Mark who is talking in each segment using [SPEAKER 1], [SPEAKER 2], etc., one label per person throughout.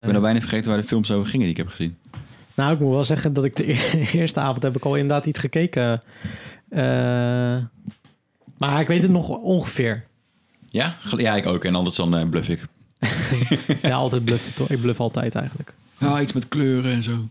[SPEAKER 1] Ik ben al bijna vergeten waar de films over gingen die ik heb gezien.
[SPEAKER 2] Nou, ik moet wel zeggen dat ik de e- eerste avond heb ik al inderdaad iets gekeken. Eh, maar ik weet het nog ongeveer.
[SPEAKER 1] Ja? Gel- Ja, ik ook. En anders dan eh, bluff ik.
[SPEAKER 2] Ja, altijd bluffen. toch? Ik bluff altijd eigenlijk.
[SPEAKER 1] Ja, iets met kleuren en zo.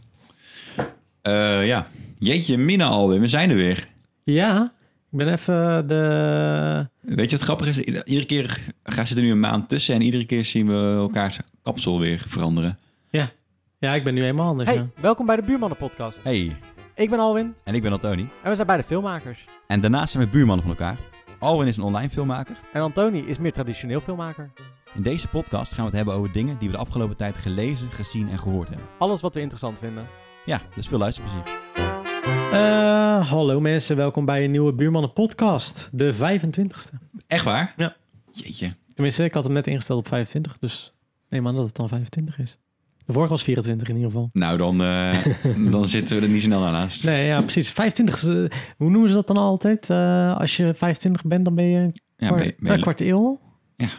[SPEAKER 1] Eh, ja. Jeetje, Mina alweer. We zijn er weer.
[SPEAKER 2] Ja, ik ben even de...
[SPEAKER 1] Weet je wat grappig is? Ieder- Iedere keer gaan zit er nu een maand tussen en iedere keer zien we elkaars kapsel weer veranderen.
[SPEAKER 2] Ja, ja ik ben nu helemaal anders. ja.
[SPEAKER 3] Hey, welkom bij de Buurmannen Podcast.
[SPEAKER 1] Hey,
[SPEAKER 3] Ik ben Alwin
[SPEAKER 1] en ik ben Antoni.
[SPEAKER 3] en we zijn beide filmmakers.
[SPEAKER 1] En daarnaast zijn we buurmannen van elkaar. Alwin is een online filmmaker.
[SPEAKER 3] En Antoni is meer traditioneel filmmaker.
[SPEAKER 1] In deze podcast gaan we het hebben over dingen die we de afgelopen tijd gelezen, gezien en gehoord hebben.
[SPEAKER 3] Alles wat we interessant vinden.
[SPEAKER 1] Ja, dus veel luisterplezier.
[SPEAKER 2] Eh, hallo mensen, welkom bij een nieuwe Buurmannen podcast. De 25ste.
[SPEAKER 1] Echt waar?
[SPEAKER 2] Ja.
[SPEAKER 1] Jeetje.
[SPEAKER 2] Tenminste, ik had hem net ingesteld op 25, dus neem aan dat het dan 25 is. De vorige was 24 in ieder geval.
[SPEAKER 1] Nou, dan, eh, dan zitten we er niet snel aan naast.
[SPEAKER 2] Nee, ja, precies. 25, eh, hoe noemen ze dat dan altijd? Eh, als je 25 bent, dan ben je een
[SPEAKER 1] Ja,
[SPEAKER 2] kwart,
[SPEAKER 1] ben je- ben
[SPEAKER 2] eh,
[SPEAKER 1] je-
[SPEAKER 2] kwart eeuw.
[SPEAKER 1] Ja.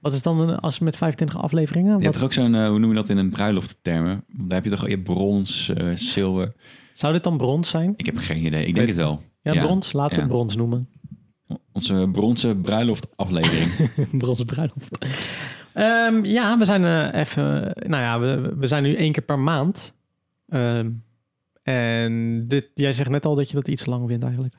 [SPEAKER 2] Wat is dan een- als met 25 afleveringen?
[SPEAKER 1] je
[SPEAKER 2] Wat,
[SPEAKER 1] hebt toch ook zo'n, eh, hoe noem je dat in een bruilofttermen? Daar heb je toch je hebt brons, eh, zilver.
[SPEAKER 2] Zou dit dan brons zijn?
[SPEAKER 1] Ik heb geen idee. Ik
[SPEAKER 2] Weet-
[SPEAKER 1] denk het wel.
[SPEAKER 2] Ja,
[SPEAKER 1] Ja,
[SPEAKER 2] brons. Laten we
[SPEAKER 1] ja.
[SPEAKER 2] het brons noemen.
[SPEAKER 1] Onze bronzen bruiloft aflevering.
[SPEAKER 2] brons bruiloft. Ehm, ja, we zijn eh, even... Nou ja, we, we zijn nu één keer per maand. Ehm, en dit, jij zegt net al dat je dat iets lang vindt eigenlijk.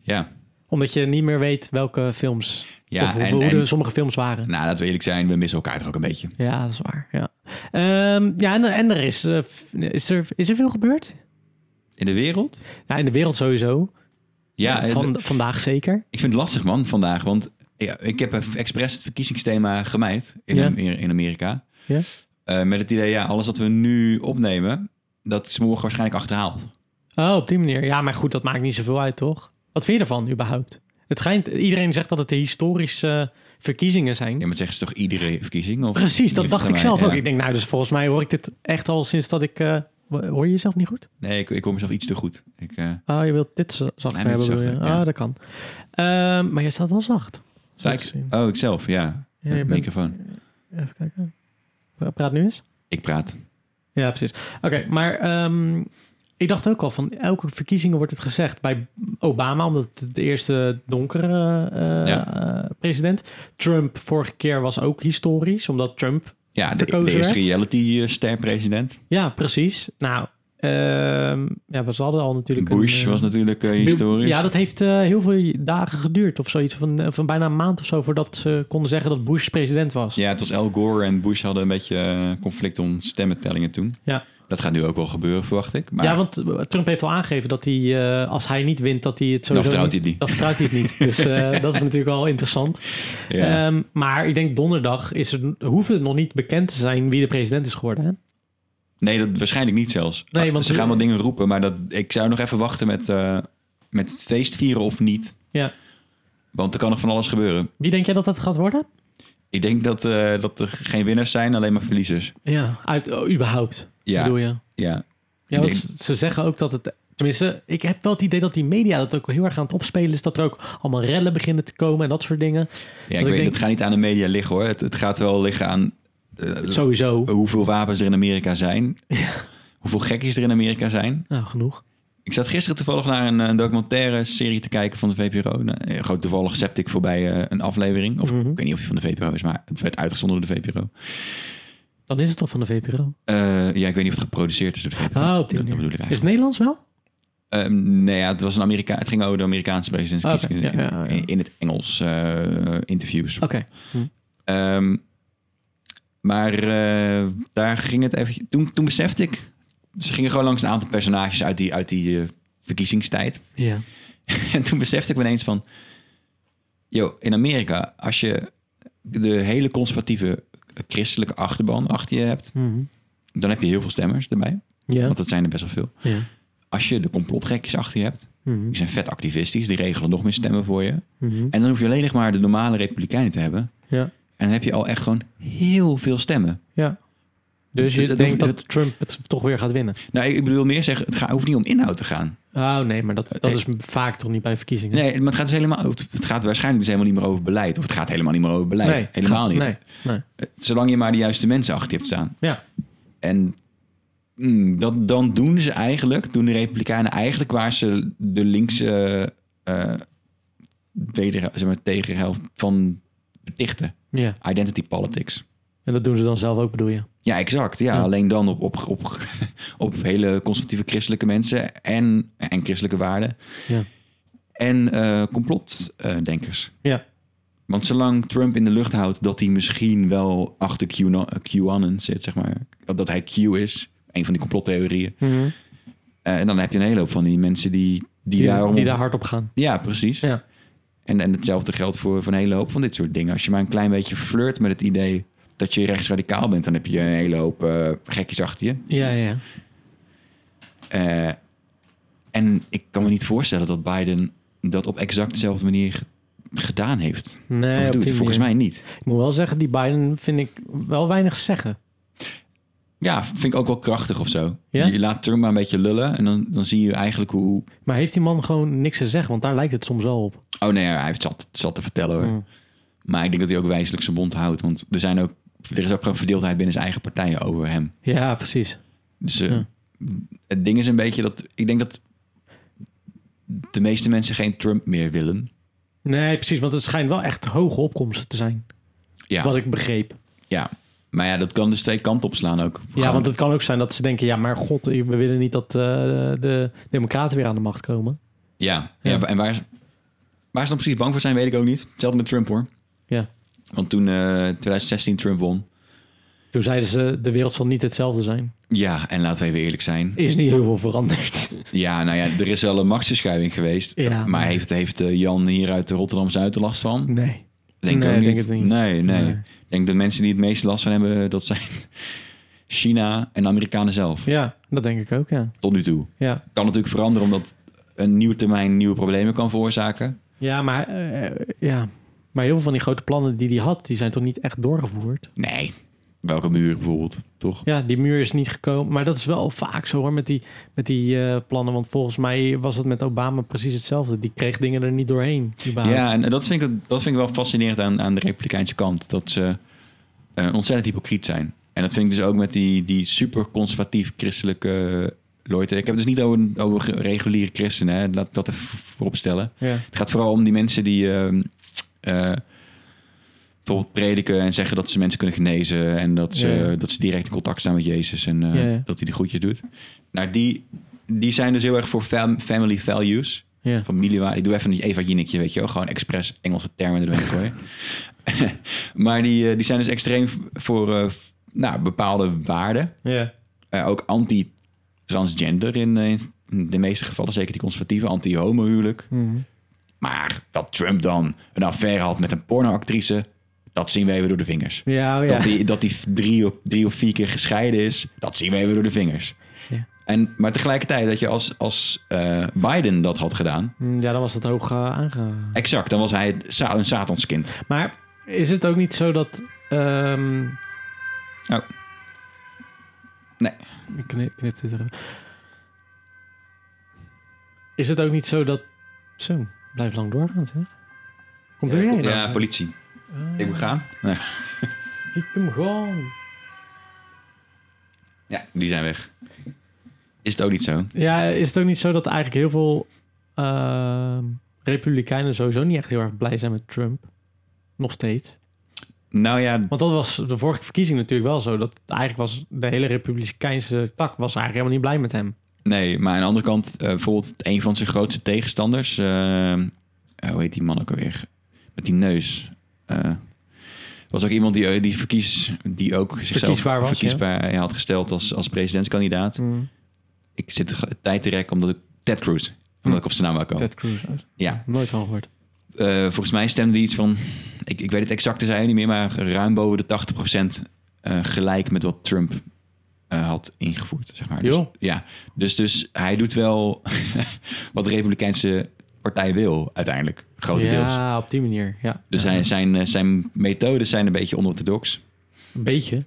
[SPEAKER 1] ja.
[SPEAKER 2] Omdat je niet meer weet welke films...
[SPEAKER 1] Ja,
[SPEAKER 2] of hoe,
[SPEAKER 1] en,
[SPEAKER 2] hoe dus-
[SPEAKER 1] en-
[SPEAKER 2] de sommige films waren.
[SPEAKER 1] nou, laten we eerlijk zijn, we missen elkaar toch ook een beetje.
[SPEAKER 2] Ja, dat is waar. Ja, Ehm, ja en, en er is, eh, f- is, er, is er veel gebeurd.
[SPEAKER 1] In de wereld?
[SPEAKER 2] Nou, in de wereld sowieso.
[SPEAKER 1] Ja, eh, het-
[SPEAKER 2] Van, vandaag zeker.
[SPEAKER 1] ik vind het lastig man vandaag, want ja, ik heb expres het verkiezingsthema gemijd in,
[SPEAKER 2] Ja.
[SPEAKER 1] in, in Amerika.
[SPEAKER 2] Ja.
[SPEAKER 1] Eh, met het idee, ja, alles wat we nu opnemen, dat is morgen waarschijnlijk achterhaald.
[SPEAKER 2] Oh, op die manier. Ja, maar goed, dat maakt niet zoveel uit, toch? Wat vind je ervan überhaupt? Het schijnt, iedereen zegt dat het de historische verkiezingen zijn.
[SPEAKER 1] Ja, maar zeggen ze toch iedere verkiezing? Of
[SPEAKER 2] Precies, dat
[SPEAKER 1] iedere
[SPEAKER 2] dacht ik
[SPEAKER 1] termijn?
[SPEAKER 2] zelf ook.
[SPEAKER 1] Ja.
[SPEAKER 2] Ik denk, nou, dus volgens mij hoor ik dit echt al sinds dat ik... eh, hoor je jezelf niet goed?
[SPEAKER 1] Nee, ik, ik hoor mezelf iets te goed. Ik, eh,
[SPEAKER 2] Oh, je wilt dit za- zachter
[SPEAKER 1] Klein
[SPEAKER 2] hebben.
[SPEAKER 1] beetje
[SPEAKER 2] bedoel je?
[SPEAKER 1] zachter, ja.
[SPEAKER 2] Ah, dat kan. Ehm, maar jij staat wel zacht.
[SPEAKER 1] zei
[SPEAKER 2] Zo
[SPEAKER 1] ik?
[SPEAKER 2] te zien.
[SPEAKER 1] Oh, ikzelf, ja.
[SPEAKER 2] Ja, je bent-
[SPEAKER 1] Microfoon.
[SPEAKER 2] Even kijken. Pra- Praat nu eens.
[SPEAKER 1] Ik praat.
[SPEAKER 2] Ja, precies. Oké, maar ehm, ik dacht ook al van elke verkiezingen wordt het gezegd. Bij Obama, omdat het de eerste donkere eh,
[SPEAKER 1] Ja.
[SPEAKER 2] eh, president. Trump vorige keer was ook historisch, omdat Trump...
[SPEAKER 1] Ja, de, de
[SPEAKER 2] Verkozen
[SPEAKER 1] eerste eh,
[SPEAKER 2] werd.
[SPEAKER 1] reality-ster-president.
[SPEAKER 2] Ja, precies. Nou, ehm, ja, we hadden al natuurlijk... een,
[SPEAKER 1] Bush
[SPEAKER 2] eh,
[SPEAKER 1] was natuurlijk eh,
[SPEAKER 2] Bill-
[SPEAKER 1] historisch.
[SPEAKER 2] Ja, dat heeft eh, heel veel dagen geduurd of zoiets. Van, eh, van bijna een maand of zo voordat ze konden zeggen dat Bush president was.
[SPEAKER 1] Ja, het was Al Gore en Bush hadden een beetje eh, conflict om stemmentellingen toen.
[SPEAKER 2] Ja.
[SPEAKER 1] Dat gaat nu ook wel gebeuren, verwacht ik. Maar
[SPEAKER 2] Ja, want eh, Trump heeft al aangegeven dat hij, eh, als hij niet wint, dat hij het
[SPEAKER 1] dan
[SPEAKER 2] sowieso
[SPEAKER 1] vertrouwt
[SPEAKER 2] niet-
[SPEAKER 1] hij het niet.
[SPEAKER 2] Dan vertrouwt hij het niet. Dus eh, dat is natuurlijk wel interessant.
[SPEAKER 1] Ja.
[SPEAKER 2] Ehm, maar ik denk donderdag is er, hoeft het nog niet bekend te zijn wie de president is geworden. Hè?
[SPEAKER 1] nee, dat waarschijnlijk niet zelfs.
[SPEAKER 2] Nee,
[SPEAKER 1] Ah,
[SPEAKER 2] want-
[SPEAKER 1] Ze gaan wel dingen roepen, maar dat, ik zou nog even wachten met, eh, met feestvieren of niet.
[SPEAKER 2] Ja.
[SPEAKER 1] Want er kan nog van alles gebeuren.
[SPEAKER 2] Wie denk jij dat dat gaat worden?
[SPEAKER 1] Ik denk dat, eh, dat er geen winnaars zijn, alleen maar verliezers.
[SPEAKER 2] Ja, uit, oh, überhaupt
[SPEAKER 1] Ja,
[SPEAKER 2] bedoel je?
[SPEAKER 1] ja.
[SPEAKER 2] Ja, want
[SPEAKER 1] Ik
[SPEAKER 2] ze- ze zeggen ook dat het... Tenminste, ik heb wel het idee dat die media dat ook heel erg aan het opspelen is. Dat er ook allemaal rellen beginnen te komen en dat soort dingen.
[SPEAKER 1] Ja, ik
[SPEAKER 2] ik
[SPEAKER 1] weet,
[SPEAKER 2] denk-
[SPEAKER 1] het gaat niet aan de media liggen hoor. Het, het gaat wel liggen aan eh,
[SPEAKER 2] Sowieso.
[SPEAKER 1] hoeveel wapens er in Amerika zijn. Hoeveel gekkies er in Amerika zijn.
[SPEAKER 2] Nou, genoeg.
[SPEAKER 1] Ik zat gisteren toevallig naar een, eh, documentaire serie te kijken van de VPRO. Nou, eh, Gewoon toevallig Septic voorbij eh, een aflevering. Of
[SPEAKER 2] Mhm.
[SPEAKER 1] ik weet niet of die van de VPRO is, maar het werd uitgezonden door de VPRO.
[SPEAKER 2] Dan is het toch van de VPRO?
[SPEAKER 1] Eh, ja, ik weet niet of het geproduceerd is door de VPRO.
[SPEAKER 2] Oh, op die
[SPEAKER 1] dat, dat
[SPEAKER 2] manier.
[SPEAKER 1] bedoel ik
[SPEAKER 2] Is
[SPEAKER 1] eigenlijk.
[SPEAKER 2] het Nederlands wel?
[SPEAKER 1] Ehm, nee, ja, het, was een Amerika het ging over de Amerikaanse presidentsverkiezingen
[SPEAKER 2] Oké, ja, ja, ja.
[SPEAKER 1] In, in het Engels eh, interviews.
[SPEAKER 2] Oké.
[SPEAKER 1] Ehm, maar eh, daar ging het even... Toen, toen besefte ik... Ze gingen gewoon langs een aantal personages uit die, uit die eh, verkiezingstijd.
[SPEAKER 2] Ja.
[SPEAKER 1] En toen besefte ik me ineens van... Yo, in Amerika, als je de hele conservatieve christelijke achterban achter je hebt...
[SPEAKER 2] Mhm.
[SPEAKER 1] dan heb je heel veel stemmers erbij.
[SPEAKER 2] Ja.
[SPEAKER 1] Want dat zijn er best wel veel.
[SPEAKER 2] ja.
[SPEAKER 1] Als je de complotgekjes achter je hebt...
[SPEAKER 2] Mhm.
[SPEAKER 1] die zijn vet activistisch, die regelen nog meer stemmen voor je.
[SPEAKER 2] Mhm.
[SPEAKER 1] En dan hoef je alleen nog maar de normale republikeinen te hebben.
[SPEAKER 2] Ja.
[SPEAKER 1] En dan heb je al echt gewoon heel veel stemmen.
[SPEAKER 2] Ja. Dus je
[SPEAKER 1] Dat hoeft-
[SPEAKER 2] denkt dat,
[SPEAKER 1] dat-
[SPEAKER 2] Trump het toch weer gaat winnen?
[SPEAKER 1] Nou, ik ik bedoel meer zeggen, het gaat, hoeft niet om inhoud te gaan.
[SPEAKER 2] Oh nee, maar dat, dat
[SPEAKER 1] Nee.
[SPEAKER 2] is vaak toch niet bij verkiezingen?
[SPEAKER 1] Nee, maar het gaat, dus helemaal, het gaat waarschijnlijk dus helemaal niet meer over beleid. Of het gaat helemaal niet meer over beleid.
[SPEAKER 2] Nee,
[SPEAKER 1] helemaal
[SPEAKER 2] gaat-
[SPEAKER 1] niet. Eh,
[SPEAKER 2] Nee, nee.
[SPEAKER 1] Zolang je maar de juiste mensen achter je hebt staan.
[SPEAKER 2] Ja.
[SPEAKER 1] En mm, dat, dan doen ze eigenlijk, doen de Republikeinen eigenlijk waar ze de linkse eh weder, zeg maar, tegenhelft van betichten.
[SPEAKER 2] ja.
[SPEAKER 1] Identity politics.
[SPEAKER 2] En dat doen ze dan zelf ook, bedoel je?
[SPEAKER 1] Ja, exact. Ja,
[SPEAKER 2] Ja.
[SPEAKER 1] alleen dan op, op, op, op hele conservatieve christelijke mensen en, en christelijke waarden.
[SPEAKER 2] Ja.
[SPEAKER 1] En eh, complotdenkers.
[SPEAKER 2] Ja.
[SPEAKER 1] Want zolang Trump in de lucht houdt dat hij misschien wel achter QAnon, QAnon zit, zeg maar. Dat hij Q is, een van die complottheorieën.
[SPEAKER 2] Mhm.
[SPEAKER 1] Eh, en dan heb je een hele hoop van die mensen die, die,
[SPEAKER 2] Die,
[SPEAKER 1] daarom...
[SPEAKER 2] die daar hard op gaan.
[SPEAKER 1] Ja, precies.
[SPEAKER 2] Ja.
[SPEAKER 1] En, en hetzelfde geldt voor, voor een hele hoop van dit soort dingen. Als je maar een klein beetje flirt met het idee dat je rechtsradicaal bent, dan heb je een hele hoop eh, gekjes achter je.
[SPEAKER 2] Ja, ja.
[SPEAKER 1] Eh, en ik kan me niet voorstellen dat Biden dat op exact dezelfde manier g- gedaan heeft.
[SPEAKER 2] Nee,
[SPEAKER 1] of
[SPEAKER 2] op
[SPEAKER 1] doet,
[SPEAKER 2] die
[SPEAKER 1] volgens
[SPEAKER 2] manier.
[SPEAKER 1] mij niet.
[SPEAKER 2] Ik moet wel zeggen, die Biden vind ik wel weinig zeggen.
[SPEAKER 1] Ja, vind ik ook wel krachtig of zo.
[SPEAKER 2] Ja?
[SPEAKER 1] Je laat Trump maar een beetje lullen en dan, dan zie je eigenlijk hoe...
[SPEAKER 2] Maar heeft die man gewoon niks te zeggen? Want daar lijkt het soms wel op.
[SPEAKER 1] Oh nee, hij heeft zat, zat te vertellen hoor.
[SPEAKER 2] Mm.
[SPEAKER 1] Maar ik denk dat hij ook wijzelijk zijn mond houdt. Want er, zijn ook, er is ook gewoon verdeeldheid binnen zijn eigen partijen over hem.
[SPEAKER 2] Ja, precies.
[SPEAKER 1] Dus eh,
[SPEAKER 2] Ja.
[SPEAKER 1] het ding is een beetje dat... Ik denk dat de meeste mensen geen Trump meer willen.
[SPEAKER 2] Nee, precies. Want het schijnt wel echt hoge opkomsten te zijn.
[SPEAKER 1] Ja,
[SPEAKER 2] Wat ik begreep.
[SPEAKER 1] ja. maar ja, dat kan dus twee kanten opslaan ook.
[SPEAKER 2] Ja,
[SPEAKER 1] Gewoon-
[SPEAKER 2] want het kan ook zijn dat ze denken... ja, maar god, we willen niet dat eh, de democraten weer aan de macht komen.
[SPEAKER 1] Ja,
[SPEAKER 2] Ja.
[SPEAKER 1] ja. en waar, ze- waar ze dan precies bang voor zijn, weet ik ook niet. Hetzelfde met Trump hoor.
[SPEAKER 2] Ja.
[SPEAKER 1] Want toen eh 2016 Trump won.
[SPEAKER 2] Toen zeiden ze, de wereld zal niet hetzelfde zijn.
[SPEAKER 1] Ja, en laten we even eerlijk zijn.
[SPEAKER 2] Is niet heel veel veranderd.
[SPEAKER 1] Ja, nou ja, er is wel een machtsverschuiving geweest.
[SPEAKER 2] Ja.
[SPEAKER 1] maar heeft, heeft eh, Jan hier uit de Rotterdam Zuid er last van?
[SPEAKER 2] Nee.
[SPEAKER 1] Denk ik
[SPEAKER 2] Nee,
[SPEAKER 1] ook
[SPEAKER 2] ik
[SPEAKER 1] niet.
[SPEAKER 2] denk het niet.
[SPEAKER 1] Nee, nee,
[SPEAKER 2] Nee.
[SPEAKER 1] Ik denk dat mensen die het meest last van hebben, dat zijn China en de Amerikanen zelf.
[SPEAKER 2] Ja, dat denk ik ook, ja.
[SPEAKER 1] Tot nu toe.
[SPEAKER 2] Ja,
[SPEAKER 1] Kan natuurlijk veranderen omdat een nieuwe termijn nieuwe problemen kan veroorzaken.
[SPEAKER 2] ja, maar, eh, ja. maar heel veel van die grote plannen die hij had... die zijn toch niet echt doorgevoerd?
[SPEAKER 1] Nee. Welke muur bijvoorbeeld, toch?
[SPEAKER 2] Ja, die muur is niet gekomen. Maar dat is wel vaak zo hoor, met die, met die eh, plannen. Want volgens mij was het met Obama precies hetzelfde. Die kreeg dingen er niet doorheen, überhaupt.
[SPEAKER 1] Ja, en en dat vind ik, dat vind ik wel fascinerend aan, aan de Republikeinse kant. Dat ze eh, ontzettend hypocriet zijn. En dat vind ik dus ook met die, die super conservatief christelijke Lloyd. Ik heb het dus niet over, over reguliere christenen, hè. laat ik dat even vooropstellen.
[SPEAKER 2] Ja.
[SPEAKER 1] Het gaat vooral om die mensen die ehm, eh, bijvoorbeeld prediken en zeggen dat ze mensen kunnen genezen. En dat ze,
[SPEAKER 2] Ja, ja.
[SPEAKER 1] dat ze direct in contact staan met Jezus en eh,
[SPEAKER 2] Ja, ja.
[SPEAKER 1] dat hij de groetjes doet. Nou, die, die zijn dus heel erg voor fam- family values
[SPEAKER 2] Ja.
[SPEAKER 1] familiewaarde. Ik doe even een Eva Jinnekje, weet je wel. Gewoon expres Engelse termen erdoorheen gooien. maar die, eh, die zijn dus extreem voor eh, f- nou, bepaalde waarden.
[SPEAKER 2] Ja.
[SPEAKER 1] Eh, ook anti-transgender in, eh, in de meeste gevallen. Zeker die conservatieve, anti-homo huwelijk.
[SPEAKER 2] Mhm.
[SPEAKER 1] Maar dat Trump dan een affaire had met een pornoactrice... dat zien we even door de vingers.
[SPEAKER 2] Ja, oh ja.
[SPEAKER 1] Dat hij dat die drie, of, drie of vier keer gescheiden is, dat zien we even door de vingers.
[SPEAKER 2] Ja.
[SPEAKER 1] En, maar tegelijkertijd dat je als, als eh, Biden dat had gedaan...
[SPEAKER 2] Mm, ja, dan was dat hoog eh, aange...
[SPEAKER 1] Exact, dan was hij het sa- een satanskind.
[SPEAKER 2] Maar is het ook niet zo dat... ehm,
[SPEAKER 1] Oh. Nee.
[SPEAKER 2] Ik knip, knip dit er. Is het ook niet zo dat... Zo, blijf lang doorgaan zeg. Komt er weer een?
[SPEAKER 1] Ja, politie.
[SPEAKER 2] Ah,
[SPEAKER 1] Ik moet gaan. Nee.
[SPEAKER 2] Kiek hem gewoon.
[SPEAKER 1] Ja, die zijn weg. Is het ook niet zo?
[SPEAKER 2] Ja, is het ook niet zo dat eigenlijk heel veel ehm, Republikeinen sowieso niet echt heel erg blij zijn met Trump? Nog steeds.
[SPEAKER 1] Nou ja,
[SPEAKER 2] Want dat was de vorige verkiezing natuurlijk wel zo. Dat het eigenlijk was de hele Republikeinse tak was eigenlijk helemaal niet blij met hem.
[SPEAKER 1] nee. Maar aan de andere kant, eh, bijvoorbeeld een van zijn grootste tegenstanders... eh, eh, hoe heet die man ook alweer? Met die neus. Eh, was ook iemand die, eh, die, verkies, die ook zichzelf
[SPEAKER 2] Verkiesbaar was, ja.
[SPEAKER 1] verkiesbaar eh, had gesteld als, als presidentskandidaat.
[SPEAKER 2] Mm.
[SPEAKER 1] Ik zit ge- tijd te rekken omdat ik... Ted Cruz.
[SPEAKER 2] Hm.
[SPEAKER 1] Omdat ik op zijn naam wou komen.
[SPEAKER 2] Ted Cruz.
[SPEAKER 1] Ja.
[SPEAKER 2] Nooit van gehoord.
[SPEAKER 1] Eh, volgens mij stemde die iets van, ik, ik weet het exacte cijfer niet meer, maar ruim boven de 80% eh, gelijk met wat Trump eh, had ingevoerd, zeg maar. Dus,
[SPEAKER 2] Joh.
[SPEAKER 1] ja, dus, dus hij doet wel wat de Republikeinse partij wil uiteindelijk, grotendeels.
[SPEAKER 2] Ja, op die manier. Ja.
[SPEAKER 1] Dus zijn, zijn, eh, zijn methodes zijn een beetje onorthodox.
[SPEAKER 2] Een beetje.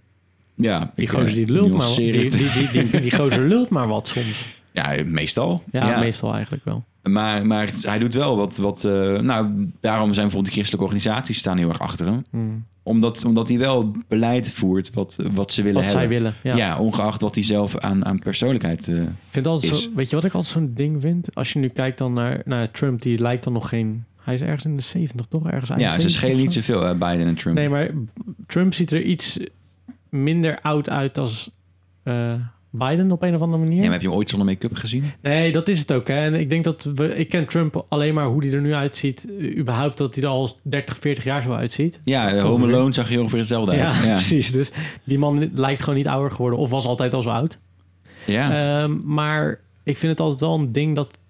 [SPEAKER 1] Ja,
[SPEAKER 2] Die
[SPEAKER 1] ik,
[SPEAKER 2] gozer
[SPEAKER 1] eh,
[SPEAKER 2] die lult maar wat. Die,
[SPEAKER 1] nuanceer
[SPEAKER 2] die,
[SPEAKER 1] het.
[SPEAKER 2] die, die, die gozer lult maar wat soms.
[SPEAKER 1] Ja, meestal.
[SPEAKER 2] Ja, meestal eigenlijk wel.
[SPEAKER 1] Maar, maar het- hij doet wel wat... wat eh, nou, daarom zijn bijvoorbeeld die christelijke organisaties staan heel erg achter hem.
[SPEAKER 2] Mm.
[SPEAKER 1] Omdat, omdat hij wel beleid voert wat, wat ze willen
[SPEAKER 2] Wat zij
[SPEAKER 1] hebben.
[SPEAKER 2] willen. Ja.
[SPEAKER 1] ja. ongeacht wat hij zelf aan, aan persoonlijkheid... eh,
[SPEAKER 2] Ik Vind altijd zo,
[SPEAKER 1] Is.
[SPEAKER 2] weet je wat ik altijd zo'n ding vind? Als je nu kijkt dan naar, naar Trump, die lijkt dan nog geen... Hij is ergens in de 70, toch? Ergens eind
[SPEAKER 1] ja, ze
[SPEAKER 2] 70
[SPEAKER 1] schelen
[SPEAKER 2] of
[SPEAKER 1] niet
[SPEAKER 2] zo.
[SPEAKER 1] zoveel, eh, Biden en Trump.
[SPEAKER 2] Nee, maar Trump ziet er iets minder oud uit als eh, Biden op een of andere manier.
[SPEAKER 1] Ja, maar heb je hem ooit zonder make-up gezien?
[SPEAKER 2] Nee, dat is het ook. Hè. En ik denk dat we... Ik ken Trump alleen maar hoe hij er nu uitziet. eh, Überhaupt dat hij er al 30, 40 jaar zo uitziet.
[SPEAKER 1] Ja, eh, Home
[SPEAKER 2] Ongeveer.
[SPEAKER 1] Alone zag je ongeveer hetzelfde uit.
[SPEAKER 2] Ja,
[SPEAKER 1] Ja,
[SPEAKER 2] precies. Dus die man lijkt gewoon niet ouder geworden of was altijd al zo oud.
[SPEAKER 1] Ja,
[SPEAKER 2] Ehm, maar ik vind het altijd wel een ding dat.
[SPEAKER 1] het is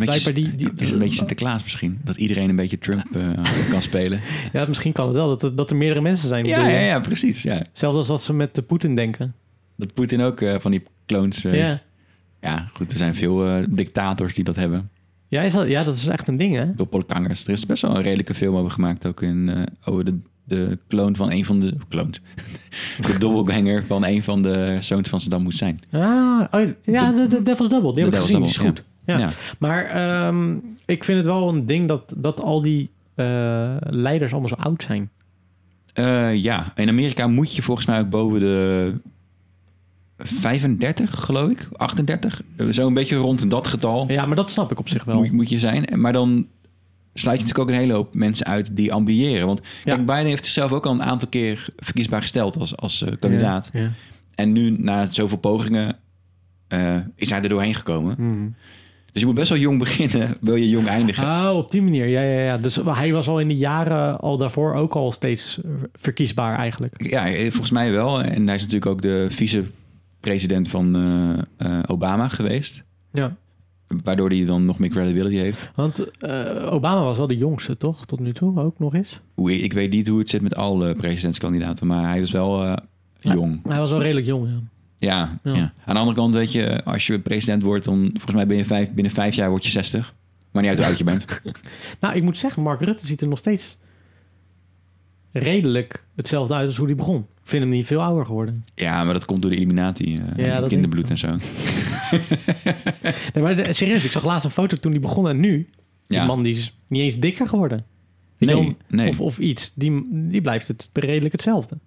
[SPEAKER 1] een beetje,
[SPEAKER 2] blijkbaar die- die-
[SPEAKER 1] het is een beetje Sinterklaas misschien. Dat iedereen een beetje Trump eh, kan spelen.
[SPEAKER 2] Ja, misschien kan het wel dat, dat er meerdere mensen zijn.
[SPEAKER 1] Ja,
[SPEAKER 2] bedoel je?
[SPEAKER 1] ja, ja, precies. Ja.
[SPEAKER 2] Hetzelfde als dat ze met de Poetin denken.
[SPEAKER 1] Dat Poetin ook eh, van die clones... eh,
[SPEAKER 2] Ja.
[SPEAKER 1] Ja, goed, er zijn veel eh, dictators die dat hebben.
[SPEAKER 2] Ja, is dat, ja, dat is echt een ding, hè?
[SPEAKER 1] Doppelgangers. Er is best wel een redelijke film over gemaakt ook in, eh, over de, de clone van een van de... Clones. de doppelganger van een van de zoons van Saddam Hussein.
[SPEAKER 2] Ah, oh, ja, de, de Devil's Double. Die
[SPEAKER 1] De
[SPEAKER 2] heb
[SPEAKER 1] Devil's
[SPEAKER 2] ik gezien. Die is
[SPEAKER 1] Double,
[SPEAKER 2] goed. Ja.
[SPEAKER 1] Ja.
[SPEAKER 2] Maar ehm, ik vind het wel een ding dat, dat al die eh, leiders allemaal zo oud zijn.
[SPEAKER 1] Eh, ja, in Amerika moet je volgens mij ook boven de 35, geloof ik, 38. Eh, Zo'n beetje rond dat getal
[SPEAKER 2] Ja, maar dat snap ik op zich wel.
[SPEAKER 1] moet, moet je zijn. Maar dan sluit je natuurlijk ook een hele hoop mensen uit die ambiëren. Want
[SPEAKER 2] Ja.
[SPEAKER 1] kijk, Biden heeft zichzelf ook al een aantal keer verkiesbaar gesteld als, als eh, kandidaat.
[SPEAKER 2] Ja. ja.
[SPEAKER 1] En nu, na zoveel pogingen, eh, is hij er doorheen gekomen.
[SPEAKER 2] Mhm.
[SPEAKER 1] Dus je moet best wel jong beginnen, wil je jong eindigen.
[SPEAKER 2] Ah, op die manier. Ja, ja, ja. Dus hij was al in de jaren al daarvoor ook al steeds eh, verkiesbaar eigenlijk.
[SPEAKER 1] Ja, eh, volgens mij wel. En hij is natuurlijk ook de vice-president van eh, eh, Obama geweest.
[SPEAKER 2] Ja.
[SPEAKER 1] Waardoor hij dan nog meer credibility heeft.
[SPEAKER 2] Want eh, Obama was wel de jongste, toch? Tot nu toe ook nog eens.
[SPEAKER 1] Hoe, ik weet niet hoe het zit met alle presidentskandidaten, maar hij is wel eh, jong.
[SPEAKER 2] Hij was al redelijk jong, ja.
[SPEAKER 1] Ja,
[SPEAKER 2] Ja.
[SPEAKER 1] ja. Aan de andere kant weet je, als je president wordt, dan volgens mij ben je vijf, binnen vijf jaar word je 60. Maar niet uit hoe oud je bent.
[SPEAKER 2] Nou, ik moet zeggen, Mark Rutte ziet er nog steeds redelijk hetzelfde uit als hoe hij begon. Ik vind hem niet veel ouder geworden.
[SPEAKER 1] Ja, maar dat komt door de Illuminati, eh,
[SPEAKER 2] Ja, dat
[SPEAKER 1] kinderbloed en zo.
[SPEAKER 2] Nee, maar de- serieus, ik zag laatst een foto toen hij begon en nu. Die
[SPEAKER 1] Ja.
[SPEAKER 2] man die is niet eens dikker geworden. Weet je
[SPEAKER 1] nee,
[SPEAKER 2] wel?
[SPEAKER 1] nee.
[SPEAKER 2] Of, of iets. Die, die blijft het redelijk hetzelfde.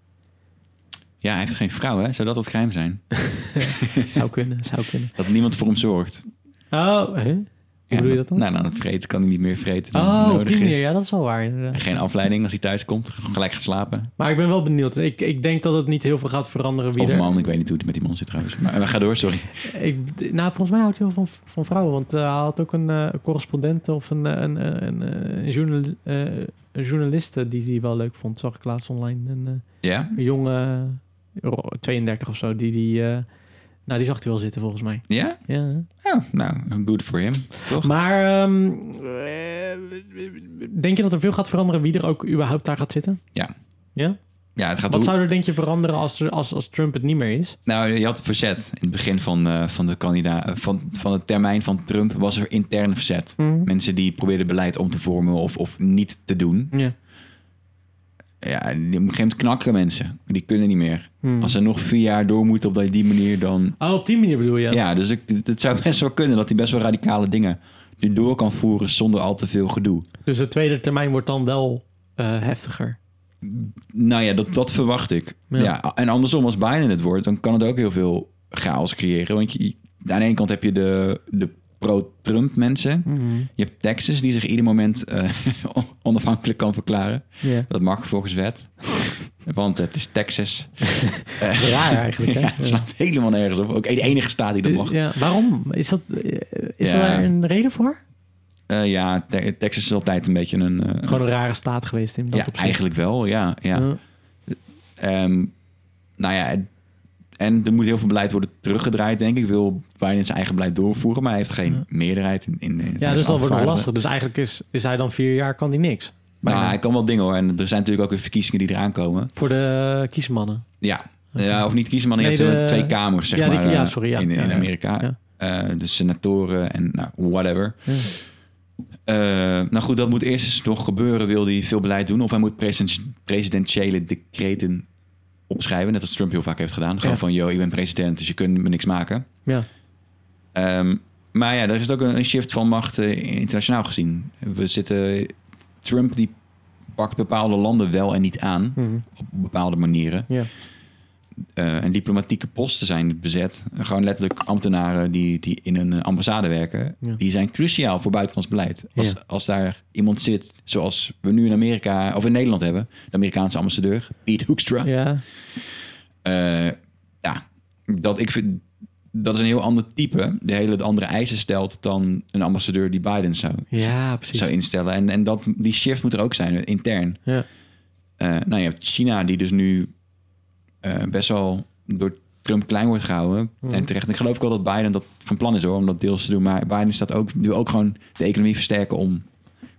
[SPEAKER 1] Ja, hij heeft geen vrouw, hè? Zou dat het geheim zijn?
[SPEAKER 2] Zou kunnen, zou kunnen.
[SPEAKER 1] Dat niemand voor hem zorgt.
[SPEAKER 2] Oh, hè? hoe
[SPEAKER 1] Ja,
[SPEAKER 2] bedoel je dat dan?
[SPEAKER 1] Nou, dan vreten kan hij niet meer vreten dan
[SPEAKER 2] Oh, op
[SPEAKER 1] nodig
[SPEAKER 2] die
[SPEAKER 1] is.
[SPEAKER 2] manier. Ja, dat is wel waar inderdaad.
[SPEAKER 1] En Geen afleiding als hij thuis komt. Gelijk gaat slapen.
[SPEAKER 2] Maar ik ben wel benieuwd. Ik, ik denk dat het niet heel veel gaat veranderen wie
[SPEAKER 1] Of
[SPEAKER 2] er...
[SPEAKER 1] man, ik weet niet hoe het met die man zit trouwens. Maar, maar ga door, sorry.
[SPEAKER 2] Ik, nou, volgens mij houdt hij wel van, van vrouwen. Want eh, hij had ook een eh, correspondent of een, eh, een, eh, een, eh, een journal, eh, een journaliste die hij wel leuk vond. Zag ik laatst online. Een, eh,
[SPEAKER 1] Ja?
[SPEAKER 2] een jonge, ro- 32 of zo, die, die, eh, nou, die zag hij wel zitten volgens mij.
[SPEAKER 1] Ja?
[SPEAKER 2] Ja.
[SPEAKER 1] Ja, nou, good for him, toch?
[SPEAKER 2] Maar ehm, eh, denk je dat er veel gaat veranderen wie er ook überhaupt daar gaat zitten?
[SPEAKER 1] Ja.
[SPEAKER 2] Ja?
[SPEAKER 1] ja, het gaat
[SPEAKER 2] Wat
[SPEAKER 1] hoe-
[SPEAKER 2] zou er denk je veranderen als, er, als, als Trump het niet meer is?
[SPEAKER 1] Nou, je had verzet. In het begin van, eh, van, de kandida- eh, van, van de termijn van Trump was er intern verzet. Mensen die probeerden beleid om te vormen of, of niet te doen.
[SPEAKER 2] Ja.
[SPEAKER 1] Ja, die- op een gegeven moment knakken mensen. Die kunnen niet meer.
[SPEAKER 2] Hmm.
[SPEAKER 1] Als ze nog vier jaar door moeten op die- die manier, dan...
[SPEAKER 2] Oh, op die manier bedoel je?
[SPEAKER 1] Ja, dus ik, het, het zou best wel kunnen dat hij best wel radicale dingen nu door kan voeren zonder al te veel gedoe.
[SPEAKER 2] Dus de tweede termijn wordt dan wel eh, heftiger.
[SPEAKER 1] Nou ja, dat, dat verwacht ik.
[SPEAKER 2] Ja.
[SPEAKER 1] Ja. en andersom, als Biden het wordt, dan kan het ook heel veel chaos creëren. Want je, aan de ene kant heb je de, de pro-Trump mensen. Je hebt Texas, die zich ieder moment eh, on- onafhankelijk kan verklaren.
[SPEAKER 2] Ja.
[SPEAKER 1] Dat mag volgens wet. Want het is Texas.
[SPEAKER 2] Dat is raar eigenlijk, hè?
[SPEAKER 1] Ja, het slaat helemaal nergens op. Ook de enige staat die dat mag.
[SPEAKER 2] Ja, waarom? Is, dat, eh, is
[SPEAKER 1] Ja.
[SPEAKER 2] daar een reden voor?
[SPEAKER 1] Eh, ja, Te- Texas is altijd een beetje een... eh,
[SPEAKER 2] Gewoon een rare staat geweest in dat
[SPEAKER 1] ja,
[SPEAKER 2] opzicht.
[SPEAKER 1] eigenlijk wel, ja. ja.
[SPEAKER 2] Ja.
[SPEAKER 1] Ehm, nou ja, en- en er moet heel veel beleid worden teruggedraaid, denk ik. Wil Biden zijn eigen beleid doorvoeren, maar hij heeft geen
[SPEAKER 2] Ja.
[SPEAKER 1] meerderheid in, in, in het
[SPEAKER 2] Ja,
[SPEAKER 1] Huis
[SPEAKER 2] dus dat wordt nog
[SPEAKER 1] afgevaardigden.
[SPEAKER 2] lastig. Dus eigenlijk is, is hij dan vier jaar, kan hij niks.
[SPEAKER 1] Maar
[SPEAKER 2] Bijna.
[SPEAKER 1] hij kan wel dingen hoor. En er zijn natuurlijk ook weer verkiezingen die eraan komen.
[SPEAKER 2] Voor de kiesmannen.
[SPEAKER 1] Ja, ja of niet kiezen, maar je
[SPEAKER 2] Nee,
[SPEAKER 1] hebt
[SPEAKER 2] de-
[SPEAKER 1] zo'n twee kamers, zeg
[SPEAKER 2] ja, die-
[SPEAKER 1] maar, eh,
[SPEAKER 2] ja, sorry, ja.
[SPEAKER 1] in, in
[SPEAKER 2] Ja, ja.
[SPEAKER 1] Amerika.
[SPEAKER 2] Ja.
[SPEAKER 1] Eh, de senatoren en nou, whatever.
[SPEAKER 2] Ja.
[SPEAKER 1] Eh, nou goed, dat moet eerst eens nog gebeuren. Wil hij veel beleid doen? Of hij moet presiden- presidentiële decreten opschrijven, net als Trump heel vaak heeft gedaan. Gewoon
[SPEAKER 2] Ja.
[SPEAKER 1] van, yo, ik ben president, dus je kunt me niks maken.
[SPEAKER 2] Ja.
[SPEAKER 1] Ehm, maar ja, er is ook een, een shift van macht eh, internationaal gezien. We zitten... Trump die pakt bepaalde landen wel en niet aan,
[SPEAKER 2] Mhm.
[SPEAKER 1] op bepaalde manieren.
[SPEAKER 2] Ja.
[SPEAKER 1] Eh, en diplomatieke posten zijn bezet. Gewoon letterlijk ambtenaren die, die in een eh, ambassade werken.
[SPEAKER 2] Ja.
[SPEAKER 1] Die zijn cruciaal voor buitenlands beleid. Als,
[SPEAKER 2] Ja.
[SPEAKER 1] als daar iemand zit, zoals we nu in Amerika of in Nederland hebben. De Amerikaanse ambassadeur, Piet Hoekstra.
[SPEAKER 2] ja.
[SPEAKER 1] Eh, ja, dat, ik vind, dat is een heel ander type. De hele andere eisen stelt dan een ambassadeur die Biden zou,
[SPEAKER 2] Ja, precies.
[SPEAKER 1] zou instellen. En, en dat, die shift moet er ook zijn, intern.
[SPEAKER 2] Ja.
[SPEAKER 1] Eh, nou, je hebt China, die dus nu eh, best wel door Trump klein wordt gehouden.
[SPEAKER 2] Mhm.
[SPEAKER 1] En terecht. En ik geloof ook wel dat Biden dat van plan is hoor, om dat deels te doen. Maar Biden staat ook, wil ook gewoon de economie versterken om,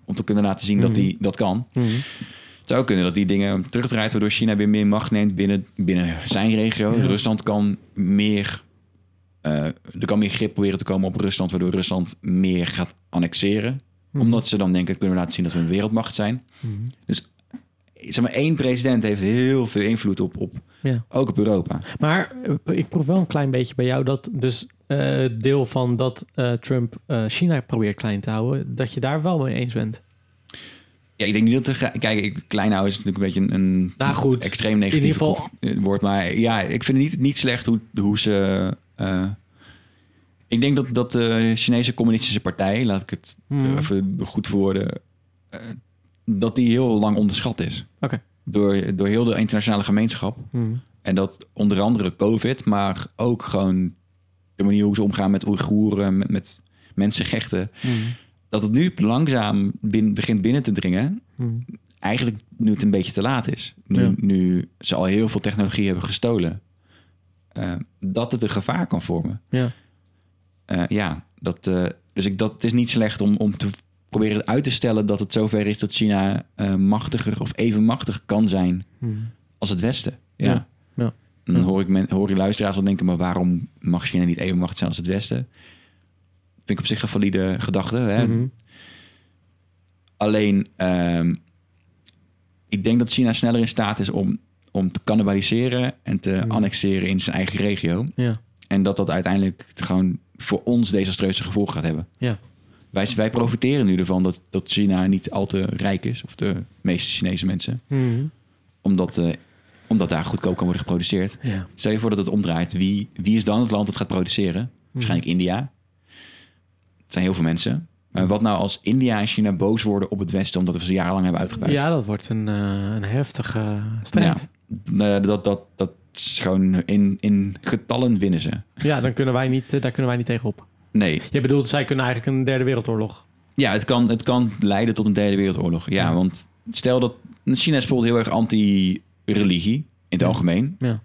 [SPEAKER 1] om te kunnen laten zien
[SPEAKER 2] Mhm.
[SPEAKER 1] dat hij dat kan.
[SPEAKER 2] Mhm.
[SPEAKER 1] Het zou ook kunnen dat die dingen terugdraait, waardoor China weer meer macht neemt binnen, binnen zijn regio.
[SPEAKER 2] Ja.
[SPEAKER 1] Rusland kan meer. eh, er kan meer grip proberen te komen op Rusland, waardoor Rusland meer gaat annexeren. Omdat ze dan denken, kunnen we laten zien dat we een wereldmacht zijn.
[SPEAKER 2] Mhm.
[SPEAKER 1] Zeg maar, één president heeft heel veel invloed op, op
[SPEAKER 2] Ja.
[SPEAKER 1] ook op Europa.
[SPEAKER 2] Maar eh, ik proef wel een klein beetje bij jou dat dus eh, het deel van dat eh, Trump eh, China probeert klein te houden, dat je daar wel mee eens bent.
[SPEAKER 1] Ja, ik denk niet dat de... ge- Kijk, ik- klein houden is natuurlijk een beetje een, een
[SPEAKER 2] Nou, goed.
[SPEAKER 1] extreem negatief
[SPEAKER 2] In ieder geval-
[SPEAKER 1] kort- eh, woord. Maar ja, ik vind het niet, niet slecht hoe, hoe ze... eh, ik denk dat, dat de Chinese Communistische Partij, laat ik het
[SPEAKER 2] Mhm.
[SPEAKER 1] even goed verwoorden, eh, dat die heel lang onderschat is.
[SPEAKER 2] Oké.
[SPEAKER 1] Door, door heel de internationale gemeenschap.
[SPEAKER 2] Mhm.
[SPEAKER 1] En dat onder andere COVID, maar ook gewoon de manier hoe ze omgaan met Oeigoeren, met, met mensenrechten.
[SPEAKER 2] Mhm.
[SPEAKER 1] Dat het nu langzaam bin- begint binnen te dringen
[SPEAKER 2] Mhm.
[SPEAKER 1] eigenlijk nu het een beetje te laat is. Nu,
[SPEAKER 2] Ja.
[SPEAKER 1] nu ze al heel veel technologie hebben gestolen. eh, dat het een gevaar kan vormen.
[SPEAKER 2] Ja.
[SPEAKER 1] Eh, ja, dat, eh, dus ik, dat, het is niet slecht om, om te proberen uit te stellen dat het zover is dat China eh, machtiger of even machtig kan zijn
[SPEAKER 2] Mhm.
[SPEAKER 1] als het Westen. Ja.
[SPEAKER 2] Ja, ja.
[SPEAKER 1] En dan
[SPEAKER 2] Ja.
[SPEAKER 1] hoor ik, men, hoor ik luisteraars wel denken, maar waarom mag China niet even machtig zijn als het Westen? Vind ik op zich een valide gedachte. Hè?
[SPEAKER 2] Mhm.
[SPEAKER 1] Alleen, ehm, ik denk dat China sneller in staat is om, om te cannibaliseren en te
[SPEAKER 2] Mm.
[SPEAKER 1] annexeren in zijn eigen regio.
[SPEAKER 2] Ja.
[SPEAKER 1] En dat dat uiteindelijk gewoon voor ons desastreuze gevolgen gaat hebben.
[SPEAKER 2] Ja.
[SPEAKER 1] Wij, wij profiteren nu ervan dat, dat China niet al te rijk is, of de meeste Chinese mensen,
[SPEAKER 2] Mhm.
[SPEAKER 1] omdat, eh, omdat daar goedkoop kan worden geproduceerd.
[SPEAKER 2] Ja.
[SPEAKER 1] Stel je voor dat het omdraait. Wie, wie is dan het land dat gaat produceren?
[SPEAKER 2] Mhm.
[SPEAKER 1] Waarschijnlijk India. Het zijn heel veel mensen. Maar wat nou als India en China boos worden op het Westen omdat we ze jarenlang hebben uitgebuit?
[SPEAKER 2] Ja, dat wordt een, eh, een heftige strijd. Ja.
[SPEAKER 1] Eh, dat, dat, dat is gewoon in, in getallen winnen ze.
[SPEAKER 2] dan kunnen wij niet, eh, daar kunnen wij niet tegenop.
[SPEAKER 1] Nee.
[SPEAKER 2] Je bedoelt, zij kunnen eigenlijk een derde wereldoorlog.
[SPEAKER 1] Ja, het kan, het kan leiden tot een derde wereldoorlog. Ja,
[SPEAKER 2] Ja.
[SPEAKER 1] want stel dat China is bijvoorbeeld heel erg anti-religie in het
[SPEAKER 2] Ja.
[SPEAKER 1] algemeen.
[SPEAKER 2] Ja.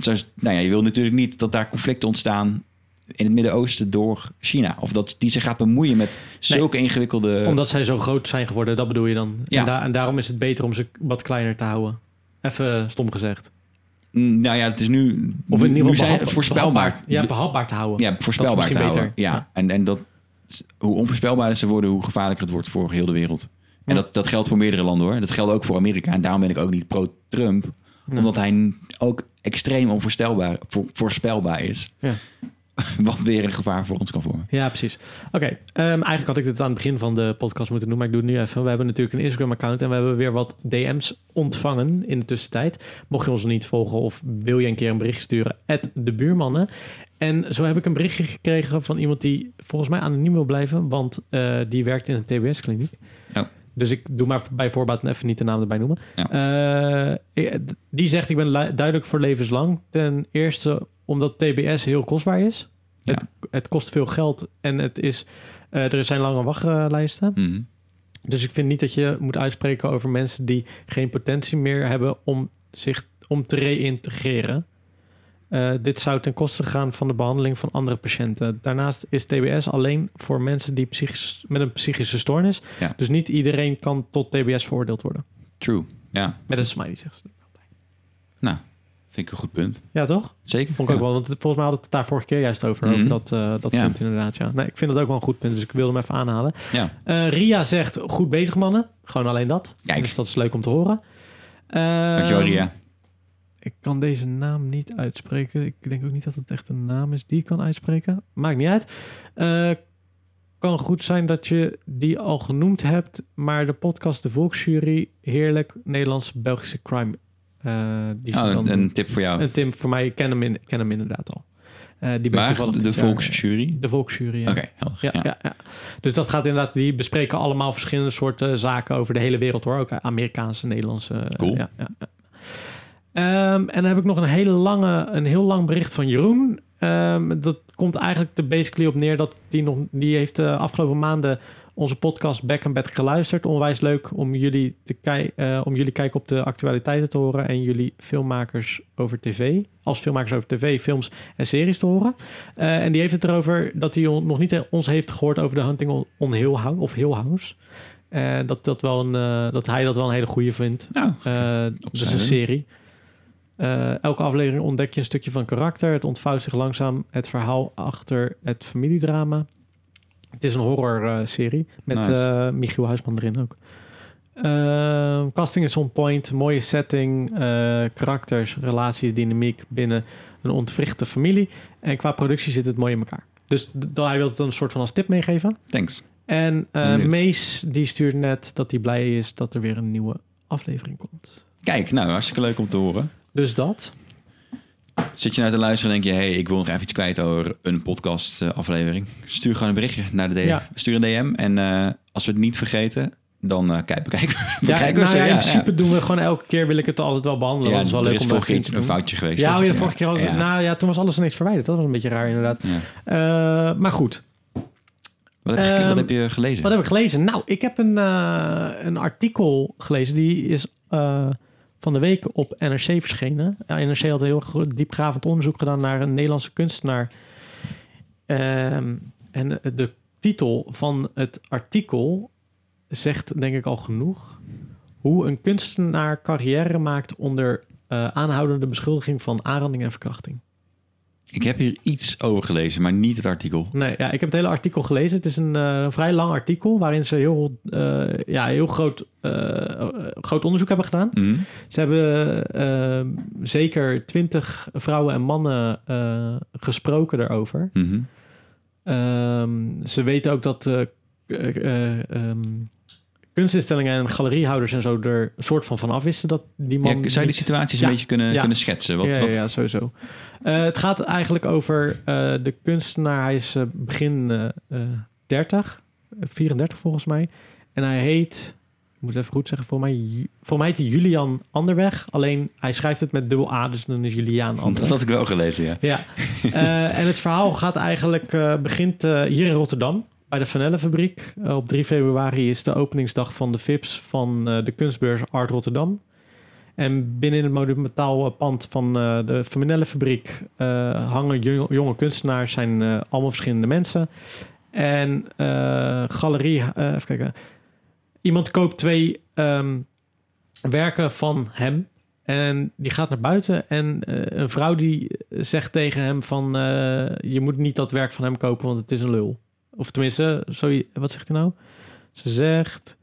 [SPEAKER 1] Zo- nou ja, je wil natuurlijk niet dat daar conflicten ontstaan in het Midden-Oosten door China. Of dat die zich gaat bemoeien met zulke ingewikkelde...
[SPEAKER 2] Omdat zij zo groot zijn geworden, dat bedoel je dan.
[SPEAKER 1] Eh. Ja.
[SPEAKER 2] En, da- en daarom is het beter om ze wat kleiner te houden. Even stom gezegd.
[SPEAKER 1] Mm, Nou ja, het is nu,
[SPEAKER 2] Of in
[SPEAKER 1] nu
[SPEAKER 2] ieder geval
[SPEAKER 1] zijn
[SPEAKER 2] behap-
[SPEAKER 1] voorspelbaar.
[SPEAKER 2] behapbaar- Ja, behapbaar te houden.
[SPEAKER 1] ja, voorspelbaar
[SPEAKER 2] misschien
[SPEAKER 1] te houden.
[SPEAKER 2] beter.
[SPEAKER 1] Ja.
[SPEAKER 2] Ja.
[SPEAKER 1] En, en dat, hoe onvoorspelbaarder ze worden, hoe gevaarlijker het wordt voor heel de wereld. En
[SPEAKER 2] Ja.
[SPEAKER 1] dat, dat geldt voor meerdere landen hoor. Dat geldt ook voor Amerika. En daarom ben ik ook niet pro-Trump.
[SPEAKER 2] Nee.
[SPEAKER 1] Omdat hij n- ook extreem onvoorspelbaar vo- voorspelbaar is.
[SPEAKER 2] Ja.
[SPEAKER 1] Wat weer een gevaar voor ons kan vormen.
[SPEAKER 2] Ja, precies. Oké, ehm, eigenlijk had ik dit aan het begin van de podcast moeten doen, maar ik doe het nu even. We hebben natuurlijk een Instagram-account en we hebben weer wat DM's ontvangen in de tussentijd. Mocht je ons nog niet volgen of wil je een keer een bericht sturen, at de buurmannen. En zo heb ik een berichtje gekregen van iemand die volgens mij anoniem wil blijven, want eh, die werkt in een TBS-kliniek.
[SPEAKER 1] Ja.
[SPEAKER 2] Dus ik doe maar bij voorbaat even niet de naam erbij noemen. Eh, eh, d- die zegt, ik ben lu- duidelijk voor levenslang. Ten eerste omdat TBS heel kostbaar is het kost veel geld en het is, eh, er zijn lange wachtlijsten.
[SPEAKER 1] Mhm.
[SPEAKER 2] Dus ik vind niet dat je moet uitspreken over mensen die geen potentie meer hebben om zich om te reïntegreren. Eh, dit zou ten koste gaan van de behandeling van andere patiënten. Daarnaast is TBS alleen voor mensen die psychisch, met een psychische stoornis.
[SPEAKER 1] Ja.
[SPEAKER 2] Dus niet iedereen kan tot TBS veroordeeld worden.
[SPEAKER 1] True. Ja,
[SPEAKER 2] Met een smiley zegt ze.
[SPEAKER 1] vind ik een goed punt.
[SPEAKER 2] Ja, toch?
[SPEAKER 1] Zeker.
[SPEAKER 2] Vond ik
[SPEAKER 1] Ja.
[SPEAKER 2] ook wel. Want het- volgens mij hadden we het daar vorige keer juist over.
[SPEAKER 1] Mhm.
[SPEAKER 2] Over dat, eh, dat
[SPEAKER 1] Ja.
[SPEAKER 2] punt inderdaad. Ja. Nee, ik vind dat ook wel een goed punt. Dus ik wilde hem even aanhalen.
[SPEAKER 1] Ja.
[SPEAKER 2] Eh, Ria zegt, goed bezig mannen. Gewoon alleen dat.
[SPEAKER 1] Kijk.
[SPEAKER 2] Dus dat is leuk om te horen. Eh,
[SPEAKER 1] Dankjewel Ria.
[SPEAKER 2] Ik kan deze naam niet uitspreken. Ik denk ook niet dat het echt een naam is die ik kan uitspreken. Maakt niet uit. Eh, kan goed zijn dat je die al genoemd hebt, maar de podcast De Volksjury, heerlijk Nederlands-Belgische crime. eh, die ze
[SPEAKER 1] Oh,
[SPEAKER 2] dan
[SPEAKER 1] een,
[SPEAKER 2] doen.
[SPEAKER 1] een tip voor jou.
[SPEAKER 2] En Tim, voor mij, ik ken hem, in, ik ken hem inderdaad al. Eh, die ben ik
[SPEAKER 1] maar
[SPEAKER 2] toevallig
[SPEAKER 1] de
[SPEAKER 2] dit jaar-
[SPEAKER 1] volksjury.
[SPEAKER 2] De Volksjury, ja.
[SPEAKER 1] Oké, helder.
[SPEAKER 2] Ja, ja. Ja, Dus dat gaat inderdaad, die bespreken allemaal verschillende soorten zaken over de hele wereld hoor. Ook Amerikaanse, Nederlandse. eh,
[SPEAKER 1] Cool.
[SPEAKER 2] Ja, ja, ja. Ehm, en dan heb ik nog een, hele lange, een heel lang bericht van Jeroen. Ehm, dat komt eigenlijk er basically op neer dat die nog, die heeft de afgelopen maanden onze podcast Back and Bed geluisterd. Onwijs leuk om jullie, te kij- eh, om jullie kijken op de actualiteiten te horen en jullie filmmakers over tv, als filmmakers over tv, films en series te horen. Eh, en die heeft het erover dat hij on- nog niet eh, ons heeft gehoord over de Hunting on, on Hill House. Of Hill House. Eh, dat, dat, wel een, eh, dat hij dat wel een hele goede vindt.
[SPEAKER 1] Nou,
[SPEAKER 2] Eh, dat is een
[SPEAKER 1] Opzij.
[SPEAKER 2] serie. Eh, elke aflevering ontdek je een stukje van karakter. Het ontvouwt zich langzaam het verhaal achter het familiedrama. Het is een horrorserie met
[SPEAKER 1] Nice.
[SPEAKER 2] eh, Michiel Huisman erin ook. Eh, casting is on point, mooie setting, eh, karakters, relaties, dynamiek binnen een ontwrichte familie. En qua productie zit het mooi in elkaar. Dus d- dat hij wil het een soort van als tip meegeven.
[SPEAKER 1] thanks.
[SPEAKER 2] En eh,
[SPEAKER 1] Benieuwd.
[SPEAKER 2] Mees die stuurt net dat hij blij is dat er weer een nieuwe aflevering komt.
[SPEAKER 1] Kijk, nou, hartstikke leuk om te horen.
[SPEAKER 2] Dus dat.
[SPEAKER 1] Zit je nou te luisteren en denk je... hey, ik wil nog even iets kwijt over een podcast eh, aflevering. Stuur gewoon een berichtje naar de DM.
[SPEAKER 2] Ja.
[SPEAKER 1] Stuur een DM. En eh, als we het niet vergeten, dan eh kijk, bekijken we.
[SPEAKER 2] Ja,
[SPEAKER 1] bekijken we
[SPEAKER 2] nou
[SPEAKER 1] ze.
[SPEAKER 2] ja, in
[SPEAKER 1] Ja,
[SPEAKER 2] principe doen we gewoon elke keer wil ik het altijd wel
[SPEAKER 1] ja.
[SPEAKER 2] behandelen.
[SPEAKER 1] Ja,
[SPEAKER 2] dat is wel
[SPEAKER 1] er
[SPEAKER 2] leuk
[SPEAKER 1] is
[SPEAKER 2] om
[SPEAKER 1] vorige
[SPEAKER 2] dat
[SPEAKER 1] keer
[SPEAKER 2] in te
[SPEAKER 1] iets- een
[SPEAKER 2] doen.
[SPEAKER 1] foutje geweest.
[SPEAKER 2] Ja,
[SPEAKER 1] toch?
[SPEAKER 2] oh ja, de vorige keer hadden we-
[SPEAKER 1] Ja.
[SPEAKER 2] Nou ja, toen was alles en niks verwijderd. Dat was een beetje raar inderdaad.
[SPEAKER 1] Ja.
[SPEAKER 2] Eh, maar goed,
[SPEAKER 1] Wat, heb je, geke-
[SPEAKER 2] Ehm,
[SPEAKER 1] wat heb je gelezen?
[SPEAKER 2] wat heb ik gelezen? Nou, ik heb een, eh, een artikel gelezen. Die is eh, van de week op NRC verschenen. Ja, NRC had een heel gro- diepgravend onderzoek gedaan naar een Nederlandse kunstenaar. Ehm, en de titel van het artikel zegt denk ik al genoeg. Hoe een kunstenaar carrière maakt onder eh, aanhoudende beschuldiging van aanranding en verkrachting.
[SPEAKER 1] Ik heb hier iets over gelezen, maar niet het artikel.
[SPEAKER 2] Nee, ja, ik heb het hele artikel gelezen. Het is een eh, vrij lang artikel waarin ze heel, eh, ja, heel groot, eh, eh, groot onderzoek hebben gedaan.
[SPEAKER 1] Mhm.
[SPEAKER 2] Ze hebben eh, zeker twintig vrouwen en mannen eh, gesproken daarover.
[SPEAKER 1] Mhm.
[SPEAKER 2] Ehm, ze weten ook dat eh, k- eh, ehm, kunstinstellingen en galeriehouders en zo er een soort van van afwisten dat die man.
[SPEAKER 1] Ja, zou je
[SPEAKER 2] niet-
[SPEAKER 1] die situaties
[SPEAKER 2] Ja.
[SPEAKER 1] een beetje kunnen,
[SPEAKER 2] Ja.
[SPEAKER 1] kunnen schetsen? Wat,
[SPEAKER 2] ja,
[SPEAKER 1] wat-
[SPEAKER 2] ja, ja, sowieso. Eh, het gaat eigenlijk over eh, de kunstenaar. Hij is eh, begin eh, eh, 30, eh, 34 volgens mij. En hij heet, ik moet het even goed zeggen, voor mij, Ju- voor mij heet hij Julian Anderweg. Alleen hij schrijft het met dubbel A, dus dan is Julian
[SPEAKER 1] Want dat
[SPEAKER 2] Anderweg.
[SPEAKER 1] had ik wel gelezen, ja.
[SPEAKER 2] Ja, Eh, en het verhaal gaat eigenlijk, eh, begint eh, hier in Rotterdam. Bij de Vanellenfabriek. fabriek. op 3 februari is de openingsdag van de VIPS van eh, de kunstbeurs Art Rotterdam. En binnen het monumentaal eh, pand van eh, de Vanellenfabriek eh hangen jo- jonge kunstenaars. zijn eh, allemaal verschillende mensen. En eh, galerie, eh, even kijken. Iemand koopt twee ehm, werken van hem. En die gaat naar buiten en eh, een vrouw die zegt tegen hem van... eh, je moet niet dat werk van hem kopen, want het is een lul. Of tenminste, sorry, wat zegt hij nou? Ze zegt...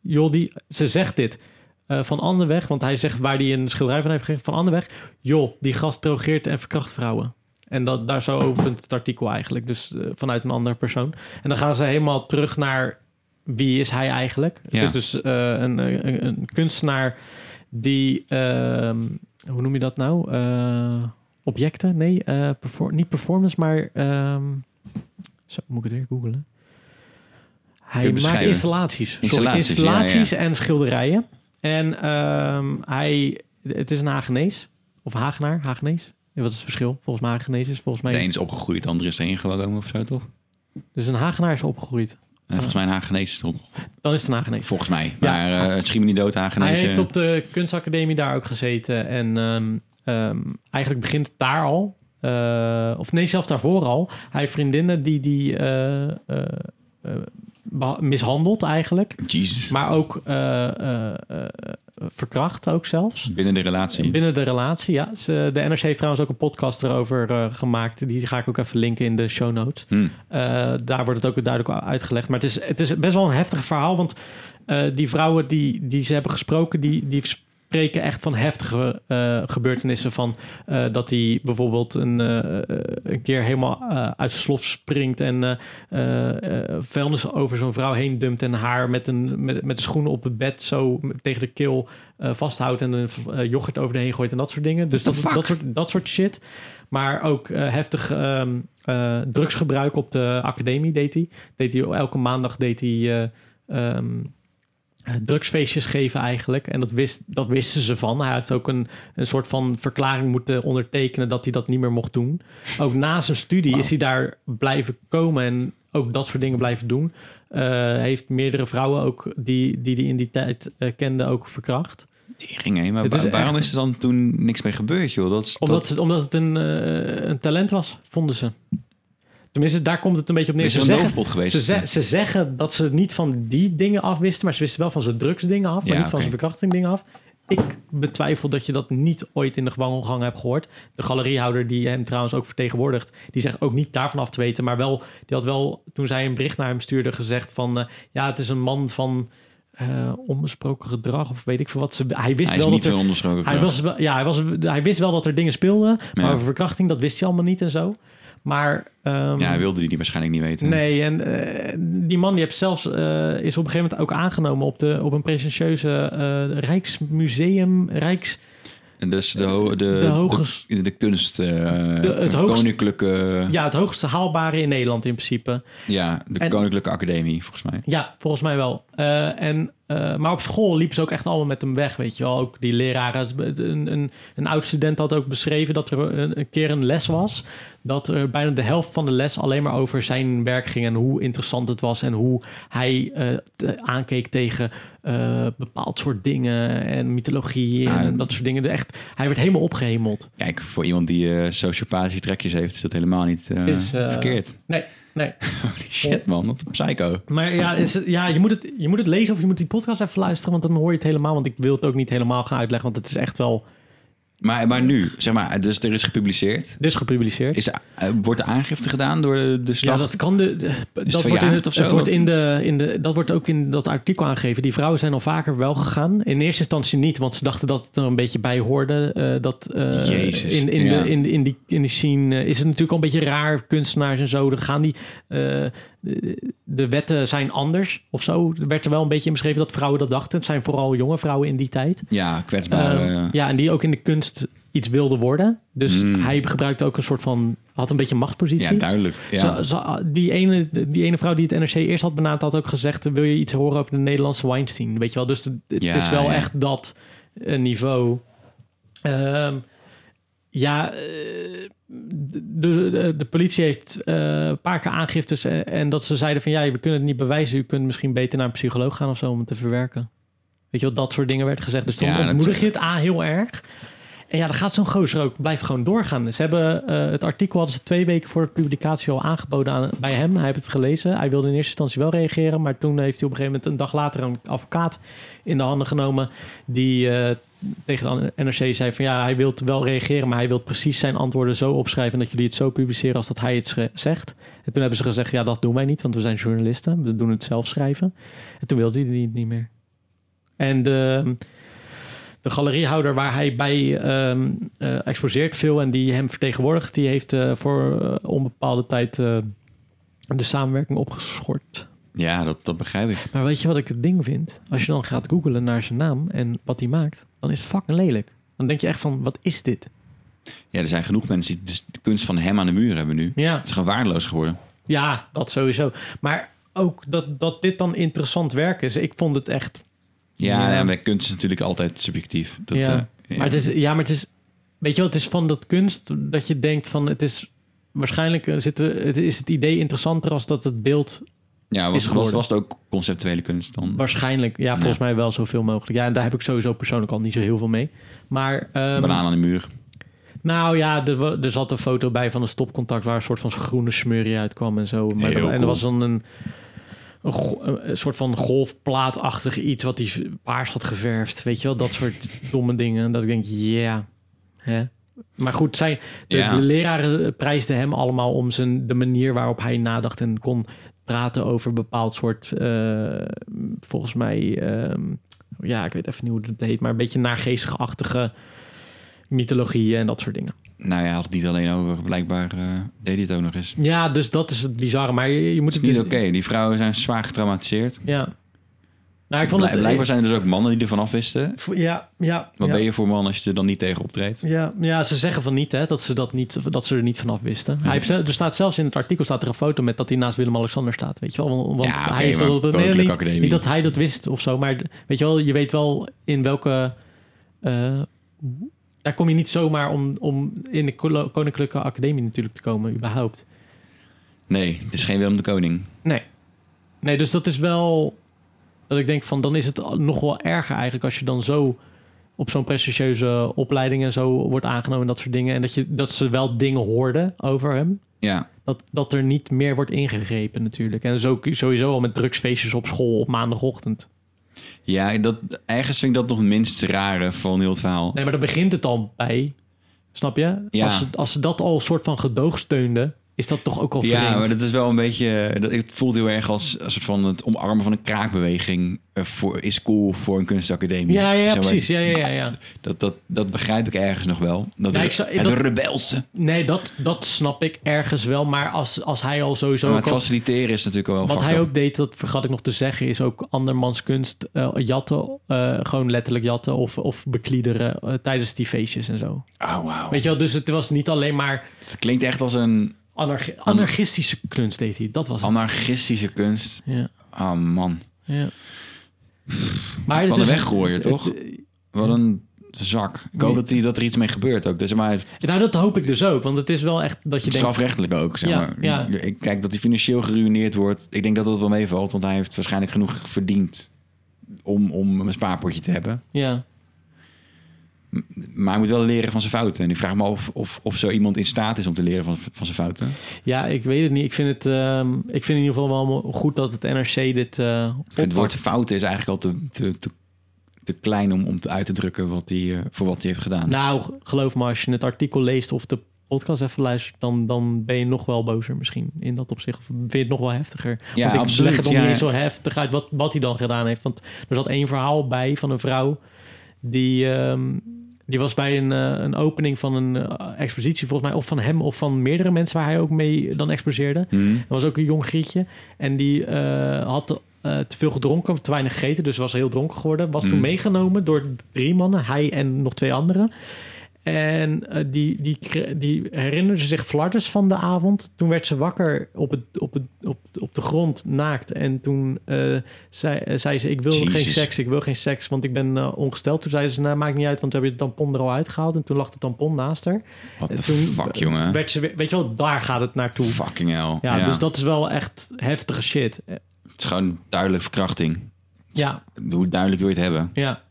[SPEAKER 2] Joh, die, ze zegt dit. eh, van Anderweg, want hij zegt waar hij een schilderij van heeft gegeven. Van Anderweg, joh, die gast drogeert en verkracht vrouwen. En dat, daar zo opent het artikel eigenlijk. Dus eh, vanuit een andere persoon. En dan gaan ze helemaal terug naar wie is hij eigenlijk.
[SPEAKER 1] Ja.
[SPEAKER 2] Het is dus eh, een, een, een kunstenaar die... ehm, hoe noem je dat nou? Eh, objecten? Nee, eh, perfor- niet performance, maar... ehm, zo, moet ik het weer googelen? Hij maakt
[SPEAKER 1] beschrijven.
[SPEAKER 2] installaties. Sorry,
[SPEAKER 1] Installaties,
[SPEAKER 2] installaties en schilderijen. En ehm, hij... Het is een Hagenees. Of Hagenaar, Hagenees. Ja, Wat is het verschil? Volgens mij Hagenees is volgens mij...
[SPEAKER 1] De een is opgegroeid, de ander is erin gekomen of zo, toch? En
[SPEAKER 2] Dus een Hagenaar is opgegroeid.
[SPEAKER 1] volgens mij een Hagenees is erop.
[SPEAKER 2] Dan is het een Hagenees.
[SPEAKER 1] Volgens mij.
[SPEAKER 2] Ja.
[SPEAKER 1] Maar eh, het schiet me niet dood, Hagenees.
[SPEAKER 2] Hij heeft
[SPEAKER 1] eh,
[SPEAKER 2] op de kunstacademie daar ook gezeten. En ehm, ehm, eigenlijk begint het daar al. Eh, of nee, zelfs daarvoor al. Hij heeft vriendinnen die die eh, eh, eh, beha- mishandelt eigenlijk.
[SPEAKER 1] Jezus.
[SPEAKER 2] Maar ook eh, eh, eh, verkracht ook zelfs.
[SPEAKER 1] Binnen de relatie.
[SPEAKER 2] Binnen de relatie, ja. Ze- de NRC heeft trouwens ook een podcast erover eh, gemaakt. Die ga ik ook even linken in de show notes.
[SPEAKER 1] Hm.
[SPEAKER 2] Eh, daar wordt het ook duidelijk uitgelegd. Maar het is, het is best wel een heftig verhaal. Want eh, die vrouwen die, die ze hebben gesproken, die, die spreken echt van heftige eh, gebeurtenissen. Van eh, dat hij bijvoorbeeld een, eh, eh, een keer helemaal eh, uit zijn slof springt en eh, eh, eh, vuilnis over zo'n vrouw heen dumpt en haar met, een, met, met de schoenen op het bed zo met- tegen de keel eh, vasthoudt en een v- eh, yoghurt over de heen gooit en dat soort dingen. Dus
[SPEAKER 1] What
[SPEAKER 2] dat,
[SPEAKER 1] the
[SPEAKER 2] dat,
[SPEAKER 1] fuck?
[SPEAKER 2] soort, dat soort shit. Maar ook eh, heftig ehm, eh, drugsgebruik op de academie deed hij. Deed hij elke maandag deed hij eh, ehm, eh, drugsfeestjes geven eigenlijk. En dat, wist, dat wisten ze van. Hij heeft ook een, een soort van verklaring moeten ondertekenen dat hij dat niet meer mocht doen. Ook na zijn studie
[SPEAKER 1] Wauw.
[SPEAKER 2] is hij daar blijven komen en ook dat soort dingen blijven doen. Eh, heeft meerdere vrouwen ook die die, die in die tijd eh, kende ook verkracht.
[SPEAKER 1] Tering, hé, maar
[SPEAKER 2] Het is
[SPEAKER 1] wa- waarom
[SPEAKER 2] echt-
[SPEAKER 1] is er dan toen niks mee gebeurd, joh? Dat, is-
[SPEAKER 2] Omdat,
[SPEAKER 1] dat,
[SPEAKER 2] het- omdat het een, eh, een talent was, vonden ze. Tenminste, daar komt het een beetje op neer.
[SPEAKER 1] is er
[SPEAKER 2] Ze
[SPEAKER 1] een
[SPEAKER 2] zeggen,
[SPEAKER 1] doofpot geweest?
[SPEAKER 2] ze, ze- ze zeggen dat ze niet van die dingen afwisten, maar ze wisten wel van zijn drugsdingen af, maar
[SPEAKER 1] Ja,
[SPEAKER 2] niet van
[SPEAKER 1] oké.
[SPEAKER 2] zijn verkrachtingdingen af. Ik betwijfel dat je dat niet ooit in de gewangengang hebt gehoord. De galeriehouder die hem trouwens ook vertegenwoordigt, die zegt ook niet daarvan af te weten, maar wel, die had wel toen zij een bericht naar hem stuurde gezegd van, eh, ja, het is een man van eh, onbesproken gedrag of weet ik veel wat. Ze, hij wist
[SPEAKER 1] hij is
[SPEAKER 2] wel dat
[SPEAKER 1] niet
[SPEAKER 2] er
[SPEAKER 1] veel onderschrokken.
[SPEAKER 2] hij, was, wel- ja, hij, was, hij wist wel dat er dingen speelden, maar
[SPEAKER 1] Ja.
[SPEAKER 2] over verkrachting, dat wist hij allemaal niet en zo. Maar. ehm,
[SPEAKER 1] ja, hij wilde die, die waarschijnlijk niet weten.
[SPEAKER 2] Nee, en eh, die man die heeft zelfs, eh, is op een gegeven moment ook aangenomen op, de, op een prestigieuze eh, Rijksmuseum, Rijks,
[SPEAKER 1] En Dus de, ho- de,
[SPEAKER 2] de, hoogst,
[SPEAKER 1] de, de kunst, eh,
[SPEAKER 2] De- het hoogst-
[SPEAKER 1] koninklijke, ja,
[SPEAKER 2] ja, het hoogste haalbare in Nederland in principe.
[SPEAKER 1] de
[SPEAKER 2] En-
[SPEAKER 1] koninklijke academie volgens mij.
[SPEAKER 2] Ja, volgens mij wel. Eh, en, eh, maar op school liepen ze ook echt allemaal met hem weg, weet je wel. Ook die leraren. Een, een, een oud-student had ook beschreven dat er een, een keer een les was... dat er bijna de helft van de les alleen maar over zijn werk ging... en hoe interessant het was en hoe hij eh, te- aankeek tegen eh, bepaald soort dingen... en mythologie
[SPEAKER 1] Ja,
[SPEAKER 2] en
[SPEAKER 1] dat-
[SPEAKER 2] dat soort dingen. De Echt, hij werd helemaal opgehemeld.
[SPEAKER 1] Kijk, voor iemand die eh sociopathische trekjes heeft, is dat helemaal niet eh,
[SPEAKER 2] Is, eh,
[SPEAKER 1] verkeerd.
[SPEAKER 2] Nee, nee.
[SPEAKER 1] Holy shit, man. Wat een psycho.
[SPEAKER 2] Maar ja, is het- ja je, moet het, je moet het lezen of je moet die podcast even luisteren... want dan hoor je het helemaal. Want ik wil het ook niet helemaal gaan uitleggen... want het is echt wel...
[SPEAKER 1] Maar, maar nu, zeg maar, dus er is gepubliceerd.
[SPEAKER 2] Dus gepubliceerd.
[SPEAKER 1] Is, eh, wordt de aangifte gedaan door de, de
[SPEAKER 2] Ja,
[SPEAKER 1] slag?
[SPEAKER 2] dat kan de. de- dat wordt in
[SPEAKER 1] verjaard
[SPEAKER 2] het,
[SPEAKER 1] of zo?
[SPEAKER 2] het wordt in de, in de. Dat wordt ook in dat artikel aangegeven. Die vrouwen zijn al vaker wel gegaan. In eerste instantie niet, want ze dachten dat het er een beetje bij hoorde. eh, dat eh,
[SPEAKER 1] Jezus,
[SPEAKER 2] in, in,
[SPEAKER 1] ja.
[SPEAKER 2] de, in, in, die, in die scene eh, is het natuurlijk al een beetje raar. Kunstenaars en zo. Dan gaan die. eh, de, de wetten zijn anders of zo. Er werd er wel een beetje in beschreven dat vrouwen dat dachten. Het zijn vooral jonge vrouwen in die tijd.
[SPEAKER 1] Ja, kwetsbaar.
[SPEAKER 2] Ehm,
[SPEAKER 1] eh,
[SPEAKER 2] ja, en die ook in de kunst iets wilde worden. Dus
[SPEAKER 1] Mm.
[SPEAKER 2] hij gebruikte ook een soort van. had een beetje een
[SPEAKER 1] ja,
[SPEAKER 2] machtspositie.
[SPEAKER 1] duidelijk. Ja.
[SPEAKER 2] Zo- zo- die, ene, die ene vrouw die het NRC eerst had benaderd, had ook gezegd: Wil je iets horen over de Nederlandse Weinstein? Weet je wel, dus het, het
[SPEAKER 1] Ja,
[SPEAKER 2] is wel
[SPEAKER 1] ja.
[SPEAKER 2] echt dat eh, niveau. Ehm, ja, eh, de, de, de politie heeft eh, een paar keer aangiftes en, en dat ze zeiden: van ja, we kunnen het niet bewijzen, u kunt misschien beter naar een psycholoog gaan of zo om het te verwerken. Weet je wel, dat soort dingen werd gezegd. Dus dan
[SPEAKER 1] Ja, dat-
[SPEAKER 2] ontmoedig je het aan heel erg. En ja, dan gaat zo'n gozer ook, blijft gewoon doorgaan. Ze hebben eh, het artikel hadden ze twee weken voor de publicatie al aangeboden aan, bij hem. Hij heeft het gelezen. Hij wilde in eerste instantie wel reageren, maar toen heeft hij op een gegeven moment een dag later een advocaat in de handen genomen die eh, tegen de NRC zei van ja, hij wil wel reageren, maar hij wil precies zijn antwoorden zo opschrijven dat jullie het zo publiceren als dat hij het schre- zegt. En toen hebben ze gezegd ja, dat doen wij niet, want we zijn journalisten. We doen het zelf schrijven. En toen wilde hij het niet meer. En de, de galeriehouder waar hij bij ehm, eh, exposeert veel en die hem vertegenwoordigt, die heeft eh, voor eh, onbepaalde tijd eh, de samenwerking opgeschort.
[SPEAKER 1] ja, dat, dat begrijp ik.
[SPEAKER 2] Maar weet je wat ik het ding vind? Als je dan gaat googlen naar zijn naam en wat hij maakt, dan is het fucking lelijk. Dan denk je echt van, wat is dit?
[SPEAKER 1] Ja, er zijn genoeg mensen die dus de kunst van hem aan de muur hebben nu.
[SPEAKER 2] Ja,
[SPEAKER 1] Het is gewoon waardeloos geworden.
[SPEAKER 2] ja dat sowieso. Maar ook dat, dat dit dan interessant werk is. Ik vond het echt...
[SPEAKER 1] Ja,
[SPEAKER 2] Ja.
[SPEAKER 1] en bij kunst is natuurlijk altijd subjectief. Dat,
[SPEAKER 2] Ja.
[SPEAKER 1] eh,
[SPEAKER 2] Maar het is, ja, maar het is... Weet je wel, het is van dat kunst dat je denkt van, het is... Waarschijnlijk eh, zit er, het is het idee interessanter als dat het beeld
[SPEAKER 1] ja, was,
[SPEAKER 2] is
[SPEAKER 1] was,
[SPEAKER 2] geworden.
[SPEAKER 1] was het ook conceptuele kunst dan?
[SPEAKER 2] waarschijnlijk, ja, volgens mij wel zoveel mogelijk. Ja, en daar heb ik sowieso persoonlijk al niet zo heel veel mee. Maar ehm,
[SPEAKER 1] Banaan aan de muur.
[SPEAKER 2] Nou ja, er, wa- er zat een foto bij van een stopcontact waar een soort van groene smurrie uitkwam en zo. Maar
[SPEAKER 1] Heel
[SPEAKER 2] dan- en er
[SPEAKER 1] cool.
[SPEAKER 2] was dan een, een, go- een soort van golfplaatachtig iets wat hij v- paars had geverfd. Weet je wel, dat soort domme dingen. Dat ik denk, ja. hè. Maar goed, zijn, de,
[SPEAKER 1] Ja.
[SPEAKER 2] de leraren prijsden hem allemaal om zijn, de manier waarop hij nadacht en kon praten over een bepaald soort, eh, volgens mij, ehm, ja, ik weet even niet hoe het heet, maar een beetje naargeestigachtige mythologieën en dat soort dingen.
[SPEAKER 1] Nou ja, had het niet alleen over. Blijkbaar eh, deed hij het ook nog eens. Het
[SPEAKER 2] Ja, dus dat is het bizarre. Maar je, je moet
[SPEAKER 1] is
[SPEAKER 2] het
[SPEAKER 1] niet
[SPEAKER 2] dus-
[SPEAKER 1] oké. Die vrouwen zijn zwaar getraumatiseerd.
[SPEAKER 2] Ja. Nou, ik vond
[SPEAKER 1] Bl-
[SPEAKER 2] het...
[SPEAKER 1] Blijkbaar zijn er dus ook mannen die ervan af wisten.
[SPEAKER 2] Ja, ja.
[SPEAKER 1] Wat
[SPEAKER 2] ja.
[SPEAKER 1] ben je voor man als je er dan niet tegen optreedt?
[SPEAKER 2] Ja, ja, ze zeggen van niet, hè, dat ze, dat niet, dat ze er niet vanaf wisten. Hij heeft, ze- er staat zelfs in het artikel staat er een foto met dat hij naast Willem-Alexander staat, weet je wel. Want
[SPEAKER 1] Ja, oké,
[SPEAKER 2] hij heeft
[SPEAKER 1] maar
[SPEAKER 2] dat op nee,
[SPEAKER 1] Koninklijke
[SPEAKER 2] niet,
[SPEAKER 1] Academie.
[SPEAKER 2] niet dat hij dat wist of zo, maar weet je wel, je weet wel in welke... eh, daar kom je niet zomaar om, om in de Kolo- Koninklijke Academie natuurlijk te komen, überhaupt.
[SPEAKER 1] Nee, het is geen Willem de Koning.
[SPEAKER 2] Nee. Nee, dus dat is wel... Dat ik denk van, dan is het nog wel erger eigenlijk als je dan zo op zo'n prestigieuze opleiding en zo wordt aangenomen en dat soort dingen. En dat, je, dat ze wel dingen hoorden over hem.
[SPEAKER 1] Ja,
[SPEAKER 2] Dat, dat er niet meer wordt ingegrepen natuurlijk. En zo, sowieso al met drugsfeestjes op school op maandagochtend.
[SPEAKER 1] ja dat, ergens vind ik dat nog het minst rare van heel het verhaal.
[SPEAKER 2] Nee, maar dan begint het al bij. Snap je?
[SPEAKER 1] Ja.
[SPEAKER 2] Als, ze, als ze dat al een soort van gedoogsteunde, is dat toch ook al vreemd.
[SPEAKER 1] Ja, maar dat is wel een beetje. Dat, het voelt heel erg als een soort van het omarmen van een kraakbeweging. eh, Voor, is cool voor een kunstacademie.
[SPEAKER 2] ja, ja, ja,
[SPEAKER 1] Zeg maar,
[SPEAKER 2] precies. Ja, ja, ja, ja.
[SPEAKER 1] Dat, dat, dat begrijp ik ergens nog wel. Dat
[SPEAKER 2] Ja,
[SPEAKER 1] re-
[SPEAKER 2] ik zou-
[SPEAKER 1] het
[SPEAKER 2] dat-
[SPEAKER 1] rebelse.
[SPEAKER 2] Nee, dat, dat snap ik ergens wel. Maar als, als hij al sowieso...
[SPEAKER 1] Maar
[SPEAKER 2] ook
[SPEAKER 1] het
[SPEAKER 2] al-
[SPEAKER 1] faciliteren is natuurlijk wel.
[SPEAKER 2] Wat
[SPEAKER 1] fucked
[SPEAKER 2] hij
[SPEAKER 1] up.
[SPEAKER 2] ook deed, dat vergat ik nog te zeggen, is ook andermans kunst eh, jatten. eh, gewoon letterlijk jatten of, of bekliederen eh, tijdens die feestjes en zo.
[SPEAKER 1] Oh, wauw.
[SPEAKER 2] Weet je wel, dus het was niet alleen maar
[SPEAKER 1] Het klinkt echt als een
[SPEAKER 2] anarchi- anarchistische kunst deed hij. Dat was het.
[SPEAKER 1] anarchistische kunst.
[SPEAKER 2] Ja,
[SPEAKER 1] Ah, man.
[SPEAKER 2] ja. Maar
[SPEAKER 1] Wat
[SPEAKER 2] het
[SPEAKER 1] een
[SPEAKER 2] is...
[SPEAKER 1] weggooien, toch? Wat een zak. Ik hoop
[SPEAKER 2] Nee.
[SPEAKER 1] dat, die, dat er iets mee gebeurt ook. Dus maar het,
[SPEAKER 2] Nou, dat hoop ik dus ook. Want het is wel echt dat je denkt...
[SPEAKER 1] strafrechtelijk ook, zeg
[SPEAKER 2] Ja,
[SPEAKER 1] maar.
[SPEAKER 2] ja.
[SPEAKER 1] Ik kijk dat hij financieel geruineerd wordt. Ik denk dat dat wel meevalt, want hij heeft waarschijnlijk genoeg verdiend om, om een spaarpotje te hebben.
[SPEAKER 2] Ja,
[SPEAKER 1] M- Maar hij moet wel leren van zijn fouten. En ik vraag me af of, of zo iemand in staat is om te leren van, van zijn fouten.
[SPEAKER 2] ja, ik weet het niet. Ik vind het, ehm, ik vind in ieder geval wel mo- goed dat het NRC dit eh
[SPEAKER 1] Ik vind het woord
[SPEAKER 2] oppakt.
[SPEAKER 1] fouten is eigenlijk al te, te, te, te klein om, om te uit te drukken wat die, eh, voor wat hij heeft gedaan.
[SPEAKER 2] Nou, g- geloof me, als je het artikel leest of de podcast even luistert, dan, dan ben je nog wel bozer misschien in dat opzicht. Of vind je het nog wel heftiger.
[SPEAKER 1] Ja,
[SPEAKER 2] want ik
[SPEAKER 1] absoluut,
[SPEAKER 2] leg het nog
[SPEAKER 1] ja.
[SPEAKER 2] niet eens zo heftig uit wat, wat hij dan gedaan heeft. Want er zat één verhaal bij van een vrouw die, ehm, die was bij een, eh, een opening van een eh, expositie volgens mij. Of van hem of van meerdere mensen waar hij ook mee dan exposeerde.
[SPEAKER 1] Hm?
[SPEAKER 2] Er was ook een jong grietje. En die eh, had eh, te veel gedronken, te weinig gegeten. Dus was heel dronken geworden. Was toen
[SPEAKER 1] Mm.
[SPEAKER 2] meegenomen door drie mannen. Hij en nog twee anderen. En eh, die, die, kre- die herinnerde zich flardes van de avond. Toen werd ze wakker op, het, op, het, op, op de grond, naakt. En toen eh, zei, eh, zei ze, ik wil
[SPEAKER 1] Jezus.
[SPEAKER 2] geen seks, ik wil geen seks, want ik ben eh, ongesteld. Toen zeiden ze, nou maakt niet uit, want we hebben je tampon er al uitgehaald. En toen lag de tampon naast haar.
[SPEAKER 1] What
[SPEAKER 2] En
[SPEAKER 1] the
[SPEAKER 2] Eh, toen
[SPEAKER 1] fuck, jongen.
[SPEAKER 2] Werd ze, weer- weet je wel, daar gaat het naartoe.
[SPEAKER 1] Fucking hell.
[SPEAKER 2] Ja, dus dat is wel echt heftige shit. Eh,
[SPEAKER 1] Het is gewoon duidelijk verkrachting.
[SPEAKER 2] Ja,
[SPEAKER 1] Hoe duidelijk wil je het hebben?
[SPEAKER 2] ja,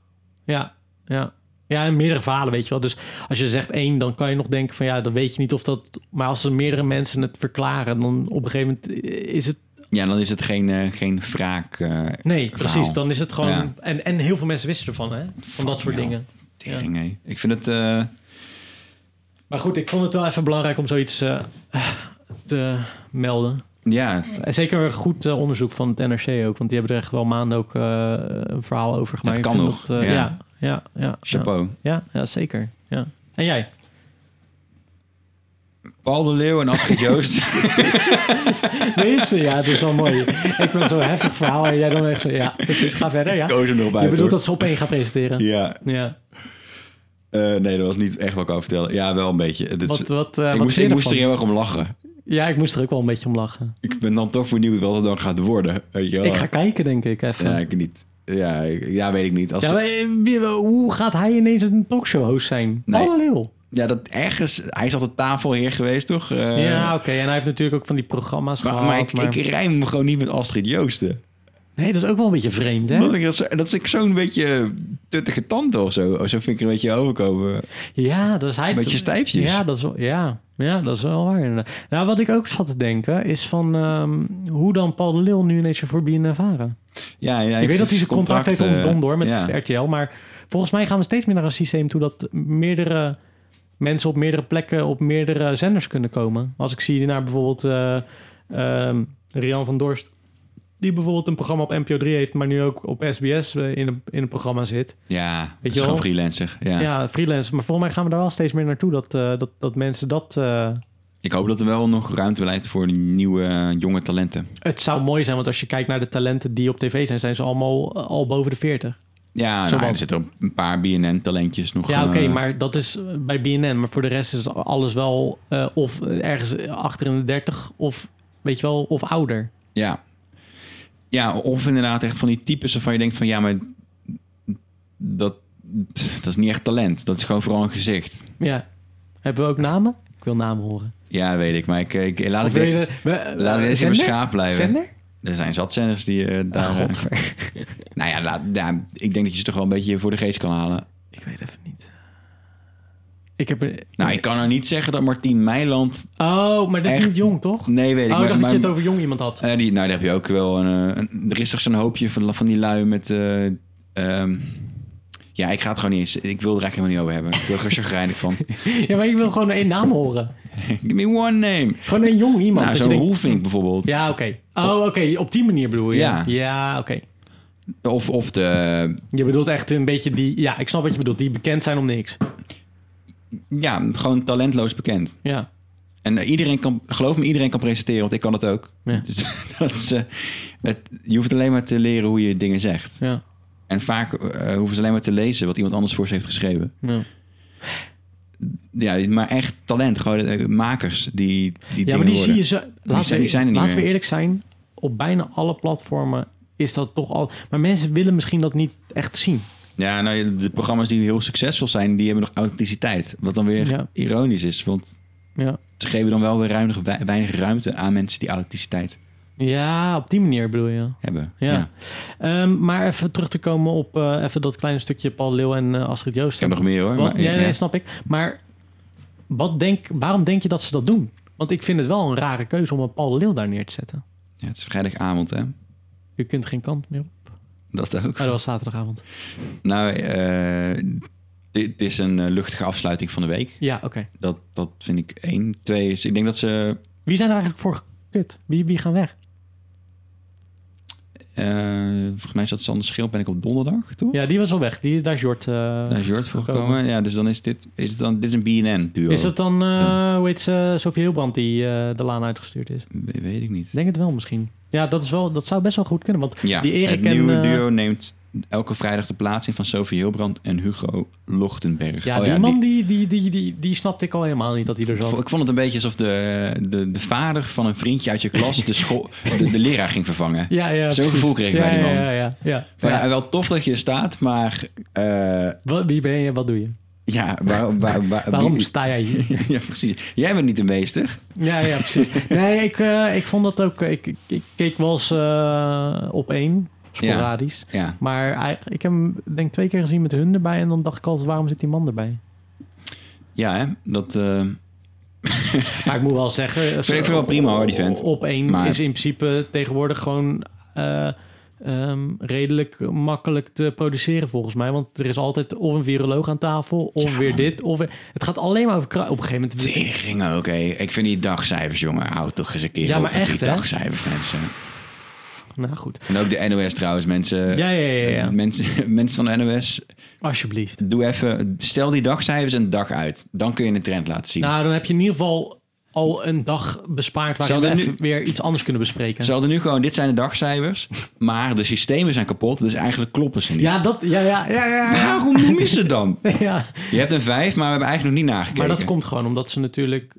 [SPEAKER 2] ja, ja. Ja, en meerdere verhalen, weet je wel. Dus als je zegt één, dan kan je nog denken van ja, dan weet je niet of dat... Maar als er meerdere mensen het verklaren, dan op een gegeven moment is het...
[SPEAKER 1] Ja, dan is het geen, eh, geen wraak. eh
[SPEAKER 2] Nee,
[SPEAKER 1] Verhaal.
[SPEAKER 2] precies, dan is het gewoon...
[SPEAKER 1] Ja.
[SPEAKER 2] En, en heel veel mensen wisten ervan, hè? Van dat soort
[SPEAKER 1] ja.
[SPEAKER 2] dingen.
[SPEAKER 1] tering, hé. Ik vind het... eh,
[SPEAKER 2] Maar goed, ik vond het wel even belangrijk om zoiets eh, te melden.
[SPEAKER 1] ja,
[SPEAKER 2] En Zeker goed eh, onderzoek van het NRC ook, want die hebben er echt wel maanden ook eh, een verhaal over gemaakt.
[SPEAKER 1] kan
[SPEAKER 2] Ik vind
[SPEAKER 1] nog,
[SPEAKER 2] dat, eh,
[SPEAKER 1] ja.
[SPEAKER 2] ja, ja, ja, ja.
[SPEAKER 1] chapeau.
[SPEAKER 2] Ja, ja zeker. Ja. En jij?
[SPEAKER 1] Paul de Leeuw en Astrid Joost.
[SPEAKER 2] Deze, ja, dat is wel mooi. Ik ben zo'n heftig verhaal en jij dan echt zo, ja, precies, ga verder, ja.
[SPEAKER 1] Koos hem erop
[SPEAKER 2] Je
[SPEAKER 1] uit,
[SPEAKER 2] bedoelt
[SPEAKER 1] hoor.
[SPEAKER 2] dat ze op één gaan presenteren?
[SPEAKER 1] Ja,
[SPEAKER 2] Ja.
[SPEAKER 1] eh, nee, dat was niet echt wat ik over vertellen. Ja, wel een beetje. Dit is-
[SPEAKER 2] Wat, wat, eh,
[SPEAKER 1] ik
[SPEAKER 2] wat
[SPEAKER 1] moest,
[SPEAKER 2] vind
[SPEAKER 1] ik
[SPEAKER 2] je
[SPEAKER 1] moest er
[SPEAKER 2] ervan?
[SPEAKER 1] heel erg om lachen.
[SPEAKER 2] Ja, ik moest er ook wel een beetje om lachen.
[SPEAKER 1] Ik ben dan toch benieuwd wat het dan gaat worden. Weet je wel?
[SPEAKER 2] Ik ga kijken, denk ik, even.
[SPEAKER 1] Ja,
[SPEAKER 2] Ja,
[SPEAKER 1] ik niet. Ja, ik- ja, weet ik niet. Als,
[SPEAKER 2] maar, eh, wie- hoe gaat hij ineens een talkshow-host zijn?
[SPEAKER 1] Nee.
[SPEAKER 2] Alle leeuw.
[SPEAKER 1] ja, dat ergens... Hij is altijd tafelheer geweest, toch? Eh,
[SPEAKER 2] ja, oké. En hij heeft natuurlijk ook van die programma's
[SPEAKER 1] maar,
[SPEAKER 2] gehad.
[SPEAKER 1] maar ik, ik rijm hem gewoon niet met Astrid Joosten.
[SPEAKER 2] Nee, dat is ook wel een beetje vreemd, hè?
[SPEAKER 1] Dat, ik dat, zo- dat vind ik zo'n beetje tuttige tante of zo. Zo vind ik er een beetje overkomen.
[SPEAKER 2] Ja, dus hij...
[SPEAKER 1] Een beetje stijfjes.
[SPEAKER 2] Ja, dat is wel, ja. ja, dat is wel waar inderdaad. Nou, wat ik ook zat te denken is van... ehm, hoe dan Paul de Leeuw nu ineens voor BNNVARA?
[SPEAKER 1] Ja, ja,
[SPEAKER 2] Ik weet dat hij zijn contract heeft
[SPEAKER 1] eh,
[SPEAKER 2] ontbonden hoor, met
[SPEAKER 1] ja.
[SPEAKER 2] RTL. Maar volgens mij gaan we steeds meer naar een systeem toe... dat meerdere mensen op meerdere plekken... op meerdere zenders kunnen komen. Als ik zie naar bijvoorbeeld eh, ehm, Rian van Dorst... die bijvoorbeeld een programma op NPO 3 heeft, maar nu ook op SBS eh, in een, in een programma zit.
[SPEAKER 1] Ja, het is
[SPEAKER 2] je wel?
[SPEAKER 1] gewoon freelancer. Ja.
[SPEAKER 2] Ja. freelance. Maar volgens mij gaan we daar wel steeds meer naartoe dat, eh, dat, dat mensen dat... eh,
[SPEAKER 1] Ik hoop dat er wel nog ruimte blijft voor die nieuwe eh, jonge talenten.
[SPEAKER 2] het zou mooi zijn, want als je kijkt naar de talenten die op tv zijn, zijn ze allemaal eh, al boven de 40.
[SPEAKER 1] Ja,
[SPEAKER 2] Zo
[SPEAKER 1] nou,
[SPEAKER 2] wel.
[SPEAKER 1] er zitten een paar BNN-talentjes nog.
[SPEAKER 2] Ja,
[SPEAKER 1] eh,
[SPEAKER 2] oké, maar dat is bij BNN. Maar voor de rest is alles wel eh, of ergens achter in de 30 of weet je wel, of ouder.
[SPEAKER 1] Ja. ja, of inderdaad echt van die types waarvan je denkt van... ja, maar dat, dat is niet echt talent. Dat is gewoon vooral een gezicht.
[SPEAKER 2] Ja. Hebben we ook namen? Ik wil namen horen.
[SPEAKER 1] Ja, weet ik. Maar ik, ik, laat ik
[SPEAKER 2] Of wil
[SPEAKER 1] dit-
[SPEAKER 2] je de- we-
[SPEAKER 1] laat ik
[SPEAKER 2] eh,
[SPEAKER 1] eens in mijn
[SPEAKER 2] zender?
[SPEAKER 1] schaap blijven.
[SPEAKER 2] Zender?
[SPEAKER 1] Er zijn zatzenders die eh, daar...
[SPEAKER 2] Ah,
[SPEAKER 1] eh, nou ja, laat, ja, ik denk dat je ze toch wel een beetje voor de geest kan halen.
[SPEAKER 2] Ik weet even niet. Ik heb er...
[SPEAKER 1] Nou, ik kan nou niet zeggen dat Martien Meiland...
[SPEAKER 2] Oh, maar dat is
[SPEAKER 1] Echt?
[SPEAKER 2] niet jong, toch?
[SPEAKER 1] Nee, weet ik.
[SPEAKER 2] oh, ik
[SPEAKER 1] maar-
[SPEAKER 2] dacht dat
[SPEAKER 1] maar-
[SPEAKER 2] je het over jong iemand had.
[SPEAKER 1] Eh, die, nou, daar heb je ook wel een, eh, een- Er is toch zo'n hoopje van, van die lui met... eh, ehm, ja, ik ga het gewoon niet eens... Ik wil er eigenlijk helemaal niet over hebben. Ik wil er chagrijnig van.
[SPEAKER 2] Ja, maar ik wil gewoon één naam horen.
[SPEAKER 1] Give me one name.
[SPEAKER 2] Gewoon één jong iemand.
[SPEAKER 1] nou,
[SPEAKER 2] dat je
[SPEAKER 1] zo'n
[SPEAKER 2] denkt-
[SPEAKER 1] Roelvink bijvoorbeeld.
[SPEAKER 2] Ja, oké. Oh, oké. Op die manier bedoel je?
[SPEAKER 1] Ja.
[SPEAKER 2] Ja, oké.
[SPEAKER 1] Of, of de...
[SPEAKER 2] Je bedoelt echt een beetje die... Ja, ik snap wat je bedoelt. Die bekend zijn om niks.
[SPEAKER 1] Ja, gewoon talentloos bekend.
[SPEAKER 2] Ja.
[SPEAKER 1] En iedereen kan... Geloof me, iedereen kan presenteren, want ik kan dat ook.
[SPEAKER 2] Ja.
[SPEAKER 1] Dus dat is... eh, het- je hoeft alleen maar te leren hoe je dingen zegt.
[SPEAKER 2] Ja.
[SPEAKER 1] En vaak eh, hoeven ze alleen maar te lezen wat iemand anders voor ze heeft geschreven.
[SPEAKER 2] Ja,
[SPEAKER 1] Ja, maar echt talent. Gewoon eh, makers die, die
[SPEAKER 2] ja
[SPEAKER 1] dingen
[SPEAKER 2] maar die
[SPEAKER 1] worden.
[SPEAKER 2] zie je zo... Laten,
[SPEAKER 1] zijn- die
[SPEAKER 2] we, e-
[SPEAKER 1] zijn er niet
[SPEAKER 2] laten we
[SPEAKER 1] meer.
[SPEAKER 2] eerlijk zijn. Op bijna alle platformen is dat toch al... Maar mensen willen misschien dat niet echt zien.
[SPEAKER 1] Ja, nou, de programma's die heel succesvol zijn, die hebben nog authenticiteit. Wat dan weer
[SPEAKER 2] Ja.
[SPEAKER 1] ironisch is, want
[SPEAKER 2] Ja.
[SPEAKER 1] ze geven dan wel weer ruimig- wei- weinig ruimte aan mensen die authenticiteit
[SPEAKER 2] Ja, op die manier bedoel je.
[SPEAKER 1] hebben.
[SPEAKER 2] Ja. Ehm, maar even terug te komen op eh, even dat kleine stukje Paul Leeuw en eh, Astrid
[SPEAKER 1] Ik
[SPEAKER 2] Joost.
[SPEAKER 1] heb nog meer hoor.
[SPEAKER 2] Wat,
[SPEAKER 1] maar-
[SPEAKER 2] ja, nee,
[SPEAKER 1] ja.
[SPEAKER 2] snap ik. Maar wat denk, waarom denk je dat ze dat doen? Want ik vind het wel een rare keuze om een Paul Leeuw daar neer te zetten.
[SPEAKER 1] Ja, het is vrijdagavond, hè?
[SPEAKER 2] U kunt geen kant meer op.
[SPEAKER 1] Dat ook.
[SPEAKER 2] Oh, dat was zaterdagavond.
[SPEAKER 1] Nou, eh, dit is een eh, luchtige afsluiting van de week.
[SPEAKER 2] Ja, oké.
[SPEAKER 1] Dat, dat vind ik één. Twee is, ik denk dat ze...
[SPEAKER 2] Wie zijn er eigenlijk voor gekut? Wie, wie gaan weg?
[SPEAKER 1] eh, volgens mij zat Sander Schil, ben ik op donderdag, toch?
[SPEAKER 2] Ja, die was al weg. Die, daar is Jort. eh,
[SPEAKER 1] Daar is Jort voor gekomen. Ja, dus dan is dit, is het dan, dit is een BNN-duo.
[SPEAKER 2] Is dat dan, eh hoe heet ze, Sofie Hilbrand die eh, de laan uitgestuurd is?
[SPEAKER 1] We- Weet ik niet.
[SPEAKER 2] Ik denk het wel misschien. Ja, dat, is wel, dat zou best wel goed kunnen. Want
[SPEAKER 1] Ja,
[SPEAKER 2] Die Erik
[SPEAKER 1] het
[SPEAKER 2] en,
[SPEAKER 1] nieuwe
[SPEAKER 2] eh,
[SPEAKER 1] duo neemt elke vrijdag de plaats in van Sophie Hilbrand en Hugo Lochtenberg.
[SPEAKER 2] Ja,
[SPEAKER 1] Oh
[SPEAKER 2] die man die, die, die, die, die snapte ik al helemaal niet dat hij er
[SPEAKER 1] Ik
[SPEAKER 2] zat.
[SPEAKER 1] vond het een beetje alsof de, de, de vader van een vriendje uit je klas de, school, de, de leraar ging vervangen.
[SPEAKER 2] Ja, ja,
[SPEAKER 1] Zo'n
[SPEAKER 2] precies.
[SPEAKER 1] gevoel kreeg ik
[SPEAKER 2] ja,
[SPEAKER 1] bij die man.
[SPEAKER 2] Ja, ja, ja. ja.
[SPEAKER 1] Van,
[SPEAKER 2] Ja.
[SPEAKER 1] ja, wel tof dat je er staat, maar eh,
[SPEAKER 2] Wat- Wie ben je? Wat doe je?
[SPEAKER 1] ja, waar, waar, waar-
[SPEAKER 2] Waarom
[SPEAKER 1] Eh, wie-
[SPEAKER 2] sta jij hier?
[SPEAKER 1] ja, precies. Jij bent niet de meester.
[SPEAKER 2] Ja, ja, precies. Nee, ik, eh, ik vond dat ook... Ik, ik, ik keek wel eens eh, op één, sporadisch.
[SPEAKER 1] Ja,
[SPEAKER 2] Maar hij- ik heb hem denk ik twee keer gezien met hun erbij. En dan dacht ik altijd, waarom zit die man erbij?
[SPEAKER 1] ja hè? Dat, eh,
[SPEAKER 2] Maar ik moet wel zeggen... Ik
[SPEAKER 1] vind het wel prima, hoor, die vent.
[SPEAKER 2] Op één
[SPEAKER 1] Maar-
[SPEAKER 2] is in principe tegenwoordig gewoon... eh, ehm, redelijk makkelijk te produceren volgens mij. Want er is altijd of een viroloog aan tafel... of
[SPEAKER 1] Ja,
[SPEAKER 2] weer
[SPEAKER 1] man.
[SPEAKER 2] dit, of... weer- Het gaat alleen maar over... kru- Op een gegeven moment...
[SPEAKER 1] Tering, oké. Ik vind die dagcijfers, jongen, houd toch eens een keer
[SPEAKER 2] Ja,
[SPEAKER 1] op
[SPEAKER 2] maar
[SPEAKER 1] met
[SPEAKER 2] echt,
[SPEAKER 1] die
[SPEAKER 2] hè?
[SPEAKER 1] dagcijfers, mensen.
[SPEAKER 2] Nou goed.
[SPEAKER 1] En ook de NOS trouwens, mensen. Eh,
[SPEAKER 2] Ja, ja, ja, ja.
[SPEAKER 1] Mensen, mensen van de NOS,
[SPEAKER 2] Alsjeblieft.
[SPEAKER 1] doe even, stel die dagcijfers een dag uit. Dan kun je een trend laten zien.
[SPEAKER 2] Nou, dan heb je in ieder geval al een dag bespaard... waarin we
[SPEAKER 1] Zouden
[SPEAKER 2] even weer iets anders kunnen bespreken.
[SPEAKER 1] Ze hadden nu gewoon, dit zijn de dagcijfers, maar de systemen zijn kapot, dus eigenlijk kloppen ze niet.
[SPEAKER 2] Ja, dat... Ja, ja, ja, ja.
[SPEAKER 1] Waarom noem je ze dan?
[SPEAKER 2] ja.
[SPEAKER 1] Je hebt een vijf, maar we hebben eigenlijk nog niet
[SPEAKER 2] Maar
[SPEAKER 1] nagekeken.
[SPEAKER 2] dat komt gewoon omdat ze natuurlijk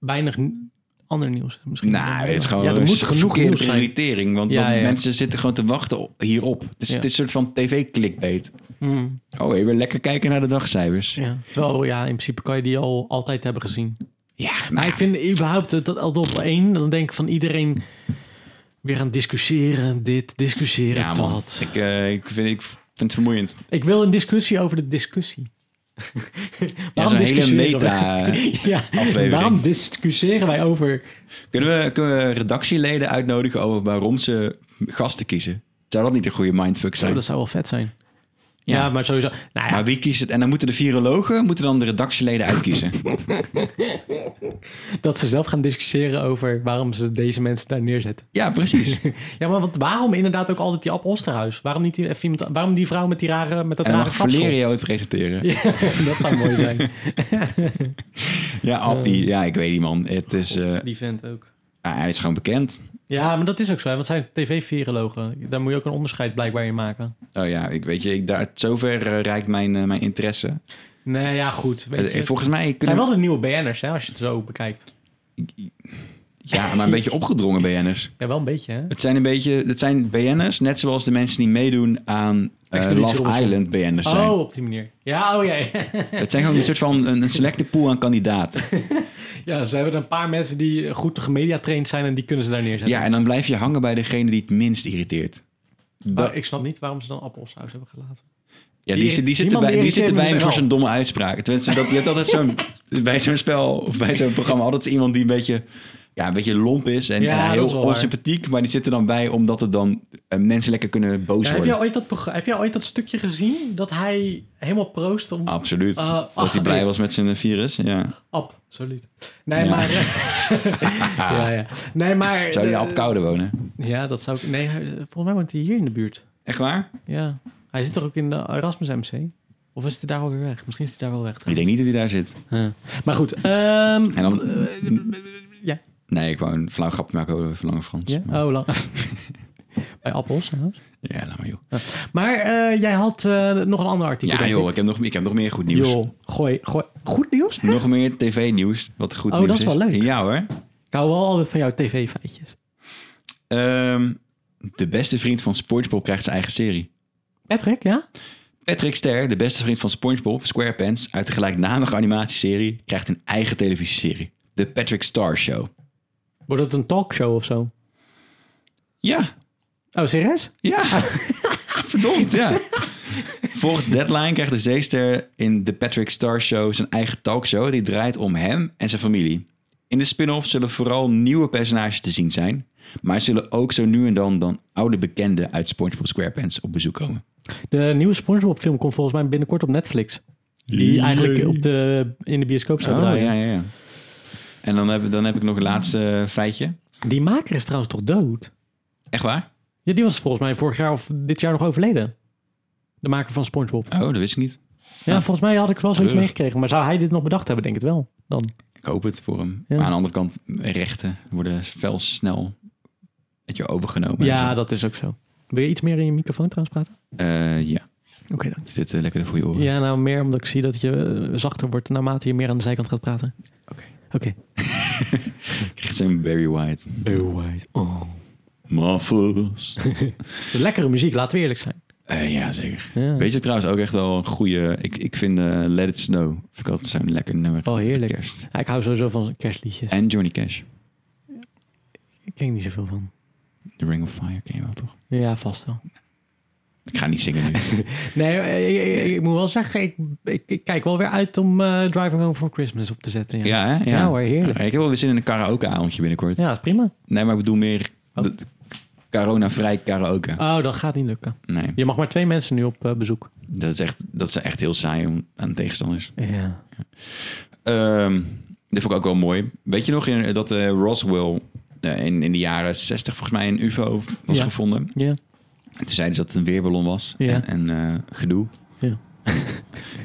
[SPEAKER 2] weinig n- ander nieuws misschien.
[SPEAKER 1] Nou, het is gewoon
[SPEAKER 2] Ja, er
[SPEAKER 1] een
[SPEAKER 2] moet genoeg
[SPEAKER 1] verkeerde
[SPEAKER 2] nieuws zijn.
[SPEAKER 1] prioritering, want
[SPEAKER 2] Ja,
[SPEAKER 1] want
[SPEAKER 2] ja.
[SPEAKER 1] mensen zitten gewoon te wachten op, hierop. Het is,
[SPEAKER 2] Ja.
[SPEAKER 1] het is een soort van tv-clickbait.
[SPEAKER 2] Mm,
[SPEAKER 1] Oh, hé, weer lekker kijken naar de dagcijfers.
[SPEAKER 2] ja. Terwijl, ja, in principe kan je die al altijd hebben gezien.
[SPEAKER 1] Nou Ja,
[SPEAKER 2] Maar
[SPEAKER 1] maar
[SPEAKER 2] ik vind überhaupt dat dat altijd op één, dan denk ik van iedereen weer aan discussiëren, dit, discussiëren,
[SPEAKER 1] ja, man.
[SPEAKER 2] dat. Ik,
[SPEAKER 1] Ik, eh, ik, vind, ik vind het vermoeiend.
[SPEAKER 2] wil een discussie over de discussie.
[SPEAKER 1] zo'n hele
[SPEAKER 2] discussiëren
[SPEAKER 1] meta,
[SPEAKER 2] wij- ja,
[SPEAKER 1] aflevering.
[SPEAKER 2] waarom discussiëren wij over...
[SPEAKER 1] Kunnen we, kunnen we redactieleden uitnodigen over waarom ze gasten kiezen? Zou dat niet een goede mindfuck
[SPEAKER 2] Zo,
[SPEAKER 1] zijn?
[SPEAKER 2] dat zou wel vet zijn. Ja,
[SPEAKER 1] Ja.
[SPEAKER 2] maar sowieso. Nou ja,
[SPEAKER 1] Maar wie kiest het? En dan moeten de virologen moeten dan de redactieleden uitkiezen.
[SPEAKER 2] dat ze zelf gaan discussiëren over waarom ze deze mensen daar neerzetten.
[SPEAKER 1] ja, precies.
[SPEAKER 2] Ja, maar want waarom inderdaad ook altijd die Ab Osterhuis? Waarom, niet die, even iemand- waarom die vrouw met, die rare, met dat
[SPEAKER 1] en dan
[SPEAKER 2] rare
[SPEAKER 1] mag
[SPEAKER 2] kapsel?
[SPEAKER 1] Valerio het presenteren.
[SPEAKER 2] Ja, dat zou mooi zijn.
[SPEAKER 1] Ja, Appie. Ja, ik weet niet, man. Het is, eh,
[SPEAKER 2] die vent ook.
[SPEAKER 1] ah, hij is gewoon bekend.
[SPEAKER 2] Ja, maar dat is ook zo. hè, Want zijn tv-virologen. Daar moet je ook een onderscheid blijkbaar in maken.
[SPEAKER 1] Oh ja, ik weet je, ik, daar, zover eh, reikt mijn, eh, mijn interesse.
[SPEAKER 2] Nee, ja, goed. Weet
[SPEAKER 1] Eh,
[SPEAKER 2] je, het
[SPEAKER 1] Volgens mij
[SPEAKER 2] zijn
[SPEAKER 1] kunnen
[SPEAKER 2] wel de nieuwe BN'ers, hè, als je het zo bekijkt.
[SPEAKER 1] Ja, maar een beetje opgedrongen BN'ers.
[SPEAKER 2] Ja, wel een beetje, hè?
[SPEAKER 1] Het zijn een beetje, het zijn BN'ers, net zoals de mensen die meedoen aan eh,
[SPEAKER 2] Expeditie
[SPEAKER 1] Love
[SPEAKER 2] Robinson.
[SPEAKER 1] Island BN'ers zijn.
[SPEAKER 2] Oh, op die manier. Ja, oh ja, ja.
[SPEAKER 1] Het zijn gewoon een soort van een, een selecte pool aan kandidaten.
[SPEAKER 2] Ja, ze hebben een paar mensen die goed gemediatraind zijn en die kunnen ze daar neerzetten.
[SPEAKER 1] Ja, en dan blijf je hangen bij degene die het minst irriteert.
[SPEAKER 2] Maar
[SPEAKER 1] Dat-
[SPEAKER 2] ik snap niet waarom ze dan appelsaus hebben gelaten.
[SPEAKER 1] ja, die,
[SPEAKER 2] die-
[SPEAKER 1] zit- die,
[SPEAKER 2] die
[SPEAKER 1] zitten
[SPEAKER 2] man
[SPEAKER 1] bij,
[SPEAKER 2] die
[SPEAKER 1] die
[SPEAKER 2] irriteert
[SPEAKER 1] zitten
[SPEAKER 2] me
[SPEAKER 1] bij hem
[SPEAKER 2] dus
[SPEAKER 1] voor
[SPEAKER 2] wel.
[SPEAKER 1] zijn domme uitspraak. Tenminste, dat, je hebt altijd zo'n, bij zo'n spel of bij zo'n programma altijd iemand die een beetje, ja, een beetje lomp is en,
[SPEAKER 2] Ja,
[SPEAKER 1] en
[SPEAKER 2] dat is
[SPEAKER 1] heel
[SPEAKER 2] wel waar.
[SPEAKER 1] onsympathiek. Maar die zitten dan bij omdat het dan eh, mensen lekker kunnen boos
[SPEAKER 2] heb,
[SPEAKER 1] worden.
[SPEAKER 2] jij ooit dat, progra- heb jij ooit dat stukje gezien dat hij helemaal proost om...
[SPEAKER 1] Absoluut.
[SPEAKER 2] Ah,
[SPEAKER 1] dat hij
[SPEAKER 2] ah,
[SPEAKER 1] blij
[SPEAKER 2] nee.
[SPEAKER 1] was met zijn virus, ja.
[SPEAKER 2] Absoluut. Nee,
[SPEAKER 1] Ja.
[SPEAKER 2] maar... eh, ja, ja. Nee, maar...
[SPEAKER 1] Zou je in
[SPEAKER 2] eh,
[SPEAKER 1] Apeldoorn wonen?
[SPEAKER 2] Ja, dat zou ik... Nee, hij- volgens mij woont hij hier in de buurt.
[SPEAKER 1] Echt waar?
[SPEAKER 2] Ja. Hij zit toch ook in de Erasmus MC? Of is hij daar alweer weg? Misschien is hij daar wel weg.
[SPEAKER 1] Ik denk niet dat hij daar zit.
[SPEAKER 2] Huh. Maar goed. ehm,
[SPEAKER 1] En dan...
[SPEAKER 2] Eh, ja.
[SPEAKER 1] Nee, ik wou een flauw grapje maken over Verlangen Frans.
[SPEAKER 2] ja?
[SPEAKER 1] Maar-
[SPEAKER 2] Oh, lang. Bij appels trouwens.
[SPEAKER 1] ja, laat maar joh.
[SPEAKER 2] Maar eh, jij had eh, nog een ander artikel.
[SPEAKER 1] Ja
[SPEAKER 2] denk
[SPEAKER 1] joh,
[SPEAKER 2] ik.
[SPEAKER 1] ik heb nog, ik heb nog meer goed nieuws.
[SPEAKER 2] Joh, gooi, gooi. Goed nieuws? hè?
[SPEAKER 1] Nog meer tv-nieuws, wat goed
[SPEAKER 2] Oh,
[SPEAKER 1] nieuws
[SPEAKER 2] dat is wel leuk.
[SPEAKER 1] Ja hoor.
[SPEAKER 2] Ik hou wel altijd van jouw tv-feitjes.
[SPEAKER 1] Ehm, de beste vriend van SpongeBob krijgt zijn eigen serie.
[SPEAKER 2] Patrick, ja?
[SPEAKER 1] Patrick Ster, de beste vriend van SpongeBob, SquarePants, uit de gelijknamige animatieserie, krijgt een eigen televisieserie. De Patrick Star Show.
[SPEAKER 2] Wordt het een talkshow of zo?
[SPEAKER 1] Ja,
[SPEAKER 2] Oh, serieus?
[SPEAKER 1] Ja, verdomd, ja. Volgens Deadline krijgt de zeester in de Patrick Star Show zijn eigen talkshow die draait om hem en zijn familie. In de spin-off zullen vooral nieuwe personages te zien zijn, maar zullen ook zo nu en dan dan oude bekenden uit SpongeBob SquarePants op bezoek komen.
[SPEAKER 2] De nieuwe SpongeBob film komt volgens mij binnenkort op Netflix. Die eigenlijk op de, in de bioscoop zou
[SPEAKER 1] Oh, ja,
[SPEAKER 2] draaien.
[SPEAKER 1] ja, ja. En dan heb, dan heb ik nog een laatste feitje.
[SPEAKER 2] Die maker is trouwens toch dood?
[SPEAKER 1] Echt waar?
[SPEAKER 2] Ja, die was volgens mij vorig jaar of dit jaar nog overleden. De maker van SpongeBob.
[SPEAKER 1] Oh, dat wist ik niet.
[SPEAKER 2] Ja, volgens mij had ik wel zoiets
[SPEAKER 1] Treurig.
[SPEAKER 2] meegekregen. Maar zou hij dit nog bedacht hebben? Denk het wel. Dan.
[SPEAKER 1] Ik hoop het voor hem.
[SPEAKER 2] Ja.
[SPEAKER 1] Maar aan de andere kant, rechten worden fel snel met je overgenomen. En zo.
[SPEAKER 2] Ja, dat is ook zo. Wil je iets meer in je microfoon trouwens praten?
[SPEAKER 1] Eh, ja,
[SPEAKER 2] Oké dan.
[SPEAKER 1] is dit eh, lekker voor je oren?
[SPEAKER 2] Ja, nou meer omdat ik zie dat je eh, zachter wordt naarmate je meer aan de zijkant gaat praten.
[SPEAKER 1] Oké.
[SPEAKER 2] Oké.
[SPEAKER 1] Ik krijg zo'n Barry White.
[SPEAKER 2] Oh.
[SPEAKER 1] Muffles.
[SPEAKER 2] Lekkere muziek, laten we eerlijk zijn.
[SPEAKER 1] Eh, ja, zeker.
[SPEAKER 2] Ja.
[SPEAKER 1] Weet je trouwens ook echt wel een goede... Ik, ik vind eh, Let It Snow vind ik altijd zo'n lekker nummer.
[SPEAKER 2] Oh, heerlijk.
[SPEAKER 1] voor Kerst.
[SPEAKER 2] Ja, ik hou sowieso van kerstliedjes.
[SPEAKER 1] En Johnny Cash.
[SPEAKER 2] Ik ken er niet zoveel van.
[SPEAKER 1] The Ring of Fire ken je wel, toch?
[SPEAKER 2] Ja, vast wel.
[SPEAKER 1] Ik ga niet zingen nu.
[SPEAKER 2] Nee, eh, ik, ik, ik moet wel zeggen, ik, ik, ik kijk wel weer uit om eh, Driving Home for Christmas op te zetten. Ja,
[SPEAKER 1] ja, hè? Ja.
[SPEAKER 2] Ja Nou, hoor, heerlijk.
[SPEAKER 1] Ik heb wel weer zin in een karaoke-avondje binnenkort.
[SPEAKER 2] Ja, is prima.
[SPEAKER 1] Nee, maar ik bedoel meer...
[SPEAKER 2] Oh.
[SPEAKER 1] dat- Corona-vrij karaoke.
[SPEAKER 2] Oh, dat gaat niet lukken.
[SPEAKER 1] Nee,
[SPEAKER 2] Je mag maar twee mensen nu op eh, bezoek.
[SPEAKER 1] dat is, echt, dat is echt heel saai om, aan tegenstanders.
[SPEAKER 2] Ja.
[SPEAKER 1] Ehm, dit vond ik ook wel mooi. Weet je nog in, dat eh, Roswell eh, in, in de jaren 60 volgens mij een UFO was
[SPEAKER 2] Ja.
[SPEAKER 1] gevonden?
[SPEAKER 2] Ja.
[SPEAKER 1] En toen zeiden ze dat het een weerballon was.
[SPEAKER 2] Ja.
[SPEAKER 1] En, en eh, gedoe.
[SPEAKER 2] Ja.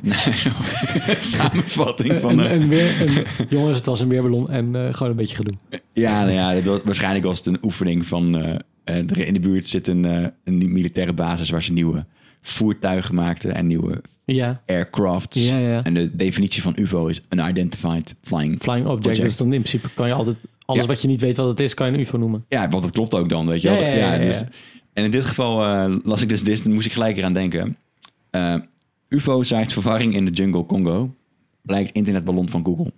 [SPEAKER 1] Nee, Samenvatting van.
[SPEAKER 2] En,
[SPEAKER 1] eh,
[SPEAKER 2] en weer, een- jongens, het was een weerballon en eh, gewoon een beetje gedoe.
[SPEAKER 1] ja, nou ja, dat was, waarschijnlijk was het een oefening van. eh, eh, er in de buurt zit een, eh, een militaire basis waar ze nieuwe voertuigen maakten en nieuwe
[SPEAKER 2] Ja.
[SPEAKER 1] aircrafts.
[SPEAKER 2] Ja, ja.
[SPEAKER 1] En de definitie van UFO is unidentified flying.
[SPEAKER 2] Flying object.
[SPEAKER 1] Object.
[SPEAKER 2] Dus dan in principe kan je altijd alles
[SPEAKER 1] Ja.
[SPEAKER 2] wat je niet weet wat het is, kan je een UFO noemen.
[SPEAKER 1] Ja, want het klopt ook dan, weet je
[SPEAKER 2] Ja,
[SPEAKER 1] wel.
[SPEAKER 2] ja, ja, ja,
[SPEAKER 1] dus,
[SPEAKER 2] ja.
[SPEAKER 1] En in dit geval eh, las ik dus dit, moest ik gelijk eraan denken. Eh, UFO zaait verwarring in de jungle Congo. Blijkt internetballon van Google.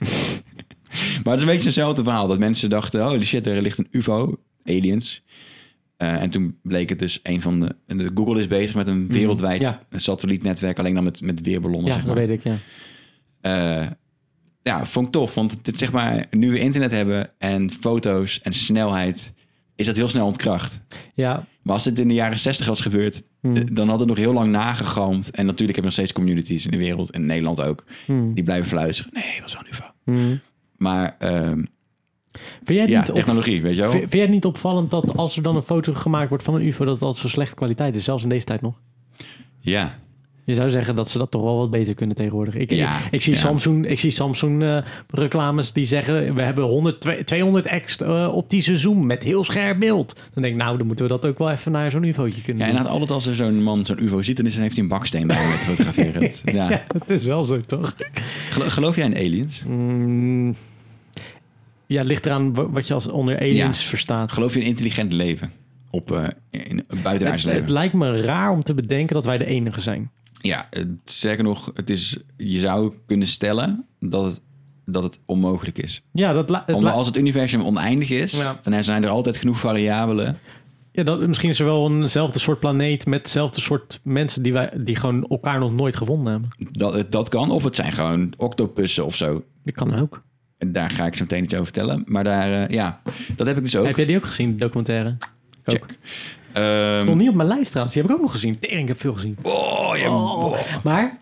[SPEAKER 1] maar het is een beetje hetzelfde verhaal. Dat mensen dachten, holy shit, er ligt een UFO, aliens. Eh, en toen bleek het dus een van de... en de- Google is bezig met een wereldwijd
[SPEAKER 2] Mhm. ja.
[SPEAKER 1] satellietnetwerk. Alleen dan met, met weerballonnen,
[SPEAKER 2] Ja,
[SPEAKER 1] zeg
[SPEAKER 2] dat
[SPEAKER 1] maar.
[SPEAKER 2] weet ik, ja.
[SPEAKER 1] Eh, ja, vond ik tof. Want dit, zeg maar, nu we internet hebben en foto's en snelheid, is dat heel snel ontkracht.
[SPEAKER 2] Ja, hm,
[SPEAKER 1] Maar als dit in de jaren 60 was gebeurd,
[SPEAKER 2] Mm.
[SPEAKER 1] eh, dan had het nog heel lang nagegamd. En natuurlijk heb je nog steeds communities in de wereld, en in Nederland ook,
[SPEAKER 2] hm,
[SPEAKER 1] die blijven fluisteren. Nee, dat is wel nu fout. Maar ehm,
[SPEAKER 2] Vind jij het
[SPEAKER 1] ja,
[SPEAKER 2] niet op-
[SPEAKER 1] technologie, weet je wel.
[SPEAKER 2] Vind, vind jij het niet opvallend dat als er dan een foto gemaakt wordt van een UFO, dat dat zo slechte kwaliteit is, zelfs in deze tijd nog?
[SPEAKER 1] Ja,
[SPEAKER 2] Je zou zeggen dat ze dat toch wel wat beter kunnen tegenwoordig. Ik,
[SPEAKER 1] Ja,
[SPEAKER 2] ik, ik zie
[SPEAKER 1] ja.
[SPEAKER 2] Samsung, ik zie Samsung eh, reclames die zeggen we hebben 100, twe- 200 x eh, optische zoom met heel scherp beeld. Dan denk ik nou, dan moeten we dat ook wel even naar zo'n UFO'tje kunnen
[SPEAKER 1] ja
[SPEAKER 2] doen.
[SPEAKER 1] inderdaad, altijd als er zo'n man zo'n UFO ziet, dan is- dan heeft hij een baksteen bij hem met fotograferen. Dat- ja.
[SPEAKER 2] Ja, dat is wel zo toch?
[SPEAKER 1] Gelo- Geloof jij in aliens?
[SPEAKER 2] Mm, ja, ligt eraan wa- wat je als onder aliens verstaat.
[SPEAKER 1] Geloof je in intelligent leven? Op eh in een buitenaards
[SPEAKER 2] Het,
[SPEAKER 1] leven?
[SPEAKER 2] het lijkt me raar om te bedenken dat wij de enige zijn.
[SPEAKER 1] Ja, het- sterker nog, het is, je zou kunnen stellen dat het, dat het onmogelijk is.
[SPEAKER 2] Ja, dat, li- het
[SPEAKER 1] Omdat
[SPEAKER 2] li-
[SPEAKER 1] als het universum oneindig is,
[SPEAKER 2] Ja.
[SPEAKER 1] dan zijn er altijd genoeg variabelen.
[SPEAKER 2] ja, dat, misschien is er wel eenzelfde soort planeet met hetzelfde soort mensen die, wij, die gewoon elkaar nog nooit gevonden hebben.
[SPEAKER 1] Dat, het- dat kan, of het zijn gewoon octopussen of zo.
[SPEAKER 2] Dat kan ook.
[SPEAKER 1] En Daar ga ik zo meteen iets over vertellen. Maar daar, eh, ja, dat heb ik dus ook.
[SPEAKER 2] Heb jij die ook gezien, de documentaire? Ik ook.
[SPEAKER 1] Check. Ehm,
[SPEAKER 2] Stond niet op mijn lijst trouwens. Die heb ik ook nog gezien. Tering, ik heb veel gezien.
[SPEAKER 1] oh, ja,
[SPEAKER 2] Oh. Maar,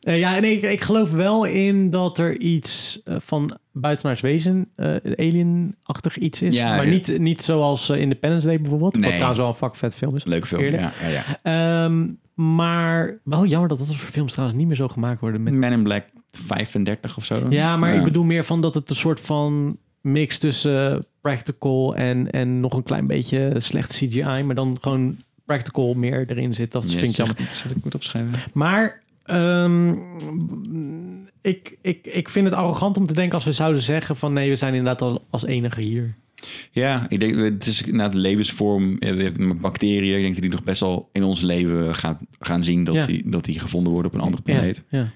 [SPEAKER 2] eh, ja, nee, ik, ik geloof wel in dat er iets eh, van buitenaards wezen, eh alienachtig iets is.
[SPEAKER 1] Ja,
[SPEAKER 2] maar
[SPEAKER 1] ja.
[SPEAKER 2] niet, niet zoals eh, Independence Day bijvoorbeeld. Wat
[SPEAKER 1] Nee.
[SPEAKER 2] trouwens wel een fuck vet film is.
[SPEAKER 1] Leuke film,
[SPEAKER 2] Eerlijk?
[SPEAKER 1] ja. ja, ja.
[SPEAKER 2] Ehm, maar wel jammer dat dat soort films trouwens niet meer zo gemaakt worden. Met...
[SPEAKER 1] Men in Black 35 of zo. dan?
[SPEAKER 2] Ja, maar ik bedoel meer van dat het een soort van mix tussen eh, practical en, en nog een klein beetje slecht CGI. Maar dan gewoon practical meer erin zit. Dat
[SPEAKER 1] Je
[SPEAKER 2] vind ik jammer.
[SPEAKER 1] zegt iets wat ik moet opschrijven.
[SPEAKER 2] Maar ehm, ik, ik, ik vind het arrogant om te denken als we zouden zeggen van nee, we zijn inderdaad al als enige hier.
[SPEAKER 1] Ja, ik denk, het is na de levensvorm. eh, We hebben bacteriën. Ik denk dat die nog best wel in ons leven gaan, gaan zien dat,
[SPEAKER 2] Ja.
[SPEAKER 1] die, dat die gevonden worden op een andere planeet.
[SPEAKER 2] Ja.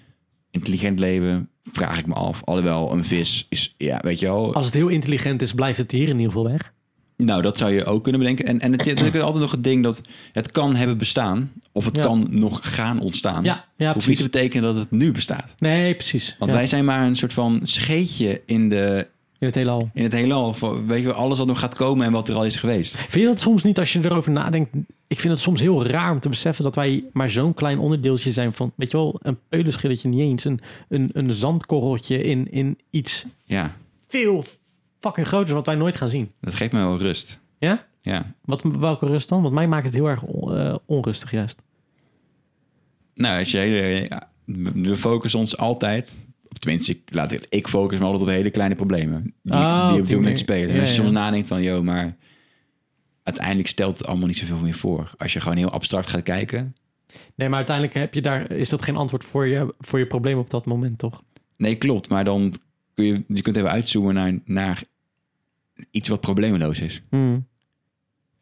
[SPEAKER 1] Intelligent leven, vraag ik me af. Alhoewel, een vis is, ja, weet je wel.
[SPEAKER 2] Als het heel intelligent is, blijft het hier in ieder geval weg.
[SPEAKER 1] Nou, dat zou je ook kunnen bedenken. En, en het, het is altijd nog het ding dat het kan hebben bestaan. Of het
[SPEAKER 2] Ja.
[SPEAKER 1] kan nog gaan ontstaan.
[SPEAKER 2] Ja, ja
[SPEAKER 1] Hoeft niet te
[SPEAKER 2] precies.
[SPEAKER 1] betekenen dat het nu bestaat.
[SPEAKER 2] Nee, precies.
[SPEAKER 1] Want
[SPEAKER 2] Ja,
[SPEAKER 1] wij zijn maar een soort van scheetje in, de,
[SPEAKER 2] in het heelal.
[SPEAKER 1] in het heelal. Van, Weet je wel, alles wat nog gaat komen en wat er al is geweest.
[SPEAKER 2] Vind je dat soms niet als je erover nadenkt? Ik vind het soms heel raar om te beseffen dat wij maar zo'n klein onderdeeltje zijn van, weet je wel, een peulenschilletje niet eens. Een, een, een zandkorreltje in, in iets
[SPEAKER 1] Ja,
[SPEAKER 2] veel fucking groters wat wij nooit gaan zien.
[SPEAKER 1] dat geeft me wel rust.
[SPEAKER 2] Ja?
[SPEAKER 1] Ja,
[SPEAKER 2] Wat, welke rust dan? Want mij maakt het heel erg on- eh, onrustig juist.
[SPEAKER 1] Nou, als je hele, ja, we focussen ons altijd. Tenminste, ik, laat, ik- ik focus me altijd op hele kleine problemen. Die,
[SPEAKER 2] Ah,
[SPEAKER 1] die
[SPEAKER 2] op
[SPEAKER 1] op dit
[SPEAKER 2] die
[SPEAKER 1] moment
[SPEAKER 2] manier.
[SPEAKER 1] spelen.
[SPEAKER 2] Ja,
[SPEAKER 1] en als je
[SPEAKER 2] ja.
[SPEAKER 1] soms nadenkt van, joh, maar uiteindelijk stelt het allemaal niet zoveel meer voor. Als je gewoon heel abstract gaat kijken.
[SPEAKER 2] Nee, maar uiteindelijk heb je daar, is dat geen antwoord voor je, voor je probleem op dat moment, toch?
[SPEAKER 1] Nee, klopt. Maar dan kun je, je kunt even uitzoomen naar, naar iets wat probleemloos is.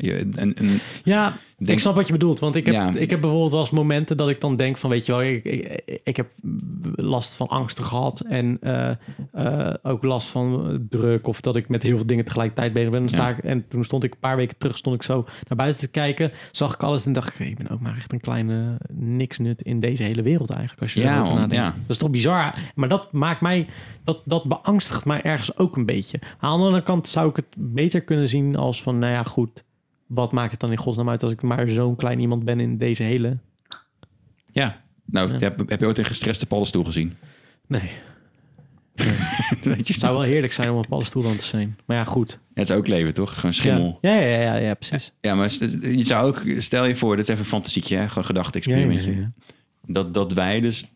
[SPEAKER 1] Je, een, een,
[SPEAKER 2] Ja,
[SPEAKER 1] denk-
[SPEAKER 2] ik snap wat je bedoelt. Want ik heb,
[SPEAKER 1] Ja.
[SPEAKER 2] ik heb bijvoorbeeld wel eens momenten dat ik dan denk van... weet je wel, ik, ik, ik heb last van angsten gehad... en eh, eh, ook last van druk... of dat ik met heel veel dingen tegelijkertijd bezig ben. Dan sta
[SPEAKER 1] Ja.
[SPEAKER 2] ik, en toen stond ik een paar weken terug... stond ik zo naar buiten te kijken, zag ik alles... en dacht ik, ik ben ook maar echt een kleine niksnut... in deze hele wereld eigenlijk, als je
[SPEAKER 1] Ja,
[SPEAKER 2] erover
[SPEAKER 1] man,
[SPEAKER 2] nadenkt.
[SPEAKER 1] ja.
[SPEAKER 2] Dat is toch bizar? Maar dat maakt mij... Dat, dat beangstigt mij ergens ook een beetje. Aan de andere kant zou ik het beter kunnen zien als van... nou ja, goed wat maakt het dan in godsnaam uit als ik maar zo'n klein iemand ben in deze hele...
[SPEAKER 1] ja. Nou,
[SPEAKER 2] Ja.
[SPEAKER 1] Heb, heb je ooit een gestreste paddenstoel gezien?
[SPEAKER 2] Nee,
[SPEAKER 1] Weet je,
[SPEAKER 2] het zou wel heerlijk zijn om op alle stoelen te zijn. Maar ja, goed.
[SPEAKER 1] Ja, het is ook leven, toch? Gewoon schimmel.
[SPEAKER 2] Ja, ja, ja, ja, ja, precies.
[SPEAKER 1] Ja, maar st- je zou ook, stel je voor, dat is even een fantasietje, hè? gewoon een gedachte-experimentje.
[SPEAKER 2] Ja, ja,
[SPEAKER 1] Dat, dat wij dus.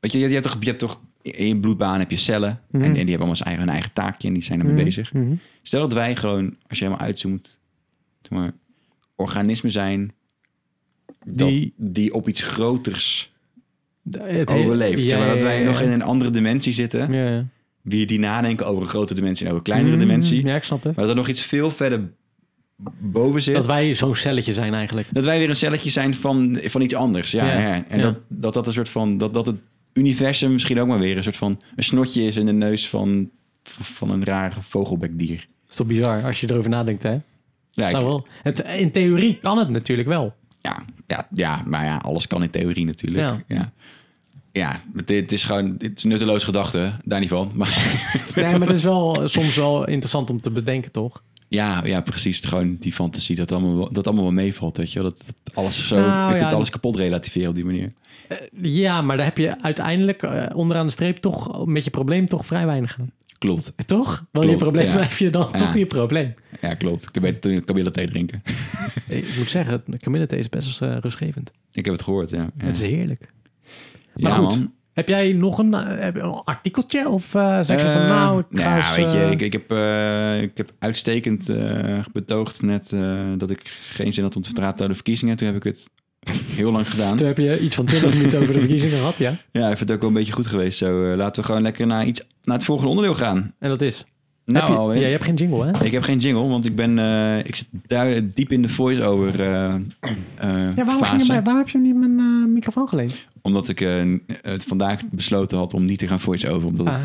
[SPEAKER 1] Weet je, je, je hebt toch, je hebt toch in je bloedbaan heb je cellen.
[SPEAKER 2] Mhm.
[SPEAKER 1] en, en die hebben allemaal zijn eigen, hun eigen taakje en die zijn ermee bezig.
[SPEAKER 2] Mhm.
[SPEAKER 1] Stel dat wij gewoon, als je helemaal uitzoomt, zeg maar, organismen zijn dat-
[SPEAKER 2] Die-
[SPEAKER 1] die op iets groters
[SPEAKER 2] Het hele-
[SPEAKER 1] overleeft.
[SPEAKER 2] Mhm. Ja,
[SPEAKER 1] zeg maar,
[SPEAKER 2] ja,
[SPEAKER 1] dat wij
[SPEAKER 2] ja,
[SPEAKER 1] nog
[SPEAKER 2] ja.
[SPEAKER 1] in een andere dimensie zitten.
[SPEAKER 2] Ja, ja.
[SPEAKER 1] Die, die nadenken over een grote dimensie en over een kleinere
[SPEAKER 2] Mm,
[SPEAKER 1] dimensie.
[SPEAKER 2] Ja, ik snap het.
[SPEAKER 1] Maar dat er nog iets veel verder boven zit.
[SPEAKER 2] Dat wij zo'n celletje zijn eigenlijk.
[SPEAKER 1] Dat wij weer een celletje zijn van, van iets anders. Ja,
[SPEAKER 2] Ja,
[SPEAKER 1] ja. En
[SPEAKER 2] ja.
[SPEAKER 1] Dat, dat dat een soort van. Dat, dat het universum misschien ook maar weer een soort van. een snotje is in de neus van, van een raar vogelbekdier.
[SPEAKER 2] Dat is toch bizar als je erover nadenkt, hè?
[SPEAKER 1] Ja, ik-
[SPEAKER 2] Zou wel. Het, in theorie kan het natuurlijk wel.
[SPEAKER 1] ja, ja, ja, maar ja, alles kan in theorie natuurlijk. Ja. ja. het, het is gewoon het is nutteloos gedachte, daar niet van. Maar
[SPEAKER 2] eh, Nee, maar het is wel soms wel interessant om te bedenken, toch?
[SPEAKER 1] Ja, ja, precies. Gewoon die fantasie dat allemaal, wel- dat allemaal wel meevalt, weet je wel. Dat, dat alles zo,
[SPEAKER 2] Nou,
[SPEAKER 1] je
[SPEAKER 2] ja,
[SPEAKER 1] kunt
[SPEAKER 2] en-
[SPEAKER 1] alles kapot relativeren op die manier.
[SPEAKER 2] Ja, maar daar heb je uiteindelijk eh, onderaan de streep toch met je probleem toch vrij weinig aan.
[SPEAKER 1] Klopt.
[SPEAKER 2] Eh, Toch? Want je
[SPEAKER 1] Klopt,
[SPEAKER 2] probleem
[SPEAKER 1] ja.
[SPEAKER 2] blijf je dan
[SPEAKER 1] Ja.
[SPEAKER 2] toch je probleem.
[SPEAKER 1] Ja, klopt. Ik heb beter een Camilla thee drinken.
[SPEAKER 2] Ik moet zeggen, het Camilla thee is best wel eh, rustgevend.
[SPEAKER 1] Ik heb het gehoord, ja. ja.
[SPEAKER 2] Het is heerlijk.
[SPEAKER 1] Ja,
[SPEAKER 2] maar goed,
[SPEAKER 1] man.
[SPEAKER 2] Heb jij nog een, eh, heb je een artikeltje? Of eh, zeg je van
[SPEAKER 1] Eh,
[SPEAKER 2] nou, ik ga
[SPEAKER 1] nou ja,
[SPEAKER 2] eens,
[SPEAKER 1] weet je,
[SPEAKER 2] eh,
[SPEAKER 1] ik, ik, heb, eh, ik heb uitstekend eh, betoogd net eh, dat ik geen zin had om te praten over de verkiezingen. Toen heb ik het heel lang gedaan.
[SPEAKER 2] Toen heb je iets van 20 minuten over de verkiezingen gehad, ja.
[SPEAKER 1] Ja, ik vind het ook wel een beetje goed geweest zo. Eh, laten we gewoon lekker naar, iets, naar het volgende onderdeel gaan.
[SPEAKER 2] En dat is.
[SPEAKER 1] Nou,
[SPEAKER 2] heb je,
[SPEAKER 1] alweer.
[SPEAKER 2] ja, je hebt geen jingle, hè?
[SPEAKER 1] Ik heb geen jingle, want ik ben, eh, ik zit daar diep in de voice-over eh, eh,
[SPEAKER 2] Ja, waarom, ging
[SPEAKER 1] fase.
[SPEAKER 2] je mij, waarom heb je hem niet mijn eh, microfoon geleend?
[SPEAKER 1] Omdat ik eh, het vandaag besloten had om niet te gaan voice-over, omdat, het-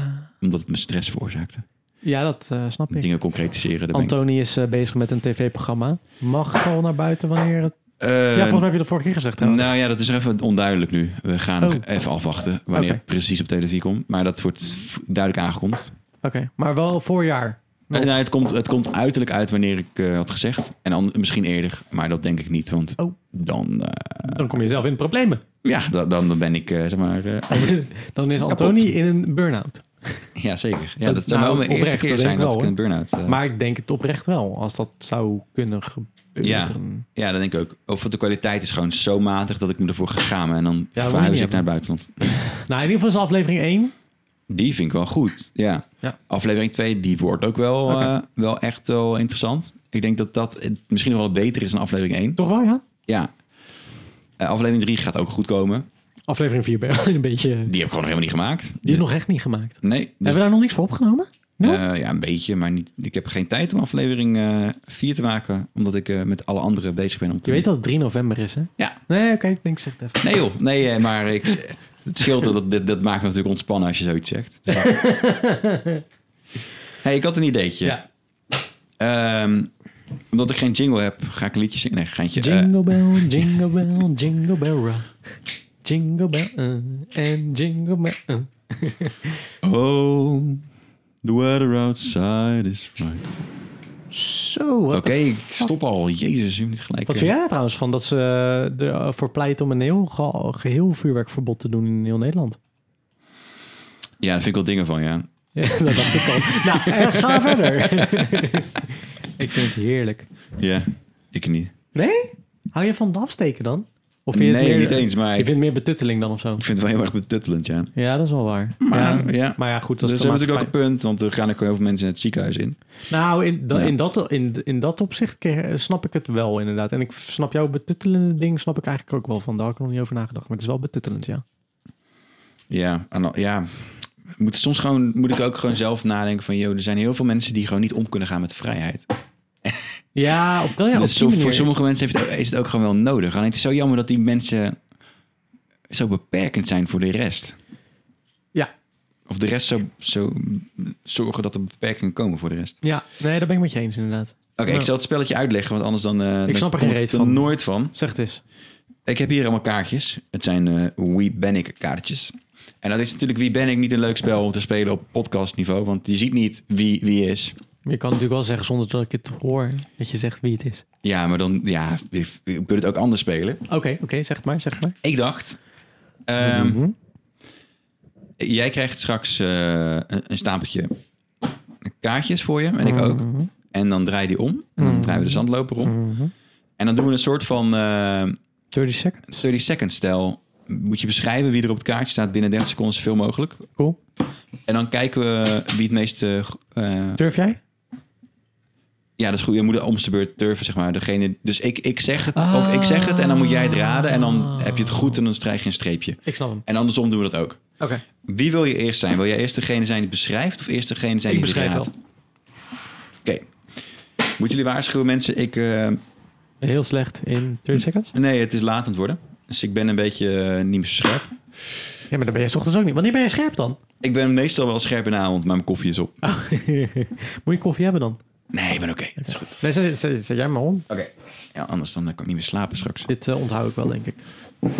[SPEAKER 1] omdat het me stress veroorzaakte.
[SPEAKER 2] Ah. ja, dat eh, snap ik.
[SPEAKER 1] Dingen concretiseren. daar ben ik-
[SPEAKER 2] Antoni is eh, bezig met een tv-programma. Mag het al naar buiten wanneer het...
[SPEAKER 1] Eh,
[SPEAKER 2] ja, volgens mij heb je dat vorige keer gezegd trouwens.
[SPEAKER 1] Nou ja, dat is even onduidelijk nu. We gaan het
[SPEAKER 2] Oh.
[SPEAKER 1] even afwachten wanneer
[SPEAKER 2] Oké. Oh.
[SPEAKER 1] het precies op televisie komt. Maar dat wordt v- duidelijk aangekondigd.
[SPEAKER 2] Oké, maar wel voorjaar. Oh.
[SPEAKER 1] Eh, nou, het, komt, het komt uiterlijk uit wanneer ik eh, had gezegd. En dan misschien eerder, maar dat denk ik niet. Want
[SPEAKER 2] Oh.
[SPEAKER 1] dan, eh,
[SPEAKER 2] Dan kom je zelf in problemen.
[SPEAKER 1] ja, da- dan, dan ben ik, eh, zeg maar... eh,
[SPEAKER 2] Dan is Antoni in een burn-out.
[SPEAKER 1] ja, zeker. Ja,
[SPEAKER 2] Dat-
[SPEAKER 1] dat, zou wel
[SPEAKER 2] nou,
[SPEAKER 1] mijn eerste
[SPEAKER 2] oprecht,
[SPEAKER 1] keer
[SPEAKER 2] dat
[SPEAKER 1] zijn dat
[SPEAKER 2] denk ik
[SPEAKER 1] ik
[SPEAKER 2] wel,
[SPEAKER 1] een burn-out... eh,
[SPEAKER 2] Maar ik denk het oprecht wel, als dat zou kunnen gebeuren.
[SPEAKER 1] Ja. Ja, dat denk ik ook. Of de kwaliteit is gewoon zo matig dat ik me ervoor ga schamen. En dan
[SPEAKER 2] moet je
[SPEAKER 1] verhuis
[SPEAKER 2] niet
[SPEAKER 1] ik naar het buitenland.
[SPEAKER 2] Nou, in ieder geval is aflevering 1.
[SPEAKER 1] Die vind ik wel goed, ja.
[SPEAKER 2] Ja.
[SPEAKER 1] Aflevering 2, die wordt ook wel,
[SPEAKER 2] Oké.
[SPEAKER 1] eh, wel echt wel interessant. Ik denk dat dat eh, misschien nog wel beter is dan aflevering 1.
[SPEAKER 2] Toch wel, ja?
[SPEAKER 1] Ja. Eh, aflevering 3 gaat ook goed komen.
[SPEAKER 2] Aflevering 4 ben je alleen een beetje... Die
[SPEAKER 1] Die heb ik gewoon nog helemaal niet gemaakt. Dus-
[SPEAKER 2] is nog echt niet gemaakt.
[SPEAKER 1] Nee. dus,
[SPEAKER 2] Hebben we daar nog niks voor opgenomen? nul?
[SPEAKER 1] eh, ja, een beetje, maar niet, ik heb geen tijd om aflevering 4 te maken. Omdat ik eh, met alle anderen bezig ben. Om te
[SPEAKER 2] Je weet dat het 3 november is, hè?
[SPEAKER 1] Ja.
[SPEAKER 2] Nee, oké, ik denk ik zeg het even.
[SPEAKER 1] Nee joh, nee, eh, maar ik, het scheelt dat, dat, dat maakt me natuurlijk ontspannen als je zoiets zegt. Dus- hey, ik had een ideetje. Ehm, omdat ik geen jingle heb, ga ik een liedje zingen. Nee, geintje. Eh,
[SPEAKER 2] Jingle bell, jingle bell, jingle bell rock. Jingle bell, eh, en jingle bell, eh.
[SPEAKER 1] oh, the weather outside is right.
[SPEAKER 2] Zo,
[SPEAKER 1] Oké,
[SPEAKER 2] wat
[SPEAKER 1] ik stop al. Jezus, je moet niet gelijk.
[SPEAKER 2] Wat
[SPEAKER 1] eh,
[SPEAKER 2] vind jij daar trouwens van dat ze eh, ervoor pleit om een heel ge- geheel vuurwerkverbod te doen in heel Nederland?
[SPEAKER 1] Ja, daar vind ik wel dingen van, ja.
[SPEAKER 2] Ja, dat dacht ik al. nou, eh, ga verder. ik vind het heerlijk.
[SPEAKER 1] Ja, ik niet.
[SPEAKER 2] Nee? Hou je van het afsteken dan? Of vind je het
[SPEAKER 1] nee,
[SPEAKER 2] meer,
[SPEAKER 1] niet eens, maar
[SPEAKER 2] Je
[SPEAKER 1] ik
[SPEAKER 2] vindt
[SPEAKER 1] vind,
[SPEAKER 2] het meer betutteling dan of zo?
[SPEAKER 1] het wel heel erg betuttelend, ja.
[SPEAKER 2] Ja, dat is wel waar.
[SPEAKER 1] Maar,
[SPEAKER 2] ja,
[SPEAKER 1] ja.
[SPEAKER 2] maar ja, goed. Dat
[SPEAKER 1] Dus
[SPEAKER 2] is
[SPEAKER 1] dat is
[SPEAKER 2] de
[SPEAKER 1] natuurlijk ook een
[SPEAKER 2] maatschappij.
[SPEAKER 1] punt, want er gaan ook heel veel mensen het ziekenhuis in.
[SPEAKER 2] Nou, in, da-
[SPEAKER 1] Ja.
[SPEAKER 2] in, dat, in, in dat opzicht ke- snap ik het wel inderdaad. En ik snap jouw betuttelende ding snap ik eigenlijk ook wel van. Daar had ik nog niet over nagedacht. Maar het is wel betuttelend, ja.
[SPEAKER 1] Ja, en dan- ja. Moet, soms gewoon, moet ik ook gewoon zelf nadenken van... joh, er zijn heel veel mensen die gewoon niet om kunnen gaan met vrijheid.
[SPEAKER 2] Ja, op, dat ja,
[SPEAKER 1] dus
[SPEAKER 2] op
[SPEAKER 1] zo-
[SPEAKER 2] die
[SPEAKER 1] voor
[SPEAKER 2] manier.
[SPEAKER 1] sommige mensen heeft het ook- is het ook gewoon wel nodig. Alleen het is zo jammer dat die mensen zo beperkend zijn voor de rest.
[SPEAKER 2] Ja.
[SPEAKER 1] Of de rest zo, zo zorgen dat er beperkingen komen voor de rest.
[SPEAKER 2] Ja, nee, daar ben ik met je eens inderdaad.
[SPEAKER 1] Oké,
[SPEAKER 2] Ja.
[SPEAKER 1] ik zal het spelletje uitleggen, want anders dan... eh, dan
[SPEAKER 2] snap er geen
[SPEAKER 1] komt het
[SPEAKER 2] reet van.
[SPEAKER 1] nooit van.
[SPEAKER 2] Zeg het eens.
[SPEAKER 1] Ik heb hier allemaal kaartjes. Het zijn eh Wie Ben Ik kaartjes. En dat is natuurlijk Wie Ben Ik niet een leuk spel om te spelen op podcastniveau. Want je ziet niet wie wie is.
[SPEAKER 2] Maar je kan natuurlijk wel zeggen zonder dat ik het hoor dat je zegt wie het is.
[SPEAKER 1] Ja, maar dan ja, je je kunt het ook anders spelen.
[SPEAKER 2] Oké, oké, zeg het maar, zeg het maar.
[SPEAKER 1] Ik dacht, ehm,
[SPEAKER 2] Mhm.
[SPEAKER 1] jij krijgt straks eh, een, een stapeltje kaartjes voor je. En ik ook.
[SPEAKER 2] Mhm.
[SPEAKER 1] En dan draai je die om. En dan draaien we de zandloper om.
[SPEAKER 2] Mhm.
[SPEAKER 1] En dan doen we een soort van eh
[SPEAKER 2] 30 seconds.
[SPEAKER 1] 30 second stijl. Moet je beschrijven wie er op het kaartje staat binnen 30 seconden zoveel mogelijk.
[SPEAKER 2] Cool.
[SPEAKER 1] En dan kijken we wie het meeste... eh,
[SPEAKER 2] Durf jij?
[SPEAKER 1] Ja, dat is goed. Je moet de omste beurt durven, zeg maar. Degene, dus ik, ik zeg het,
[SPEAKER 2] Ah.
[SPEAKER 1] of ik zeg het en dan moet jij het raden. En dan heb je het goed en dan krijg je een streepje.
[SPEAKER 2] Ik snap hem.
[SPEAKER 1] En andersom doen we dat ook.
[SPEAKER 2] Oké.
[SPEAKER 1] Wie wil je eerst zijn? Wil jij eerst degene zijn die het beschrijft of eerst degene zijn
[SPEAKER 2] Ik
[SPEAKER 1] die het
[SPEAKER 2] beschrijf
[SPEAKER 1] raadt? Oké. Moeten jullie waarschuwen, mensen? Ik, eh,
[SPEAKER 2] Heel slecht in 30 seconds.
[SPEAKER 1] nee, het is laat aan het worden. Dus ik ben een beetje eh, niet meer zo scherp.
[SPEAKER 2] Ja, maar dan ben je 's ochtends ook niet. Wanneer ben je scherp dan?
[SPEAKER 1] Ik ben meestal wel scherp in de avond, maar mijn koffie is op.
[SPEAKER 2] Oh, Moet je koffie hebben dan?
[SPEAKER 1] Nee, ik ben oké. Dat is goed.
[SPEAKER 2] Nee, zet, zet- zet jij maar om.
[SPEAKER 1] Oké. Ja, anders dan eh, kan ik niet meer slapen straks.
[SPEAKER 2] Dit eh, onthoud ik wel, denk ik. Oh,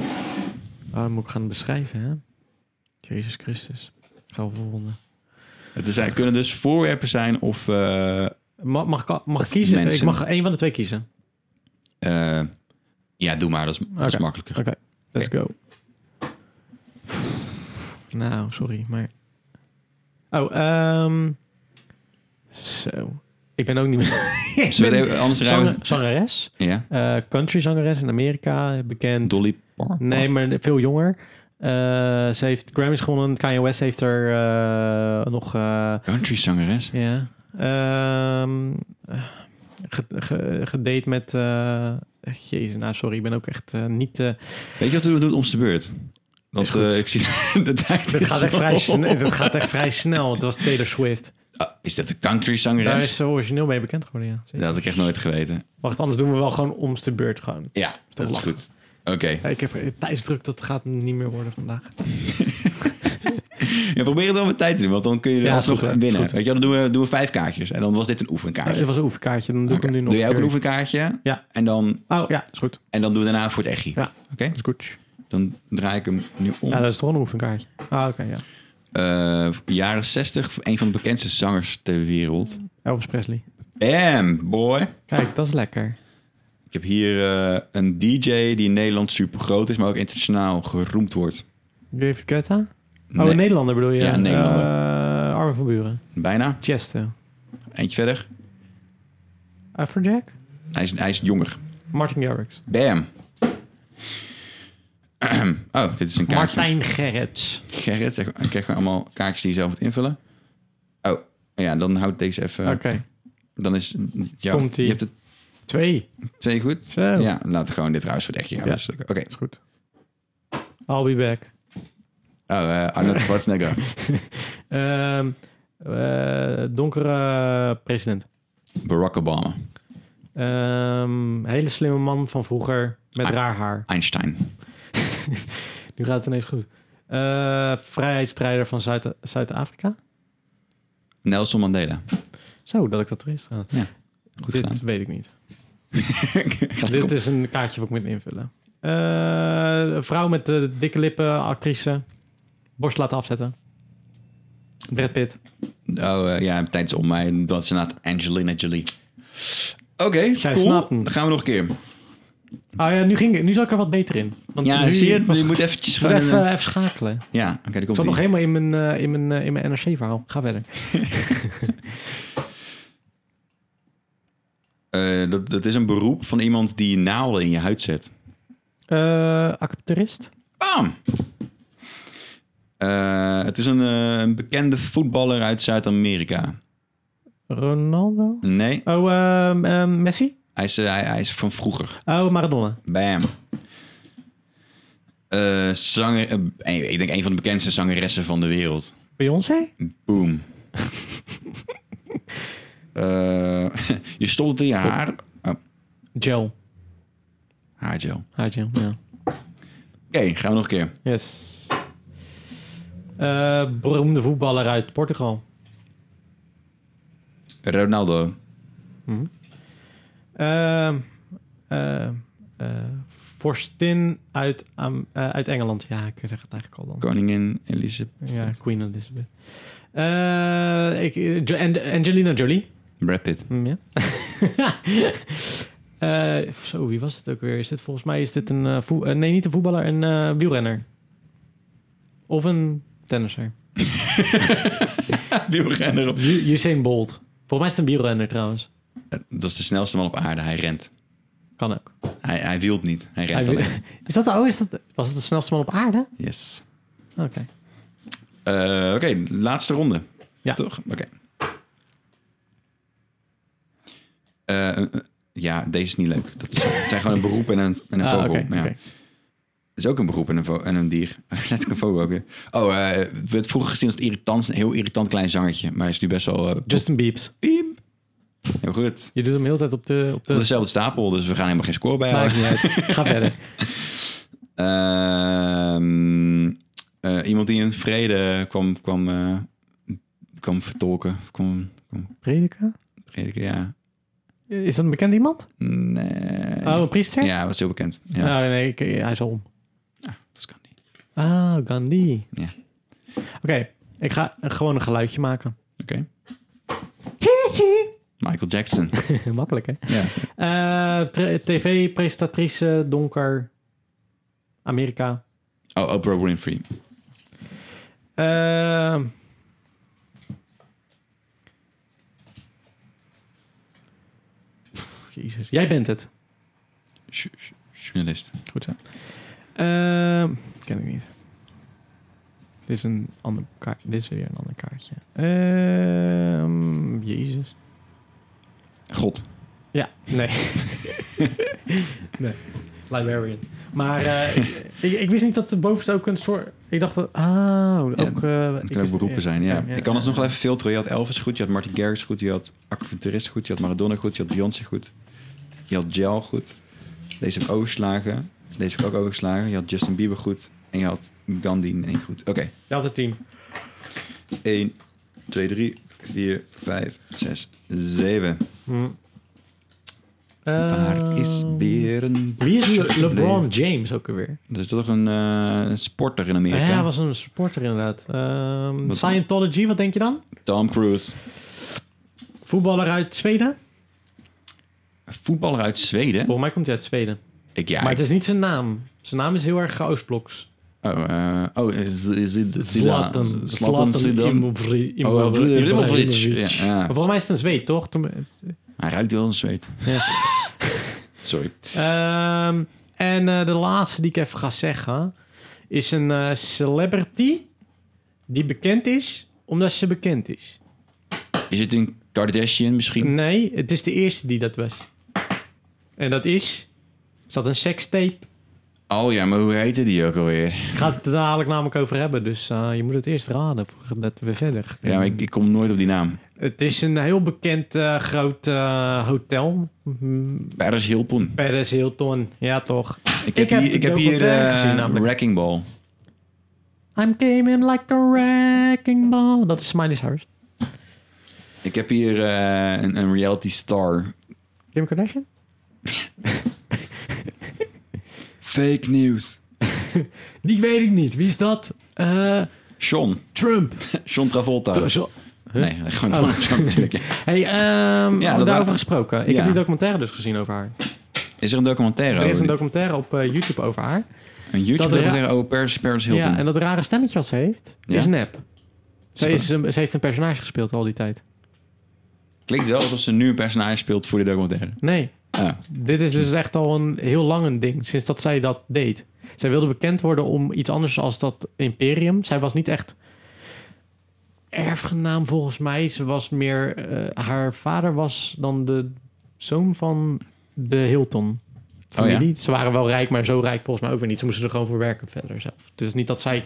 [SPEAKER 2] dan moet ik gaan beschrijven, hè? Jezus Christus. Gaan we volgende.
[SPEAKER 1] Het is, eh, kunnen dus voorwerpen zijn of eh,
[SPEAKER 2] Ma- Mag, ik al- mag ik
[SPEAKER 1] Of
[SPEAKER 2] kiezen?
[SPEAKER 1] mensen-
[SPEAKER 2] Ik mag één van de twee kiezen.
[SPEAKER 1] Eh, ja, doe maar. Dat is, dat is
[SPEAKER 2] Oké.
[SPEAKER 1] makkelijker.
[SPEAKER 2] Oké. Let's go. Nou, sorry, maar... Oh, ehm... Zo. Ik ben ook niet meer... Ik
[SPEAKER 1] Zullen we
[SPEAKER 2] ben
[SPEAKER 1] het even- anders
[SPEAKER 2] zanger-
[SPEAKER 1] ruimen?
[SPEAKER 2] zangeres.
[SPEAKER 1] Ja.
[SPEAKER 2] eh, country zangeres in Amerika. Bekend.
[SPEAKER 1] Dolly Parton.
[SPEAKER 2] Nee, maar veel jonger. Eh, ze heeft Grammys gewonnen. Kanye West heeft er eh, nog... eh,
[SPEAKER 1] Country zangeres.
[SPEAKER 2] ja. Ehm, eh, ge- ge- gedate met... eh, jezus, nou sorry, ik ben ook echt eh, niet... eh,
[SPEAKER 1] Weet je wat we doen om de beurt?
[SPEAKER 2] Is
[SPEAKER 1] Want
[SPEAKER 2] goed.
[SPEAKER 1] eh, ik zie de tijd.
[SPEAKER 2] dat,
[SPEAKER 1] is
[SPEAKER 2] gaat echt
[SPEAKER 1] op.
[SPEAKER 2] vrij snel, dat gaat echt vrij snel. Het was Taylor Swift.
[SPEAKER 1] Ah, is dat de country
[SPEAKER 2] Daar
[SPEAKER 1] zangeres?
[SPEAKER 2] is ze origineel mee bekend geworden, ja.
[SPEAKER 1] Dat had ik echt nooit geweten.
[SPEAKER 2] Wacht, anders doen we wel gewoon om de beurt gewoon.
[SPEAKER 1] Ja, dat is
[SPEAKER 2] lachen.
[SPEAKER 1] goed. Oké.
[SPEAKER 2] Ja, ik heb eh, tijdsdruk, dat gaat niet meer worden vandaag.
[SPEAKER 1] Ja, probeer het wel met tijd te doen, want dan kun je er
[SPEAKER 2] Ja, is
[SPEAKER 1] alsnog
[SPEAKER 2] goed, hè?
[SPEAKER 1] winnen.
[SPEAKER 2] Is goed.
[SPEAKER 1] Weet je, wel, dan doen we, doen we vijf kaartjes. En dan was dit een
[SPEAKER 2] Het
[SPEAKER 1] oefenkaartje.
[SPEAKER 2] dit was een oefenkaartje, dan doe ik
[SPEAKER 1] Oké.
[SPEAKER 2] hem nu nog.
[SPEAKER 1] Doe jij ook
[SPEAKER 2] een
[SPEAKER 1] een
[SPEAKER 2] keer.
[SPEAKER 1] oefenkaartje?
[SPEAKER 2] Ja.
[SPEAKER 1] En dan,
[SPEAKER 2] Oh ja, is goed.
[SPEAKER 1] en dan doen we daarna voor het echtje.
[SPEAKER 2] Ja.
[SPEAKER 1] Oké?
[SPEAKER 2] Dat is goed.
[SPEAKER 1] Dan draai ik hem nu om.
[SPEAKER 2] Ja, dat is toch een oefenkaartje. Ah, oké, ja.
[SPEAKER 1] Eh, jaren 60, een van de bekendste zangers ter wereld.
[SPEAKER 2] Elvis Presley.
[SPEAKER 1] Bam, boy.
[SPEAKER 2] Kijk, dat is lekker.
[SPEAKER 1] Ik heb hier eh, een DJ die in Nederland super groot is, maar ook internationaal geroemd wordt.
[SPEAKER 2] David Guetta? Oh,
[SPEAKER 1] Nee,
[SPEAKER 2] een Nederlander bedoel je?
[SPEAKER 1] Ja, een Nederlander.
[SPEAKER 2] Eh, Armin van Buren.
[SPEAKER 1] Bijna.
[SPEAKER 2] Chesto.
[SPEAKER 1] Eentje verder.
[SPEAKER 2] Afrojack?
[SPEAKER 1] Hij is, hij is jonger.
[SPEAKER 2] Martin Garrix.
[SPEAKER 1] Bam. Oh, dit is een kaartje.
[SPEAKER 2] Martijn Gerrits.
[SPEAKER 1] Gerrit, zeg, ik krijg gewoon allemaal kaartjes die je zelf moet invullen. Oh, ja, dan houdt deze even.
[SPEAKER 2] Oké,
[SPEAKER 1] Dan is ja,
[SPEAKER 2] Komt-ie.
[SPEAKER 1] Je hebt het
[SPEAKER 2] twee.
[SPEAKER 1] twee goed.
[SPEAKER 2] Zo.
[SPEAKER 1] Ja, laat gewoon dit ruis voor het echtje. Ja,
[SPEAKER 2] Oh. Ja.
[SPEAKER 1] dat is leuk. Oké.
[SPEAKER 2] Is goed. I'll be back.
[SPEAKER 1] Oh, eh, Arnold Schwarzenegger.
[SPEAKER 2] Ehm, eh, donkere president.
[SPEAKER 1] Barack Obama.
[SPEAKER 2] Ehm, hele slimme man van vroeger met
[SPEAKER 1] Ah.
[SPEAKER 2] raar haar.
[SPEAKER 1] Einstein.
[SPEAKER 2] Nu gaat het ineens goed. Eh, vrijheidsstrijder van Zuid- Zuid-Afrika.
[SPEAKER 1] Nelson Mandela.
[SPEAKER 2] Zo, dat ik dat erin sta.
[SPEAKER 1] Goed
[SPEAKER 2] Dit
[SPEAKER 1] gedaan.
[SPEAKER 2] weet ik niet.
[SPEAKER 1] Gelijk op.
[SPEAKER 2] Dit is een kaartje wat ik moet invullen. Eh, een vrouw met eh, dikke lippen, actrice. Borst laten afzetten. Brad Pitt.
[SPEAKER 1] Oh, eh, ja, tijdens om mij. Dat is inderdaad Angelina Jolie. Oké, cool.
[SPEAKER 2] snapt hem.
[SPEAKER 1] Dan gaan we nog een keer.
[SPEAKER 2] Ah ja, nu, ging, ik- nu zat ik er wat beter in. Want
[SPEAKER 1] ja,
[SPEAKER 2] nu
[SPEAKER 1] zie je? het?
[SPEAKER 2] was-
[SPEAKER 1] je moet eventjes
[SPEAKER 2] Moet
[SPEAKER 1] gewoon...
[SPEAKER 2] even,
[SPEAKER 1] een-
[SPEAKER 2] even schakelen.
[SPEAKER 1] Ja, oké, daar
[SPEAKER 2] Ik
[SPEAKER 1] komt
[SPEAKER 2] zat nog
[SPEAKER 1] ie.
[SPEAKER 2] helemaal in mijn, eh, in mijn, eh, in mijn NRC-verhaal. Ga verder.
[SPEAKER 1] Eh, dat, dat is een beroep van iemand die naalden in je huid zet.
[SPEAKER 2] Eh actorist?
[SPEAKER 1] Bam! Eh, het is een, eh, een bekende voetballer uit Zuid-Amerika.
[SPEAKER 2] Ronaldo?
[SPEAKER 1] Nee,
[SPEAKER 2] Oh, ehm, ehm, Messi?
[SPEAKER 1] hij is, eh, hij, hij is van vroeger.
[SPEAKER 2] Oh, Maradona.
[SPEAKER 1] Bam. Eh, zanger, eh, een- ik denk een van de bekendste zangeressen van de wereld.
[SPEAKER 2] Beyoncé?
[SPEAKER 1] Boom. Eh, je stopt het in je
[SPEAKER 2] Stop.
[SPEAKER 1] haar. Oh,
[SPEAKER 2] Gel.
[SPEAKER 1] haargel. Oké,
[SPEAKER 2] Haar gel, ja.
[SPEAKER 1] gaan we nog een keer.
[SPEAKER 2] Yes. Eh, beroemde voetballer uit Portugal.
[SPEAKER 1] Ronaldo.
[SPEAKER 2] Mhm. Ehm eh, eh, vorstin uit, Am- eh, uit Engeland. Ja, ik zeg het eigenlijk al dan.
[SPEAKER 1] Koningin Elizabeth.
[SPEAKER 2] Ja, Queen Elizabeth. Eh, ik, eh, Jo- Ang- Angelina Jolie.
[SPEAKER 1] Brad Pitt.
[SPEAKER 2] Mm, ja. Eh, zo, wie was het ook weer? Is dit volgens mij is dit een eh, voe- eh, nee, niet een voetballer, een eh, wielrenner. Of een tennisser.
[SPEAKER 1] Wielrenner op.
[SPEAKER 2] U- Usain Bolt. Volgens mij is het een wielrenner trouwens.
[SPEAKER 1] Eh, Dat is de snelste man op aarde. Hij rent.
[SPEAKER 2] Kan ook.
[SPEAKER 1] Hij, hij wielt niet. Hij rent
[SPEAKER 2] Hij-
[SPEAKER 1] alleen.
[SPEAKER 2] is dat, oh, is dat, was het de snelste man op aarde?
[SPEAKER 1] Yes.
[SPEAKER 2] Oké.
[SPEAKER 1] Eh, Oké, laatste ronde.
[SPEAKER 2] Ja.
[SPEAKER 1] Toch? Oké. Eh, eh, ja, deze is niet leuk. Dat is- het zijn gewoon een beroep en een, en een
[SPEAKER 2] Ah,
[SPEAKER 1] vogel.
[SPEAKER 2] oké,
[SPEAKER 1] ja.
[SPEAKER 2] oké.
[SPEAKER 1] Het is ook een beroep en een, vo- en een dier. Let ik een vogel ook weer. Oh, eh, we hebben het vroeger gezien als irritant, een heel irritant klein zangetje. Maar hij is nu best wel... eh,
[SPEAKER 2] Justin Biebs.
[SPEAKER 1] piep. Heel goed.
[SPEAKER 2] Je doet hem de hele tijd op de... Op de
[SPEAKER 1] Op dezelfde stapel, dus we gaan helemaal geen score bij
[SPEAKER 2] Maakt
[SPEAKER 1] houden.
[SPEAKER 2] niet uit. Ga verder.
[SPEAKER 1] Ehm, eh, iemand die in vrede kwam, kwam, eh, kwam vertolken. Kwam, kwam
[SPEAKER 2] Prediker?
[SPEAKER 1] prediken, ja.
[SPEAKER 2] Is dat een bekend iemand?
[SPEAKER 1] Nee.
[SPEAKER 2] Oh, een priester?
[SPEAKER 1] Ja, was heel bekend. Ja,
[SPEAKER 2] Oh, nee, ik- hij is al om.
[SPEAKER 1] dat kan niet.
[SPEAKER 2] Ah, Gandhi.
[SPEAKER 1] Ja.
[SPEAKER 2] Oké, ik ga eh, gewoon een geluidje maken.
[SPEAKER 1] Oké. Michael Jackson.
[SPEAKER 2] Makkelijk, hè?
[SPEAKER 1] ja.
[SPEAKER 2] Eh, tre- TV-presentatrice, donker, Amerika.
[SPEAKER 1] Oh, Oprah Winfrey.
[SPEAKER 2] Ehm. Jezus, jij bent het.
[SPEAKER 1] Ju- ju- Journalist. Goed zo.
[SPEAKER 2] Ehm, ken ik niet. Dit is een ander kaart. Dit is weer een ander kaartje. Ehm, Jezus.
[SPEAKER 1] God.
[SPEAKER 2] Ja, nee. nee. Librarian. Maar eh, ik, ik wist niet dat de bovenste ook een soort... Ik dacht dat... Ah, ook... eh, ik
[SPEAKER 1] Het kan ook
[SPEAKER 2] wist-
[SPEAKER 1] beroepen zijn, ja.
[SPEAKER 2] ja,
[SPEAKER 1] Ik kan
[SPEAKER 2] ja,
[SPEAKER 1] ons nog
[SPEAKER 2] ja.
[SPEAKER 1] wel even filteren. Je had Elvis goed, je had Martin Garrix goed, je had Aquaventurist goed, je had Maradona goed, je had Beyoncé goed. Je had Gel goed. Deze heb ik overgeslagen. Deze heb ik ook overgeslagen. Je had Justin Bieber goed. En je had Gandhi niet goed. Oké.
[SPEAKER 2] Je had het team.
[SPEAKER 1] 1, 2, 3, 4, 5, 6, 7.
[SPEAKER 2] Hm.
[SPEAKER 1] Waar is Beren?
[SPEAKER 2] Ehm, Wie is Le-
[SPEAKER 1] gebleven?
[SPEAKER 2] LeBron James ook alweer?
[SPEAKER 1] Dat is toch een eh, een sporter in
[SPEAKER 2] Ja,
[SPEAKER 1] Amerika?
[SPEAKER 2] hij was een sporter inderdaad. Ehm,
[SPEAKER 1] Wat-
[SPEAKER 2] Scientology, wat denk je dan?
[SPEAKER 1] Tom Cruise.
[SPEAKER 2] Voetballer uit Zweden?
[SPEAKER 1] Voetballer uit Zweden.
[SPEAKER 2] Volgens mij komt hij uit Zweden.
[SPEAKER 1] Ik, ja,
[SPEAKER 2] maar
[SPEAKER 1] ik-
[SPEAKER 2] het is niet zijn naam. Zijn naam is heel erg Oostbloks.
[SPEAKER 1] Oh, eh, oh, is, is het
[SPEAKER 2] Zlatan.
[SPEAKER 1] Zidane?
[SPEAKER 2] Zlatan
[SPEAKER 1] Zlatan Zidane.
[SPEAKER 2] Imovri-
[SPEAKER 1] Oh, eh,
[SPEAKER 2] Imovri-
[SPEAKER 1] Ibrahimovic.
[SPEAKER 2] Ibrahimovic.
[SPEAKER 1] Ja, ja.
[SPEAKER 2] Maar Volgens mij is het een Zweed, toch? Toen-
[SPEAKER 1] Hij ruikt wel een zweet.
[SPEAKER 2] Ja.
[SPEAKER 1] Sorry.
[SPEAKER 2] Ehm, en eh, de laatste die ik even ga zeggen is een eh, celebrity die bekend is omdat ze bekend is.
[SPEAKER 1] Is het een Kardashian misschien?
[SPEAKER 2] Nee, het is de eerste die dat was. En dat is. Is dat een sekstape?
[SPEAKER 1] Oh ja, maar hoe heette die ook alweer?
[SPEAKER 2] Ik ga het er dadelijk namelijk over hebben, dus eh, je moet het eerst raden voordat we verder.
[SPEAKER 1] Ja, maar ik, ik kom nooit op die naam.
[SPEAKER 2] Het is een heel bekend eh, groot eh, hotel. Mm,
[SPEAKER 1] Paris Hilton.
[SPEAKER 2] Paris Hilton, ja toch.
[SPEAKER 1] Ik heb,
[SPEAKER 2] heb
[SPEAKER 1] hier,
[SPEAKER 2] de
[SPEAKER 1] ik heb hier
[SPEAKER 2] documentaire
[SPEAKER 1] eh,
[SPEAKER 2] gezien namelijk.
[SPEAKER 1] Wrecking Ball.
[SPEAKER 2] I'm came in like a wrecking ball. Dat is Miley Cyrus.
[SPEAKER 1] Ik heb hier eh, een, een reality star.
[SPEAKER 2] Kim Kardashian?
[SPEAKER 1] Fake news.
[SPEAKER 2] Die weet ik niet. Wie is dat? Eh,
[SPEAKER 1] Sean.
[SPEAKER 2] Trump.
[SPEAKER 1] Sean Travolta.
[SPEAKER 2] Tro- zo-
[SPEAKER 1] Nee, gewoon Donald
[SPEAKER 2] Oh.
[SPEAKER 1] Trump natuurlijk. ja.
[SPEAKER 2] Hey, ehm
[SPEAKER 1] Ja, dat
[SPEAKER 2] daarover
[SPEAKER 1] waren-
[SPEAKER 2] gesproken. Ik
[SPEAKER 1] Ja.
[SPEAKER 2] heb die documentaire dus gezien over haar.
[SPEAKER 1] Is er een documentaire
[SPEAKER 2] Er is
[SPEAKER 1] over?
[SPEAKER 2] een
[SPEAKER 1] die-
[SPEAKER 2] documentaire op eh, YouTube over haar.
[SPEAKER 1] Een
[SPEAKER 2] dat er-
[SPEAKER 1] YouTube-documentaire over oh, Paris, Paris Hilton.
[SPEAKER 2] Ja, en dat rare stemmetje wat ze heeft,
[SPEAKER 1] Ja.
[SPEAKER 2] is nep. Ze,
[SPEAKER 1] Super.
[SPEAKER 2] is, een- ze heeft een personage gespeeld al die tijd.
[SPEAKER 1] Klinkt wel alsof ze nu een personage speelt voor die documentaire.
[SPEAKER 2] Nee,
[SPEAKER 1] Ah.
[SPEAKER 2] dit is dus echt al een heel lang een ding, sinds dat zij dat deed. Zij wilde bekend worden om iets anders als dat imperium. Zij was niet echt erfgenaam volgens mij. Ze was meer, eh, haar vader was dan de zoon van de Hilton. Familie. Ze waren wel rijk, maar zo rijk volgens mij ook weer niet. Ze moesten er gewoon voor werken verder zelf. Dus niet dat zij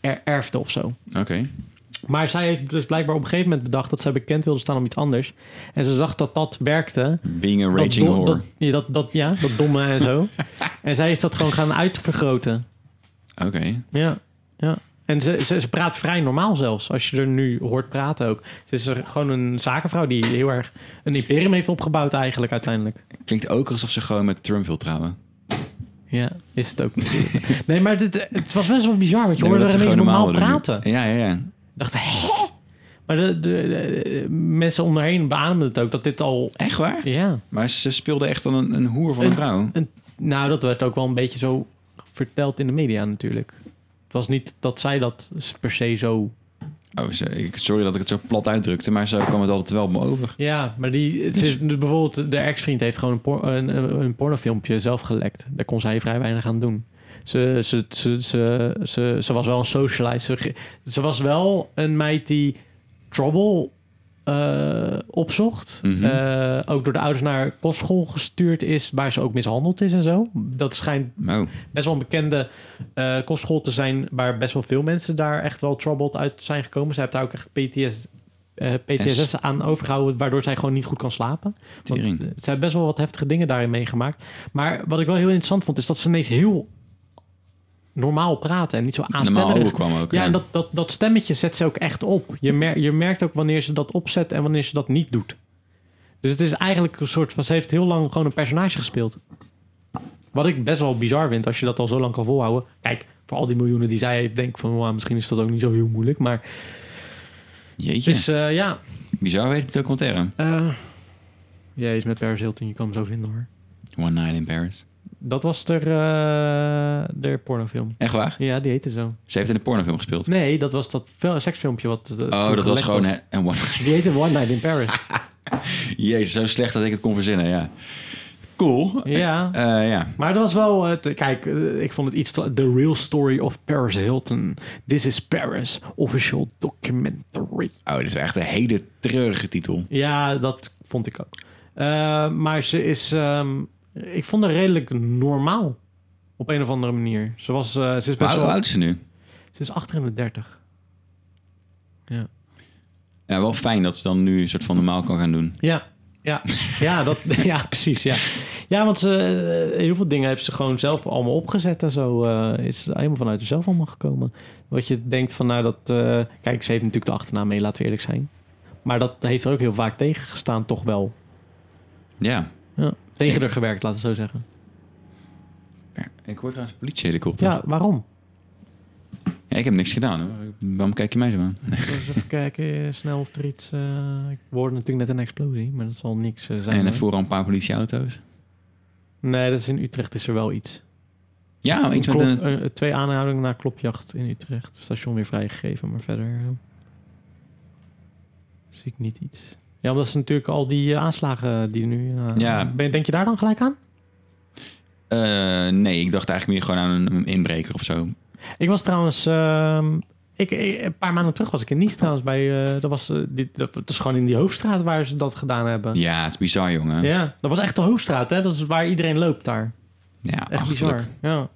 [SPEAKER 2] er erfde of zo.
[SPEAKER 1] Oké.
[SPEAKER 2] Maar zij heeft dus blijkbaar op een gegeven moment bedacht dat zij bekend wilde staan om iets anders. En ze zag dat dat werkte.
[SPEAKER 1] Being a
[SPEAKER 2] Dat
[SPEAKER 1] raging
[SPEAKER 2] dom-
[SPEAKER 1] whore.
[SPEAKER 2] dat, ja, dat, dat, ja, dat domme en zo. en zij is dat gewoon gaan uitvergroten.
[SPEAKER 1] Oké.
[SPEAKER 2] Ja, ja. En ze, ze, ze praat vrij normaal zelfs, als je er nu hoort praten ook. Ze is er gewoon een zakenvrouw die heel erg een imperium heeft opgebouwd eigenlijk uiteindelijk.
[SPEAKER 1] Klinkt ook alsof ze gewoon met Trump wil trouwen.
[SPEAKER 2] Ja, is het ook natuurlijk. nee, maar dit, het was best wel bizar, want je hoorde
[SPEAKER 1] Nee,
[SPEAKER 2] er
[SPEAKER 1] dat ze
[SPEAKER 2] ineens
[SPEAKER 1] gewoon
[SPEAKER 2] normaal
[SPEAKER 1] willen
[SPEAKER 2] praten.
[SPEAKER 1] doen. Ja, ja, ja.
[SPEAKER 2] Ik dacht, hè? Maar de, de, de- mensen om haar heen beaamden het ook, dat dit al...
[SPEAKER 1] Echt waar?
[SPEAKER 2] Ja.
[SPEAKER 1] Maar ze speelde echt dan een, een hoer van een
[SPEAKER 2] Een-
[SPEAKER 1] vrouw.
[SPEAKER 2] Nou, dat werd ook wel een beetje zo verteld in de media natuurlijk. Het was niet dat zij dat per se zo...
[SPEAKER 1] Oh, ze- ik- sorry dat ik het zo plat uitdrukte, maar zo kwam het altijd wel op me over.
[SPEAKER 2] Ja, maar die, het is, bijvoorbeeld de ex-vriend heeft gewoon een, por- een, een pornofilmpje zelf gelekt. Daar kon zij vrij weinig aan doen. Ze, ze, ze, ze, ze, ze was wel een socialite. Ze, ge- ze was wel een meid die trouble eh, opzocht.
[SPEAKER 1] Mhm.
[SPEAKER 2] Eh, ook door de ouders naar kostschool gestuurd is, waar ze ook mishandeld is en zo. Dat schijnt
[SPEAKER 1] Oh,
[SPEAKER 2] best wel een bekende eh, kostschool te zijn... waar best wel veel mensen daar echt wel troubled uit zijn gekomen. Zij heeft daar ook echt PTS, eh, PTSS aan overgehouden... waardoor zij gewoon niet goed kan slapen. Want eh,
[SPEAKER 1] Tering.
[SPEAKER 2] zij heeft best wel wat heftige dingen daarin meegemaakt. Maar wat ik wel heel interessant vond... is dat ze ineens heel normaal praten en niet zo
[SPEAKER 1] normaal
[SPEAKER 2] aanstellerig.
[SPEAKER 1] overkwam ook.
[SPEAKER 2] Ja, en dat, dat, dat stemmetje zet ze ook echt op. Je, mer- je merkt ook wanneer ze dat opzet en wanneer ze dat niet doet. Dus het is eigenlijk een soort van... Ze heeft heel lang gewoon een personage gespeeld. Wat ik best wel bizar vind als je dat al zo lang kan volhouden. Kijk, voor al die miljoenen die zij heeft... denk ik van, wow, misschien is dat ook niet zo heel moeilijk. Maar het
[SPEAKER 1] Jeetje,
[SPEAKER 2] is, eh, ja...
[SPEAKER 1] bizar weet het documentaire.
[SPEAKER 2] eh, Jij is met Paris Hilton, je kan hem zo vinden hoor.
[SPEAKER 1] One Night in Paris.
[SPEAKER 2] Dat was ter, eh der pornofilm.
[SPEAKER 1] Echt waar?
[SPEAKER 2] Ja, die heette zo.
[SPEAKER 1] Ze heeft in een pornofilm gespeeld.
[SPEAKER 2] Nee, dat was dat fel- seksfilmpje wat... eh, toen
[SPEAKER 1] oh, dat was
[SPEAKER 2] gelekt
[SPEAKER 1] gewoon een one
[SPEAKER 2] Die heette One Night in Paris.
[SPEAKER 1] Jezus, zo slecht dat ik het kon verzinnen, ja. Cool.
[SPEAKER 2] ja.
[SPEAKER 1] Eh, ja.
[SPEAKER 2] Maar dat was wel... eh, t- kijk, eh, ik vond het iets... te- The Real Story of Paris Hilton. This is Paris. Official documentary.
[SPEAKER 1] Oh, dit is echt een hele treurige titel.
[SPEAKER 2] Ja, dat vond ik ook. Eh, maar ze is... ehm, ik vond haar redelijk normaal. Op een of andere manier. Ze, was, eh, ze is
[SPEAKER 1] Maar
[SPEAKER 2] best
[SPEAKER 1] Hoe
[SPEAKER 2] wel...
[SPEAKER 1] oud is ze nu?
[SPEAKER 2] Ze is 38.
[SPEAKER 1] Ja, wel fijn dat ze dan nu een soort van normaal kan gaan doen.
[SPEAKER 2] Ja, ja, ja, dat, ja precies. Ja. ja, want ze, eh, heel veel dingen heeft ze gewoon zelf allemaal opgezet en zo. eh, is het helemaal vanuit zichzelf allemaal gekomen. Wat je denkt van, nou dat... eh, kijk, ze heeft natuurlijk de achternaam mee, laten we eerlijk zijn. Maar dat heeft er ook heel vaak tegengestaan, toch wel.
[SPEAKER 1] Ja.
[SPEAKER 2] Ja, tegen haar gewerkt, laten we zo zeggen.
[SPEAKER 1] Ik hoor trouwens een politiehelikopter.
[SPEAKER 2] Ja, waarom?
[SPEAKER 1] Ja, ik heb niks gedaan. Hoor. Waarom kijk je mij zo aan?
[SPEAKER 2] Dus even kijken, eh, snel of er iets... eh, ik hoorde natuurlijk net een explosie, maar dat zal niks eh, zijn.
[SPEAKER 1] en
[SPEAKER 2] hoor.
[SPEAKER 1] er vooral een paar politieauto's.
[SPEAKER 2] Nee, dat is in Utrecht is er wel iets.
[SPEAKER 1] Ja, Oh, iets met
[SPEAKER 2] Klop-
[SPEAKER 1] een...
[SPEAKER 2] eh, twee aanhoudingen na klopjacht in Utrecht. Station weer vrijgegeven, maar verder eh, zie ik niet iets. Ja, omdat ze natuurlijk al die eh, aanslagen die nu... eh,
[SPEAKER 1] Ja.
[SPEAKER 2] ben- denk je daar dan gelijk aan?
[SPEAKER 1] eh, nee, ik dacht eigenlijk meer gewoon aan een inbreker of zo.
[SPEAKER 2] Ik was trouwens... ehm, ik, ik- een paar maanden terug was ik in Nice trouwens bij... eh, dat, was, eh, dit, dat, dat is gewoon in die hoofdstraat waar ze dat gedaan hebben. Ja.
[SPEAKER 1] Ja, het is bizar, jongen.
[SPEAKER 2] dat was echt de hoofdstraat, hè? Dat is waar iedereen loopt daar.
[SPEAKER 1] Ja,
[SPEAKER 2] Echt
[SPEAKER 1] achterlijk.
[SPEAKER 2] bizar. Ja.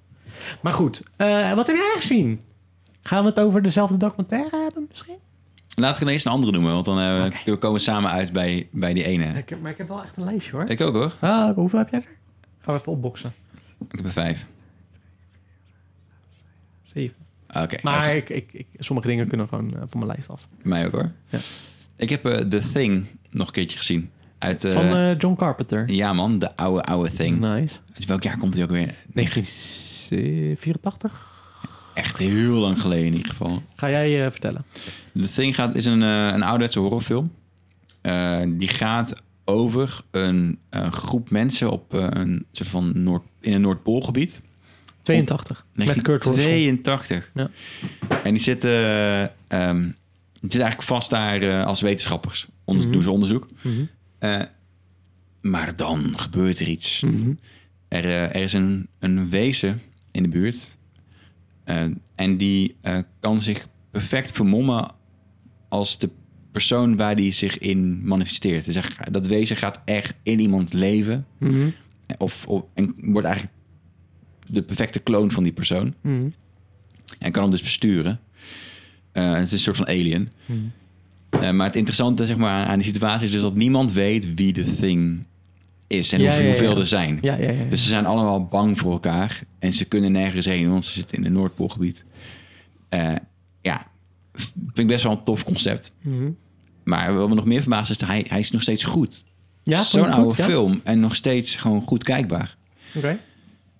[SPEAKER 2] Maar goed, eh, wat heb jij gezien? Gaan we het over dezelfde documentaire hebben misschien?
[SPEAKER 1] Laten we ineens een andere noemen, want dan eh,
[SPEAKER 2] Oké.
[SPEAKER 1] we komen we samen uit bij, bij die ene.
[SPEAKER 2] Ik heb- maar ik heb wel echt een lijstje hoor.
[SPEAKER 1] Ik ook hoor.
[SPEAKER 2] Ah, hoeveel heb jij er? Gaan we even opboksen.
[SPEAKER 1] Ik heb er vijf.
[SPEAKER 2] Zeven.
[SPEAKER 1] Ah, Oké.
[SPEAKER 2] Maar
[SPEAKER 1] oké.
[SPEAKER 2] ik, ik, ik, sommige dingen kunnen gewoon eh, van mijn lijst af.
[SPEAKER 1] Mij ook hoor.
[SPEAKER 2] Ja.
[SPEAKER 1] Ik heb eh, The Thing nog een keertje gezien. Uit, eh,
[SPEAKER 2] van eh, Nou. John Carpenter.
[SPEAKER 1] ja man, de oude, oude Thing.
[SPEAKER 2] Nice.
[SPEAKER 1] Uit welk jaar komt die ook weer?
[SPEAKER 2] 1984.
[SPEAKER 1] Echt heel lang geleden in ieder geval.
[SPEAKER 2] Ga jij eh, vertellen?
[SPEAKER 1] The Thing gaat, is een, eh, een ouderwetse horrorfilm. Eh, die gaat over een, eh, groep mensen op eh, een soort van Noord, in een Noordpoolgebied.
[SPEAKER 2] 82. Met Kurt Russell.
[SPEAKER 1] 1982.
[SPEAKER 2] Ja.
[SPEAKER 1] En die zitten, eh, ehm, die zitten eigenlijk vast daar eh, als wetenschappers. Onder,
[SPEAKER 2] Mhm.
[SPEAKER 1] Doen ze onderzoek.
[SPEAKER 2] Mhm.
[SPEAKER 1] Eh, maar dan gebeurt er iets.
[SPEAKER 2] Mhm.
[SPEAKER 1] Er, eh, er is een, een wezen in de buurt. Eh, en die eh, kan zich perfect vermommen als de persoon waar die zich in manifesteert. Dus hij- dat wezen gaat echt in iemand leven.
[SPEAKER 2] Mhm.
[SPEAKER 1] Eh, Of, of, en wordt eigenlijk de perfecte kloon van die persoon.
[SPEAKER 2] Mhm.
[SPEAKER 1] En kan hem dus besturen. Eh, het is een soort van alien.
[SPEAKER 2] Mhm.
[SPEAKER 1] Eh, maar het interessante zeg maar, aan die situatie is dus dat niemand weet wie de thing is en
[SPEAKER 2] Ja,
[SPEAKER 1] hoeveel,
[SPEAKER 2] ja, ja.
[SPEAKER 1] hoeveel er zijn.
[SPEAKER 2] Ja, ja, ja. ja.
[SPEAKER 1] Dus ze zijn allemaal bang voor elkaar en ze kunnen nergens heen, want ze zitten in het Noordpoolgebied. Eh, ja, vind ik best wel een tof concept.
[SPEAKER 2] Mhm.
[SPEAKER 1] Maar wat me nog meer verbaast is dat hij, hij is nog steeds goed.
[SPEAKER 2] ja vond je
[SPEAKER 1] Zo'n
[SPEAKER 2] het
[SPEAKER 1] oude
[SPEAKER 2] goed? Ja?
[SPEAKER 1] film en nog steeds gewoon goed kijkbaar.
[SPEAKER 2] Oké.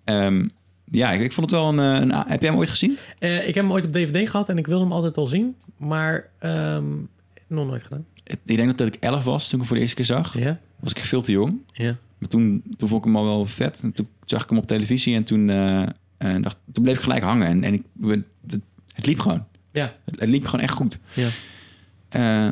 [SPEAKER 1] Ehm, ja, ik, ik vond het wel een, eh, een a- Heb jij hem ooit gezien?
[SPEAKER 2] Eh, ik heb hem ooit op DVD gehad en ik wilde hem altijd al zien. Maar ehm, nog nooit gedaan.
[SPEAKER 1] Het- Ik denk dat ik elf was toen ik hem voor de eerste keer zag.
[SPEAKER 2] Ja?
[SPEAKER 1] Was ik veel te jong.
[SPEAKER 2] Ja.
[SPEAKER 1] Maar toen, toen vond ik hem al wel vet. En toen zag ik hem op televisie en toen, eh, eh, dacht, toen bleef ik gelijk hangen. En, en ik, we- het, het liep gewoon.
[SPEAKER 2] Ja.
[SPEAKER 1] Het, het liep gewoon echt goed.
[SPEAKER 2] Ja.
[SPEAKER 1] Eh,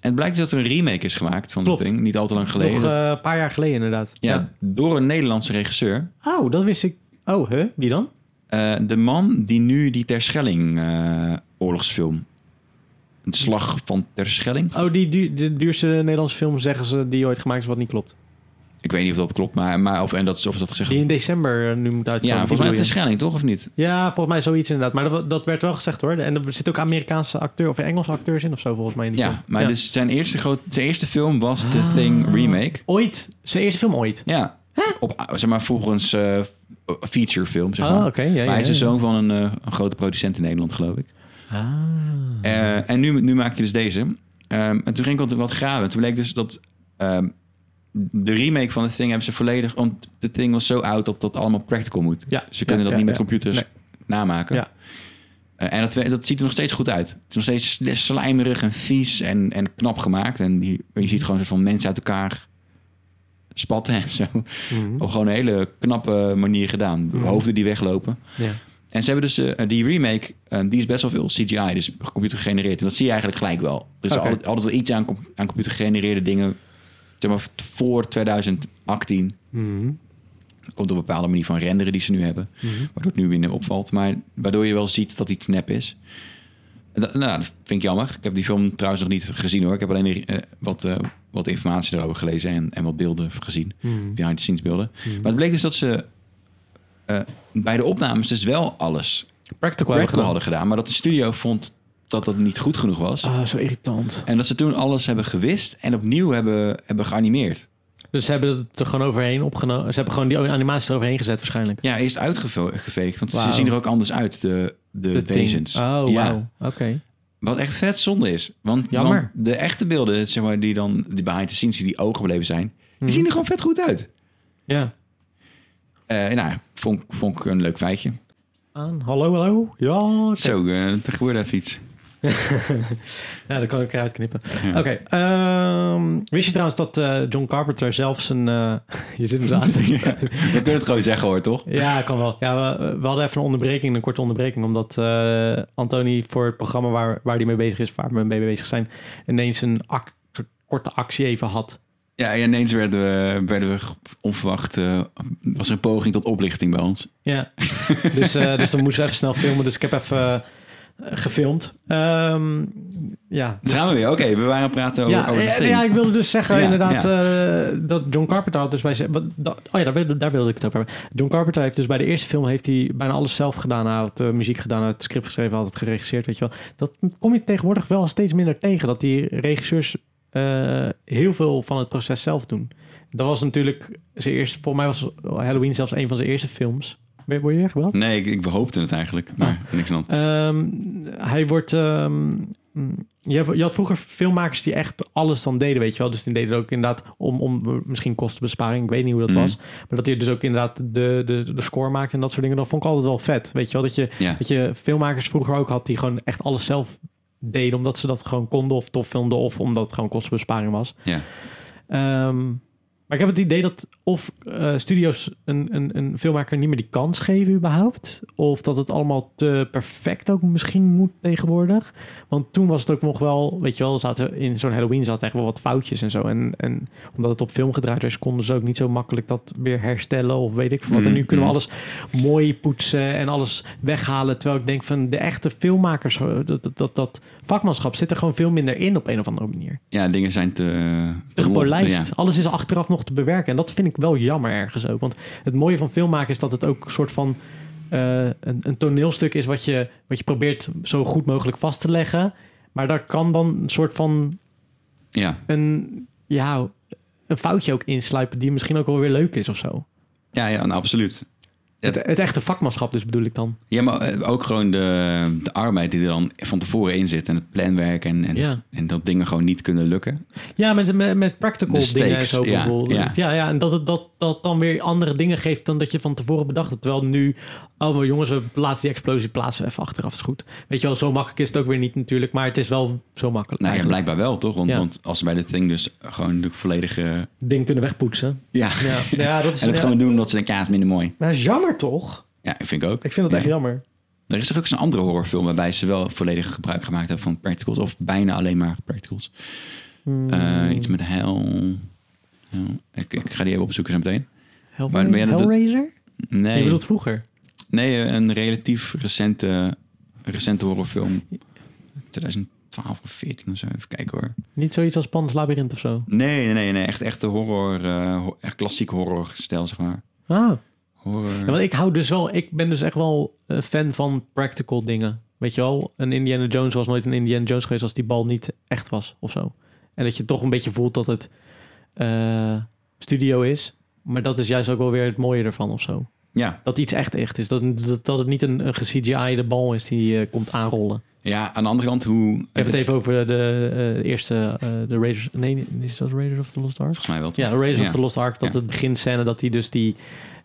[SPEAKER 1] en het blijkt dat er een remake is gemaakt van
[SPEAKER 2] Klopt.
[SPEAKER 1] dat ding. Niet al te lang geleden.
[SPEAKER 2] Nog eh, een paar jaar geleden inderdaad.
[SPEAKER 1] ja, Door een Nederlandse regisseur.
[SPEAKER 2] ja. Oh, dat wist ik. Oh, hè? Wie dan?
[SPEAKER 1] Eh, de man die nu die Terschelling eh oorlogsfilm... De slag van Terschelling.
[SPEAKER 2] Oh, die du- de duurste Nederlandse film zeggen ze die ooit gemaakt is wat niet klopt.
[SPEAKER 1] Ik weet niet of dat klopt, maar, maar of, en dat, is- of dat gezegd
[SPEAKER 2] Die in december eh, nu moet uitkomen.
[SPEAKER 1] Ja,
[SPEAKER 2] die
[SPEAKER 1] volgens mij
[SPEAKER 2] bedoel je?
[SPEAKER 1] Terschelling, toch? Of niet?
[SPEAKER 2] Ja, volgens mij zoiets inderdaad. Maar dat, dat werd wel gezegd hoor. En er zitten ook Amerikaanse acteur of Engelse acteurs in of zo volgens mij. In die
[SPEAKER 1] Ja,
[SPEAKER 2] film.
[SPEAKER 1] maar Dus zijn, eerste groot, zijn eerste film was The
[SPEAKER 2] Ah.
[SPEAKER 1] Thing Remake.
[SPEAKER 2] Ooit. Zijn eerste film ooit.
[SPEAKER 1] Ja. Op, zeg maar, volgens eh featurefilm, zeg maar.
[SPEAKER 2] Ah, oké. Ja,
[SPEAKER 1] maar hij is
[SPEAKER 2] ja,
[SPEAKER 1] de
[SPEAKER 2] ja.
[SPEAKER 1] zoon van een, eh, een grote producent in Nederland, geloof ik.
[SPEAKER 2] Ah.
[SPEAKER 1] Eh, en nu, nu maak je dus deze. Ehm, en toen ging ik wat, wat graven. Toen bleek dus dat ehm, de remake van The Thing hebben ze volledig... Want The Thing was zo oud dat dat allemaal practical moet.
[SPEAKER 2] Ja,
[SPEAKER 1] Ze kunnen
[SPEAKER 2] ja,
[SPEAKER 1] dat niet met
[SPEAKER 2] ja,
[SPEAKER 1] computers
[SPEAKER 2] Nee.
[SPEAKER 1] namaken.
[SPEAKER 2] Ja.
[SPEAKER 1] Eh, en dat, we- dat ziet er nog steeds goed uit. Het is nog steeds sl- slijmerig en vies en, en knap gemaakt. En die, je ziet gewoon een soort van mensen uit elkaar spatten en zo. Op gewoon een hele knappe manier gedaan.
[SPEAKER 2] Mhm.
[SPEAKER 1] Hoofden die weglopen.
[SPEAKER 2] Ja.
[SPEAKER 1] En ze hebben dus eh, die remake, eh, die is best wel veel CGI, dus computer gegenereerd. En dat zie je eigenlijk gelijk wel. Er is
[SPEAKER 2] Oké.
[SPEAKER 1] altijd, altijd wel iets aan, com- aan computer gegenereerde dingen. Zeg maar voor 2018
[SPEAKER 2] Mhm.
[SPEAKER 1] komt op een bepaalde manier van renderen die ze nu hebben.
[SPEAKER 2] Mhm.
[SPEAKER 1] Waardoor het nu weer opvalt. Maar waardoor je wel ziet dat iets nep is. En Dat, nou, dat vind ik jammer. Ik heb die film trouwens nog niet gezien hoor. Ik heb alleen eh, wat, eh, wat informatie erover gelezen en, en wat beelden gezien.
[SPEAKER 2] Mhm.
[SPEAKER 1] Behind the scenes beelden.
[SPEAKER 2] Mhm.
[SPEAKER 1] Maar het bleek dus dat ze eh, bij de opnames dus wel alles
[SPEAKER 2] Practical,
[SPEAKER 1] practical
[SPEAKER 2] gedaan.
[SPEAKER 1] hadden gedaan. Maar dat de studio vond dat dat niet goed genoeg was.
[SPEAKER 2] Ah, zo irritant.
[SPEAKER 1] En dat ze toen alles hebben gewist en opnieuw hebben, hebben geanimeerd.
[SPEAKER 2] Dus ze hebben het er gewoon overheen opgenomen. Ze hebben gewoon die animatie eroverheen gezet waarschijnlijk.
[SPEAKER 1] Ja, eerst uitgeveegd. Want ze
[SPEAKER 2] Wauw.
[SPEAKER 1] zien er ook anders uit, de, de,
[SPEAKER 2] De thing.
[SPEAKER 1] wezens.
[SPEAKER 2] Oh,
[SPEAKER 1] Ja.
[SPEAKER 2] wauw. Oké.
[SPEAKER 1] Wat echt vet zonde is. Want,
[SPEAKER 2] Jammer.
[SPEAKER 1] want de echte beelden, zeg maar, die dan die behind the scenes, die, die ogen gebleven zijn,
[SPEAKER 2] Mhm.
[SPEAKER 1] die zien er gewoon vet goed uit.
[SPEAKER 2] Ja.
[SPEAKER 1] Eh nou, ja, vond, ik- vond ik een leuk feitje.
[SPEAKER 2] Aan. Hallo, hallo. Ja, oké.
[SPEAKER 1] Zo, eh, er gebeurde even iets.
[SPEAKER 2] Ja, dat kan ik eruit knippen.
[SPEAKER 1] Ja.
[SPEAKER 2] Oké. ehm, wist je trouwens dat eh, John Carpenter zelf zijn... eh, je zit hem zo aan te
[SPEAKER 1] We kunnen het gewoon zeggen hoor, toch?
[SPEAKER 2] Ja, kan wel. Ja, we, we hadden even een onderbreking, een korte onderbreking, omdat eh Anthony voor het programma waar, waar hij mee bezig is, waar we mee bezig zijn, ineens een ac- korte actie even had.
[SPEAKER 1] Ja, en ineens werden we, werden we onverwacht, eh, was er een poging tot oplichting bij ons.
[SPEAKER 2] Ja, dus, eh, dus dan moesten we even snel filmen, dus ik heb even eh, gefilmd. Ehm, ja. dus-
[SPEAKER 1] Daar Gaan we weer, oké, we waren aan het praten over,
[SPEAKER 2] Ja,
[SPEAKER 1] over de
[SPEAKER 2] ja,
[SPEAKER 1] thing.
[SPEAKER 2] ja, ik wilde dus zeggen
[SPEAKER 1] Ja,
[SPEAKER 2] inderdaad eh, dat John Carpenter had dus bij zijn... wat- dat- Oh ja, daar wilde, daar wilde ik het over hebben. John Carpenter heeft dus bij de eerste film heeft hij bijna alles zelf gedaan. Hij had eh, muziek gedaan, hij had het script geschreven, hij had het geregisseerd, weet je wel. Dat kom je tegenwoordig wel steeds minder tegen. Dat die regisseurs eh, heel veel van het proces zelf doen. Dat was natuurlijk zijn eerste... Volgens mij was Halloween zelfs een van zijn eerste films. Ben- Word je weer gebeld?
[SPEAKER 1] Nee, ik, ik hoopte het eigenlijk, maar niks aan. de hand.
[SPEAKER 2] Ehm, hij wordt. ehm, mm, je, hebt- je had vroeger filmmakers die echt alles dan deden, weet je wel. Dus die deden ook inderdaad om, om misschien kostenbesparing, ik weet niet hoe dat
[SPEAKER 1] Mhm.
[SPEAKER 2] was. Maar dat hij dus ook inderdaad de, de, de score maakte en dat soort dingen. Dat vond ik altijd wel vet, weet je wel. Dat je,
[SPEAKER 1] Ja.
[SPEAKER 2] dat je filmmakers vroeger ook had die gewoon echt alles zelf deden. Omdat ze dat gewoon konden of tof vonden of omdat het gewoon kostenbesparing was.
[SPEAKER 1] Ja.
[SPEAKER 2] Ehm, maar ik heb het idee dat of eh, studios een, een, een filmmaker niet meer die kans geven überhaupt. Of dat het allemaal te perfect ook misschien moet tegenwoordig. Want toen was het ook nog wel, weet je wel, zaten in zo'n Halloween zaten echt wel wat foutjes en zo. En, en omdat het op film gedraaid was, konden ze ook niet zo makkelijk dat weer herstellen of weet ik veel wat.
[SPEAKER 1] Mhm,
[SPEAKER 2] en nu kunnen we
[SPEAKER 1] mhm.
[SPEAKER 2] alles mooi poetsen en alles weghalen. Terwijl ik denk van de echte filmmakers, eh, dat, dat, dat, dat vakmanschap zit er gewoon veel minder in op een of andere manier
[SPEAKER 1] ja, dingen zijn te... Ja.
[SPEAKER 2] te gepolijst. Alles is achteraf nog te bewerken. En dat vind ik wel jammer ergens ook. Want het mooie van filmmaken is dat het ook een soort van... eh, een, een toneelstuk is wat je, wat je probeert zo goed mogelijk vast te leggen. Maar daar kan dan een soort van...
[SPEAKER 1] ja.
[SPEAKER 2] Een, ja, een foutje ook insluipen die misschien ook wel weer leuk is of zo.
[SPEAKER 1] Ja, ja, nou, absoluut. Ja.
[SPEAKER 2] Het, het echte vakmanschap dus bedoel ik dan.
[SPEAKER 1] Ja, maar eh, ook gewoon de, de arbeid die er dan van tevoren in zit. En het planwerk en, en,
[SPEAKER 2] Ja.
[SPEAKER 1] en dat dingen gewoon niet kunnen lukken. Nou
[SPEAKER 2] Ja, met, met, met practical
[SPEAKER 1] De
[SPEAKER 2] dingen en
[SPEAKER 1] stakes,
[SPEAKER 2] zo
[SPEAKER 1] ja,
[SPEAKER 2] bijvoorbeeld. Ja,
[SPEAKER 1] ja.
[SPEAKER 2] ja. en dat het dat, dat dan weer andere dingen geeft dan dat je van tevoren bedacht had. Terwijl nu, oh maar jongens, we plaatsen die explosie plaatsen we even achteraf, is goed. Weet je wel, zo makkelijk is het ook weer niet natuurlijk, maar het is wel zo makkelijk.
[SPEAKER 1] Nou ja,
[SPEAKER 2] eigenlijk.
[SPEAKER 1] blijkbaar wel, toch? Want,
[SPEAKER 2] Ja.
[SPEAKER 1] want als ze bij dit ding dus gewoon de volledige...
[SPEAKER 2] Ding kunnen wegpoetsen.
[SPEAKER 1] Ja,
[SPEAKER 2] Ja, ja dat is,
[SPEAKER 1] en het
[SPEAKER 2] ja,
[SPEAKER 1] gewoon doen omdat ze denken, ja, het is minder mooi.
[SPEAKER 2] dat is jammer toch?
[SPEAKER 1] Ja, ik vind ik ook.
[SPEAKER 2] Ik vind dat
[SPEAKER 1] Ja.
[SPEAKER 2] echt jammer.
[SPEAKER 1] Er is toch ook eens een andere horrorfilm waarbij ze wel volledig gebruik gemaakt hebben van practicals. Of bijna alleen maar practicals. Eh,
[SPEAKER 2] Hmm.
[SPEAKER 1] iets met hel... hel- Ik, ik ga die even opzoeken zo meteen.
[SPEAKER 2] Hell,
[SPEAKER 1] maar ben jij dat-
[SPEAKER 2] Hellraiser? Je
[SPEAKER 1] Nee,
[SPEAKER 2] bedoelt vroeger?
[SPEAKER 1] nee een relatief recente, recente horrorfilm. 2012 of 14 of zo. Even kijken hoor.
[SPEAKER 2] Niet zoiets als Pans Labyrinth of zo?
[SPEAKER 1] Nee, nee, nee, nee. Echt, echt de horror, eh, ho- echt klassiek horror stijl, zeg maar.
[SPEAKER 2] Ah,
[SPEAKER 1] Horror.
[SPEAKER 2] Ja, want ik hou dus wel, ik ben dus echt wel eh, fan van practical dingen. Weet je wel, een Indiana Jones was nooit een Indiana Jones geweest als die bal niet echt was of zo. En dat je toch een beetje voelt dat het eh, studio is. Maar dat is juist ook wel weer het mooie ervan of zo.
[SPEAKER 1] Ja.
[SPEAKER 2] Dat iets echt echt is. Dat, dat, dat het niet een, een ge-CGI'de bal is die eh, komt aanrollen.
[SPEAKER 1] ja, aan de andere kant, hoe...
[SPEAKER 2] Ik heb het even over de eh, eerste, eh, de Raiders... Nee, is dat Raiders of the Lost Ark?
[SPEAKER 1] Volgens mij wel. toch?
[SPEAKER 2] Ja, Raiders of
[SPEAKER 1] Ja.
[SPEAKER 2] the Lost Ark. Dat
[SPEAKER 1] Ja.
[SPEAKER 2] het beginscène dat hij dus die,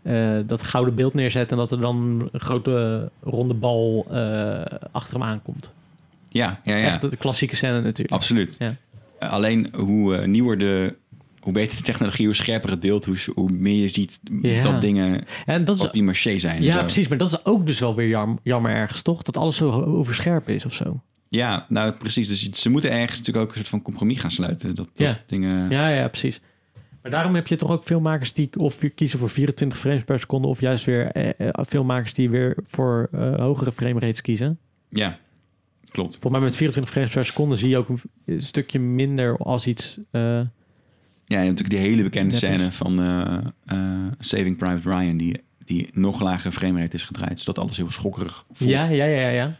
[SPEAKER 2] eh, dat gouden beeld neerzet... en dat er dan een grote ronde bal eh, achter hem aankomt.
[SPEAKER 1] Ja, ja, ja.
[SPEAKER 2] Echt de klassieke scène natuurlijk.
[SPEAKER 1] Absoluut.
[SPEAKER 2] Ja.
[SPEAKER 1] Eh, Alleen hoe eh, nieuwer de hoe beter de technologie, hoe scherper het beeld, hoe, hoe meer je ziet
[SPEAKER 2] Ja.
[SPEAKER 1] dat dingen
[SPEAKER 2] En dat is
[SPEAKER 1] op die marché zijn. en
[SPEAKER 2] Ja,
[SPEAKER 1] zo.
[SPEAKER 2] precies. Maar dat is ook dus wel weer jam- jammer ergens, toch? Dat alles zo ho- overscherp is of zo.
[SPEAKER 1] Ja, nou precies. Dus ze moeten ergens natuurlijk ook een soort van compromis gaan sluiten. Dat, dat
[SPEAKER 2] Ja.
[SPEAKER 1] dingen...
[SPEAKER 2] Ja, ja, precies. Maar daarom heb je toch ook filmmakers die of weer kiezen voor 24 frames per seconde... of juist weer eh, eh, filmmakers die weer voor eh, hogere frame rates kiezen.
[SPEAKER 1] ja, klopt.
[SPEAKER 2] Volgens mij met 24 frames per seconde zie je ook een, een stukje minder als iets... eh,
[SPEAKER 1] Ja, en natuurlijk die hele bekende
[SPEAKER 2] Net als-
[SPEAKER 1] scène van eh, eh, Saving Private Ryan, die, die nog lager framerate is gedraaid, zodat alles heel schokkerig voelt.
[SPEAKER 2] ja, ja, ja, ja, ja.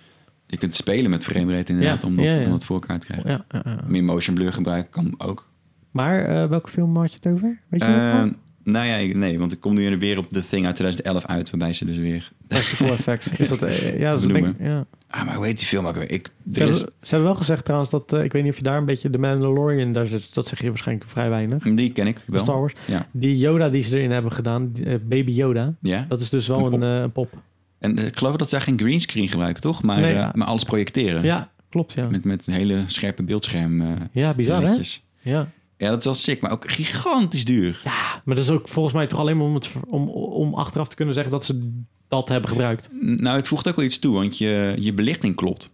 [SPEAKER 1] Je kunt spelen met framerate inderdaad,
[SPEAKER 2] Ja,
[SPEAKER 1] om, dat,
[SPEAKER 2] ja, ja.
[SPEAKER 1] om dat voor elkaar te krijgen.
[SPEAKER 2] ja, ja, ja.
[SPEAKER 1] Meer motion blur gebruiken kan ook.
[SPEAKER 2] Maar eh, welke film had je het over? Weet je dat
[SPEAKER 1] Eh,
[SPEAKER 2] nog?
[SPEAKER 1] nou ja, ik- nee, want ik kom nu weer op The Thing uit 2011 uit, waarbij ze dus weer...
[SPEAKER 2] Practical Effects. Is dat, eh, ja, dat is denk,
[SPEAKER 1] Benoemen.
[SPEAKER 2] ja.
[SPEAKER 1] Ah, maar hoe heet die film ook weer? Ik,
[SPEAKER 2] Ze,
[SPEAKER 1] er is,
[SPEAKER 2] hebben, ze hebben wel gezegd trouwens dat, eh, ik weet niet of je daar een beetje de Mandalorian, daar zit, dat zeg je waarschijnlijk vrij weinig.
[SPEAKER 1] die ken ik wel.
[SPEAKER 2] Star Wars.
[SPEAKER 1] Ja.
[SPEAKER 2] Die Yoda die ze erin hebben gedaan, die, eh, Baby Yoda,
[SPEAKER 1] Ja,
[SPEAKER 2] dat is dus wel
[SPEAKER 1] Een pop.
[SPEAKER 2] een, eh, een pop.
[SPEAKER 1] en eh, ik geloof dat ze daar geen greenscreen gebruiken, toch? Maar,
[SPEAKER 2] Nee,
[SPEAKER 1] eh,
[SPEAKER 2] ja.
[SPEAKER 1] maar alles projecteren.
[SPEAKER 2] Ja, klopt ja.
[SPEAKER 1] Met, met een hele scherpe beeldscherm. eh,
[SPEAKER 2] Ja, bizar hè?
[SPEAKER 1] lichtjes.
[SPEAKER 2] Ja.
[SPEAKER 1] Ja, dat is wel sick, maar ook gigantisch duur.
[SPEAKER 2] Maar dat is ook volgens mij toch alleen maar om, het, ver- om, om achteraf te kunnen zeggen dat ze dat hebben gebruikt.
[SPEAKER 1] Nou, het voegt ook wel iets toe, want je, je belichting klopt.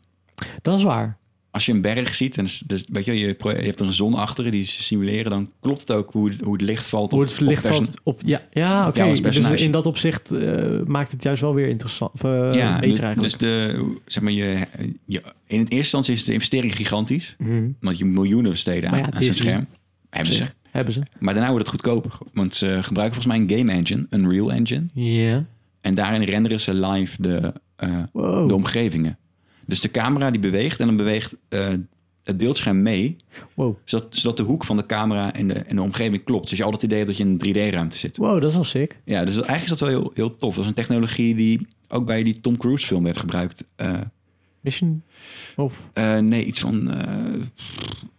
[SPEAKER 2] Dat is waar.
[SPEAKER 1] Als je een berg ziet en dus, dus, weet je, wel, je, pro- je hebt er een zon achteren die ze simuleren, dan klopt het ook hoe, hoe het licht valt.
[SPEAKER 2] Hoe
[SPEAKER 1] op-
[SPEAKER 2] het licht
[SPEAKER 1] op perso-
[SPEAKER 2] valt op... Ja, ja oké.
[SPEAKER 1] jou als
[SPEAKER 2] Dus
[SPEAKER 1] personage.
[SPEAKER 2] in dat opzicht eh, maakt het juist wel weer interessant. Of, eh,
[SPEAKER 1] Ja,
[SPEAKER 2] beter
[SPEAKER 1] dus,
[SPEAKER 2] eigenlijk.
[SPEAKER 1] dus de, zeg maar, je, je, in het eerste instantie is de investering gigantisch,
[SPEAKER 2] Mhm.
[SPEAKER 1] want je moet miljoenen besteden
[SPEAKER 2] Maar
[SPEAKER 1] aan,
[SPEAKER 2] ja,
[SPEAKER 1] aan zo'n
[SPEAKER 2] Disney
[SPEAKER 1] scherm. Hebben ze.
[SPEAKER 2] Hebben ze.
[SPEAKER 1] Maar daarna wordt het goedkoper, want ze gebruiken volgens mij een game engine, een real engine,
[SPEAKER 2] Ja.
[SPEAKER 1] en daarin renderen ze live de, eh,
[SPEAKER 2] Wow.
[SPEAKER 1] de omgevingen. Dus de camera die beweegt en dan beweegt eh, het beeldscherm mee
[SPEAKER 2] wow.
[SPEAKER 1] Zodat, zodat de hoek van de camera en de, en de omgeving klopt. Dus je altijd het idee hebt dat je in een 3D-ruimte zit.
[SPEAKER 2] Wow, dat is wel sick.
[SPEAKER 1] Ja, dus dat- eigenlijk is dat wel heel, heel tof. Dat is een technologie die ook bij die Tom Cruise film werd gebruikt. Eh,
[SPEAKER 2] Mission of...
[SPEAKER 1] eh, nee, iets van... eh,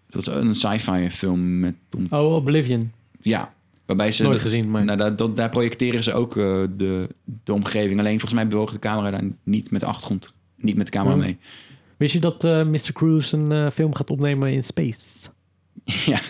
[SPEAKER 1] dat is een sci-fi film met Tom...
[SPEAKER 2] Oh, Oblivion.
[SPEAKER 1] Ja, waarbij ze...
[SPEAKER 2] Nooit
[SPEAKER 1] dat-
[SPEAKER 2] gezien, maar...
[SPEAKER 1] nou, daar, dat- daar projecteren ze ook eh, de, de omgeving. Alleen volgens mij bewoog de camera daar niet met de achtergrond. Niet met de camera
[SPEAKER 2] Hmm.
[SPEAKER 1] mee.
[SPEAKER 2] Wist je dat eh, Mr. Cruise een eh, film gaat opnemen in space?
[SPEAKER 1] ja,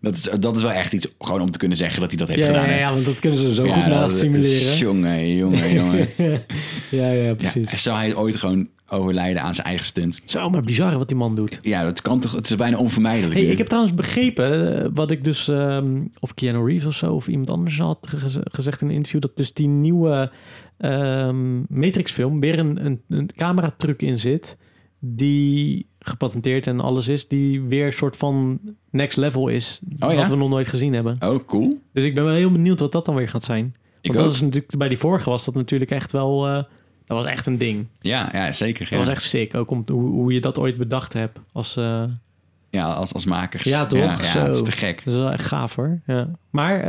[SPEAKER 1] dat is, dat is wel echt iets gewoon om te kunnen zeggen dat hij dat heeft
[SPEAKER 2] ja,
[SPEAKER 1] gedaan.
[SPEAKER 2] ja,
[SPEAKER 1] hè?
[SPEAKER 2] ja, want dat kunnen ze zo
[SPEAKER 1] Ja,
[SPEAKER 2] goed
[SPEAKER 1] dat-
[SPEAKER 2] naast simuleren.
[SPEAKER 1] Jongen, jongen, jongen.
[SPEAKER 2] ja, ja,
[SPEAKER 1] Ja,
[SPEAKER 2] precies.
[SPEAKER 1] zou hij ooit gewoon overlijden aan zijn eigen stunt?
[SPEAKER 2] Zo, maar bizar wat die man doet.
[SPEAKER 1] Ja, dat kan toch? Het is bijna onvermijdelijk.
[SPEAKER 2] Hey,
[SPEAKER 1] nu.
[SPEAKER 2] ik heb trouwens begrepen, eh, wat ik dus, ehm, of Keanu Reeves of zo, of iemand anders had geze- gezegd in een interview, dat dus die nieuwe ehm, Matrix-film weer een, een, een cameratruc in zit, die gepatenteerd en alles is, die weer een soort van next level is,
[SPEAKER 1] Oh ja?
[SPEAKER 2] wat we nog nooit gezien hebben.
[SPEAKER 1] Oh, cool.
[SPEAKER 2] Dus ik ben wel heel benieuwd wat dat dan weer gaat zijn. Want
[SPEAKER 1] Ik
[SPEAKER 2] dat
[SPEAKER 1] ook.
[SPEAKER 2] is natuurlijk, bij die vorige was dat natuurlijk echt wel, eh, dat was echt een ding.
[SPEAKER 1] Ja, ja zeker.
[SPEAKER 2] Dat
[SPEAKER 1] Ja,
[SPEAKER 2] was echt sick, ook om, hoe, hoe je dat ooit bedacht hebt als... eh,
[SPEAKER 1] ja als, als makers.
[SPEAKER 2] Ja, toch?
[SPEAKER 1] Ja,
[SPEAKER 2] Zo.
[SPEAKER 1] dat is te gek.
[SPEAKER 2] Dat is wel echt gaaf hoor. Ja. Maar eh,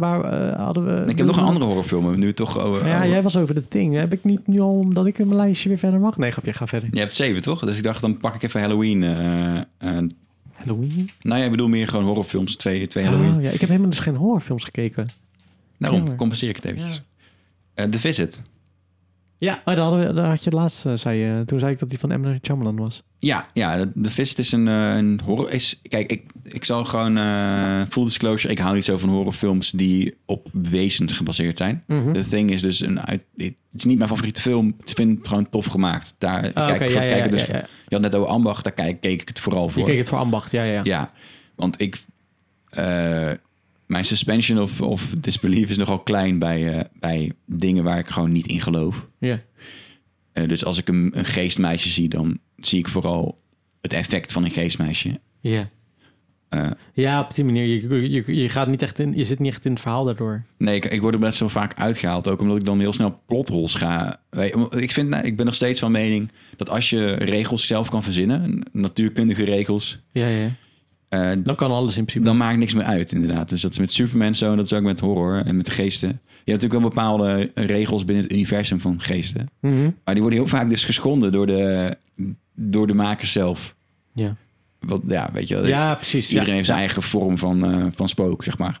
[SPEAKER 2] waar eh, hadden we.
[SPEAKER 1] Ik heb nog een andere horrorfilm. maar Nu toch over.
[SPEAKER 2] Ja,
[SPEAKER 1] over-
[SPEAKER 2] jij was over de ding. Heb ik niet nu al omdat ik in mijn lijstje weer verder mag? Nee, grapje, ga verder.
[SPEAKER 1] Je hebt zeven, toch? Dus ik dacht, dan pak ik even Halloween. eh, eh,
[SPEAKER 2] Halloween?
[SPEAKER 1] nou ja, ik bedoel meer gewoon horrorfilms. Twee, twee Halloween.
[SPEAKER 2] Oh, ja, ik heb helemaal dus geen horrorfilms gekeken.
[SPEAKER 1] Daarom
[SPEAKER 2] jammer.
[SPEAKER 1] compenseer ik het eventjes. Eh,
[SPEAKER 2] Ja.
[SPEAKER 1] The Visit.
[SPEAKER 2] Ja, oh, daar, hadden we, daar had je het laatst, eh, zei je. Toen zei ik dat die van M. Night Shyamalan was.
[SPEAKER 1] Ja, ja, The Visit is een, eh, een horror... Is, kijk, ik, ik zal gewoon... eh, full disclosure, ik hou niet zo van horrorfilms die op wezens gebaseerd zijn.
[SPEAKER 2] Mhm.
[SPEAKER 1] The Thing is dus een uit, het is niet mijn favoriete film. Ik vind het gewoon tof gemaakt. Daar
[SPEAKER 2] Ah,
[SPEAKER 1] kijk,
[SPEAKER 2] Oké,
[SPEAKER 1] ik
[SPEAKER 2] ja,
[SPEAKER 1] voor-
[SPEAKER 2] ja,
[SPEAKER 1] kijk
[SPEAKER 2] ja,
[SPEAKER 1] het dus,
[SPEAKER 2] ja, ja.
[SPEAKER 1] Je had net over ambacht, daar kijk, keek ik het vooral
[SPEAKER 2] Je
[SPEAKER 1] voor.
[SPEAKER 2] keek het voor ambacht, ja, ja. ja.
[SPEAKER 1] Ja, want ik eh, mijn suspension of, of disbelief is nogal klein bij, eh, bij dingen waar ik gewoon niet in geloof.
[SPEAKER 2] Ja.
[SPEAKER 1] Eh, dus als ik een, een geestmeisje zie, dan zie ik vooral het effect van een geestmeisje.
[SPEAKER 2] Ja.
[SPEAKER 1] Eh,
[SPEAKER 2] Ja, op die manier. Je, je, je, gaat niet echt in, je zit niet echt in het verhaal daardoor.
[SPEAKER 1] Nee, ik, ik word er best wel vaak uitgehaald. Ook omdat ik dan heel snel plotholes ga. Wij- Ik, vind, nou, ik ben nog steeds van mening dat als je regels zelf kan verzinnen, natuurkundige regels,
[SPEAKER 2] Ja, ja.
[SPEAKER 1] eh,
[SPEAKER 2] Dan kan alles in principe.
[SPEAKER 1] dan maakt niks meer uit inderdaad. Dus dat is met Superman zo, en dat is ook met horror en met geesten. Je hebt natuurlijk wel bepaalde regels binnen het universum van geesten.
[SPEAKER 2] Mhm.
[SPEAKER 1] Maar die worden heel vaak dus geschonden door de, door de makers zelf.
[SPEAKER 2] Ja.
[SPEAKER 1] Wat, ja, weet je wel.
[SPEAKER 2] ja, precies.
[SPEAKER 1] Iedereen
[SPEAKER 2] ja.
[SPEAKER 1] heeft zijn eigen vorm van, eh, van spook, zeg maar.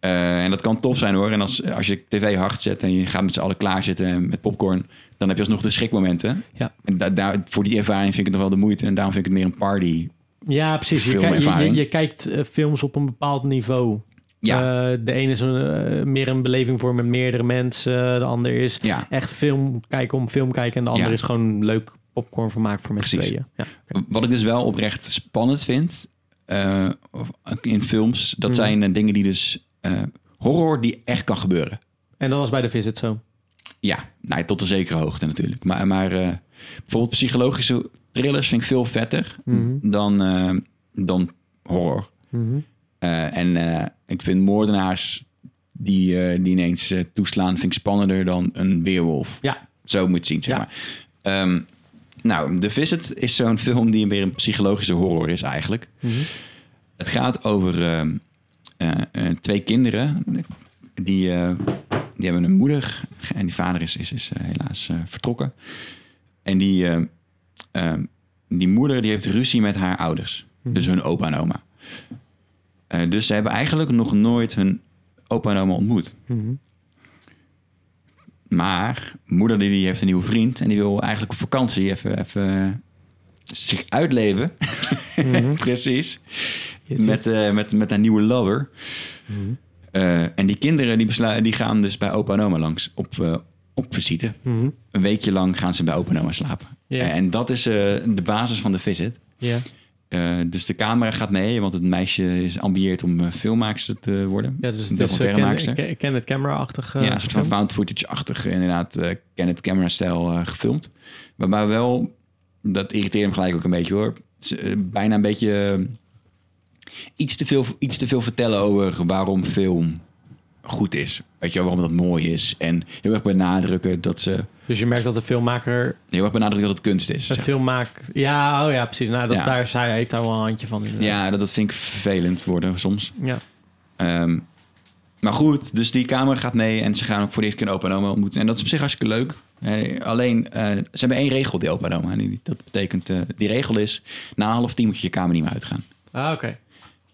[SPEAKER 1] Eh, en dat kan tof zijn hoor. En als, als je de tv hard zet en je gaat met z'n allen klaarzitten met popcorn, dan heb je alsnog de schrikmomenten.
[SPEAKER 2] Ja.
[SPEAKER 1] En da- daar- voor die ervaring vind ik het nog wel de moeite. En daarom vind ik het meer een party
[SPEAKER 2] Ja, precies. Je, kijkt- je, je,
[SPEAKER 1] Filmervaring.
[SPEAKER 2] je kijkt eh, films op een bepaald niveau.
[SPEAKER 1] Ja,
[SPEAKER 2] Eh, de ene is een, eh, meer een beleving voor met meerdere mensen. De ander is
[SPEAKER 1] ja.
[SPEAKER 2] echt film kijken om film kijken. En de ander
[SPEAKER 1] Ja.
[SPEAKER 2] is gewoon leuk popcorn vermaak voor met z'n
[SPEAKER 1] Precies.
[SPEAKER 2] tweeën. Ja.
[SPEAKER 1] Wat ik dus wel oprecht spannend vind eh, of- in films, dat
[SPEAKER 2] Mm.
[SPEAKER 1] zijn eh, dingen die dus eh, horror die echt kan gebeuren.
[SPEAKER 2] En dat was bij de visit zo.
[SPEAKER 1] Ja, nou, ja, tot een zekere hoogte natuurlijk. Maar, maar eh, bijvoorbeeld psychologische thrillers vind ik veel vetter
[SPEAKER 2] Mhm.
[SPEAKER 1] dan, eh, dan horror. Eh, en eh, ik vind moordenaars die, eh, die ineens eh, toeslaan, vind ik spannender dan een weerwolf.
[SPEAKER 2] Ja.
[SPEAKER 1] Zo moet je het zien, zeg
[SPEAKER 2] Ja.
[SPEAKER 1] maar. Ehm, nou, The Visit is zo'n film die weer een psychologische horror is eigenlijk.
[SPEAKER 2] Mhm.
[SPEAKER 1] Het gaat over ehm, eh, eh, twee kinderen. Die, eh, die hebben een moeder. En die vader is, is, is eh, helaas eh, vertrokken. En die, eh, ehm, die moeder die heeft ruzie met haar ouders.
[SPEAKER 2] Mhm.
[SPEAKER 1] Dus hun opa en oma. Eh, dus ze hebben eigenlijk nog nooit hun opa en oma ontmoet.
[SPEAKER 2] Mhm.
[SPEAKER 1] Maar moeder die die heeft een nieuwe vriend. En die wil eigenlijk op vakantie even, even zich uitleven.
[SPEAKER 2] Mhm.
[SPEAKER 1] Precies.
[SPEAKER 2] Yes,
[SPEAKER 1] Met, eh, met, met haar nieuwe lover.
[SPEAKER 2] yes. Mhm.
[SPEAKER 1] Eh, en die kinderen die beslu- die gaan dus bij opa en oma langs op, eh, op visite.
[SPEAKER 2] Mhm.
[SPEAKER 1] Een weekje lang gaan ze bij opa en oma slapen.
[SPEAKER 2] Ja.
[SPEAKER 1] En dat is eh, de basis van de visit.
[SPEAKER 2] Ja.
[SPEAKER 1] Eh, dus de camera gaat mee, want het meisje is ambieert om eh, filmmaakster te worden.
[SPEAKER 2] Ja, dus het is eh,
[SPEAKER 1] Documentairemaakster.
[SPEAKER 2] Ken- Ken- Kenneth Camera-achtig. eh,
[SPEAKER 1] ja, een soort van
[SPEAKER 2] gefilmd.
[SPEAKER 1] found footage-achtig, inderdaad, eh Kenneth Camera-stijl eh, gefilmd. Waarbij wel, dat irriteert hem gelijk ook een beetje hoor, Ze, eh, bijna een beetje eh, iets, te veel, iets te veel vertellen over waarom film goed is. Weet je wel, waarom dat mooi is. En heel erg benadrukken dat ze,
[SPEAKER 2] Dus je merkt dat de filmmaker
[SPEAKER 1] heel erg benadrukken dat het kunst is.
[SPEAKER 2] een
[SPEAKER 1] zeg.
[SPEAKER 2] film maakt. Ja, oh ja, precies. Nou, dat,
[SPEAKER 1] Ja.
[SPEAKER 2] daar is hij, heeft hij wel een handje van. inderdaad.
[SPEAKER 1] Ja, dat, dat vind ik vervelend worden soms.
[SPEAKER 2] Ja.
[SPEAKER 1] Ehm, maar goed, dus die camera gaat mee en ze gaan ook voor de eerste keer een opa en oma ontmoeten. En dat is op zich hartstikke leuk. Eh, alleen, eh, ze hebben één regel, die opa en oma. En die- Dat betekent, eh, die regel is, na half tien moet je je kamer niet meer uitgaan.
[SPEAKER 2] Ah, oké.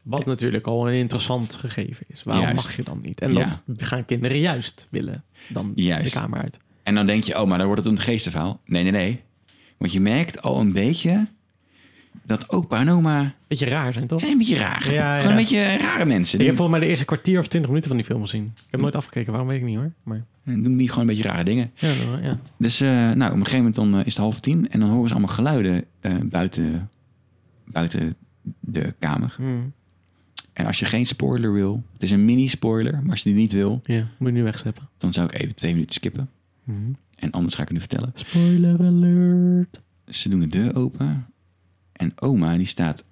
[SPEAKER 2] Wat natuurlijk al een interessant gegeven is. Waarom
[SPEAKER 1] Eh, Juist.
[SPEAKER 2] mag je dan niet? En dan
[SPEAKER 1] Ja.
[SPEAKER 2] gaan kinderen juist willen dan
[SPEAKER 1] Juist.
[SPEAKER 2] de kamer uit.
[SPEAKER 1] En dan denk je, oh, maar dan wordt het een geestenverhaal. Nee, nee, nee. Want je merkt al een beetje dat opa en oma
[SPEAKER 2] Beetje raar zijn, toch?
[SPEAKER 1] zijn een beetje raar.
[SPEAKER 2] Ja,
[SPEAKER 1] Gewoon een
[SPEAKER 2] ja.
[SPEAKER 1] beetje rare mensen.
[SPEAKER 2] Ik
[SPEAKER 1] Die
[SPEAKER 2] heb volgens mij de eerste kwartier of twintig minuten van die film gezien. Ik heb nooit afgekeken, waarom weet ik niet hoor. Maar
[SPEAKER 1] doen die gewoon een beetje rare dingen.
[SPEAKER 2] ja, dan wel, ja.
[SPEAKER 1] Dus eh, nou, op een gegeven moment dan, eh, is het half tien en dan horen ze allemaal geluiden eh, buiten, buiten de kamer.
[SPEAKER 2] Hmm.
[SPEAKER 1] En als je geen spoiler wil, het is een mini-spoiler, maar als je die niet wil,
[SPEAKER 2] ja. Moet je nu wegzeppen.
[SPEAKER 1] dan zou ik even twee minuten skippen.
[SPEAKER 2] Hmm.
[SPEAKER 1] En anders ga ik het nu vertellen.
[SPEAKER 2] Spoiler alert.
[SPEAKER 1] Ze doen de deur open en oma die staat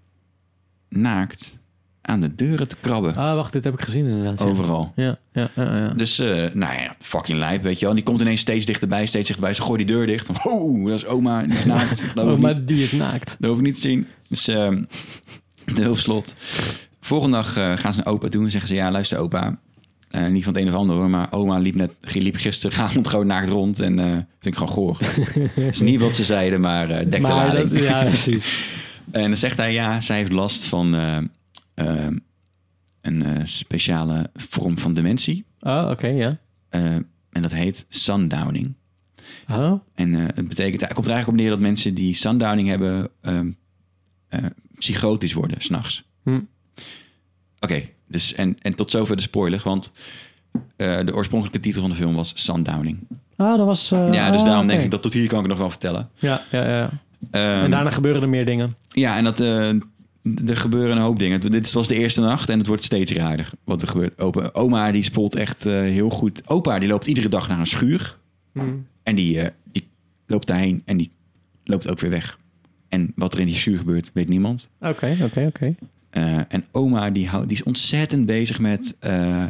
[SPEAKER 1] naakt aan de deuren te krabben.
[SPEAKER 2] Ah, wacht, dit heb ik gezien inderdaad. ja.
[SPEAKER 1] Overal.
[SPEAKER 2] Ja, ja, ja. ja. Oh,
[SPEAKER 1] Dus, eh, nou ja, fucking lijp, weet je wel. En die komt ineens steeds dichterbij, steeds dichterbij. Ze gooit die deur dicht. Oh, dat is oma, die is naakt. Dat hoef ik
[SPEAKER 2] oh,
[SPEAKER 1] niet
[SPEAKER 2] maar die is naakt.
[SPEAKER 1] Dat hoef ik niet te zien. Dus ehm de hulpslot. Volgende dag eh, gaan ze naar opa toe en zeggen ze... Ja, luister opa. Eh, niet van het een of ander hoor, maar oma liep, net, liep gisteravond gewoon naakt rond. En eh vind ik gewoon goor. Dat is niet wat ze zeiden, maar eh dek de
[SPEAKER 2] maar
[SPEAKER 1] lading.
[SPEAKER 2] dat, ja, precies.
[SPEAKER 1] En dan zegt hij, ja, zij heeft last van eh, ehm, een eh, speciale vorm van dementie.
[SPEAKER 2] Oh, oké, ja.
[SPEAKER 1] Eh, en dat heet sundowning.
[SPEAKER 2] Oh,
[SPEAKER 1] En eh, het betekent, het komt er eigenlijk op neer dat mensen die sundowning hebben, ehm, eh, psychotisch worden s'nachts.
[SPEAKER 2] Hm.
[SPEAKER 1] Oké, dus en, en tot zover de spoiler, want eh, de oorspronkelijke titel van de film was Sundowning.
[SPEAKER 2] ah, dat was... eh,
[SPEAKER 1] ja, dus
[SPEAKER 2] ah,
[SPEAKER 1] daarom
[SPEAKER 2] oké.
[SPEAKER 1] denk ik dat tot hier kan ik het nog wel vertellen.
[SPEAKER 2] Ja, ja, ja.
[SPEAKER 1] Ehm,
[SPEAKER 2] en daarna gebeuren er meer dingen.
[SPEAKER 1] Ja, en dat, eh, er gebeuren een hoop dingen. Het- Dit was de eerste nacht en het wordt steeds raarder wat er gebeurt. Opa, oma die spoelt echt eh, heel goed. Opa die loopt iedere dag naar een schuur.
[SPEAKER 2] Mm.
[SPEAKER 1] En die, eh, die loopt daarheen en die loopt ook weer weg. En wat er in die schuur gebeurt, weet niemand.
[SPEAKER 2] Oké, oké, oké.
[SPEAKER 1] Eh, en oma die, houdt, die is ontzettend bezig met eh,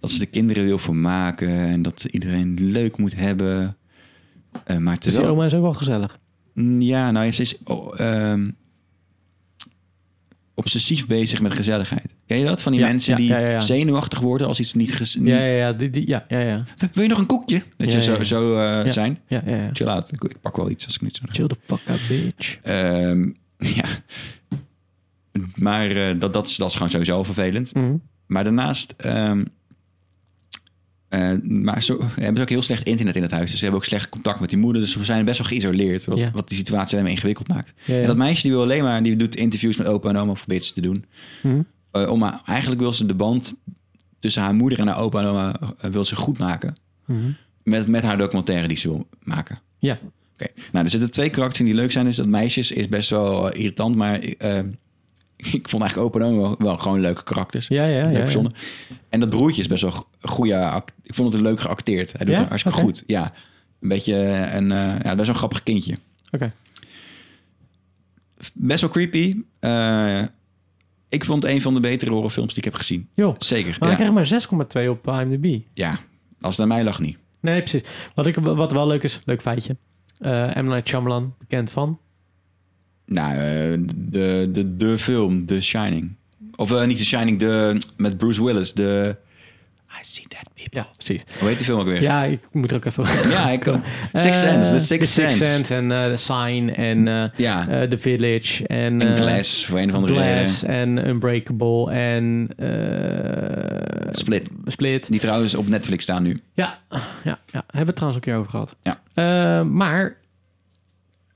[SPEAKER 1] dat ze de kinderen wil vermaken. En dat ze iedereen leuk moet hebben. Eh, maar
[SPEAKER 2] Dus die
[SPEAKER 1] terwijl...
[SPEAKER 2] oma is ook wel gezellig.
[SPEAKER 1] Mm, Ja, nou ja, ze is oh, ehm, obsessief bezig met gezelligheid. Ken je dat? Van die
[SPEAKER 2] Ja,
[SPEAKER 1] mensen
[SPEAKER 2] ja,
[SPEAKER 1] die
[SPEAKER 2] ja, ja, ja.
[SPEAKER 1] zenuwachtig worden als iets niet... ges-
[SPEAKER 2] Ja, ja, ja. Die, die, ja, ja, ja.
[SPEAKER 1] niet- Wil je nog een koekje? Dat
[SPEAKER 2] Ja,
[SPEAKER 1] je
[SPEAKER 2] ja,
[SPEAKER 1] zo,
[SPEAKER 2] ja.
[SPEAKER 1] zo eh,
[SPEAKER 2] Ja.
[SPEAKER 1] zijn.
[SPEAKER 2] ja, ja, ja.
[SPEAKER 1] Chill out. Ik, ik pak wel iets als ik niet zo...
[SPEAKER 2] Chill the fuck out, bitch.
[SPEAKER 1] Ehm, ja. Maar
[SPEAKER 2] Mhm.
[SPEAKER 1] eh, dat, dat, is, dat is gewoon sowieso al vervelend. Maar daarnaast ehm, Eh, maar ze hebben ze ook heel slecht internet in het huis. Dus ze hebben ook slecht contact met die moeder. Dus we zijn best wel geïsoleerd. Wat,
[SPEAKER 2] Ja.
[SPEAKER 1] wat die situatie alleen maar ingewikkeld maakt.
[SPEAKER 2] Ja, ja.
[SPEAKER 1] En dat meisje die wil alleen maar... Die doet interviews met opa en oma. Probeert ze te doen.
[SPEAKER 2] Mhm.
[SPEAKER 1] Eh, om, haar- eigenlijk wil ze de band tussen haar moeder en haar opa en oma... eh, wil ze goed maken.
[SPEAKER 2] Mhm.
[SPEAKER 1] Met, met haar documentaire die ze wil maken.
[SPEAKER 2] Ja.
[SPEAKER 1] Oké. Nou, er zitten twee karakters in die leuk zijn. Dus dat meisje is- is best wel eh, irritant. Maar eh, ik vond eigenlijk opa en oma wel, wel gewoon leuke karakters.
[SPEAKER 2] Ja, ja, ja.
[SPEAKER 1] Leuk
[SPEAKER 2] ja.
[SPEAKER 1] verzonnen. En dat broertje is best wel goede... act- Ik vond het leuk geacteerd. Hij doet
[SPEAKER 2] Ja?
[SPEAKER 1] het hartstikke
[SPEAKER 2] Oké.
[SPEAKER 1] goed. Ja, een beetje een... eh ja, best wel een grappig kindje.
[SPEAKER 2] Oké.
[SPEAKER 1] Best wel creepy. Eh, ik vond het een van de betere horrorfilms die ik heb gezien.
[SPEAKER 2] Joh.
[SPEAKER 1] Zeker,
[SPEAKER 2] Maar
[SPEAKER 1] ja.
[SPEAKER 2] hij krijgt maar 6,2 op IMDb.
[SPEAKER 1] ja. Als het aan mij lag, niet.
[SPEAKER 2] Nee, precies. Wat, ik, wat wel leuk is, leuk feitje. Eh M. Night Shyamalan, bekend van.
[SPEAKER 1] Nou, eh, de, de, de film, The Shining. Of eh, niet The Shining, de, met Bruce Willis. De... Ah, I see that people.
[SPEAKER 2] Ja, precies.
[SPEAKER 1] Hoe heet die film ook weer?
[SPEAKER 2] Ja, ik moet er ook even...
[SPEAKER 1] Ja, ik Six
[SPEAKER 2] Eh,
[SPEAKER 1] Sense, The Sixth
[SPEAKER 2] The
[SPEAKER 1] Sense.
[SPEAKER 2] en eh, The Sign en eh,
[SPEAKER 1] Ja,
[SPEAKER 2] eh, The Village en...
[SPEAKER 1] en
[SPEAKER 2] eh,
[SPEAKER 1] Glass, voor een of andere
[SPEAKER 2] Glass
[SPEAKER 1] reden.
[SPEAKER 2] en Unbreakable en... eh,
[SPEAKER 1] Split.
[SPEAKER 2] Split.
[SPEAKER 1] Die trouwens op Netflix staan nu.
[SPEAKER 2] Ja, ja, ja, hebben we het trouwens een keer over gehad.
[SPEAKER 1] Ja.
[SPEAKER 2] Eh, maar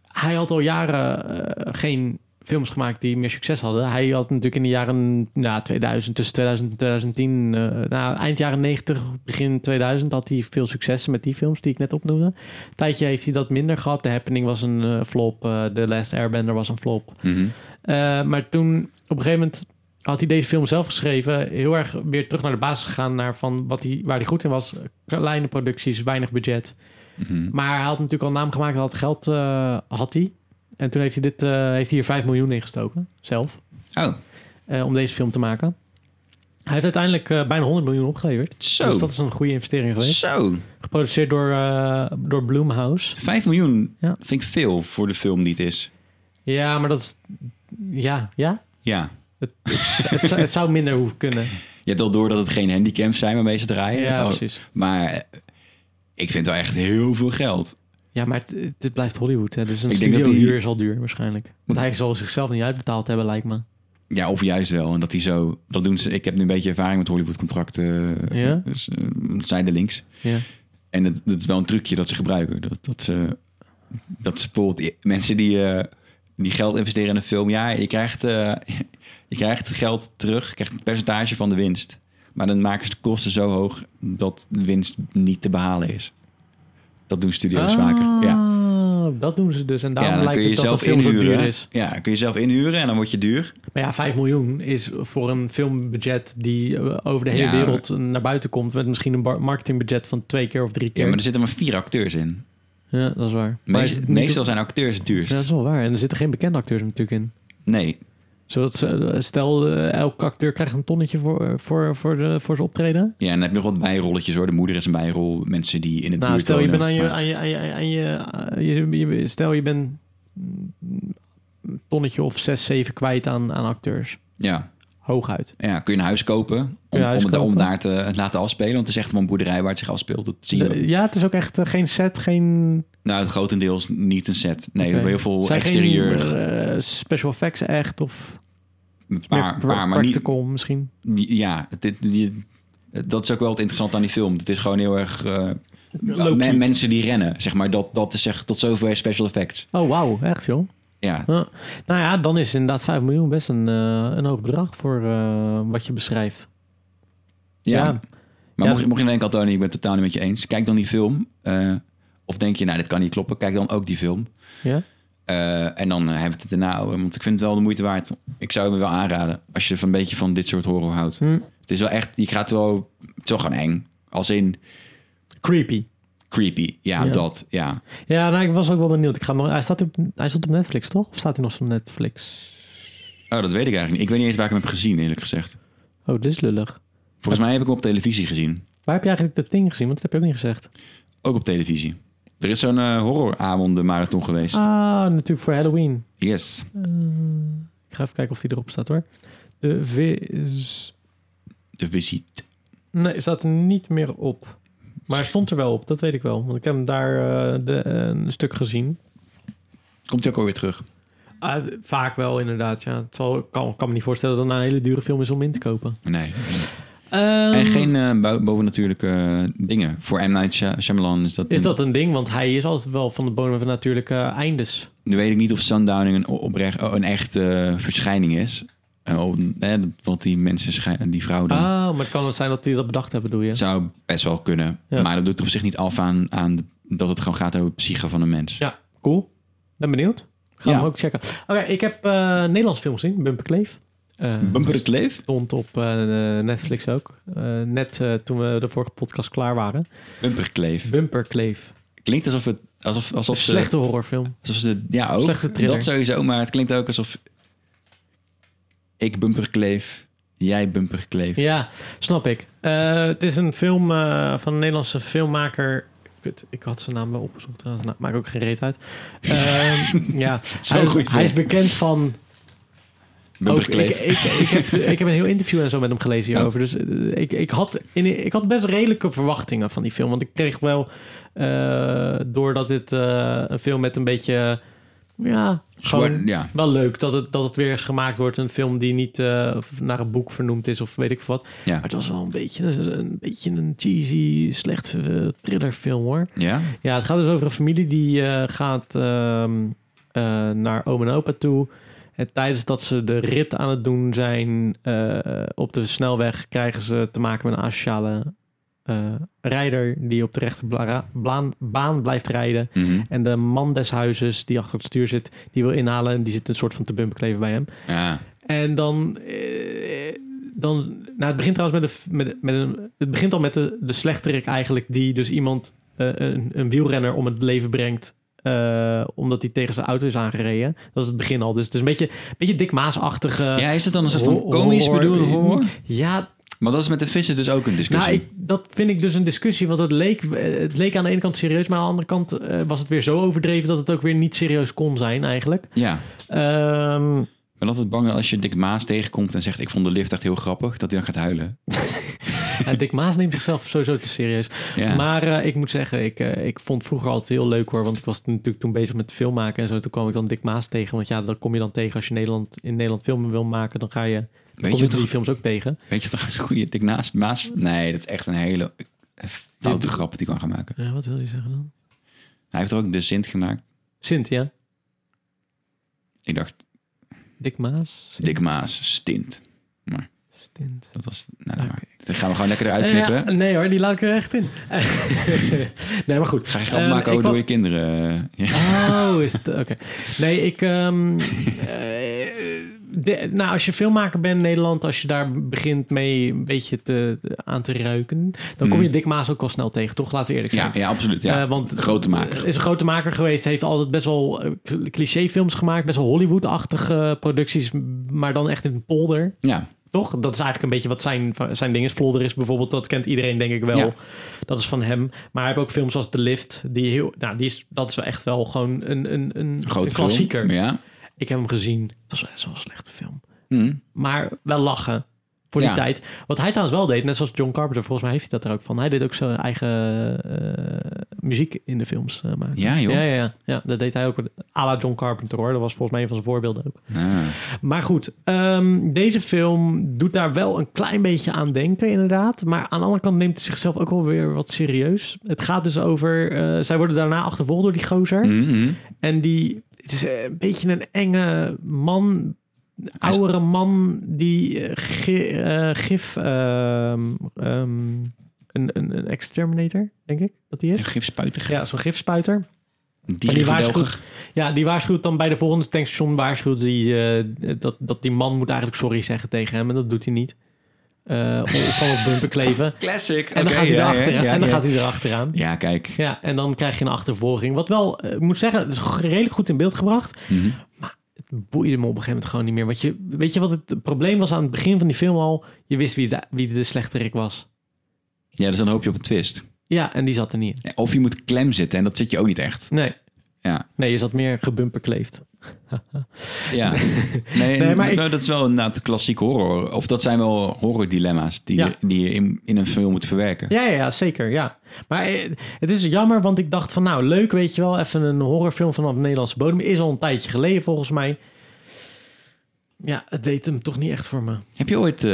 [SPEAKER 2] hij had al jaren eh, geen films gemaakt die meer succes hadden. Hij had natuurlijk in de jaren na 2000, tussen 2000 en 2010, eh, nou, eind jaren 90, begin 2000, had hij veel successen met die films die ik net opnoemde. Een tijdje heeft hij dat minder gehad. The Happening was een eh, flop. eh, The Last Airbender was een flop.
[SPEAKER 1] Mhm.
[SPEAKER 2] Eh, maar toen op een gegeven moment had hij deze film zelf geschreven. Heel erg weer terug naar de basis gegaan naar van wat hij, waar hij goed in was. Kleine producties, weinig budget.
[SPEAKER 1] Mhm.
[SPEAKER 2] Maar hij had natuurlijk al naam gemaakt. Hij had geld eh, had hij. En toen heeft hij, dit, eh, heeft hij hier 5 miljoen in gestoken. Zelf.
[SPEAKER 1] Oh,
[SPEAKER 2] eh, om deze film te maken. Hij heeft uiteindelijk eh, bijna 100 miljoen opgeleverd.
[SPEAKER 1] zo.
[SPEAKER 2] Dus dat is een goede investering geweest.
[SPEAKER 1] Zo.
[SPEAKER 2] Geproduceerd door, eh door Bloomhouse.
[SPEAKER 1] 5 miljoen
[SPEAKER 2] Ja.
[SPEAKER 1] vind ik veel voor de film die het is.
[SPEAKER 2] Ja, maar dat is... Ja, ja.
[SPEAKER 1] Ja.
[SPEAKER 2] het, zou- het zou minder hoeven kunnen.
[SPEAKER 1] Je hebt al door dat het geen handicaps zijn waarmee ze draaien.
[SPEAKER 2] Ja,
[SPEAKER 1] Oh,
[SPEAKER 2] precies.
[SPEAKER 1] Maar eh, ik vind wel echt heel veel geld.
[SPEAKER 2] Ja, maar het, het blijft Hollywood. Hè? Dus een
[SPEAKER 1] Ik denk dat
[SPEAKER 2] studio
[SPEAKER 1] die- Hmm.
[SPEAKER 2] huur is al duur waarschijnlijk. Want hij zal zichzelf niet uitbetaald hebben, lijkt me.
[SPEAKER 1] Ja, of juist wel. En dat die zo... Dat doen ze... Ik heb nu een beetje ervaring met Hollywood-contracten.
[SPEAKER 2] Ja?
[SPEAKER 1] Dus, eh, zij de links.
[SPEAKER 2] Ja.
[SPEAKER 1] En dat, dat is wel een trucje dat ze gebruiken. Dat, dat ze... Dat ze bijvoorbeeld... i- Mensen die, eh, die geld investeren in een film. Ja, je krijgt, eh, je krijgt geld terug. Je krijgt een percentage van de winst. Maar dan maken ze de kosten zo hoog... dat de winst niet te behalen is. Dat doen studio's vaker. Ja.
[SPEAKER 2] Ah, Dat doen ze dus. En daarom
[SPEAKER 1] dan
[SPEAKER 2] lijkt het dat de film zo duur is.
[SPEAKER 1] Ja, kun je zelf inhuren en dan word je duur.
[SPEAKER 2] Maar ja, 5 miljoen is voor een filmbudget die eh, over de hele
[SPEAKER 1] Ja.
[SPEAKER 2] wereld eh, naar buiten komt. Met misschien een bar- marketingbudget van twee keer of drie keer.
[SPEAKER 1] Ja,
[SPEAKER 2] Ja,
[SPEAKER 1] maar er zitten maar vier acteurs in.
[SPEAKER 2] dat is waar. Maar is
[SPEAKER 1] Meest,
[SPEAKER 2] het niet-
[SPEAKER 1] meestal zijn acteurs het duurst.
[SPEAKER 2] Ja, dat is wel waar. En er zitten geen bekende acteurs natuurlijk in.
[SPEAKER 1] Nee,
[SPEAKER 2] Zodat ze, eh, stel, eh, elke acteur krijgt een tonnetje voor, eh, voor, voor, de, voor zijn optreden.
[SPEAKER 1] ja, en dan heb je nog wat bijrolletjes hoor. De moeder is een bijrol. Mensen die in het
[SPEAKER 2] Nou,
[SPEAKER 1] buurt
[SPEAKER 2] stel je
[SPEAKER 1] wonen.
[SPEAKER 2] bent aan je,
[SPEAKER 1] Maar-
[SPEAKER 2] aan je, aan je, aan je, aan je- je- stel je bent mm, een tonnetje of zes, zeven kwijt aan, aan acteurs.
[SPEAKER 1] ja,
[SPEAKER 2] Hooguit.
[SPEAKER 1] ja, kun je een huis kopen om,
[SPEAKER 2] je een huis
[SPEAKER 1] om, het- om
[SPEAKER 2] kopen?
[SPEAKER 1] daar te het laten afspelen. Want het is echt wel een boerderij waar het zich afspeelt. Dat zie je. ook.
[SPEAKER 2] De- ja, het is ook echt eh, geen set, geen...
[SPEAKER 1] Nou, grotendeels niet een set. Nee, we
[SPEAKER 2] Oké.
[SPEAKER 1] hebben heel veel
[SPEAKER 2] Zijn
[SPEAKER 1] exterieur.
[SPEAKER 2] Geen, eh, special effects echt of
[SPEAKER 1] een
[SPEAKER 2] meer
[SPEAKER 1] paar,
[SPEAKER 2] pra-
[SPEAKER 1] paar, maar niet.
[SPEAKER 2] practical misschien.
[SPEAKER 1] Ja, dit, die- dat is ook wel het interessante aan die film. Het is gewoon heel erg. eh,
[SPEAKER 2] Low-key.
[SPEAKER 1] men- mensen die rennen, zeg maar. Dat, dat is echt tot zover special effects.
[SPEAKER 2] Oh, wauw. Echt, joh.
[SPEAKER 1] Ja,
[SPEAKER 2] Huh. Nou ja, dan is inderdaad 5 miljoen best een, eh, een hoog bedrag voor eh, wat je beschrijft.
[SPEAKER 1] ja.
[SPEAKER 2] Ja.
[SPEAKER 1] Maar
[SPEAKER 2] Ja.
[SPEAKER 1] Mocht, je, mocht je denken, Antonie, ik ben het totaal niet met je eens. Kijk dan die film. eh, of denk je, nou, dit kan niet kloppen. Kijk dan ook die film.
[SPEAKER 2] Ja?
[SPEAKER 1] Eh, en dan hebben we het erna over. Want ik vind het wel de moeite waard. Ik zou hem wel aanraden. Als je van een beetje van dit soort horror houdt.
[SPEAKER 2] Hm.
[SPEAKER 1] Het is wel echt, je gaat wel, het is wel gewoon eng. Als in
[SPEAKER 2] Creepy.
[SPEAKER 1] creepy. Ja,
[SPEAKER 2] Ja.
[SPEAKER 1] dat. Ja.
[SPEAKER 2] Ja, nou, ik was ook wel benieuwd. Ik ga maar, hij, staat op, hij stond op Netflix, toch? Of staat hij nog op Netflix?
[SPEAKER 1] Oh, dat weet ik eigenlijk niet. Ik weet niet eens waar ik hem heb gezien, eerlijk gezegd.
[SPEAKER 2] Oh, dit is lullig.
[SPEAKER 1] Volgens mij heb ik hem op televisie gezien.
[SPEAKER 2] Waar heb je eigenlijk dat ding gezien? Want dat heb je ook niet gezegd.
[SPEAKER 1] Ook op televisie. Er is zo'n eh, horroravond marathon geweest.
[SPEAKER 2] Ah, natuurlijk voor Halloween.
[SPEAKER 1] Yes.
[SPEAKER 2] Eh, ik ga even kijken of die erop staat hoor. De vis.
[SPEAKER 1] De visite.
[SPEAKER 2] Nee, staat er niet meer op. Maar hij stond er wel op, dat weet ik wel. Want ik heb hem daar eh, de, eh, een stuk gezien.
[SPEAKER 1] Komt hij ook alweer terug?
[SPEAKER 2] Ah, vaak wel, inderdaad. Ja. Het zal, ik kan, kan me niet voorstellen dat het een hele dure film is om in te kopen.
[SPEAKER 1] Nee. en
[SPEAKER 2] Ehm,
[SPEAKER 1] geen eh, bo- bovennatuurlijke eh, dingen. Voor M. Night Shy- Shyamalan is dat...
[SPEAKER 2] Is
[SPEAKER 1] een-
[SPEAKER 2] dat een ding? Want hij is altijd wel van de bodem van natuurlijke eindes.
[SPEAKER 1] Nu weet ik niet of Sundowning een, o- oprecht, oh, een echte eh, verschijning is. Eh, oh, eh, dat- wat die mensen, schij- die vrouw dan...
[SPEAKER 2] Ah, maar het kan het zijn dat die dat bedacht hebben, bedoel je?
[SPEAKER 1] Het zou best wel kunnen.
[SPEAKER 2] Ja.
[SPEAKER 1] Maar dat doet er op zich niet af aan, aan dat het gewoon gaat over de psyche van een mens.
[SPEAKER 2] Ja, cool. Ben benieuwd. Gaan
[SPEAKER 1] Ja.
[SPEAKER 2] we ook checken. Oké, ik heb eh, een Nederlands film gezien, Bumper Kleef. Eh,
[SPEAKER 1] Bumper het leef?
[SPEAKER 2] Stond op eh, Netflix ook. Eh, net eh, toen we de vorige podcast klaar waren.
[SPEAKER 1] Bumper het leef.
[SPEAKER 2] Bumper Kleef.
[SPEAKER 1] Klinkt alsof het... Alsof, alsof ze,
[SPEAKER 2] Slechte horrorfilm.
[SPEAKER 1] Alsof ze, ja, eh, ook.
[SPEAKER 2] Slechte thriller.
[SPEAKER 1] Dat sowieso, maar het klinkt ook alsof... Ik bumper kleef, jij bumper kleef.
[SPEAKER 2] Ja, snap ik. Eh, het is een film eh, van een Nederlandse filmmaker. Kut, ik had zijn naam wel opgezocht trouwens. Nou, maakt ook geen reet uit. Ehm, ja,
[SPEAKER 1] Zo'n
[SPEAKER 2] hij,
[SPEAKER 1] goed
[SPEAKER 2] hij is
[SPEAKER 1] film.
[SPEAKER 2] bekend van
[SPEAKER 1] Bumper
[SPEAKER 2] Ook,
[SPEAKER 1] kleef.
[SPEAKER 2] ik, ik, ik, heb, ik heb een heel interview en zo met hem gelezen
[SPEAKER 1] Oh.
[SPEAKER 2] hierover. Dus eh, ik, ik, had in, ik had best redelijke verwachtingen van die film. Want ik kreeg wel, eh, doordat dit eh, een film met een beetje... Ja,
[SPEAKER 1] Zwart-
[SPEAKER 2] gewoon
[SPEAKER 1] ja.
[SPEAKER 2] wel leuk dat het, dat het weer eens gemaakt wordt. Een film die niet eh, naar een boek vernoemd is of weet ik veel wat.
[SPEAKER 1] Ja.
[SPEAKER 2] Maar het was wel een beetje een, een beetje een cheesy, slecht eh, thrillerfilm hoor.
[SPEAKER 1] ja?
[SPEAKER 2] Ja, het gaat dus over een familie die eh, gaat ehm, eh, naar oom en opa toe. En tijdens dat ze de rit aan het doen zijn eh, op de snelweg, krijgen ze te maken met een asociale eh, rijder die op de rechte bla- blaan- baan blijft rijden.
[SPEAKER 1] Mhm.
[SPEAKER 2] En de man des huizes die achter het stuur zit, die wil inhalen en die zit een soort van te bumperkleven bij hem.
[SPEAKER 1] Ja.
[SPEAKER 2] En dan. eh, dan nou, het begint trouwens met, een, f- met, met een. Het begint al met de, de slechterik eigenlijk. Die dus iemand. eh, een, een wielrenner om het leven brengt. eh, omdat hij tegen zijn auto is aangereden. Dat is het begin al. Dus het is een beetje. Een beetje Dick Maasachtige.
[SPEAKER 1] ja, is het dan een soort van
[SPEAKER 2] Ho-
[SPEAKER 1] komisch
[SPEAKER 2] horror.
[SPEAKER 1] bedoelde horror?
[SPEAKER 2] ja,
[SPEAKER 1] eh, Maar dat is met de vissen dus ook een discussie.
[SPEAKER 2] nou, ik, dat vind ik dus een discussie. Want het leek, eh, het leek aan de ene kant serieus. Maar aan de andere kant eh, was het weer zo overdreven. dat het ook weer niet serieus kon zijn, eigenlijk.
[SPEAKER 1] Ja.
[SPEAKER 2] Ehm
[SPEAKER 1] Ik ben altijd bang als je Dick Maas tegenkomt en zegt... ik vond de lift echt heel grappig, dat hij dan gaat huilen.
[SPEAKER 2] ja, Dick Maas neemt zichzelf sowieso te serieus.
[SPEAKER 1] Ja.
[SPEAKER 2] Maar eh, ik moet zeggen, ik, eh, ik vond vroeger altijd heel leuk hoor. Want ik was toen- natuurlijk toen bezig met film maken en zo. Toen kwam ik dan Dick Maas tegen. Want ja, dan kom je dan tegen als je Nederland, in Nederland filmen wil maken. Dan ga je,
[SPEAKER 1] weet,
[SPEAKER 2] kom
[SPEAKER 1] je
[SPEAKER 2] je die
[SPEAKER 1] toch,
[SPEAKER 2] films ook tegen.
[SPEAKER 1] weet je trouwens een goede Dick Maas, Maas? Nee, dat is echt een hele eh, foute grap die ik kan gaan maken.
[SPEAKER 2] Ja, wat wil je zeggen dan?
[SPEAKER 1] Hij heeft er ook De Sint gemaakt.
[SPEAKER 2] Sint, ja.
[SPEAKER 1] Ik dacht,
[SPEAKER 2] Dick Maas. Sint.
[SPEAKER 1] Dick Maas, stint.
[SPEAKER 2] Stint.
[SPEAKER 1] Dat was... Nou, dan
[SPEAKER 2] Oké.
[SPEAKER 1] maar. Dat gaan we gewoon lekker eruit
[SPEAKER 2] Eh,
[SPEAKER 1] knippen.
[SPEAKER 2] ja, nee hoor, die laat ik er echt in. nee, maar goed.
[SPEAKER 1] Ga je grap
[SPEAKER 2] Ehm,
[SPEAKER 1] maken
[SPEAKER 2] ik
[SPEAKER 1] over
[SPEAKER 2] kwam-
[SPEAKER 1] door je kinderen. eh, Ja.
[SPEAKER 2] Oh, is het... Oké. Nee, ik... ehm, eh, de- nou, als je filmmaker bent in Nederland... als je daar begint mee een beetje te, te- aan te ruiken... dan kom
[SPEAKER 1] Mm.
[SPEAKER 2] je Dick Maas ook al snel tegen, toch? Laten we eerlijk zijn.
[SPEAKER 1] Ja, ja, absoluut. Ja.
[SPEAKER 2] Eh, want
[SPEAKER 1] Grote maker.
[SPEAKER 2] eh, is een grote maker geweest. Heeft altijd best wel eh, clichéfilms gemaakt. Best wel Hollywood-achtige producties. Maar dan echt in een polder,
[SPEAKER 1] ja.
[SPEAKER 2] toch? Dat is eigenlijk een beetje wat zijn, zijn ding is. Vlodder is bijvoorbeeld, dat kent iedereen denk ik wel.
[SPEAKER 1] Ja.
[SPEAKER 2] Dat is van hem. Maar hij heeft ook films als The Lift. Die heel, nou, die is, dat is wel echt wel gewoon een, een, een,
[SPEAKER 1] Grote
[SPEAKER 2] een klassieker.
[SPEAKER 1] film. Ja.
[SPEAKER 2] Ik heb hem gezien. Het was best wel een slechte film.
[SPEAKER 1] Hm.
[SPEAKER 2] Maar wel lachen. Voor die
[SPEAKER 1] Ja.
[SPEAKER 2] tijd. Wat hij trouwens wel deed, net zoals John Carpenter, volgens mij heeft hij dat er ook van. Hij deed ook zijn eigen eh, muziek in de films eh, maken.
[SPEAKER 1] Ja, joh.
[SPEAKER 2] Ja, ja, ja. ja, dat deed hij ook. A la John Carpenter hoor. Dat was volgens mij een van zijn voorbeelden ook.
[SPEAKER 1] Ah.
[SPEAKER 2] Maar goed, ehm, deze film doet daar wel een klein beetje aan denken, inderdaad. Maar aan de andere kant neemt het zichzelf ook wel weer wat serieus. Het gaat dus over. eh, zij worden daarna achtervolgd door die gozer.
[SPEAKER 1] Hm, hm.
[SPEAKER 2] En die. Het is eh, een beetje een enge man. Oudere man die eh, gi- eh, gif. ehm, ehm, een, een, een exterminator, denk ik dat die
[SPEAKER 1] Een
[SPEAKER 2] is.
[SPEAKER 1] gifspuiter.
[SPEAKER 2] Ja, zo'n gifspuiter.
[SPEAKER 1] Die,
[SPEAKER 2] die
[SPEAKER 1] geweldig.
[SPEAKER 2] Ja, die waarschuwt dan bij de volgende tankstation waarschuwt die, eh, dat, dat die man moet eigenlijk sorry zeggen tegen hem. En dat doet hij niet. Eh, om- van op bumper kleven. En
[SPEAKER 1] Classic.
[SPEAKER 2] dan gaat hij erachteraan. en dan
[SPEAKER 1] ja.
[SPEAKER 2] gaat hij erachteraan.
[SPEAKER 1] Ja, kijk.
[SPEAKER 2] Ja, en dan krijg je een achtervolging. Wat wel, eh, ik moet zeggen, het is redelijk goed in beeld gebracht.
[SPEAKER 1] Mhm.
[SPEAKER 2] Het boeide me op een gegeven moment gewoon niet meer. Want je, weet je wat het probleem was aan het begin van die film al? Je wist wie de, wie de slechterik was.
[SPEAKER 1] Ja, dus dan hoop je op een twist.
[SPEAKER 2] Ja, en die zat er niet in.
[SPEAKER 1] Ja, Of je moet klem zitten en dat zit je ook niet echt.
[SPEAKER 2] Nee.
[SPEAKER 1] Ja.
[SPEAKER 2] Nee, je zat meer gebumperkleefd.
[SPEAKER 1] Ja. Nee,
[SPEAKER 2] Nee, maar
[SPEAKER 1] nou, dat is wel inderdaad de klassieke horror. Of dat zijn wel horror dilemma's die,
[SPEAKER 2] Ja.
[SPEAKER 1] je, die je in, in een film moet verwerken.
[SPEAKER 2] Ja, ja, ja, zeker, ja. Maar eh, het is jammer, want ik dacht van nou, leuk weet je wel, even een horrorfilm vanaf de Nederlandse bodem. Is al een tijdje geleden volgens mij. Ja, het deed hem toch niet echt voor me.
[SPEAKER 1] Heb je ooit eh,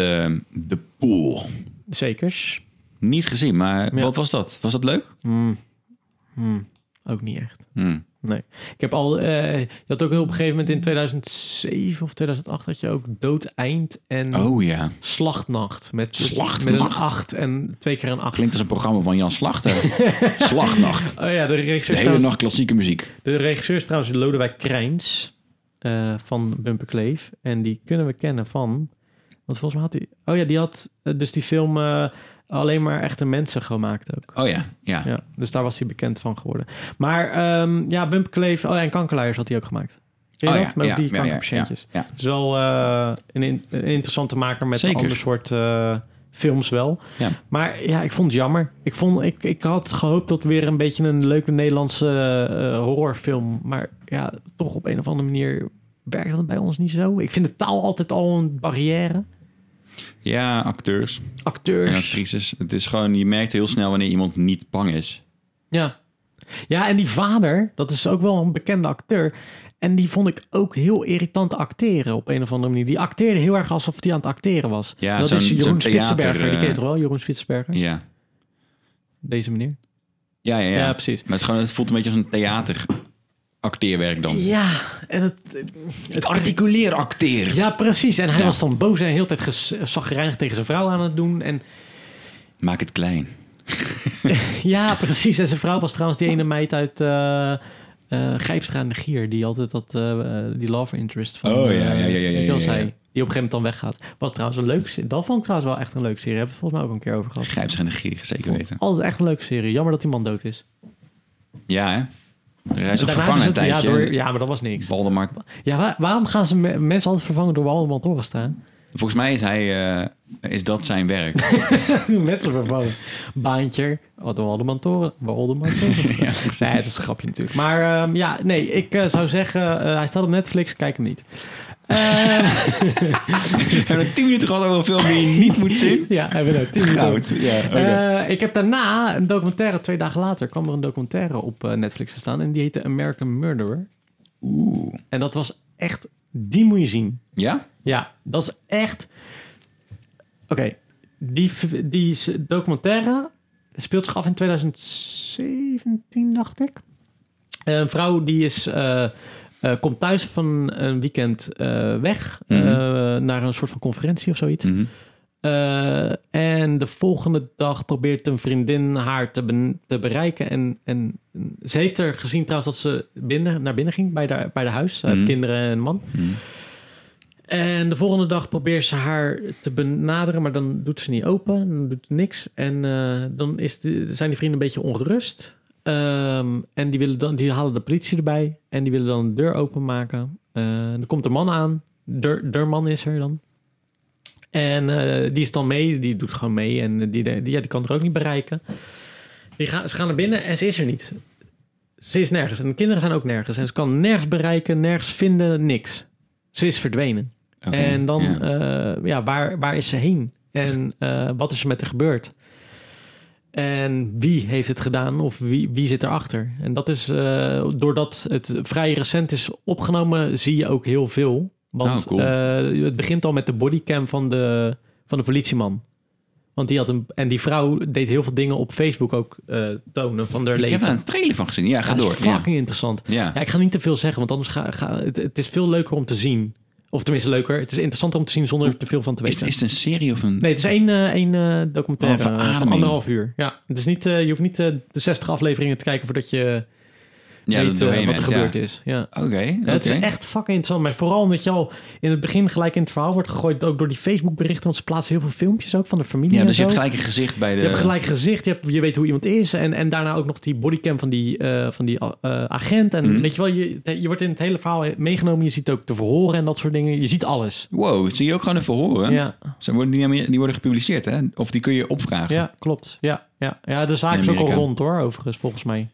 [SPEAKER 1] The Pool
[SPEAKER 2] Zekers.
[SPEAKER 1] Niet gezien, maar
[SPEAKER 2] Ja.
[SPEAKER 1] wat was dat? Was dat leuk?
[SPEAKER 2] Hmm. Hmm. Ook niet echt.
[SPEAKER 1] Hmm.
[SPEAKER 2] Ik heb al, eh, je had ook op een gegeven moment in 2007 of 2008 had je ook Doodeind en
[SPEAKER 1] Oh ja.
[SPEAKER 2] Slachtnacht. Met,
[SPEAKER 1] Slachtnacht?
[SPEAKER 2] met een 8 en twee keer een 8.
[SPEAKER 1] Klinkt als een programma van Jan Slachter. Slagnacht.
[SPEAKER 2] Oh ja, de
[SPEAKER 1] De
[SPEAKER 2] regisseur, is
[SPEAKER 1] hele
[SPEAKER 2] trouwens,
[SPEAKER 1] nacht klassieke muziek.
[SPEAKER 2] de regisseur is trouwens Lodewijk Krijns eh, van Bumper Kleef. En die kunnen we kennen van... Want volgens mij had hij... Oh ja, die had eh, dus die film eh, alleen maar echte mensen gemaakt ook.
[SPEAKER 1] Oh ja, ja.
[SPEAKER 2] Ja, dus daar was hij bekend van geworden. Maar ehm, ja, Bumper Kleef... Oh ja, en Kankerluiers had hij ook gemaakt. Ken je
[SPEAKER 1] oh,
[SPEAKER 2] dat? Met die kankerpatiëntjes.
[SPEAKER 1] ja, ja.
[SPEAKER 2] Dus wel eh, een, in- een interessante maker met een
[SPEAKER 1] Zeker.
[SPEAKER 2] ander soort eh, films wel.
[SPEAKER 1] Ja.
[SPEAKER 2] Maar ja, ik vond het jammer. Ik, vond, ik, ik had gehoopt tot weer een beetje een leuke Nederlandse eh, horrorfilm. Maar ja, toch op een of andere manier werkt dat bij ons niet zo. Ik vind de taal altijd al een barrière.
[SPEAKER 1] Ja, acteurs en
[SPEAKER 2] Acteurs.
[SPEAKER 1] actrices. Het is gewoon, je merkt heel snel wanneer iemand niet bang is.
[SPEAKER 2] Ja. Ja, en die vader, dat is ook wel een bekende acteur. En die vond ik ook heel irritant acteren op een of andere manier. Die acteerde heel erg alsof hij aan het acteren was.
[SPEAKER 1] Ja,
[SPEAKER 2] En dat
[SPEAKER 1] zo'n-
[SPEAKER 2] is Jeroen
[SPEAKER 1] zo'n theater,
[SPEAKER 2] Spitsberger. Die
[SPEAKER 1] eh,
[SPEAKER 2] ken je toch wel, Jeroen Spitsberger?
[SPEAKER 1] Ja,
[SPEAKER 2] Deze meneer.
[SPEAKER 1] ja, ja.
[SPEAKER 2] Ja,
[SPEAKER 1] ja.
[SPEAKER 2] precies.
[SPEAKER 1] Maar het, is gewoon, het voelt een beetje als een theateracteerwerk dan.
[SPEAKER 2] Ja, en het, het-
[SPEAKER 1] Articuleer acteren.
[SPEAKER 2] ja, precies. En hij
[SPEAKER 1] Ja.
[SPEAKER 2] was dan boos en heel de tijd zagrijnig tegen zijn vrouw aan het doen. En
[SPEAKER 1] Maak het klein.
[SPEAKER 2] ja, precies. En zijn vrouw was trouwens die ene meid uit eh eh, Gijpstra en de Gier. Die altijd dat, eh, eh, die love interest van...
[SPEAKER 1] Oh, ja,
[SPEAKER 2] eh,
[SPEAKER 1] ja, ja, ja, ja,
[SPEAKER 2] weet je
[SPEAKER 1] ja, ja.
[SPEAKER 2] wel, zij, Die op een gegeven moment dan weggaat. Wat trouwens een leuke serie. Dat vond ik trouwens wel echt een leuke serie. Hebben we het volgens mij ook een keer over gehad.
[SPEAKER 1] Grijp zich aan de gier, zeker
[SPEAKER 2] Vond ik
[SPEAKER 1] weten.
[SPEAKER 2] Altijd echt een leuke serie. Jammer dat die man dood is.
[SPEAKER 1] Ja, hè? Hij is ook gevangen een
[SPEAKER 2] Daarna hebben ze het-
[SPEAKER 1] tijdje.
[SPEAKER 2] ja, door- ja, maar dat was niks.
[SPEAKER 1] Waldemar.
[SPEAKER 2] Ja, waar- waarom gaan ze me- mensen altijd vervangen door allemaal Torres staan?
[SPEAKER 1] Volgens mij is, hij, eh, is dat zijn werk.
[SPEAKER 2] mensen vervangen. Baantje. Waldeman Toren. Waldeman Toren.
[SPEAKER 1] Ja, precies.
[SPEAKER 2] Nee, dat is een grapje natuurlijk. Maar ehm, ja, nee, ik eh, zou zeggen, eh, hij staat op Netflix, kijk hem niet. Eh,
[SPEAKER 1] We hebben het tien minuten gehad over een film die je niet moet zien.
[SPEAKER 2] ja, hebben we ook. Tien minuten
[SPEAKER 1] Goud. Ja,
[SPEAKER 2] over. Eh, ik heb daarna een documentaire, twee dagen later, kwam er een documentaire op eh, Netflix te staan. En die heette American Murderer.
[SPEAKER 1] Oeh.
[SPEAKER 2] En dat was echt, die moet je zien.
[SPEAKER 1] Ja?
[SPEAKER 2] Ja, dat is echt. Oké, die, die s- documentaire speelt zich af in 2017, dacht ik. Een vrouw die is, eh, eh, komt thuis van een weekend eh, weg
[SPEAKER 1] Mhm.
[SPEAKER 2] eh, naar een soort van conferentie of zoiets.
[SPEAKER 1] Mhm.
[SPEAKER 2] Eh, en de volgende dag probeert een vriendin haar te, ben- te bereiken. En, en ze heeft er gezien trouwens dat ze binnen, naar binnen ging bij de, bij de huis. Ze heeft
[SPEAKER 1] Mhm.
[SPEAKER 2] kinderen en een man.
[SPEAKER 1] Mhm.
[SPEAKER 2] En de volgende dag probeert ze haar te benaderen, maar dan doet ze niet open, dan doet ze niks. En eh, dan is de, zijn die vrienden een beetje ongerust. Ehm, en die, willen dan, die halen de politie erbij en die willen dan de deur openmaken. Eh dan komt de man aan, der, der man is er dan. En eh, die is dan mee, die doet gewoon mee en die, die, ja, die kan er ook niet bereiken. Die gaan, ze gaan naar binnen en ze is er niet. Ze is nergens en de kinderen zijn ook nergens. En ze kan nergens bereiken, nergens vinden, niks. Ze is verdwenen.
[SPEAKER 1] Oké,
[SPEAKER 2] En dan,
[SPEAKER 1] ja.
[SPEAKER 2] ja, ja waar, waar is ze heen? En eh, wat is er met haar gebeurd? En wie heeft het gedaan of wie, wie zit erachter? En dat is, eh, doordat het vrij recent is opgenomen, zie je ook heel veel. Want
[SPEAKER 1] Oh, cool.
[SPEAKER 2] eh, het begint al met de bodycam van de, van de politieman. Want die had een, en die vrouw deed heel veel dingen op Facebook ook eh, tonen van haar
[SPEAKER 1] Ik heb
[SPEAKER 2] leven.
[SPEAKER 1] er een trailer van gezien. Ja, ga
[SPEAKER 2] Ja, dat
[SPEAKER 1] door.
[SPEAKER 2] is
[SPEAKER 1] Ja.
[SPEAKER 2] fucking interessant.
[SPEAKER 1] Ja.
[SPEAKER 2] Ja, ik ga niet te veel zeggen, want anders ga, ga het, het is veel leuker om te zien. Of tenminste leuker. Het is interessanter om te zien zonder er te veel van te
[SPEAKER 1] Is,
[SPEAKER 2] weten.
[SPEAKER 1] is het een serie of een...
[SPEAKER 2] Nee, het is één, eh, één eh,
[SPEAKER 1] Oh,
[SPEAKER 2] documentaire
[SPEAKER 1] een
[SPEAKER 2] eh, van
[SPEAKER 1] verademing.
[SPEAKER 2] anderhalf uur. Ja, het is niet, eh, je hoeft niet eh, de 60 afleveringen te kijken voordat je
[SPEAKER 1] ja,
[SPEAKER 2] weet eh,
[SPEAKER 1] doorheen
[SPEAKER 2] wat er
[SPEAKER 1] bent,
[SPEAKER 2] gebeurd
[SPEAKER 1] ja.
[SPEAKER 2] is. Ja.
[SPEAKER 1] Oké, oké.
[SPEAKER 2] Ja, Het is echt fucking interessant. Maar vooral omdat je al in het begin gelijk in het verhaal wordt gegooid. Ook door die Facebook berichten. Want ze plaatsen heel veel filmpjes ook van de familie
[SPEAKER 1] Ja,
[SPEAKER 2] en
[SPEAKER 1] dus je
[SPEAKER 2] zo.
[SPEAKER 1] hebt gelijk een gezicht bij de...
[SPEAKER 2] Je hebt gelijk gezicht, je, hebt, je weet hoe iemand is. En, en daarna ook nog die bodycam van die, eh, van die eh, agent. En
[SPEAKER 1] Mhm.
[SPEAKER 2] weet je wel, je, eh, je wordt in het hele verhaal meegenomen. Je ziet ook de verhoren en dat soort dingen. Je ziet alles.
[SPEAKER 1] Wow, zie je ook gewoon even horen.
[SPEAKER 2] Ja,
[SPEAKER 1] Ze worden, die, namen- die worden gepubliceerd, hè? Of die kun je opvragen.
[SPEAKER 2] ja, klopt. Ja, ja. ja, de zaak
[SPEAKER 1] In
[SPEAKER 2] is ook al
[SPEAKER 1] Amerika.
[SPEAKER 2] rond hoor, overigens, volgens mij.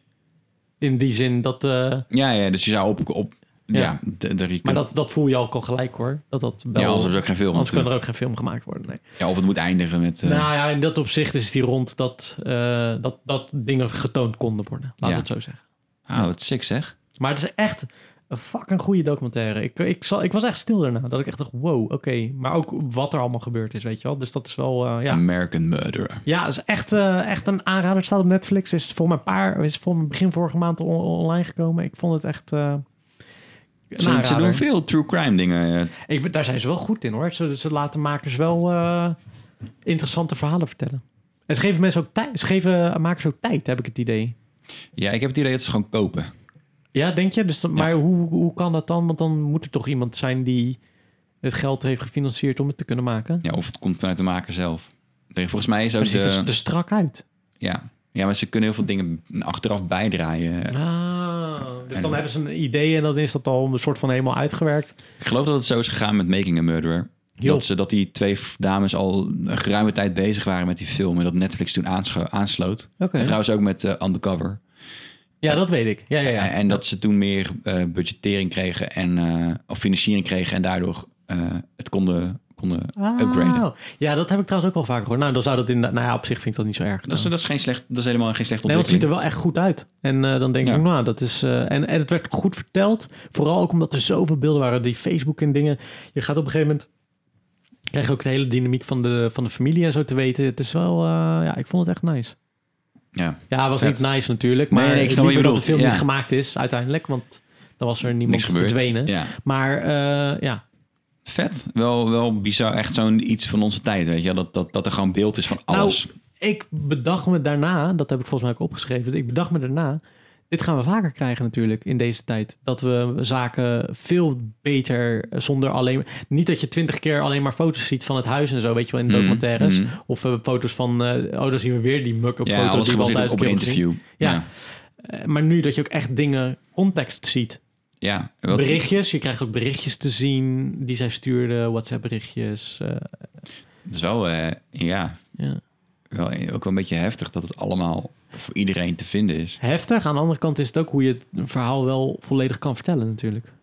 [SPEAKER 2] In die zin dat... eh,
[SPEAKER 1] ja, ja, dus je zou op... op
[SPEAKER 2] Ja.
[SPEAKER 1] ja, de, de, je
[SPEAKER 2] maar
[SPEAKER 1] kunt-
[SPEAKER 2] dat, dat voel je ook al gelijk hoor. Dat dat wel...
[SPEAKER 1] ja, anders is ook geen film.
[SPEAKER 2] anders kan
[SPEAKER 1] natuurlijk.
[SPEAKER 2] er ook geen film gemaakt worden, nee.
[SPEAKER 1] Ja, of het moet eindigen met... eh,
[SPEAKER 2] Nou ja, in dat opzicht is die rond dat, eh, dat, dat dingen getoond konden worden. Laat
[SPEAKER 1] Ja.
[SPEAKER 2] het zo zeggen.
[SPEAKER 1] Oh, het is sick, zeg.
[SPEAKER 2] Maar het is echt Een fucking goede documentaire. Ik, ik, zal, ik was echt stil daarna. Dat ik echt dacht, wow, oké. Maar ook wat er allemaal gebeurd is, weet je wel. Dus dat is wel, eh, ja.
[SPEAKER 1] American Murderer.
[SPEAKER 2] Ja, is echt, eh, echt een aanrader. Het staat op Netflix. Is voor mijn paar, is voor mijn begin vorige maand on- online gekomen. Ik vond het echt eh, een
[SPEAKER 1] Ze, ze
[SPEAKER 2] aanrader.
[SPEAKER 1] doen veel true crime dingen.
[SPEAKER 2] Ik, ben- daar zijn ze wel goed in hoor. Ze, ze laten makers wel eh, interessante verhalen vertellen. En ze geven, mensen ook tijd, ze geven makers ook tijd, heb ik het idee.
[SPEAKER 1] Ja, ik heb het idee dat ze gewoon kopen.
[SPEAKER 2] Ja, denk je? Dus, dat- Maar hoe, hoe kan dat dan? Want dan moet er toch iemand zijn die het geld heeft gefinancierd om het te kunnen maken.
[SPEAKER 1] Ja, of het komt vanuit de maker zelf. Er- Volgens mij is ook
[SPEAKER 2] Maar het ziet
[SPEAKER 1] de...
[SPEAKER 2] er s- te strak uit.
[SPEAKER 1] Ja. ja, maar ze kunnen heel veel dingen achteraf bijdraaien.
[SPEAKER 2] Ah, dus
[SPEAKER 1] En-
[SPEAKER 2] dan hebben ze een idee en dan is dat al een soort van helemaal uitgewerkt.
[SPEAKER 1] Ik geloof dat het zo is gegaan met Making a Murderer.
[SPEAKER 2] Jo.
[SPEAKER 1] Dat, ze, dat die twee v- dames al een geruime tijd bezig waren met die film. En dat Netflix toen aanscho- aansloot.
[SPEAKER 2] Oké.
[SPEAKER 1] En trouwens ook met eh, Undercover.
[SPEAKER 2] Ja, dat weet ik. Ja, ja, ja.
[SPEAKER 1] En, en dat ze toen meer eh, budgettering kregen en, eh, of financiering kregen. En daardoor eh, het konden, konden upgraden.
[SPEAKER 2] Ah, ja, dat heb ik trouwens ook wel vaak gehoord. Nou, dan zou dat in, nou ja, op zich vind ik dat niet zo erg.
[SPEAKER 1] Dat is, dat, is geen slecht, dat is helemaal geen slechte
[SPEAKER 2] Nee, want het ziet
[SPEAKER 1] ontwikkeling.
[SPEAKER 2] er wel echt goed uit. En eh, dan denk
[SPEAKER 1] Ja.
[SPEAKER 2] ik, nou, dat is... eh, en, en het werd goed verteld. Vooral ook omdat er zoveel beelden waren. Die Facebook en dingen. Je gaat op een gegeven moment... Krijg je ook de hele dynamiek van de, van de familie en zo te weten. Het is wel... eh, ja, ik vond het echt nice.
[SPEAKER 1] ja.
[SPEAKER 2] Ja, het was
[SPEAKER 1] Vet.
[SPEAKER 2] niet nice natuurlijk.
[SPEAKER 1] Nee,
[SPEAKER 2] Maar
[SPEAKER 1] nee, ik
[SPEAKER 2] ik
[SPEAKER 1] snap wat je
[SPEAKER 2] liever dat de
[SPEAKER 1] bedoelt.
[SPEAKER 2] film
[SPEAKER 1] Ja.
[SPEAKER 2] niet gemaakt is uiteindelijk. Want dan was er niemand
[SPEAKER 1] Niks gebeurd.
[SPEAKER 2] verdwenen.
[SPEAKER 1] Ja.
[SPEAKER 2] Maar eh, ja,
[SPEAKER 1] Vet. Wel, wel bizar. Echt zo'n iets van onze tijd, weet je. wel. Dat, dat, dat er gewoon beeld is van
[SPEAKER 2] Nou,
[SPEAKER 1] alles.
[SPEAKER 2] ik bedacht me daarna... Dat heb ik volgens mij ook opgeschreven. Ik bedacht me daarna... Dit gaan we vaker krijgen natuurlijk in deze tijd. Dat we zaken veel beter eh, zonder alleen... Niet dat je twintig keer alleen maar foto's ziet van het huis en zo, weet je wel, in
[SPEAKER 1] Mm,
[SPEAKER 2] documentaires.
[SPEAKER 1] mm.
[SPEAKER 2] Of eh, foto's van, eh, oh, dan zien we weer die muk op
[SPEAKER 1] Ja,
[SPEAKER 2] foto
[SPEAKER 1] alles
[SPEAKER 2] die we al
[SPEAKER 1] gebaseerd
[SPEAKER 2] duizend
[SPEAKER 1] op
[SPEAKER 2] keer
[SPEAKER 1] een
[SPEAKER 2] hebben gezien.
[SPEAKER 1] interview.
[SPEAKER 2] Ja.
[SPEAKER 1] ja.
[SPEAKER 2] Eh, maar nu dat je ook echt dingen, context ziet.
[SPEAKER 1] Ja, wat-
[SPEAKER 2] Berichtjes, je krijgt ook berichtjes te zien die zij stuurde, WhatsApp berichtjes.
[SPEAKER 1] dat is wel, eh, ja,
[SPEAKER 2] ja.
[SPEAKER 1] wel, ook wel een beetje heftig dat het allemaal voor iedereen te vinden is.
[SPEAKER 2] Heftig, aan de andere kant is het ook hoe je het verhaal wel volledig kan vertellen natuurlijk.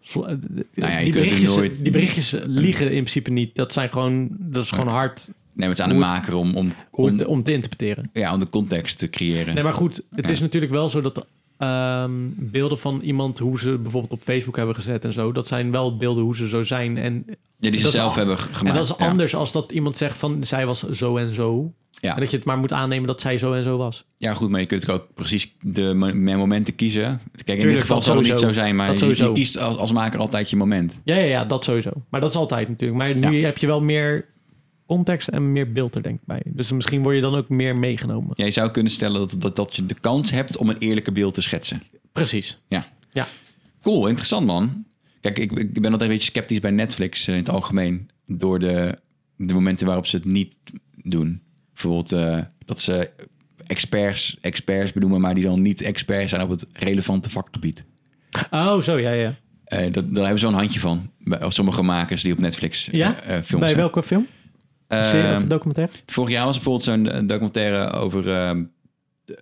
[SPEAKER 2] Zo- eh,
[SPEAKER 1] Nou ja, je
[SPEAKER 2] die,
[SPEAKER 1] kunt het
[SPEAKER 2] berichtjes,
[SPEAKER 1] nooit-
[SPEAKER 2] die berichtjes liegen in principe niet. Dat, zijn gewoon, dat is gewoon hard
[SPEAKER 1] Nee, maar het is aan
[SPEAKER 2] Hoe
[SPEAKER 1] de maker om, om,
[SPEAKER 2] hoe
[SPEAKER 1] om,
[SPEAKER 2] het- om te interpreteren.
[SPEAKER 1] ja, om de context te creëren.
[SPEAKER 2] Nee, maar goed, het
[SPEAKER 1] Ja.
[SPEAKER 2] is natuurlijk wel zo dat ehm, beelden van iemand, hoe ze bijvoorbeeld op Facebook hebben gezet en zo, dat zijn wel beelden hoe ze zo zijn. En,
[SPEAKER 1] ja, die ze
[SPEAKER 2] dat is
[SPEAKER 1] zelf
[SPEAKER 2] al-
[SPEAKER 1] hebben g-
[SPEAKER 2] en
[SPEAKER 1] gemaakt.
[SPEAKER 2] dat is
[SPEAKER 1] ja.
[SPEAKER 2] anders als dat iemand zegt van zij was zo en zo.
[SPEAKER 1] Ja.
[SPEAKER 2] En dat je het maar moet aannemen dat zij zo en zo was.
[SPEAKER 1] Ja, goed, maar je kunt ook precies de mo- momenten kiezen. Kijk, in dit
[SPEAKER 2] Tuurlijk,
[SPEAKER 1] geval
[SPEAKER 2] dat
[SPEAKER 1] zal het niet
[SPEAKER 2] sowieso.
[SPEAKER 1] zo zijn, maar
[SPEAKER 2] Dat
[SPEAKER 1] je, je
[SPEAKER 2] sowieso.
[SPEAKER 1] kiest als, als maker altijd je moment.
[SPEAKER 2] Ja, ja, ja, dat sowieso. Maar dat is altijd natuurlijk. Maar nu heb je wel meer context en meer beeld er denk ik bij. Dus misschien word je dan ook meer meegenomen.
[SPEAKER 1] Jij zou kunnen stellen dat, dat, dat je de kans hebt om een eerlijke beeld te schetsen.
[SPEAKER 2] Precies.
[SPEAKER 1] Cool, interessant man. Kijk, ik, ik ben altijd een beetje sceptisch bij Netflix eh, in het algemeen. Door de, de momenten waarop ze het niet doen. Bijvoorbeeld eh, dat ze experts, experts benoemen, maar die dan niet experts zijn op het relevante vakgebied.
[SPEAKER 2] Oh, zo, ja, ja.
[SPEAKER 1] Eh, dat, daar hebben ze wel een handje van. Bij of sommige makers die op Netflix eh,
[SPEAKER 2] Ja?
[SPEAKER 1] eh, films
[SPEAKER 2] Bij
[SPEAKER 1] zijn.
[SPEAKER 2] welke film?
[SPEAKER 1] Eh,
[SPEAKER 2] Of serie of documentaire?
[SPEAKER 1] vorig jaar was er bijvoorbeeld zo'n eh, documentaire over ehm,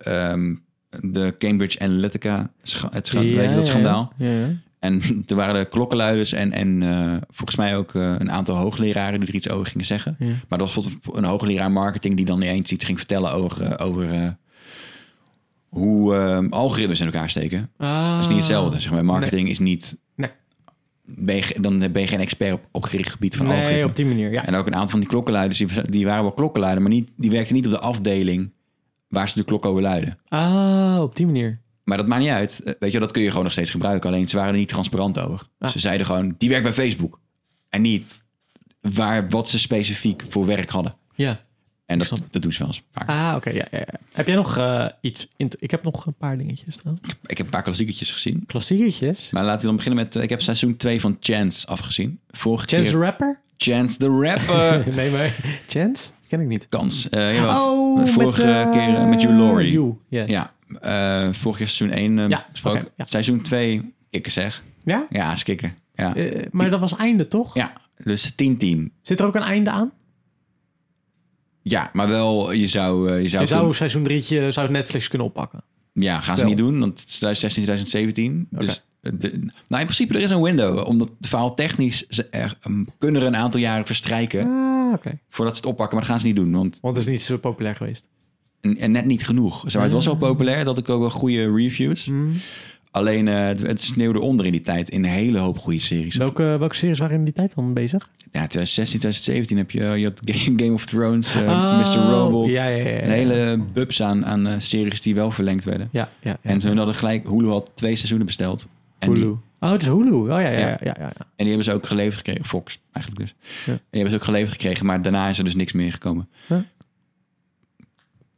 [SPEAKER 1] ehm, de Cambridge Analytica. scha- het scha- weet je dat schandaal?
[SPEAKER 2] Ja, ja.
[SPEAKER 1] En toen waren er klokkenluiders en, en eh, volgens mij ook eh, een aantal hoogleraren die er iets over gingen zeggen.
[SPEAKER 2] Ja.
[SPEAKER 1] Maar dat was bijvoorbeeld een hoogleraar marketing die dan ineens iets ging vertellen over, eh, over eh, hoe eh, algoritmes in elkaar steken. Dat
[SPEAKER 2] Ah.
[SPEAKER 1] is niet hetzelfde. Zeg maar. Marketing is niet...
[SPEAKER 2] Nee.
[SPEAKER 1] Ben je, ge- dan ben je geen expert op, op gericht gebied van
[SPEAKER 2] Nee,
[SPEAKER 1] algoritmes.
[SPEAKER 2] op die manier, ja.
[SPEAKER 1] En ook een aantal van die klokkenluiders, die, die waren wel klokkenluider, maar niet, die werkten niet op de afdeling waar ze de klok over luiden.
[SPEAKER 2] Ah, op die manier.
[SPEAKER 1] Maar dat maakt niet uit. Eh, Weet je, dat kun je gewoon nog steeds gebruiken. Alleen ze waren er niet transparant over.
[SPEAKER 2] Ah.
[SPEAKER 1] Ze zeiden gewoon, die werkt bij Facebook. En niet waar, wat ze specifiek voor werk hadden.
[SPEAKER 2] Ja.
[SPEAKER 1] En dat,
[SPEAKER 2] Ik snap.
[SPEAKER 1] dat doen ze wel eens. vaak.
[SPEAKER 2] Ah, oké. ja, ja, ja. Heb jij nog eh, iets? in- ik heb nog een paar dingetjes. Dan.
[SPEAKER 1] Ik heb een paar klassieketjes gezien.
[SPEAKER 2] Klassieketjes.
[SPEAKER 1] Maar laten we dan beginnen met... eh, Ik heb seizoen 2 van Chance afgezien. Vorige
[SPEAKER 2] Chance
[SPEAKER 1] keer Eh.
[SPEAKER 2] the Rapper?
[SPEAKER 1] Chance the Rapper.
[SPEAKER 2] nee, maar... Chance? Ken ik niet.
[SPEAKER 1] Kans. Eh, ja,
[SPEAKER 2] oh,
[SPEAKER 1] de vorige
[SPEAKER 2] eh,
[SPEAKER 1] keer, eh, met Hugh Laurie.
[SPEAKER 2] You, yes.
[SPEAKER 1] ja. Eh, vorig jaar seizoen 1
[SPEAKER 2] Ja,
[SPEAKER 1] besproken.
[SPEAKER 2] oké, ja.
[SPEAKER 1] Seizoen 2, kikken zeg.
[SPEAKER 2] Ja?
[SPEAKER 1] Ja, is kikken. Ja.
[SPEAKER 2] Eh, maar dat was einde, toch?
[SPEAKER 1] ja, dus 10-10.
[SPEAKER 2] Zit er ook een einde aan?
[SPEAKER 1] Ja, maar wel, je zou... eh, Je zou, kunnen-
[SPEAKER 2] Je zou seizoen 3 zou Netflix kunnen oppakken.
[SPEAKER 1] Ja, gaan ze
[SPEAKER 2] Stel.
[SPEAKER 1] niet doen, want het is 2016, 2017.
[SPEAKER 2] Oké.
[SPEAKER 1] Dus eh, de, nou, in principe, er is een window. Omdat de faal technisch ze er, ehm, kunnen er een aantal jaren verstrijken
[SPEAKER 2] Ah, oké.
[SPEAKER 1] voordat ze het oppakken. Maar dat gaan ze niet doen, want
[SPEAKER 2] Want het is niet zo populair geweest.
[SPEAKER 1] en, en net niet genoeg. Zo, maar het was wel
[SPEAKER 2] Ah. Hmm.
[SPEAKER 1] populair, dat ik ook wel goede reviews. Alleen eh, het, het sneeuwde onder in die tijd in een hele hoop goede series.
[SPEAKER 2] Welke, welke series waren in die tijd dan bezig?
[SPEAKER 1] Ja, 2016, 2017 heb je, eh, je had Game, Game of Thrones, eh,
[SPEAKER 2] Ah,
[SPEAKER 1] Mr. Robot.
[SPEAKER 2] Ja, ja, ja, ja.
[SPEAKER 1] Een hele bubs aan, aan eh, series die wel verlengd werden.
[SPEAKER 2] Ja, ja, ja.
[SPEAKER 1] En hun hadden gelijk, Hulu had twee seizoenen besteld. En
[SPEAKER 2] Hulu.
[SPEAKER 1] Die,
[SPEAKER 2] Oh, het is Hulu. Oh ja, ja, ja.
[SPEAKER 1] Ja.
[SPEAKER 2] ja, ja, ja.
[SPEAKER 1] en die hebben ze ook geleverd gekregen. Fox eigenlijk dus.
[SPEAKER 2] Ja.
[SPEAKER 1] En die hebben ze ook geleverd gekregen, maar daarna is er dus niks meer gekomen.
[SPEAKER 2] Huh?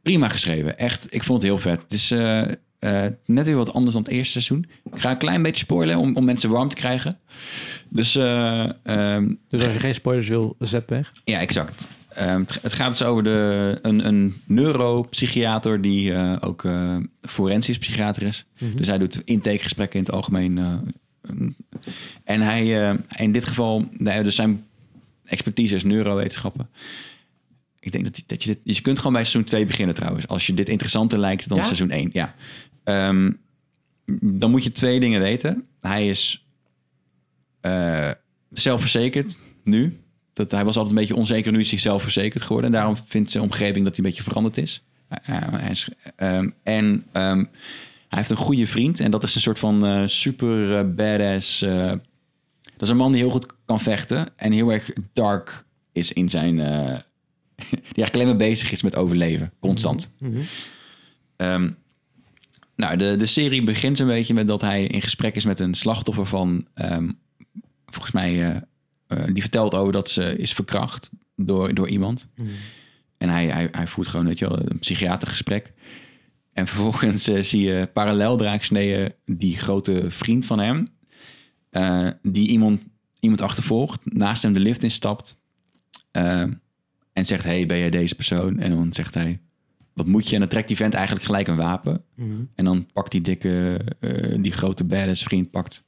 [SPEAKER 1] Prima geschreven. Echt, ik vond het heel vet. Het is eh, eh, net weer wat anders dan het eerste seizoen. Ik ga een klein beetje spoilen om, om mensen warm te krijgen. Dus, eh, ehm,
[SPEAKER 2] Dus als je geen spoilers wil, zet weg.
[SPEAKER 1] ja, exact. Ehm, het het gaat dus over de, een, een neuropsychiater die eh, ook eh, forensisch psychiater is. Dus hij doet intakegesprekken in het algemeen. eh, een- en hij, eh, in dit geval, nou ja, dus zijn expertise is neurowetenschappen. Ik denk dat, die- dat je dit... Je kunt gewoon bij seizoen 2 beginnen trouwens. Als je dit interessanter lijkt dan
[SPEAKER 2] Ja?
[SPEAKER 1] seizoen 1. Ja. Ehm, dan moet je twee dingen weten. Hij is eh, zelfverzekerd nu. Dat, hij was altijd een beetje onzeker. Nu is hij zelfverzekerd geworden. En daarom vindt zijn omgeving dat hij een beetje veranderd is. Eh, eh, hij is ehm, en ehm, hij heeft een goede vriend. En dat is een soort van eh, super eh, badass... eh, dat is een man die heel goed kan vechten. En heel erg dark is in zijn... eh, die eigenlijk alleen maar bezig is met overleven. Constant.
[SPEAKER 2] Mhm.
[SPEAKER 1] Ehm, nou, de, de serie begint een beetje met dat hij in gesprek is met een slachtoffer van... ehm, volgens mij, eh, eh, die vertelt over dat ze is verkracht door, door iemand.
[SPEAKER 2] Mhm.
[SPEAKER 1] En hij, hij, hij voert gewoon weet je wel, een psychiatergesprek. En vervolgens eh, zie je parallel draagsneden die grote vriend van hem... eh, die iemand, iemand achtervolgt, naast hem de lift instapt... eh, en zegt, hey, ben jij deze persoon? En dan zegt hij, wat moet je? En dan trekt die vent eigenlijk gelijk een wapen.
[SPEAKER 2] Mhm.
[SPEAKER 1] En dan pakt die dikke, eh, die grote badass vriend pakt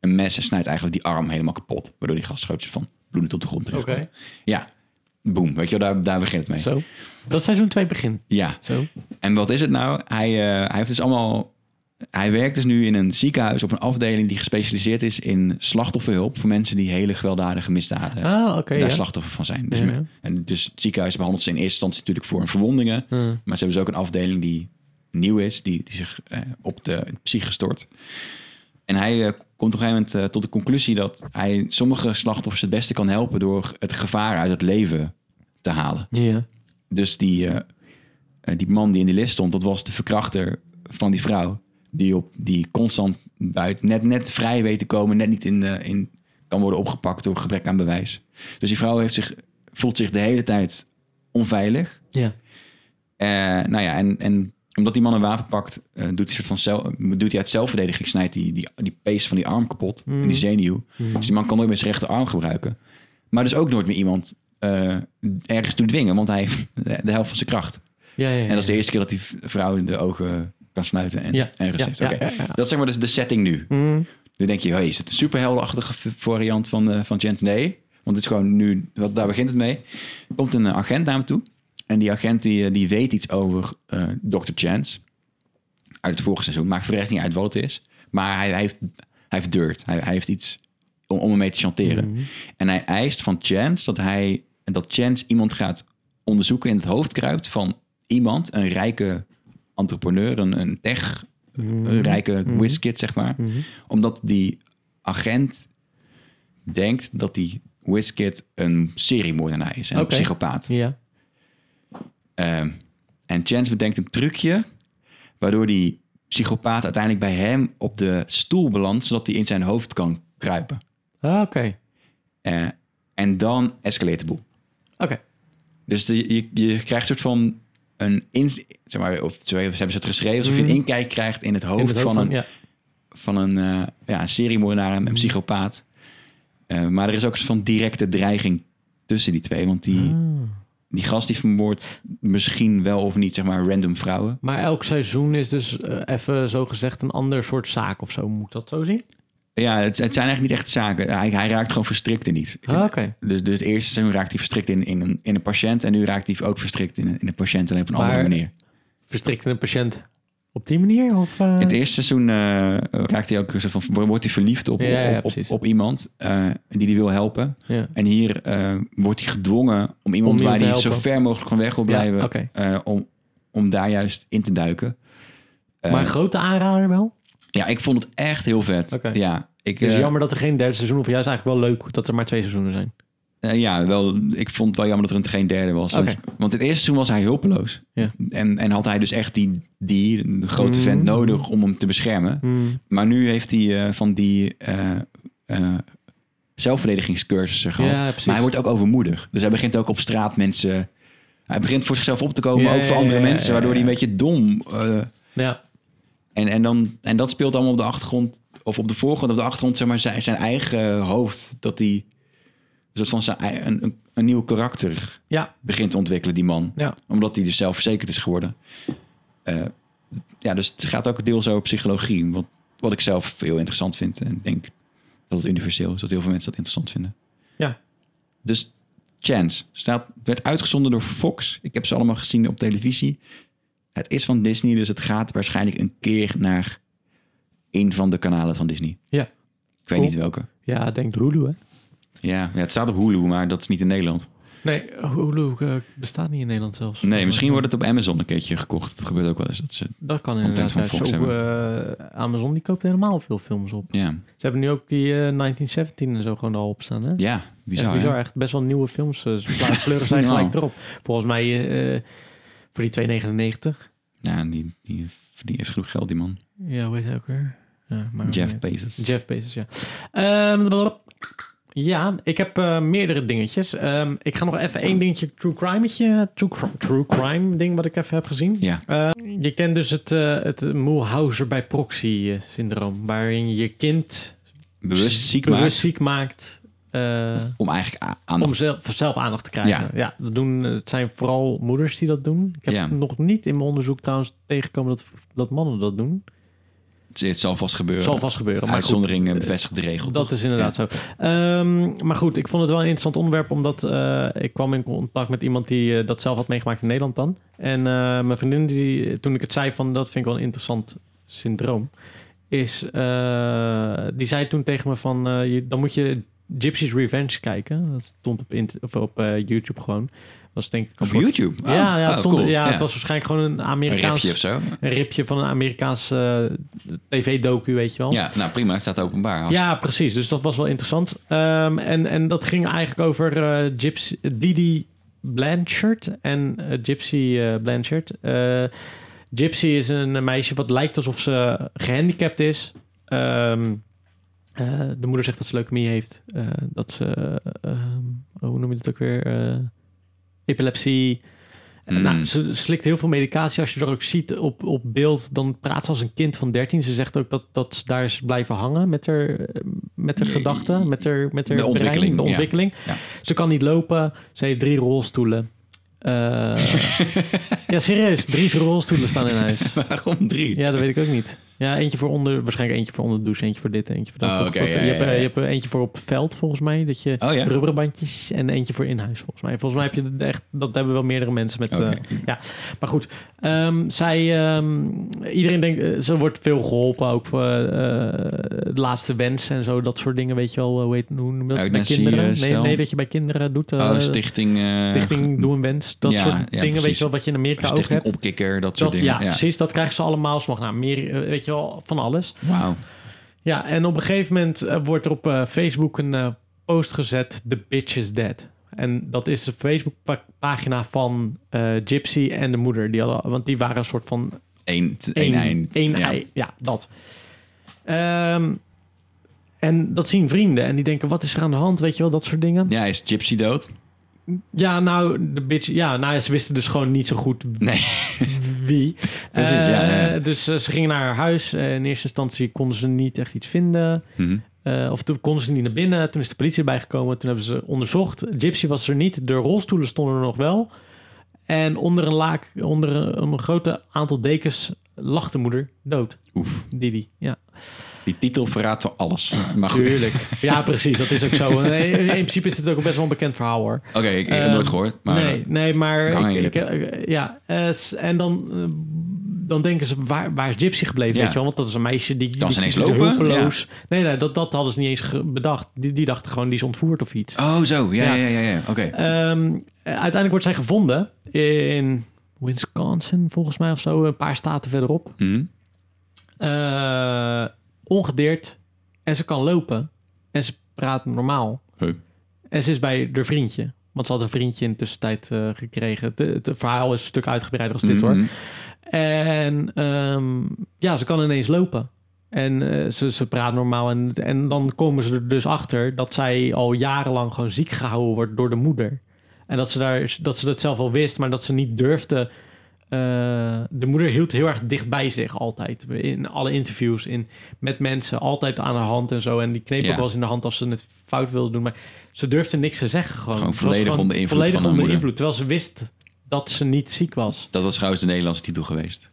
[SPEAKER 1] een mes en snijdt eigenlijk die arm helemaal kapot. Waardoor die gast grootjes van bloedend op de grond
[SPEAKER 2] Oké,
[SPEAKER 1] terecht. Ja, boom. Weet je wel, daar, daar begint het mee.
[SPEAKER 2] zo. Dat is seizoen 2 begin.
[SPEAKER 1] Ja,
[SPEAKER 2] Zo.
[SPEAKER 1] en wat is het nou? Hij, eh, hij heeft dus allemaal... Hij werkt dus nu in een ziekenhuis op een afdeling die gespecialiseerd is in slachtofferhulp voor mensen die hele gewelddadige misdaden
[SPEAKER 2] Ah, oké.
[SPEAKER 1] daar
[SPEAKER 2] ja.
[SPEAKER 1] slachtoffer van zijn. Dus,
[SPEAKER 2] Ja.
[SPEAKER 1] me- en dus het ziekenhuis behandelt ze in eerste instantie natuurlijk voor hun verwondingen.
[SPEAKER 2] Mhm.
[SPEAKER 1] Maar ze hebben dus ook een afdeling die nieuw is, die, die zich eh, op de psyche stort. En hij eh, komt op een gegeven moment eh, tot de conclusie dat hij sommige slachtoffers het beste kan helpen door het gevaar uit het leven te halen.
[SPEAKER 2] Ja.
[SPEAKER 1] Dus die, eh, eh, die man die in die list stond, dat was de verkrachter van die vrouw. Die, op, die constant buiten, net, net vrij weet te komen, net niet in, de- in, kan worden opgepakt door gebrek aan bewijs. Dus die vrouw heeft zich, voelt zich de hele tijd onveilig.
[SPEAKER 2] Ja.
[SPEAKER 1] Eh, nou ja, en, en omdat die man een wapen pakt, eh, doet hij soort van zelf, doet hij uit zelfverdediging, snijdt die, die, die pees van die arm kapot
[SPEAKER 2] Mhm.
[SPEAKER 1] en die zenuw.
[SPEAKER 2] Mhm.
[SPEAKER 1] Dus die man kan nooit meer zijn rechterarm gebruiken. Maar dus ook nooit meer iemand eh, ergens toe dwingen, want hij heeft de helft van zijn kracht.
[SPEAKER 2] Ja, ja, ja.
[SPEAKER 1] En dat is de eerste keer dat die v- vrouw de ogen kan sluiten en,
[SPEAKER 2] Ja,
[SPEAKER 1] en rust
[SPEAKER 2] ja,
[SPEAKER 1] heeft.
[SPEAKER 2] ja,
[SPEAKER 1] Oké.
[SPEAKER 2] ja, ja.
[SPEAKER 1] Dat is zeg maar dus de setting nu.
[SPEAKER 2] Mhm.
[SPEAKER 1] Nu denk je, hey, is het een superheldenachtige v- variant van, eh van Gent? Nee, want het is gewoon nu, wat, daar begint het mee. Er komt een eh, agent naar hem toe. En die agent die, eh, die weet iets over eh, Dr. Chance. Uit het vorige seizoen. Maakt voor de rest niet uit wat het is. Maar hij, hij, heeft, hij heeft dirt. Hij, hij heeft iets om, om hem mee te chanteren.
[SPEAKER 2] Mhm.
[SPEAKER 1] En hij eist van Chance dat hij dat Chance iemand gaat onderzoeken in het hoofd kruipt van iemand, een rijke entrepreneur, een, een tech, een rijke whiskit, zeg maar.
[SPEAKER 2] Mhm.
[SPEAKER 1] Omdat die agent denkt dat die whiskit een seriemoordenaar is en een
[SPEAKER 2] Oké.
[SPEAKER 1] psychopaat.
[SPEAKER 2] Ja.
[SPEAKER 1] Ehm, en Chance bedenkt een trucje waardoor die psychopaat uiteindelijk bij hem op de stoel belandt, zodat hij in zijn hoofd kan kruipen.
[SPEAKER 2] Ah, oké.
[SPEAKER 1] Eh, en dan escaleert de boel.
[SPEAKER 2] Oké.
[SPEAKER 1] Dus de- je, je krijgt een soort van een ins- zeg maar, of zo hebben ze het geschreven, alsof je een
[SPEAKER 2] Mhm.
[SPEAKER 1] inkijk krijgt Mm. in het hoofd,
[SPEAKER 2] In het
[SPEAKER 1] van, Mm. een,
[SPEAKER 2] ja.
[SPEAKER 1] van een, eh ja, een seriemoordenaar, een, een psychopaat. Eh, maar er is ook een soort van directe dreiging tussen die twee, want die,
[SPEAKER 2] Ah.
[SPEAKER 1] die gast die vermoordt misschien wel of niet, zeg maar, random vrouwen.
[SPEAKER 2] Maar elk seizoen is dus eh, even zo gezegd een ander soort zaak of zo. Moet ik dat zo zien?
[SPEAKER 1] Ja, het, het zijn eigenlijk niet echt zaken. Hij, hij raakt gewoon verstrikt in iets.
[SPEAKER 2] Ah, oké.
[SPEAKER 1] Dus, dus het eerste seizoen raakt hij verstrikt in, in, een, in een patiënt en nu raakt hij ook verstrikt in een, in een patiënt alleen op een andere
[SPEAKER 2] Maar-
[SPEAKER 1] manier.
[SPEAKER 2] Verstrikt een patiënt op die manier? Of, eh?
[SPEAKER 1] In het eerste seizoen eh, raakt hij ook een soort van, wordt hij verliefd op,
[SPEAKER 2] Ja, ja,
[SPEAKER 1] op, op,
[SPEAKER 2] precies.
[SPEAKER 1] op iemand eh, die hij wil helpen.
[SPEAKER 2] ja.
[SPEAKER 1] En hier eh, wordt hij gedwongen om iemand
[SPEAKER 2] Om iemand
[SPEAKER 1] waar
[SPEAKER 2] te
[SPEAKER 1] hij zo
[SPEAKER 2] helpen.
[SPEAKER 1] ver mogelijk van weg wil blijven,
[SPEAKER 2] Ja, oké.
[SPEAKER 1] eh, om, om daar juist in te duiken. Eh,
[SPEAKER 2] maar een grote aanrader wel?
[SPEAKER 1] Ja, ik vond het echt heel vet.
[SPEAKER 2] Oké.
[SPEAKER 1] Ja, ik,
[SPEAKER 2] Het is
[SPEAKER 1] eh,
[SPEAKER 2] jammer dat er geen derde seizoen, of juist eigenlijk wel leuk dat er maar twee seizoenen zijn.
[SPEAKER 1] eh, ja, wel, ik vond het wel jammer dat er geen derde was.
[SPEAKER 2] Oké.
[SPEAKER 1] Dat- Want het eerste seizoen was hij hulpeloos.
[SPEAKER 2] Ja.
[SPEAKER 1] En, en had hij dus echt die, die grote
[SPEAKER 2] Mm.
[SPEAKER 1] vent nodig om hem te beschermen. Maar nu heeft hij eh, van die eh, eh, zelfverdedigingscursussen gehad.
[SPEAKER 2] Ja, precies.
[SPEAKER 1] Maar hij wordt ook overmoedig. Dus hij begint ook op straat mensen... Hij begint voor zichzelf op te komen,
[SPEAKER 2] Ja,
[SPEAKER 1] maar ook voor
[SPEAKER 2] ja,
[SPEAKER 1] andere
[SPEAKER 2] ja, ja,
[SPEAKER 1] mensen.
[SPEAKER 2] ja,
[SPEAKER 1] Waardoor hij een
[SPEAKER 2] ja.
[SPEAKER 1] beetje dom... eh,
[SPEAKER 2] Ja,
[SPEAKER 1] en, en, dan, en dat speelt allemaal op de achtergrond... Of op de voorgrond, op de achtergrond, zeg maar, zijn, zijn eigen eh, hoofd. Dat hij een soort van zijn, ei- een, een, een nieuw karakter
[SPEAKER 2] ja,
[SPEAKER 1] begint te ontwikkelen, die man.
[SPEAKER 2] ja.
[SPEAKER 1] Omdat hij dus zelfverzekerd is geworden. Eh, ja, dus het gaat ook deels over psychologie. Wat, wat ik zelf heel interessant vind. En ik denk dat het universeel is. Dat heel veel mensen dat interessant vinden.
[SPEAKER 2] Ja.
[SPEAKER 1] Dus Chance staat, werd uitgezonden door Fox. Ik heb ze allemaal gezien op televisie. Het is van Disney, dus het gaat waarschijnlijk een keer naar een van de kanalen van Disney.
[SPEAKER 2] Ja.
[SPEAKER 1] Ik weet
[SPEAKER 2] Cool.
[SPEAKER 1] niet welke.
[SPEAKER 2] Ja, denkt Hulu, hè?
[SPEAKER 1] Ja, ja, het staat op Hulu, maar dat is niet in Nederland.
[SPEAKER 2] Nee, Hulu eh, bestaat niet in Nederland zelfs.
[SPEAKER 1] Nee, misschien wordt het op Amazon een keertje gekocht. Dat gebeurt ook wel eens. Dat ze,
[SPEAKER 2] Dat kan
[SPEAKER 1] Content
[SPEAKER 2] inderdaad.
[SPEAKER 1] van
[SPEAKER 2] ja.
[SPEAKER 1] Fox
[SPEAKER 2] Zo, eh, Amazon die koopt helemaal veel films op.
[SPEAKER 1] ja,
[SPEAKER 2] Ze hebben nu ook die eh, 1917 en zo gewoon al op staan, hè?
[SPEAKER 1] ja bizar.
[SPEAKER 2] echt,
[SPEAKER 1] hè?
[SPEAKER 2] bizar, echt best wel nieuwe films. eh, Ze pla- kleuren zijn
[SPEAKER 1] Nou.
[SPEAKER 2] gelijk erop. Volgens mij eh, voor die 2,99.
[SPEAKER 1] Ja, en die, die, die heeft genoeg geld, die man.
[SPEAKER 2] Ja, weet je ook weer? Ja, maar
[SPEAKER 1] Jeff
[SPEAKER 2] ja.
[SPEAKER 1] Bezos.
[SPEAKER 2] Jeff Bezos, ja. Ehm, blablabla. ja, ik heb eh, meerdere dingetjes. Ehm, ik ga nog even één dingetje, true crime, true, cri- true crime ding wat ik even heb gezien.
[SPEAKER 1] Ja.
[SPEAKER 2] Je kent dus het, eh het Mulhauser bij proxy eh, syndroom, waarin je kind
[SPEAKER 1] Bewust ziek
[SPEAKER 2] bewust
[SPEAKER 1] maken
[SPEAKER 2] ziek maakt eh,
[SPEAKER 1] om eigenlijk a- aan...
[SPEAKER 2] om zelf, zelf aandacht te krijgen. Ja. dat doen, eh, het zijn vooral moeders die dat doen. Ik heb
[SPEAKER 1] Ja.
[SPEAKER 2] nog niet in mijn onderzoek trouwens tegengekomen dat, dat mannen dat doen.
[SPEAKER 1] Het, het zal vast gebeuren.
[SPEAKER 2] zal vast gebeuren. Maar goed, eh,
[SPEAKER 1] Uitzonderingen bevestigd de regel.
[SPEAKER 2] Dat is inderdaad zo. Ehm, maar goed, ik vond het wel een interessant onderwerp, omdat eh, ik kwam in contact met iemand die eh, dat zelf had meegemaakt in Nederland dan. En eh, mijn vriendin, die, toen ik het zei van dat vind ik wel een interessant syndroom, is, eh, die zei toen tegen me van, eh, je, dan moet je Gypsy's Revenge kijken. Dat stond op, int- of op eh, YouTube gewoon. was denk ik een
[SPEAKER 1] Op
[SPEAKER 2] soort-
[SPEAKER 1] YouTube? Oh,
[SPEAKER 2] Ja, ja, het
[SPEAKER 1] oh,
[SPEAKER 2] stond,
[SPEAKER 1] cool.
[SPEAKER 2] ja, het was waarschijnlijk gewoon een
[SPEAKER 1] Een
[SPEAKER 2] Amerikaans...
[SPEAKER 1] rapje of
[SPEAKER 2] Een
[SPEAKER 1] zo.
[SPEAKER 2] ripje van een Amerikaanse eh, tv-docu, weet je wel.
[SPEAKER 1] Ja, nou prima. Het staat openbaar. Als-
[SPEAKER 2] Ja, precies. Dus dat was wel interessant. Ehm, en, en dat ging eigenlijk over eh, Gypsy, Didi Blanchard en eh, Gypsy eh, Blanchard. Eh, Gypsy is een meisje wat lijkt alsof ze gehandicapt is. Ehm, eh, de moeder zegt dat ze leukemie heeft. eh, dat ze, eh, ehm, hoe noem je dat ook weer? Eh, epilepsie. En
[SPEAKER 1] Mm.
[SPEAKER 2] Nou, ze slikt heel veel medicatie. Als je er ook ziet op, op beeld, dan praat ze als een kind van 13. Ze zegt ook dat, dat ze daar is blijven hangen met haar, eh, met haar
[SPEAKER 1] Nee,
[SPEAKER 2] gedachten, met haar, met haar
[SPEAKER 1] de
[SPEAKER 2] brein,
[SPEAKER 1] ontwikkeling,
[SPEAKER 2] de
[SPEAKER 1] ja.
[SPEAKER 2] ontwikkeling.
[SPEAKER 1] Ja.
[SPEAKER 2] Ze kan niet lopen. Ze heeft drie rolstoelen. Eh, ja, serieus. Drie rolstoelen staan in huis.
[SPEAKER 1] Waarom drie?
[SPEAKER 2] Ja, dat weet ik ook niet. Ja, eentje voor onder, waarschijnlijk eentje voor onder de douche, eentje voor dit, eentje voor dat.
[SPEAKER 1] Oh,
[SPEAKER 2] Toch
[SPEAKER 1] oké,
[SPEAKER 2] dat-
[SPEAKER 1] ja,
[SPEAKER 2] je,
[SPEAKER 1] ja,
[SPEAKER 2] hebt, eh,
[SPEAKER 1] ja.
[SPEAKER 2] je hebt er eentje voor op veld, volgens mij. Dat je
[SPEAKER 1] Oh ja?
[SPEAKER 2] rubberen bandjes en eentje voor in huis, volgens mij. Volgens mij heb je dat echt, dat hebben wel meerdere mensen met.
[SPEAKER 1] Oké.
[SPEAKER 2] eh, ja, maar goed. ehm, zij, ehm, iedereen denkt, eh, ze wordt veel geholpen ook voor eh, de laatste wens en zo, dat soort dingen, weet je wel. eh, hoe heet- hoe noem je dat? Bij
[SPEAKER 1] Euthanasie, eh,
[SPEAKER 2] kinderen? Nee,
[SPEAKER 1] stel.
[SPEAKER 2] nee, dat je bij kinderen doet. eh,
[SPEAKER 1] oh, stichting... eh,
[SPEAKER 2] stichting Doe een Wens. Dat
[SPEAKER 1] ja,
[SPEAKER 2] soort
[SPEAKER 1] ja,
[SPEAKER 2] dingen, weet
[SPEAKER 1] precies.
[SPEAKER 2] je wel, wat je in Amerika ook
[SPEAKER 1] Stichting
[SPEAKER 2] hebt.
[SPEAKER 1] Opkikker, dat
[SPEAKER 2] Dat-
[SPEAKER 1] soort dingen.
[SPEAKER 2] ja, precies. Dat krijgen ze allemaal. Ze mag naar Amerika, eh, weet je wel, van alles.
[SPEAKER 1] Wauw.
[SPEAKER 2] Ja, en op een gegeven moment eh, wordt er op eh, Facebook een eh, post gezet: The bitch is dead. En dat is de Facebookpagina van eh, Gypsy en de moeder. Die hadden, want die waren een soort van
[SPEAKER 1] Eén
[SPEAKER 2] Eén
[SPEAKER 1] één eind.
[SPEAKER 2] één
[SPEAKER 1] ja.
[SPEAKER 2] ei, ja, dat. Ehm, en dat zien vrienden. En die denken, wat is er aan de hand? Weet je wel, dat soort dingen.
[SPEAKER 1] Ja, is Gypsy dood?
[SPEAKER 2] Ja, nou, de bitch, ja, nou, ja, ze wisten dus gewoon niet zo goed
[SPEAKER 1] Nee.
[SPEAKER 2] wie.
[SPEAKER 1] Precies, ja, ja.
[SPEAKER 2] Eh, Dus eh, ze gingen naar haar huis. Eh, in eerste instantie konden ze niet echt iets vinden.
[SPEAKER 1] Mhm.
[SPEAKER 2] Eh, of toen konden ze niet naar binnen. Toen is de politie erbij gekomen. Toen hebben ze onderzocht. Gypsy was er niet. De rolstoelen stonden er nog wel. En onder een laak, onder een, een grote aantal dekens, lag de moeder dood.
[SPEAKER 1] Oef.
[SPEAKER 2] Didi. Ja,
[SPEAKER 1] Die titel verraadt wel alles. Maar goed.
[SPEAKER 2] tuurlijk. Ja, precies. Dat is ook zo. Nee, in principe is dit ook best wel een bekend verhaal hoor.
[SPEAKER 1] Oké, ik, ik heb het nooit
[SPEAKER 2] Ehm,
[SPEAKER 1] gehoord. Maar
[SPEAKER 2] nee, nee, maar
[SPEAKER 1] kan
[SPEAKER 2] ik,
[SPEAKER 1] aan je
[SPEAKER 2] ik, eh, ja, eh, s- en dan, eh, dan denken ze waar, waar is Gypsy gebleven,
[SPEAKER 1] Ja.
[SPEAKER 2] weet je wel? Want dat is een meisje die
[SPEAKER 1] Kan
[SPEAKER 2] die,
[SPEAKER 1] ze ineens
[SPEAKER 2] die is
[SPEAKER 1] lopen?
[SPEAKER 2] hulpeloos. Nee, nee, dat, dat hadden ze niet eens ge- bedacht. Die, die dachten gewoon die is ontvoerd of iets.
[SPEAKER 1] Oh, zo. Ja,
[SPEAKER 2] Ja.
[SPEAKER 1] ja, ja. ja, Oké.
[SPEAKER 2] Ehm, eh, uiteindelijk wordt zij gevonden in Wisconsin volgens mij of zo, een paar staten verderop.
[SPEAKER 1] Mhm.
[SPEAKER 2] eh, ongedeerd en ze kan lopen en ze praat normaal.
[SPEAKER 1] Huh.
[SPEAKER 2] En ze is bij haar vriendje, want ze had een vriendje in de tussentijd eh, gekregen. De- het verhaal is een stuk uitgebreider als dit hoor.
[SPEAKER 1] Mhm.
[SPEAKER 2] En ehm, ja, ze kan ineens lopen. En eh, ze, ze praat normaal. En, en dan komen ze er dus achter dat zij al jarenlang gewoon ziek gehouden wordt door de moeder. En dat ze, daar, dat, ze dat zelf al wist, maar dat ze niet durfde. eh, de moeder hield heel erg dicht bij zich altijd. In alle interviews, in, met mensen, altijd aan haar hand en zo. En die kneep
[SPEAKER 1] Ja.
[SPEAKER 2] ook wel eens in de hand als ze het fout wilde doen. Maar ze durfde niks te zeggen gewoon.
[SPEAKER 1] Gewoon
[SPEAKER 2] Ze was
[SPEAKER 1] volledig onder invloed
[SPEAKER 2] volledig
[SPEAKER 1] van haar
[SPEAKER 2] onder
[SPEAKER 1] moeder.
[SPEAKER 2] invloed, terwijl ze wist dat ze niet ziek was.
[SPEAKER 1] Dat was trouwens de Nederlandse titel geweest.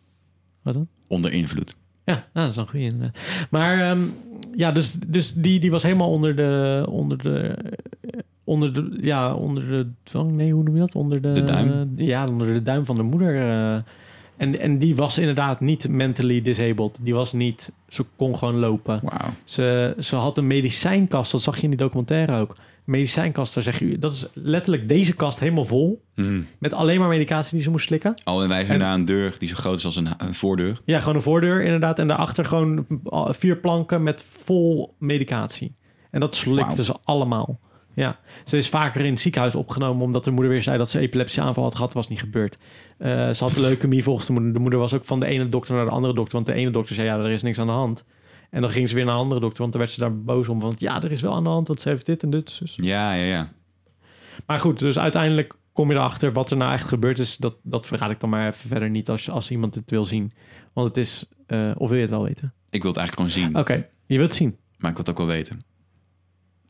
[SPEAKER 2] Wat dan?
[SPEAKER 1] Onder invloed.
[SPEAKER 2] Ja, nou, dat is een goede inderdaad. Maar ehm, ja, dus, dus die, die was helemaal onder de, onder de, eh, onder de, ja, onder de dwang, nee, hoe noem je dat? Onder de,
[SPEAKER 1] De duim?
[SPEAKER 2] ja, onder de duim van de moeder. eh. en, en die was inderdaad niet mentally disabled. Die was niet, ze kon gewoon lopen.
[SPEAKER 1] Wauw.
[SPEAKER 2] Ze, ze had een medicijnkast, dat zag je in die documentaire ook. Medicijnkast, daar zeg je, dat is letterlijk deze kast helemaal vol.
[SPEAKER 1] Mhm.
[SPEAKER 2] Met alleen maar medicatie die ze moest slikken.
[SPEAKER 1] Al en wij zijn
[SPEAKER 2] En-
[SPEAKER 1] naar een deur die zo groot is als een, een voordeur.
[SPEAKER 2] Ja, gewoon een voordeur inderdaad. En daarachter gewoon vier planken met vol medicatie. En dat slikten
[SPEAKER 1] Wauw.
[SPEAKER 2] ze allemaal. Ja, ze is vaker in het ziekenhuis opgenomen omdat de moeder weer zei dat ze epileptische aanval had gehad. was niet gebeurd. Eh, ze had leukemie volgens de moeder. De moeder was ook van de ene dokter naar de andere dokter. Want de ene dokter zei ja, er is niks aan de hand. En dan ging ze weer naar een andere dokter, want dan werd ze daar boos om. Want ja, er is wel aan de hand, want ze heeft dit en dit. Dus.
[SPEAKER 1] Ja, ja, ja.
[SPEAKER 2] Maar goed, dus uiteindelijk kom je erachter wat er nou echt gebeurd is. Dat, dat verraad ik dan maar even verder niet als, als iemand het wil zien. Want het is, eh, of wil je het wel weten?
[SPEAKER 1] Ik wil het eigenlijk gewoon zien.
[SPEAKER 2] Oké, je wilt het zien.
[SPEAKER 1] Maar ik wil het ook wel weten.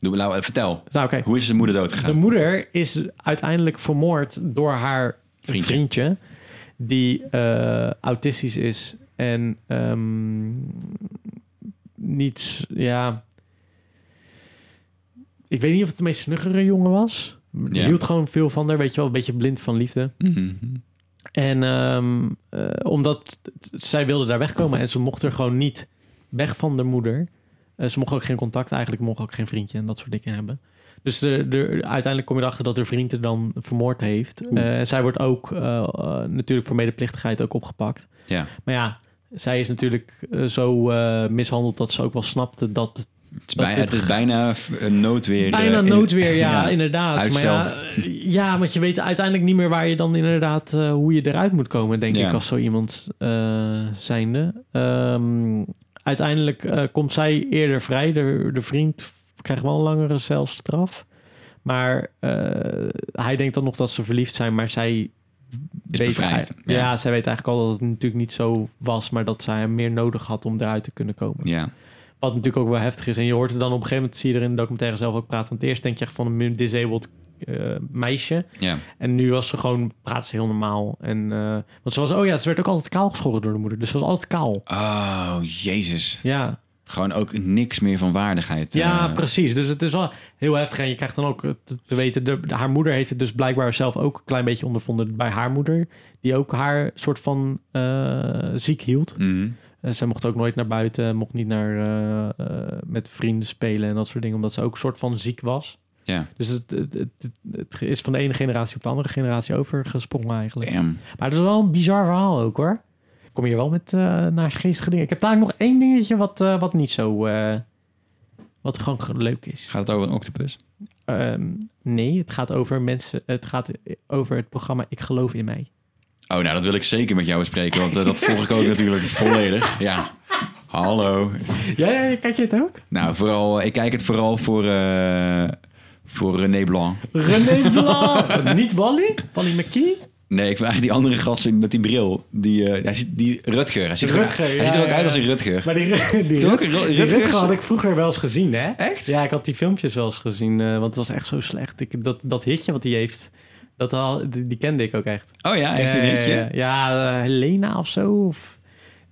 [SPEAKER 1] Doe, nou, eh, vertel.
[SPEAKER 2] Nou, oké.
[SPEAKER 1] Hoe is de moeder doodgegaan?
[SPEAKER 2] De moeder is uiteindelijk vermoord door haar vriendje,
[SPEAKER 1] Vriendje.
[SPEAKER 2] die eh, autistisch is en ehm niet, ja. Ik weet niet of het de meest snuggere jongen was. Die
[SPEAKER 1] Ja.
[SPEAKER 2] hield gewoon veel van haar, weet je wel, een beetje blind van liefde.
[SPEAKER 1] Mhm.
[SPEAKER 2] En ehm, eh, omdat t- zij wilde daar wegkomen en ze mocht er gewoon niet weg van de moeder. Eh, ze mocht ook geen contact eigenlijk, mocht ook geen vriendje en dat soort dingen hebben. Dus de, de, uiteindelijk kom je erachter dat haar vriend er dan vermoord heeft.
[SPEAKER 1] Oeh.
[SPEAKER 2] Eh, en zij wordt ook eh, eh, natuurlijk voor medeplichtigheid ook opgepakt.
[SPEAKER 1] Ja,
[SPEAKER 2] Maar ja, zij is natuurlijk eh, zo eh, mishandeld dat ze ook wel snapte dat...
[SPEAKER 1] het is, bij,
[SPEAKER 2] dit
[SPEAKER 1] het is bijna f- een noodweer. eh,
[SPEAKER 2] Bijna
[SPEAKER 1] in-
[SPEAKER 2] noodweer, ja, inderdaad.
[SPEAKER 1] Uitstel.
[SPEAKER 2] Maar ja, eh, ja, want je weet uiteindelijk niet meer waar je dan inderdaad... eh, hoe je eruit moet komen, denk
[SPEAKER 1] Ja.
[SPEAKER 2] ik, als zo iemand eh, zijnde. Ehm, uiteindelijk eh, komt zij eerder vrij. De, de vriend krijgt wel een langere celstraf. Maar eh, hij denkt dan nog dat ze verliefd zijn, maar zij...
[SPEAKER 1] Is
[SPEAKER 2] weet-
[SPEAKER 1] bevrijd,
[SPEAKER 2] ja.
[SPEAKER 1] ja.
[SPEAKER 2] zij weet eigenlijk al dat het natuurlijk niet zo was... maar dat zij hem meer nodig had om eruit te kunnen komen.
[SPEAKER 1] Ja,
[SPEAKER 2] Wat natuurlijk ook wel heftig is. En je hoort er dan op een gegeven moment, zie je er in de documentaire zelf ook praten. Want eerst denk je echt van een disabled eh, meisje.
[SPEAKER 1] ja.
[SPEAKER 2] En nu was ze gewoon, praat ze heel normaal. En, eh, want ze was, oh ja, ze werd ook altijd kaal geschoren door de moeder. Dus ze was altijd kaal.
[SPEAKER 1] Oh, jezus.
[SPEAKER 2] Ja,
[SPEAKER 1] Gewoon ook niks meer van waardigheid.
[SPEAKER 2] ja
[SPEAKER 1] eh.
[SPEAKER 2] precies. Dus het is wel heel heftig. En je krijgt dan ook eh, te, te weten, de, haar moeder heeft het dus blijkbaar zelf ook een klein beetje ondervonden bij haar moeder. Die ook haar soort van eh, ziek hield.
[SPEAKER 1] Mhm.
[SPEAKER 2] En Eh, zij mocht ook nooit naar buiten, mocht niet naar, eh, eh, met vrienden spelen en dat soort dingen, omdat ze ook soort van ziek was.
[SPEAKER 1] Ja,
[SPEAKER 2] Dus het, het, het, het is van de ene generatie op de andere generatie overgesprongen eigenlijk.
[SPEAKER 1] damn.
[SPEAKER 2] Maar het is wel een bizar verhaal ook hoor. Ik Kom hier wel met eh naar geestige dingen. Ik heb daar nog één dingetje wat, eh, wat niet zo... eh, wat gewoon ge- leuk is.
[SPEAKER 1] Gaat het over een octopus?
[SPEAKER 2] Ehm, nee, het gaat over mensen... Het gaat over het programma Ik Geloof in Mij.
[SPEAKER 1] Oh, nou, dat wil ik zeker met jou bespreken, want eh, dat volg ik ook natuurlijk volledig. Ja. Hallo.
[SPEAKER 2] Ja, ja, ja, kijk je het ook?
[SPEAKER 1] Nou, vooral, ik kijk het vooral voor, eh, voor René Blanc.
[SPEAKER 2] René Blanc! niet Wally? Wally McKee?
[SPEAKER 1] Nee, ik vind eigenlijk die andere gast in- met die bril. Die, eh, hij ziet, die Rutger. Hij ziet, er
[SPEAKER 2] Rutger,
[SPEAKER 1] ook- hij
[SPEAKER 2] ja,
[SPEAKER 1] ziet er ook
[SPEAKER 2] ja,
[SPEAKER 1] uit als
[SPEAKER 2] ja.
[SPEAKER 1] een Rutger.
[SPEAKER 2] Maar die, die, die,
[SPEAKER 1] Toch? Ru-
[SPEAKER 2] die
[SPEAKER 1] Rutgers?
[SPEAKER 2] Rutger had ik vroeger wel eens gezien, hè?
[SPEAKER 1] Echt?
[SPEAKER 2] Ja, ik had die filmpjes wel eens gezien, eh, want het was echt zo slecht. Ik, dat, dat hitje wat hij heeft, dat al, die, die kende ik ook echt.
[SPEAKER 1] Oh ja, echt een
[SPEAKER 2] Ja,
[SPEAKER 1] dingetje.
[SPEAKER 2] Ja, ja, eh, Helena of zo. Of,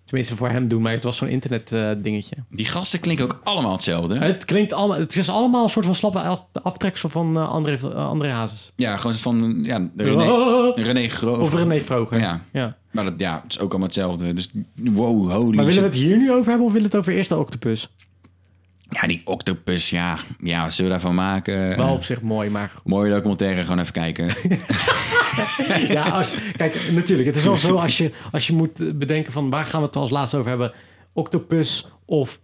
[SPEAKER 2] tenminste, voor hem doen, maar het was zo'n internet eh, dingetje.
[SPEAKER 1] Die gasten klinken ook allemaal hetzelfde.
[SPEAKER 2] Het klinkt allemaal, het is allemaal een soort van slappe af- aftreksel van eh, André, eh, André Hazes.
[SPEAKER 1] Ja, gewoon van ja, René,
[SPEAKER 2] Oh,
[SPEAKER 1] René Groot.
[SPEAKER 2] of René Vroger.
[SPEAKER 1] Ja,
[SPEAKER 2] Ja.
[SPEAKER 1] maar dat, ja, het is ook allemaal hetzelfde. Dus wow, holy
[SPEAKER 2] Maar willen we
[SPEAKER 1] shit.
[SPEAKER 2] het hier nu over hebben of willen we het over eerst de octopus?
[SPEAKER 1] Ja, die octopus, ja. Ja, wat zullen we daarvan maken?
[SPEAKER 2] Wel
[SPEAKER 1] Eh,
[SPEAKER 2] op zich mooi, maar
[SPEAKER 1] mooie documentaire, gewoon even kijken.
[SPEAKER 2] Ja, als, kijk, natuurlijk. Het is wel zo als je, als je moet bedenken van waar gaan we het als laatste over hebben. Octopus of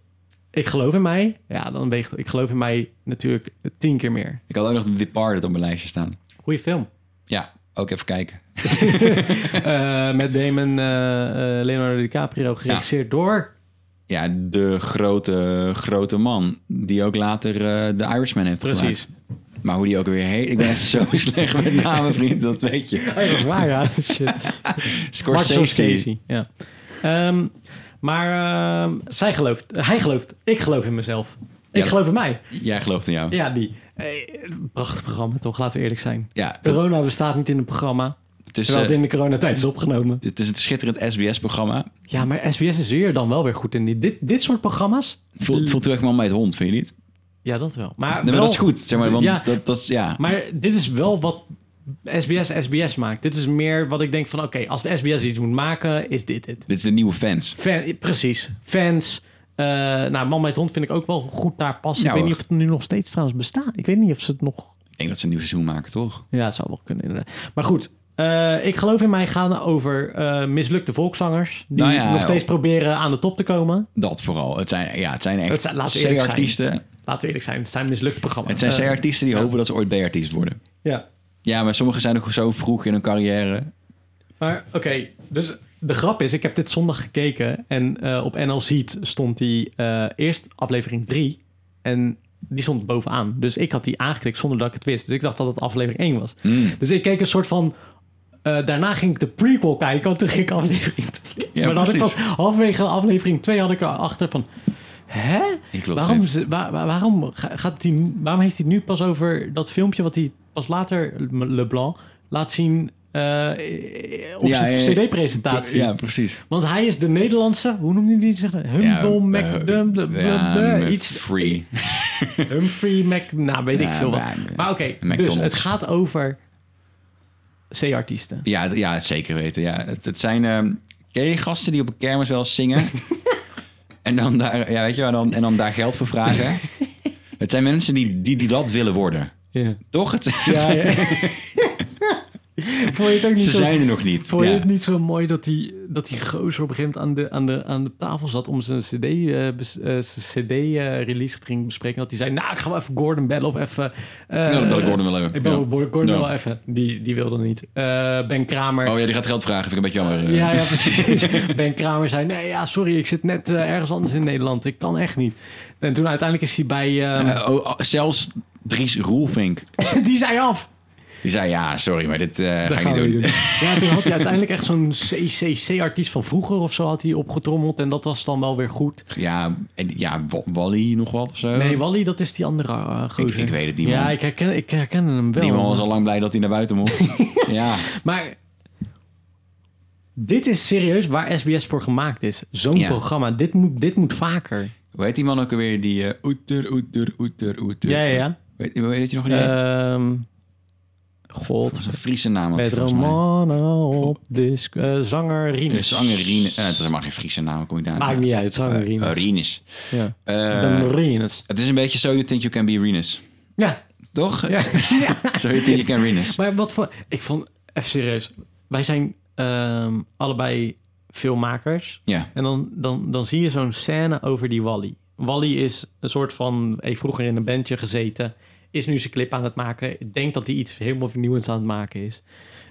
[SPEAKER 2] Ik geloof in mij. Ja, dan weegt Ik geloof in mij natuurlijk tien keer meer.
[SPEAKER 1] Ik had ook nog The Departed op mijn lijstje staan.
[SPEAKER 2] Goeie film.
[SPEAKER 1] Ja, ook even kijken.
[SPEAKER 2] Eh, met Damon, eh, eh, Leonardo DiCaprio, geregisseerd door...
[SPEAKER 1] Ja, de grote, grote man die ook later eh, The Irishman heeft
[SPEAKER 2] Precies.
[SPEAKER 1] gemaakt. Maar hoe die ook weer heet, ik ben echt zo slecht met namen, vriend, dat weet je.
[SPEAKER 2] Oh, ja, dat is waar, ja. Shit.
[SPEAKER 1] Scorsese.
[SPEAKER 2] Martin Scorsese, Ja. Ehm, maar ehm, zij gelooft, hij gelooft, ik geloof in mezelf. Ik
[SPEAKER 1] Ja.
[SPEAKER 2] geloof in mij.
[SPEAKER 1] Jij gelooft in jou.
[SPEAKER 2] Ja, die. Eh, prachtig programma, toch? Laten we eerlijk zijn.
[SPEAKER 1] Ja,
[SPEAKER 2] Corona bestaat niet in het programma,
[SPEAKER 1] het is,
[SPEAKER 2] terwijl
[SPEAKER 1] eh,
[SPEAKER 2] het in de coronatijd is opgenomen.
[SPEAKER 1] het is een schitterend SBS-programma.
[SPEAKER 2] Ja, maar SBS is hier dan wel weer goed in. Die- Dit, dit soort programma's?
[SPEAKER 1] Het voelt, het voelt heel erg man met hond, vind je niet?
[SPEAKER 2] Ja, dat wel. Maar,
[SPEAKER 1] Nee, maar
[SPEAKER 2] wel-
[SPEAKER 1] dat is goed, zeg maar. Want
[SPEAKER 2] Ja.
[SPEAKER 1] dat, dat is, ja.
[SPEAKER 2] Maar dit is wel wat SBS SBS maakt. Dit is meer wat ik denk van, oké, als de SBS iets moet maken, is dit het.
[SPEAKER 1] Dit is de nieuwe fans.
[SPEAKER 2] Fan, precies. Fans. Eh, nou, Man met Hond vind ik ook wel goed daar passen.
[SPEAKER 1] Ja,
[SPEAKER 2] ik weet niet
[SPEAKER 1] hoor.
[SPEAKER 2] of het nu nog steeds trouwens bestaat. Ik weet niet of ze het nog...
[SPEAKER 1] Ik denk dat ze een nieuw seizoen maken, toch?
[SPEAKER 2] Ja, het zou wel kunnen inderdaad. Maar goed, eh, ik geloof in mij gaan over eh, mislukte volkszangers... die
[SPEAKER 1] Nou ja,
[SPEAKER 2] nog steeds
[SPEAKER 1] joh.
[SPEAKER 2] proberen aan de top te komen.
[SPEAKER 1] Dat vooral. Het zijn, ja, het zijn
[SPEAKER 2] Het
[SPEAKER 1] echt
[SPEAKER 2] zijn- laten we eerlijk zijn.
[SPEAKER 1] C-artiesten.
[SPEAKER 2] Laten we eerlijk zijn, het zijn mislukte programma's.
[SPEAKER 1] Het zijn
[SPEAKER 2] Eh,
[SPEAKER 1] C-artiesten die
[SPEAKER 2] ja.
[SPEAKER 1] hopen dat ze ooit B-artiest worden.
[SPEAKER 2] Ja,
[SPEAKER 1] Ja, maar sommigen zijn ook zo vroeg in hun carrière.
[SPEAKER 2] maar oké, dus... De grap is, ik heb dit zondag gekeken en eh, op NLC stond die eh, eerst aflevering 3 en die stond bovenaan. Dus ik had die aangeklikt zonder dat ik het wist. Dus ik dacht dat het aflevering 1 was.
[SPEAKER 1] Mm.
[SPEAKER 2] Dus ik keek een soort van... eh, daarna ging ik de prequel kijken, want toen ging ik aflevering 2.
[SPEAKER 1] Ja,
[SPEAKER 2] maar dan had ik
[SPEAKER 1] precies.
[SPEAKER 2] pas halverwege aflevering 2 had ik erachter van... Hè?
[SPEAKER 1] Ik geloof het
[SPEAKER 2] Waarom,
[SPEAKER 1] niet.
[SPEAKER 2] ze- waar- waar- waarom, ga- gaat die, waarom heeft hij het nu pas over dat filmpje wat hij pas later, Le- Leblanc, laat zien eh, op
[SPEAKER 1] Ja,
[SPEAKER 2] zijn
[SPEAKER 1] ja, ja.
[SPEAKER 2] cd-presentatie?
[SPEAKER 1] Ja, precies.
[SPEAKER 2] Want hij is de Nederlandse, hoe noemde hij die zich? Humble Mac...
[SPEAKER 1] eh,
[SPEAKER 2] dum- dum-
[SPEAKER 1] ja,
[SPEAKER 2] dum-
[SPEAKER 1] Mc
[SPEAKER 2] iets,
[SPEAKER 1] Free.
[SPEAKER 2] Humphrey Mac... Nou, weet ik
[SPEAKER 1] Ja,
[SPEAKER 2] veel wat.
[SPEAKER 1] maar, eh,
[SPEAKER 2] Maar oké, dus
[SPEAKER 1] McDonald's.
[SPEAKER 2] het gaat over C-artiesten.
[SPEAKER 1] Ja, d- ja zeker weten. Ja. Het, het zijn ehm ken je die gasten die op een kermis wel eens zingen. en, dan daar, ja, weet je, wel, dan, en dan daar geld voor vragen. het zijn mensen die, die, die dat willen worden.
[SPEAKER 2] Ja.
[SPEAKER 1] Toch? Het,
[SPEAKER 2] Ja, ja. vond je het ook niet
[SPEAKER 1] ze
[SPEAKER 2] zo...
[SPEAKER 1] zijn er nog niet.
[SPEAKER 2] Vond je
[SPEAKER 1] Ja.
[SPEAKER 2] het niet zo mooi dat die, dat die gozer op een gegeven moment aan de, aan de, aan de tafel zat om zijn eh, CD-release ging bespreken? Dat hij zei: Nou, ik ga wel even Gordon bellen of even. eh,
[SPEAKER 1] Ja, dat wil Nou, ik Gordon wel hebben.
[SPEAKER 2] Ik bel
[SPEAKER 1] Ja.
[SPEAKER 2] Gordon
[SPEAKER 1] Ja.
[SPEAKER 2] wel even. Die, die wilde niet. Eh, ben Kramer.
[SPEAKER 1] Oh ja, die gaat geld vragen. Vind ik een beetje jammer.
[SPEAKER 2] ja, ja, precies. ben Kramer zei: Nee, ja, sorry, ik zit net eh, ergens anders in Nederland. Ik kan echt niet. En toen uiteindelijk is hij bij. ehm,
[SPEAKER 1] Eh, oh, oh, zelfs Dries Roelvink.
[SPEAKER 2] die zei af.
[SPEAKER 1] Die zei, ja, sorry, maar dit eh, ga ik
[SPEAKER 2] Dat
[SPEAKER 1] niet
[SPEAKER 2] gaan we
[SPEAKER 1] doen.
[SPEAKER 2] niet doen. Ja, toen had hij uiteindelijk echt zo'n CCC-artiest van vroeger of zo had hij opgetrommeld. En dat was dan wel weer goed.
[SPEAKER 1] Ja, en, ja, Wa- Wally nog wat of zo?
[SPEAKER 2] Nee, Wally, dat is die andere eh,
[SPEAKER 1] Oh. ik,
[SPEAKER 2] gozer.
[SPEAKER 1] ik weet het niet, man.
[SPEAKER 2] ja, ik herken, ik herken hem wel.
[SPEAKER 1] die man was al lang blij dat hij naar buiten mocht. ja.
[SPEAKER 2] Maar dit is serieus waar SBS voor gemaakt is. Zo'n
[SPEAKER 1] Ja.
[SPEAKER 2] programma. Dit moet, dit moet vaker.
[SPEAKER 1] Hoe heet die man ook alweer? Die eh, oeter, oeter, oeter, oeter.
[SPEAKER 2] Ja, ja, ja.
[SPEAKER 1] Weet, weet je nog niet?
[SPEAKER 2] Ehm
[SPEAKER 1] dat
[SPEAKER 2] God.
[SPEAKER 1] was een Friese naam. had
[SPEAKER 2] Met
[SPEAKER 1] hij volgens mij.
[SPEAKER 2] Romano op disc. eh, zanger
[SPEAKER 1] Eh,
[SPEAKER 2] Rinus.
[SPEAKER 1] Zanger Rine. eh, het is helemaal geen Friese naam, kom ik daar.
[SPEAKER 2] Maakt niet uit, zanger
[SPEAKER 1] Eh,
[SPEAKER 2] Rinus.
[SPEAKER 1] Rinus.
[SPEAKER 2] ja.
[SPEAKER 1] Eh,
[SPEAKER 2] Dan Rinus.
[SPEAKER 1] het is een beetje So You Think You Can Be Rinus.
[SPEAKER 2] Ja,
[SPEAKER 1] Toch?
[SPEAKER 2] Ja.
[SPEAKER 1] so You Think You Can Rinus.
[SPEAKER 2] Maar wat voor... Ik vond... Even serieus. Wij zijn ehm, allebei filmmakers.
[SPEAKER 1] Ja.
[SPEAKER 2] En dan, dan, dan zie je zo'n scène over die Wally. Wally is een soort van... Heeft vroeger in een bandje gezeten. Is nu zijn clip aan het maken. Ik denk dat hij iets helemaal vernieuwends aan het maken is.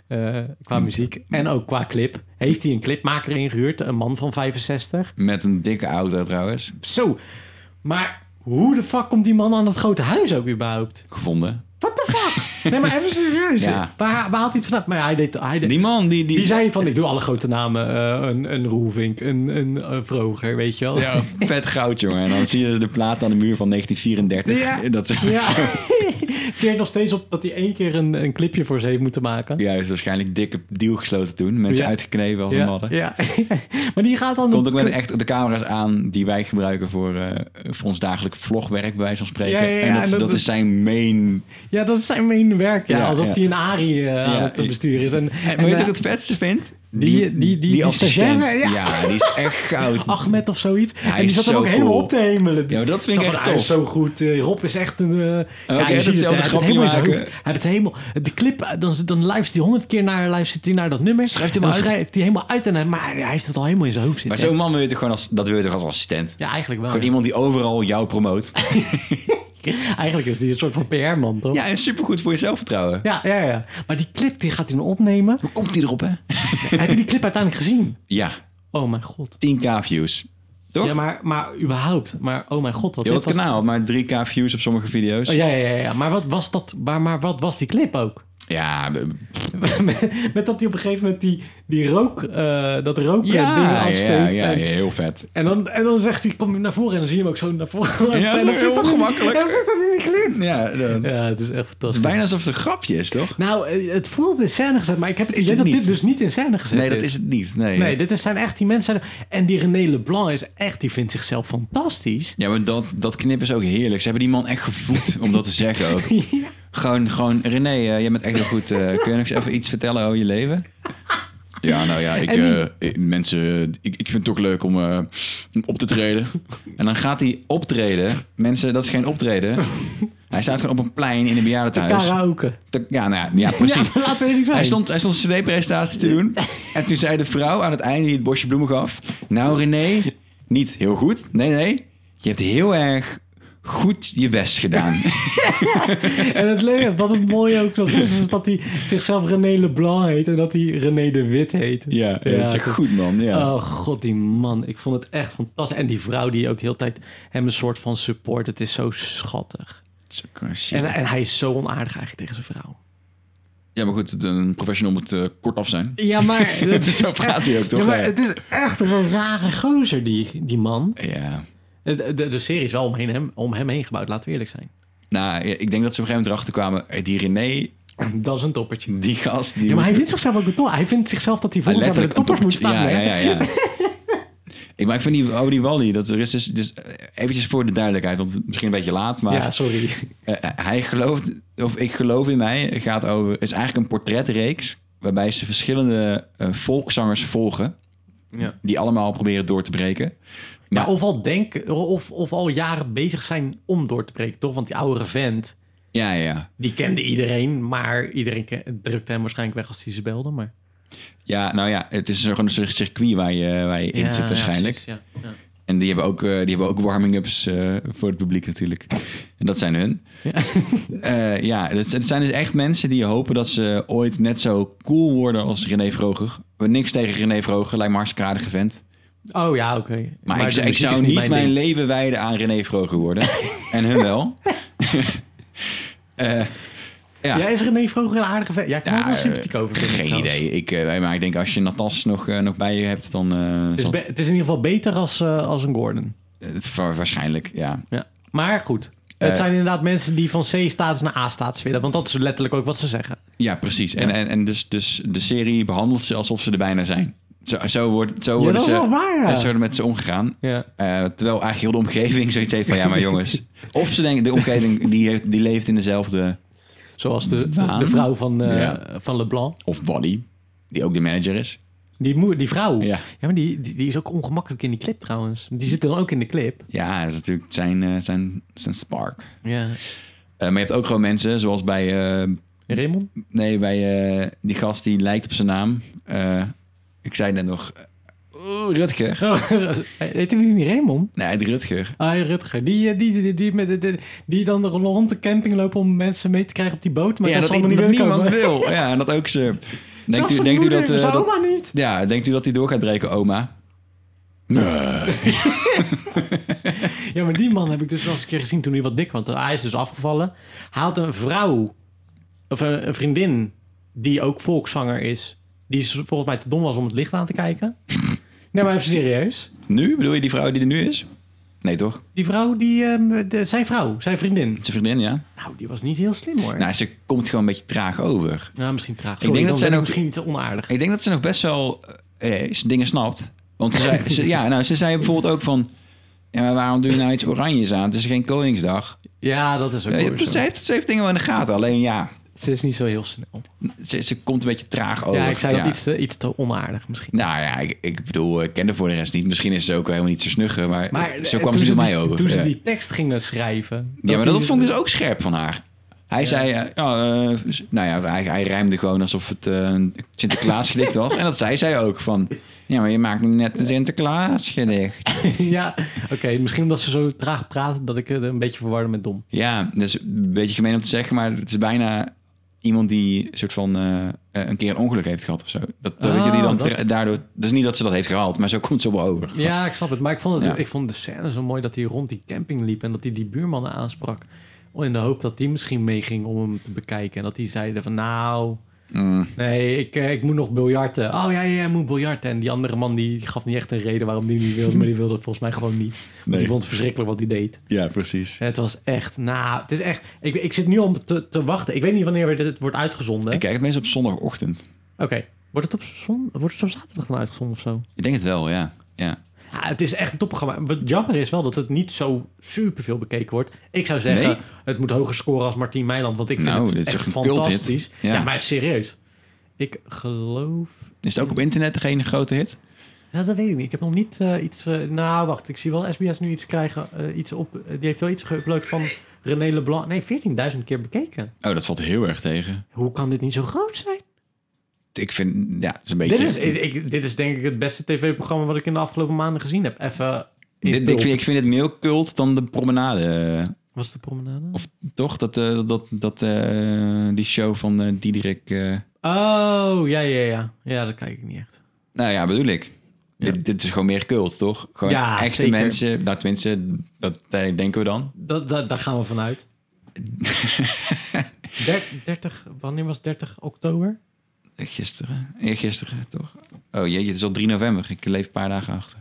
[SPEAKER 2] Eh,
[SPEAKER 1] Hmm.
[SPEAKER 2] qua muziek en ook qua clip. Heeft hij een clipmaker ingehuurd? Een man van 65?
[SPEAKER 1] Met een dikke auto trouwens.
[SPEAKER 2] Zo. Maar hoe de fuck komt die man aan dat grote huis ook überhaupt?
[SPEAKER 1] Gevonden.
[SPEAKER 2] What the fuck? nee, maar even serieus.
[SPEAKER 1] Ja.
[SPEAKER 2] Waar, waar haalt hij het vanaf? Maar ja, hij deed... Hij deed
[SPEAKER 1] Die man, die... Die,
[SPEAKER 2] die zei van, ik doe alle grote namen. eh, een, een Roelvink, een, een, eh, Vroger, weet je wel.
[SPEAKER 1] Ja, vet goud, jongen. En dan zie je dus de plaat aan de muur van 1934.
[SPEAKER 2] Ja.
[SPEAKER 1] Dat is,
[SPEAKER 2] Ja. Het teert nog steeds op dat hij één keer een, een clipje voor ze heeft moeten maken.
[SPEAKER 1] Juist, waarschijnlijk dikke deal gesloten toen. Mensen
[SPEAKER 2] Ja.
[SPEAKER 1] uitgeknepen als een
[SPEAKER 2] ja.
[SPEAKER 1] madden.
[SPEAKER 2] ja. maar die gaat dan...
[SPEAKER 1] Komt ook met echt de camera's aan die wij gebruiken voor, eh, voor ons dagelijk vlogwerk, bij wijze van spreken.
[SPEAKER 2] Ja, ja, ja,
[SPEAKER 1] en dat,
[SPEAKER 2] en dat-
[SPEAKER 1] dat is zijn main...
[SPEAKER 2] Ja, dat is zijn main hun werk. Ja,
[SPEAKER 1] Ja,
[SPEAKER 2] alsof
[SPEAKER 1] ja.
[SPEAKER 2] die een ARI eh, aan
[SPEAKER 1] Ja,
[SPEAKER 2] het
[SPEAKER 1] i-
[SPEAKER 2] besturen is. En,
[SPEAKER 1] En, weet
[SPEAKER 2] en,
[SPEAKER 1] je wat
[SPEAKER 2] eh,
[SPEAKER 1] ik het vetste vind?
[SPEAKER 2] die- die- die- die
[SPEAKER 1] assistent.
[SPEAKER 2] stagiaire,
[SPEAKER 1] Ja. die is echt goud.
[SPEAKER 2] Ahmed of zoiets. en die
[SPEAKER 1] is
[SPEAKER 2] zat hem
[SPEAKER 1] zo
[SPEAKER 2] ook helemaal
[SPEAKER 1] cool.
[SPEAKER 2] op te hemelen.
[SPEAKER 1] Ja, maar dat vind
[SPEAKER 2] Zo
[SPEAKER 1] ik
[SPEAKER 2] van,
[SPEAKER 1] echt
[SPEAKER 2] hij
[SPEAKER 1] tof.
[SPEAKER 2] is zo goed. eh, Rob is echt een... eh ja,
[SPEAKER 1] hij
[SPEAKER 2] je
[SPEAKER 1] gaat
[SPEAKER 2] ziet
[SPEAKER 1] hetzelfde
[SPEAKER 2] het, hij heeft het
[SPEAKER 1] grapje
[SPEAKER 2] helemaal in zijn
[SPEAKER 1] maken.
[SPEAKER 2] hoofd. Hij heeft het helemaal... De clip, eh, dan, dan luistert hij honderd keer naar, luistert hij naar dat nummer.
[SPEAKER 1] Schrijft hij
[SPEAKER 2] dan
[SPEAKER 1] maar uit.
[SPEAKER 2] schrijft hij helemaal uit. En hij, maar hij heeft het al helemaal in zijn hoofd
[SPEAKER 1] Maar
[SPEAKER 2] zitten.
[SPEAKER 1] zo'n man wil je toch gewoon als, dat wil je toch als assistent?
[SPEAKER 2] Oh, ja, eigenlijk wel.
[SPEAKER 1] Gewoon iemand die overal jou promoot.
[SPEAKER 2] Eigenlijk is die een soort van PR-man, toch?
[SPEAKER 1] Ja, en supergoed voor je zelfvertrouwen.
[SPEAKER 2] ja, ja, ja. Maar die clip die gaat hij dan opnemen.
[SPEAKER 1] Hoe komt die erop, hè?
[SPEAKER 2] Heb je die clip uiteindelijk gezien?
[SPEAKER 1] Ja,
[SPEAKER 2] Oh mijn god.
[SPEAKER 1] 10k views. Toch?
[SPEAKER 2] Ja, maar, maar überhaupt. Maar oh mijn god, wat
[SPEAKER 1] Heel
[SPEAKER 2] dit
[SPEAKER 1] het
[SPEAKER 2] was.
[SPEAKER 1] kanaal, maar 3k views op sommige video's.
[SPEAKER 2] Oh, ja, ja, ja, ja. Maar wat was dat? Maar, maar wat was die clip ook?
[SPEAKER 1] Ja, b-
[SPEAKER 2] met, met dat hij op een gegeven moment die, die rook, eh, dat rook
[SPEAKER 1] ja,
[SPEAKER 2] ding
[SPEAKER 1] ja,
[SPEAKER 2] afsteekt.
[SPEAKER 1] ja, ja,
[SPEAKER 2] en,
[SPEAKER 1] heel vet.
[SPEAKER 2] En, dan, en dan zegt hij, kom je naar voren. En dan zie je hem ook zo naar voren.
[SPEAKER 1] Ja,
[SPEAKER 2] en
[SPEAKER 1] dat
[SPEAKER 2] dan
[SPEAKER 1] is heel
[SPEAKER 2] dat in-
[SPEAKER 1] gemakkelijk.
[SPEAKER 2] Dan zit dat in die clip.
[SPEAKER 1] Ja, dat- het
[SPEAKER 2] Ja, het is echt
[SPEAKER 1] is
[SPEAKER 2] fantastisch.
[SPEAKER 1] bijna alsof het een grapje is, toch?
[SPEAKER 2] Nou, eh, het voelt in scène gezet, maar ik heb het
[SPEAKER 1] Is
[SPEAKER 2] idee
[SPEAKER 1] het
[SPEAKER 2] dat dit
[SPEAKER 1] niet?
[SPEAKER 2] dus niet in scène gezet
[SPEAKER 1] Nee,
[SPEAKER 2] is.
[SPEAKER 1] dat is het niet. Nee.
[SPEAKER 2] Nee, dit is- zijn echt die mensen. En die René Leblanc is echt, die vindt zichzelf fantastisch.
[SPEAKER 1] Ja, maar dat, dat knip is ook heerlijk. Ze hebben die man echt gevoed om dat te zeggen ook. Gewoon, gewoon René, eh, jij bent echt heel goed. eh, kun je nog eens even iets vertellen over je leven? Ja, nou ja, ik,
[SPEAKER 2] En die-
[SPEAKER 1] eh, ik- mensen, ik, ik vind het toch leuk om eh, om op te treden. En dan gaat hij optreden. Mensen, dat is geen optreden. Hij staat gewoon op een plein in een bejaardentehuis.
[SPEAKER 2] Karaoke.
[SPEAKER 1] Te- Ja, nou ja, ja, precies.
[SPEAKER 2] Ja, laten we eerlijk zijn.
[SPEAKER 1] Hij stond, hij stond een cd-presentatie te doen. En toen zei de vrouw aan het einde die het bosje bloemen gaf... Nou René, niet heel goed. Nee, nee. Je hebt heel erg goed je best gedaan.
[SPEAKER 2] En het leuke, wat het mooie ook nog is, is dat hij zichzelf René Leblanc heet en dat hij René de Wit heet.
[SPEAKER 1] Ja, dat is echt
[SPEAKER 2] dat-
[SPEAKER 1] goed man. Ja.
[SPEAKER 2] Oh god, die man. Ik vond het echt fantastisch. En die vrouw die ook heel de tijd hem een soort van support. Het is zo schattig.
[SPEAKER 1] Zo kan je zien.
[SPEAKER 2] En, en hij is zo onaardig eigenlijk tegen zijn vrouw.
[SPEAKER 1] Ja, maar goed, een professional moet eh, kort af zijn.
[SPEAKER 2] Ja, maar... dat is
[SPEAKER 1] Zo praat hij ook, toch?
[SPEAKER 2] Ja, maar
[SPEAKER 1] Ja.
[SPEAKER 2] het is echt een rare gozer, die, die man.
[SPEAKER 1] Ja.
[SPEAKER 2] De, de, de serie is wel om, heen, hem, om hem heen gebouwd, laten we eerlijk zijn.
[SPEAKER 1] Nou, ja, ik denk dat ze op een gegeven moment erachter kwamen... eh, Die René,
[SPEAKER 2] Dat is een toppertje.
[SPEAKER 1] die gast... Die
[SPEAKER 2] Ja, maar
[SPEAKER 1] moet-
[SPEAKER 2] hij vindt zichzelf ook een topper. Hij vindt zichzelf dat hij
[SPEAKER 1] Ja,
[SPEAKER 2] volgend jaar bij de toppers moet
[SPEAKER 1] een
[SPEAKER 2] staan.
[SPEAKER 1] toppertje.
[SPEAKER 2] hè?
[SPEAKER 1] Ja, ja, ja. ja. ik, maar ik vind die, oh, die Wally, dat er is dus, dus eh, eventjes voor de duidelijkheid, want misschien een beetje laat, maar
[SPEAKER 2] ja sorry.
[SPEAKER 1] eh, hij gelooft, of ik geloof in mij, gaat over, is eigenlijk een portretreeks waarbij ze verschillende eh, volkszangers volgen,
[SPEAKER 2] Ja.
[SPEAKER 1] die allemaal proberen door te breken.
[SPEAKER 2] Maar
[SPEAKER 1] Nou,
[SPEAKER 2] of al denken, of, of al jaren bezig zijn om door te breken, toch? Want die oudere vent,
[SPEAKER 1] Ja, ja, ja.
[SPEAKER 2] die kende iedereen, maar iedereen ke- drukte hem waarschijnlijk weg als hij ze belde. Maar...
[SPEAKER 1] Ja, nou ja, het is gewoon een soort circuit waar je, waar je in
[SPEAKER 2] Ja,
[SPEAKER 1] zit
[SPEAKER 2] ja,
[SPEAKER 1] waarschijnlijk.
[SPEAKER 2] precies, Ja, ja.
[SPEAKER 1] en die hebben ook, eh, die hebben ook warming-ups eh, voor het publiek natuurlijk. En dat zijn hun.
[SPEAKER 2] Ja.
[SPEAKER 1] Eh, ja, het, het zijn dus echt mensen die hopen dat ze ooit net zo cool worden als René Vroger. We hebben niks tegen René Vroger, lijkt me hartstikke aardige vent.
[SPEAKER 2] Oh ja, oké.
[SPEAKER 1] Maar, ik,
[SPEAKER 2] de
[SPEAKER 1] zou- ik
[SPEAKER 2] muziek
[SPEAKER 1] zou
[SPEAKER 2] is
[SPEAKER 1] niet mijn,
[SPEAKER 2] ding.
[SPEAKER 1] leven wijden aan René Vroger worden. en hun wel. Eh, ja.
[SPEAKER 2] Ja, is René vroeger een aardige vent? Ja, ik kan
[SPEAKER 1] Ja,
[SPEAKER 2] er wel
[SPEAKER 1] eh,
[SPEAKER 2] sympathiek over vinden,
[SPEAKER 1] Geen
[SPEAKER 2] trouwens.
[SPEAKER 1] idee. Ik, eh, maar ik denk als je Natas nog, eh, nog bij je hebt, dan... eh,
[SPEAKER 2] Het is,
[SPEAKER 1] zal-
[SPEAKER 2] be- het is in ieder geval beter als, eh, als een Gordon.
[SPEAKER 1] eh, wa- waarschijnlijk, ja.
[SPEAKER 2] Ja. Maar goed,
[SPEAKER 1] Eh,
[SPEAKER 2] het zijn inderdaad mensen die van C-status naar A-status willen. Want dat is letterlijk ook wat ze zeggen.
[SPEAKER 1] Ja, precies. En,
[SPEAKER 2] Ja.
[SPEAKER 1] en, en dus, dus de serie behandelt ze alsof ze er bijna zijn. Zo, zo, wordt, zo
[SPEAKER 2] Ja,
[SPEAKER 1] worden
[SPEAKER 2] dat is
[SPEAKER 1] ze... eh,
[SPEAKER 2] wel waar, ja.
[SPEAKER 1] Zo worden met ze omgegaan.
[SPEAKER 2] Ja.
[SPEAKER 1] Eh, terwijl eigenlijk heel de omgeving zoiets heeft van... ja, maar jongens... of ze denken, de omgeving die, heeft- die leeft in dezelfde...
[SPEAKER 2] Zoals de,
[SPEAKER 1] Waan.
[SPEAKER 2] de vrouw van, eh,
[SPEAKER 1] Ja.
[SPEAKER 2] van Leblanc.
[SPEAKER 1] of Wally, die ook de manager is.
[SPEAKER 2] Die, moe- die vrouw.
[SPEAKER 1] Ja,
[SPEAKER 2] Ja, maar die, die, die is ook ongemakkelijk in die clip trouwens. Die zit dan ook in de clip.
[SPEAKER 1] ja dat is natuurlijk zijn, eh, zijn, zijn spark.
[SPEAKER 2] Ja.
[SPEAKER 1] Eh, maar je hebt ook gewoon mensen, zoals bij... eh,
[SPEAKER 2] Raymond?
[SPEAKER 1] nee, bij eh, die gast die lijkt op zijn naam. Eh, ik zei net nog... eh, Rutger.
[SPEAKER 2] eh, Heet die niet Raymond?
[SPEAKER 1] Nee, Rutger.
[SPEAKER 2] Ah, ja, Rutger. Die, eh, die, die, die, die, met de- de- die dan er rond de camping lopen om mensen mee te krijgen op die boot. Maar
[SPEAKER 1] ja,
[SPEAKER 2] dat,
[SPEAKER 1] dat,
[SPEAKER 2] zal allemaal
[SPEAKER 1] dat
[SPEAKER 2] niet willen
[SPEAKER 1] niemand
[SPEAKER 2] komen.
[SPEAKER 1] wil. Ja, en dat ook ze... Denkt
[SPEAKER 2] Zelfs
[SPEAKER 1] u,
[SPEAKER 2] zijn
[SPEAKER 1] denkt u
[SPEAKER 2] moeder,
[SPEAKER 1] dat, eh,
[SPEAKER 2] zijn
[SPEAKER 1] dat...
[SPEAKER 2] oma niet.
[SPEAKER 1] Ja, denkt u dat hij door gaat breken, oma? Nee.
[SPEAKER 2] Ja, maar die man heb ik dus wel eens een keer gezien toen hij wat dik was. Hij is dus afgevallen. Hij had een vrouw, of eh, een, een vriendin, die ook volkszanger is. Die is volgens mij te dom was om het licht aan te kijken. Nee, maar even serieus.
[SPEAKER 1] Nu? Bedoel je die vrouw die er nu is? Nee, toch?
[SPEAKER 2] Die vrouw, die, ehm, de, zijn vrouw, zijn vriendin.
[SPEAKER 1] Zijn vriendin, ja?
[SPEAKER 2] Nou, die was niet heel slim hoor. Nou,
[SPEAKER 1] Nou, ze komt gewoon een beetje traag over.
[SPEAKER 2] misschien
[SPEAKER 1] denk
[SPEAKER 2] traag. Sorry, ik
[SPEAKER 1] dat
[SPEAKER 2] denk dat
[SPEAKER 1] zij
[SPEAKER 2] zijn ook...
[SPEAKER 1] nog-
[SPEAKER 2] misschien niet te onaardig.
[SPEAKER 1] Ik denk dat ze nog best wel eh, eh, dingen snapt. Want ze zei, ze- ja, nou, ze zei bijvoorbeeld ook van... Ja, maar waarom doe je nou iets oranjes aan? Het is geen Koningsdag.
[SPEAKER 2] Ja, dat is ook
[SPEAKER 1] Ja,
[SPEAKER 2] wel
[SPEAKER 1] dus
[SPEAKER 2] zo.
[SPEAKER 1] ze, heeft, ze heeft dingen wel in de gaten. Alleen ja,
[SPEAKER 2] Ze is niet zo heel snel.
[SPEAKER 1] Ze, ze komt een beetje traag over.
[SPEAKER 2] ja, ik zei dat
[SPEAKER 1] Oh, Ja.
[SPEAKER 2] iets te, iets te onaardig misschien.
[SPEAKER 1] Nou ja, ik, ik bedoel, ik ken haar voor de rest niet. Misschien is ze ook helemaal niet zo snugger, maar, zo kwam
[SPEAKER 2] eh, toen
[SPEAKER 1] ze bij mij
[SPEAKER 2] die-
[SPEAKER 1] over.
[SPEAKER 2] Toen
[SPEAKER 1] ja.
[SPEAKER 2] ze die tekst gingen schrijven.
[SPEAKER 1] ja, maar
[SPEAKER 2] die-
[SPEAKER 1] dat vond ik dus ook scherp van haar. Hij
[SPEAKER 2] Ja.
[SPEAKER 1] zei, eh, ja, eh, nou ja, hij, hij rijmde gewoon alsof het eh, een Sinterklaasgedicht was. En dat zei zij ook van, ja, maar je maakt nu net een Sinterklaasgedicht.
[SPEAKER 2] ja, oké. misschien omdat ze zo traag praten dat ik het een beetje verwarde met dom.
[SPEAKER 1] Ja, dat is een beetje gemeen om te zeggen, maar het is bijna iemand die een soort van eh, eh, een keer een ongeluk heeft gehad of zo. Dat, eh, weet je, die
[SPEAKER 2] Oh,
[SPEAKER 1] dan
[SPEAKER 2] dat.
[SPEAKER 1] tra- daardoor, dus niet dat ze dat heeft gehaald, maar zo komt ze wel over.
[SPEAKER 2] Ja, ik snap het. Maar ik vond, het,
[SPEAKER 1] Ja.
[SPEAKER 2] ik vond de scène zo mooi dat hij rond die camping liep en dat hij die buurmannen aansprak. In de hoop dat die misschien meeging om hem te bekijken. En dat die zeiden van nou,
[SPEAKER 1] Mm,
[SPEAKER 2] nee, ik, eh, ik moet nog biljarten. Oh ja, ja, ik moet biljarten. En die andere man die gaf niet echt een reden waarom die niet wilde. Maar die wilde het volgens mij gewoon niet. Want
[SPEAKER 1] Nee.
[SPEAKER 2] Die vond het verschrikkelijk wat hij deed.
[SPEAKER 1] ja, precies.
[SPEAKER 2] Het was echt, nou, het is echt. Ik, ik zit nu al te, te wachten. Ik weet niet wanneer dit wordt uitgezonden.
[SPEAKER 1] Ik
[SPEAKER 2] Oké.
[SPEAKER 1] kijk het meestal op zondagochtend.
[SPEAKER 2] Wordt het op zon? Wordt het op zaterdag dan uitgezonden of zo?
[SPEAKER 1] Ik denk het wel, ja. ja.
[SPEAKER 2] Ja, het is echt een topprogramma. Wat jammer is wel dat het niet zo superveel bekeken wordt. Ik zou zeggen,
[SPEAKER 1] Nee?
[SPEAKER 2] het moet hoger scoren als Martien Meiland. Want ik vind
[SPEAKER 1] Nou,
[SPEAKER 2] het
[SPEAKER 1] dit is
[SPEAKER 2] echt
[SPEAKER 1] echt een culthit.
[SPEAKER 2] fantastisch. Ja.
[SPEAKER 1] Ja.
[SPEAKER 2] maar serieus. Ik geloof...
[SPEAKER 1] Is het ook op internet degene grote hit?
[SPEAKER 2] Ja, dat weet ik niet. Ik heb nog niet eh, iets... eh, nou, wacht. Ik zie wel SBS nu iets krijgen. eh, iets op, eh, die heeft wel iets geüpload van René Leblanc. Nee, 14.000 keer bekeken.
[SPEAKER 1] Oh, dat valt heel erg tegen.
[SPEAKER 2] Hoe kan dit niet zo groot zijn?
[SPEAKER 1] Ik vind, ja, het is een beetje...
[SPEAKER 2] Dit is, ik, ik- dit is denk ik het beste tv-programma wat ik in de afgelopen maanden gezien heb. Even... in
[SPEAKER 1] Dit- ik,
[SPEAKER 2] pulp.
[SPEAKER 1] vind- ik vind het meer cult dan de promenade. eh,
[SPEAKER 2] Was het de promenade?
[SPEAKER 1] Of toch? Dat, eh, dat, dat, eh, die show van eh Diederik... eh,
[SPEAKER 2] Oh, ja, ja, ja. Ja, dat kijk ik niet echt.
[SPEAKER 1] nou ja, bedoel ik.
[SPEAKER 2] Ja.
[SPEAKER 1] Dit, dit is gewoon meer cult, toch? Gewoon
[SPEAKER 2] Ja,
[SPEAKER 1] echte
[SPEAKER 2] zeker.
[SPEAKER 1] mensen. Nou, tenminste, dat eh, denken we dan.
[SPEAKER 2] Dat, dat, daar gaan we vanuit. Der, 30, wanneer was 30 oktober?
[SPEAKER 1] Eh, Gisteren. Eergisteren, toch? Oh jeetje, het is al 3 november. Ik leef een paar dagen achter.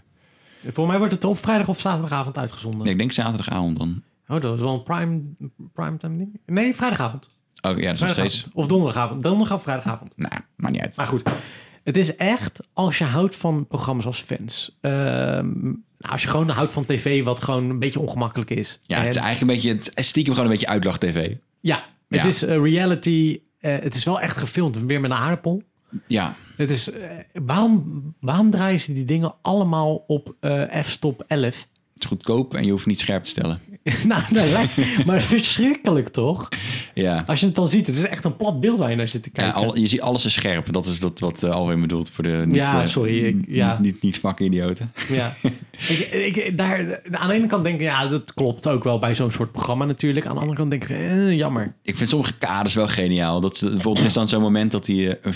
[SPEAKER 2] Voor mij wordt het op vrijdag of zaterdagavond uitgezonden.
[SPEAKER 1] Nee, ik denk zaterdagavond dan.
[SPEAKER 2] Oh, dat is wel een prime, prime time ding. Nee, vrijdagavond.
[SPEAKER 1] Oh ja, dat is nog
[SPEAKER 2] Vrijdagavond.
[SPEAKER 1] steeds...
[SPEAKER 2] Of donderdagavond. Donderdag of vrijdagavond.
[SPEAKER 1] Nou, maakt niet uit.
[SPEAKER 2] Maar goed, het is echt als je houdt van programma's als fans. ehm, nou, als je gewoon houdt van tv wat gewoon een beetje ongemakkelijk is.
[SPEAKER 1] Ja, het is
[SPEAKER 2] En-
[SPEAKER 1] eigenlijk een beetje... Het is stiekem gewoon een beetje uitlag-tv.
[SPEAKER 2] ja het
[SPEAKER 1] Ja.
[SPEAKER 2] is eh, reality. eh, het is wel echt gefilmd. Weer met een aardappel.
[SPEAKER 1] Ja,
[SPEAKER 2] Het is, eh, waarom, waarom draaien ze die dingen allemaal op eh, f-stop 11?
[SPEAKER 1] het is goedkoop en je hoeft niet scherp te stellen.
[SPEAKER 2] nou, dat lijkt maar verschrikkelijk toch?
[SPEAKER 1] Ja.
[SPEAKER 2] Als je het dan ziet, het is echt een plat beeld waar je naar zit te
[SPEAKER 1] Ja,
[SPEAKER 2] kijken.
[SPEAKER 1] al, je ziet alles is scherp. Dat is dat wat eh, Alwin bedoelt voor de niet,
[SPEAKER 2] Ja,
[SPEAKER 1] eh,
[SPEAKER 2] sorry, ik- ja.
[SPEAKER 1] niet, niet vakken idioten.
[SPEAKER 2] Ja. ik, ik, daar, aan de ene kant denk ik, ja, dat klopt ook wel bij zo'n soort programma natuurlijk. Aan de andere kant denk ik, eh, jammer.
[SPEAKER 1] Ik vind sommige kaders wel geniaal. Dat, ze- bijvoorbeeld er is dan zo'n moment dat hij eh, een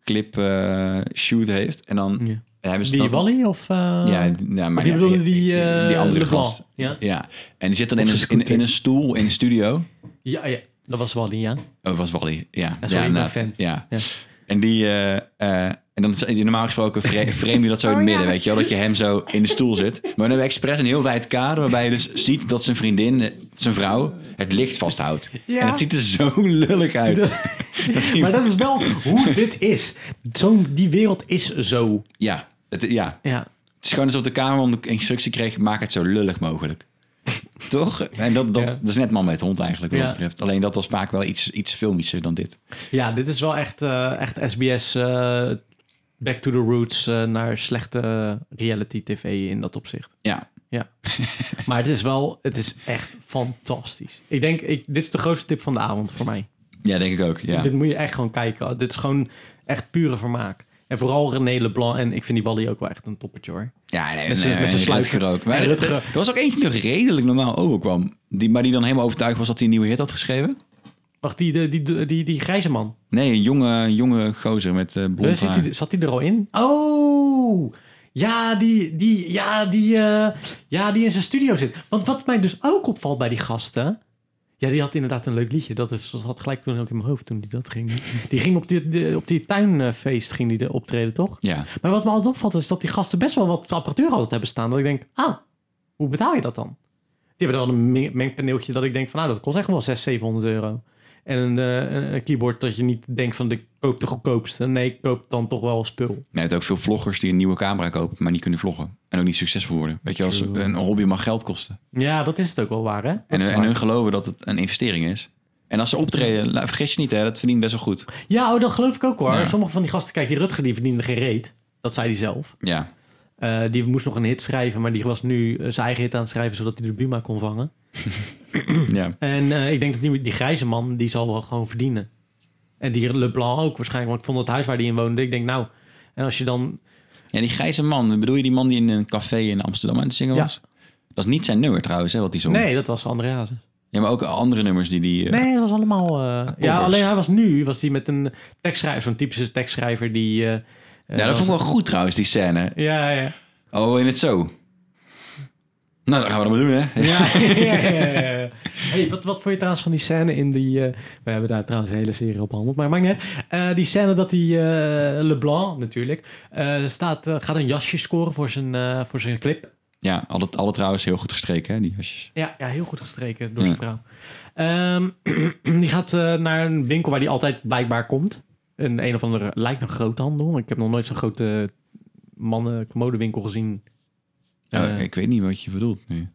[SPEAKER 1] videoclip eh, shoot heeft. En dan
[SPEAKER 2] Ja.
[SPEAKER 1] hebben ze
[SPEAKER 2] Die
[SPEAKER 1] dan-
[SPEAKER 2] Wally of... eh,
[SPEAKER 1] Ja, ja,
[SPEAKER 2] of
[SPEAKER 1] maar
[SPEAKER 2] je
[SPEAKER 1] ja,
[SPEAKER 2] bedoelde die, eh,
[SPEAKER 1] die andere
[SPEAKER 2] Leblanc,
[SPEAKER 1] gast.
[SPEAKER 2] Ja?
[SPEAKER 1] Ja. En die zit dan
[SPEAKER 2] Op
[SPEAKER 1] in
[SPEAKER 2] zijn
[SPEAKER 1] een, in,
[SPEAKER 2] scooter.
[SPEAKER 1] in een stoel in de studio.
[SPEAKER 2] Ja, ja, dat was Wally, ja.
[SPEAKER 1] Oh, was Wally. Ja,
[SPEAKER 2] sorry, ik ben
[SPEAKER 1] inderdaad.
[SPEAKER 2] fan.
[SPEAKER 1] Ja.
[SPEAKER 2] Ja.
[SPEAKER 1] En die... eh, eh, en dan is- normaal gesproken fra- frame je dat zo in het midden, weet je wel? Dat je hem zo in de stoel zit. Maar dan hebben we expres een heel wijd kader... waarbij je dus ziet dat zijn vriendin, eh, zijn vrouw, het licht vasthoudt.
[SPEAKER 2] Ja.
[SPEAKER 1] En het ziet er zo lullig uit.
[SPEAKER 2] Dat-
[SPEAKER 1] Dat die-
[SPEAKER 2] Maar dat is wel hoe dit is. Zo'n die wereld is zo.
[SPEAKER 1] ja, het, ja,
[SPEAKER 2] Ja.
[SPEAKER 1] het is gewoon alsof de camera de instructie kreeg... maak het zo lullig mogelijk. Toch? En dat, dat,
[SPEAKER 2] Ja.
[SPEAKER 1] dat is net man met hond eigenlijk, wat
[SPEAKER 2] Ja.
[SPEAKER 1] dat betreft. Alleen dat was vaak wel iets, iets filmischer dan dit.
[SPEAKER 2] Ja, dit is wel echt, eh, echt SBS eh, back to the roots eh, naar slechte reality tv in dat opzicht.
[SPEAKER 1] Ja,
[SPEAKER 2] Maar het is wel, het is echt fantastisch. Ik denk, ik, dit is de grootste tip van de avond voor mij.
[SPEAKER 1] ja denk ik ook. Ja.
[SPEAKER 2] Dit moet je echt gewoon kijken. Dit is gewoon echt pure vermaak. En vooral René Leblanc. En ik vind die Wally ook wel echt een toppertje hoor.
[SPEAKER 1] Ja, nee,
[SPEAKER 2] Met z'n-
[SPEAKER 1] nee,
[SPEAKER 2] met z'n
[SPEAKER 1] nee,
[SPEAKER 2] sluitje.
[SPEAKER 1] Rutger ook.
[SPEAKER 2] En
[SPEAKER 1] Maar
[SPEAKER 2] Rutger-
[SPEAKER 1] er, er was ook eentje die redelijk normaal overkwam. Die, maar die dan helemaal overtuigd was dat hij een nieuwe hit had geschreven.
[SPEAKER 2] Wacht, die, die, die, die, die grijze man.
[SPEAKER 1] Nee, een jonge, jonge gozer met eh blond
[SPEAKER 2] Zit
[SPEAKER 1] haar.
[SPEAKER 2] die- zat hij er al in? Oh! Ja, die, die, ja, die, eh, ja, die in zijn studio zit. Want wat mij dus ook opvalt bij die gasten. Ja, die had inderdaad een leuk liedje. Dat is, dat had gelijk toen ook in mijn hoofd toen die dat ging. Die ging op die, de- op die tuinfeest ging die de optreden, toch?
[SPEAKER 1] Ja,
[SPEAKER 2] Maar wat me altijd opvalt is dat die gasten best wel wat apparatuur altijd hebben staan. Dat ik denk, ah, hoe betaal je dat dan? Die hebben dan een meng- mengpaneeltje dat ik denk van, nou, dat kost echt wel 600, 700 euro. En een, eh, een- een keyboard dat je niet denkt van, ik koop de goedkoopste. Nee, ik koop dan toch wel spul.
[SPEAKER 1] je hebt ook veel vloggers die een nieuwe camera kopen, maar niet kunnen vloggen. En ook niet succesvol worden. Weet je, als
[SPEAKER 2] True.
[SPEAKER 1] een hobby mag geld kosten.
[SPEAKER 2] Ja, dat is het ook wel waar, hè? Dat
[SPEAKER 1] En,
[SPEAKER 2] is
[SPEAKER 1] en
[SPEAKER 2] waar.
[SPEAKER 1] hun geloven dat het een investering is. En als ze optreden, la- vergis je niet, hè, dat verdient best wel goed.
[SPEAKER 2] Ja, oh, dat geloof ik ook hoor.
[SPEAKER 1] Ja.
[SPEAKER 2] Sommige van die gasten, kijk, die Rutger die verdiende geen reet. Dat zei hij zelf.
[SPEAKER 1] Ja,
[SPEAKER 2] Eh, die moest nog een hit schrijven, maar die was nu eh, zijn eigen hit aan het schrijven, zodat hij de Buma kon vangen.
[SPEAKER 1] ja.
[SPEAKER 2] En eh, ik denk dat die, die grijze man, die zal wel gewoon verdienen. En die Leblanc ook waarschijnlijk, want ik vond het huis waar die in woonde, ik denk nou... En als je dan...
[SPEAKER 1] Ja, die grijze man, bedoel je die man die in een café in Amsterdam aan het zingen
[SPEAKER 2] Ja.
[SPEAKER 1] was? Dat is niet zijn nummer trouwens, hè, wat hij zong.
[SPEAKER 2] Nee, dat was André Hazes.
[SPEAKER 1] Ja, maar ook andere nummers die die... eh,
[SPEAKER 2] Nee, dat was allemaal... eh, ja,
[SPEAKER 1] covers.
[SPEAKER 2] alleen hij was nu, was hij met een tekstschrijver, zo'n typische tekstschrijver die... eh, eh,
[SPEAKER 1] ja, dat
[SPEAKER 2] was-
[SPEAKER 1] vond ik wel goed trouwens, die scène.
[SPEAKER 2] Ja, ja.
[SPEAKER 1] Oh, in het zo. Nou, dat gaan we dan maar doen, hè?
[SPEAKER 2] Ja, ja, ja, ja, ja. Hey, wat, wat vond je trouwens van die scène in die... eh, we hebben daar trouwens een hele serie op behandeld, maar maakt niet uit. Eh, die scène dat die eh, LeBlanc natuurlijk eh, staat, eh, gaat een jasje scoren voor zijn, eh, voor zijn clip.
[SPEAKER 1] Ja, alle, alle trouwens heel goed gestreken, hè, die jasjes.
[SPEAKER 2] Ja, ja heel goed gestreken door
[SPEAKER 1] Ja.
[SPEAKER 2] zijn vrouw. Ehm, die gaat eh, naar een winkel waar die altijd blijkbaar komt. Een een of andere, lijkt een groothandel. Ik heb nog nooit zo'n grote mannen-commodewinkel gezien.
[SPEAKER 1] Oh,
[SPEAKER 2] Eh,
[SPEAKER 1] ik weet niet wat je bedoelt nu.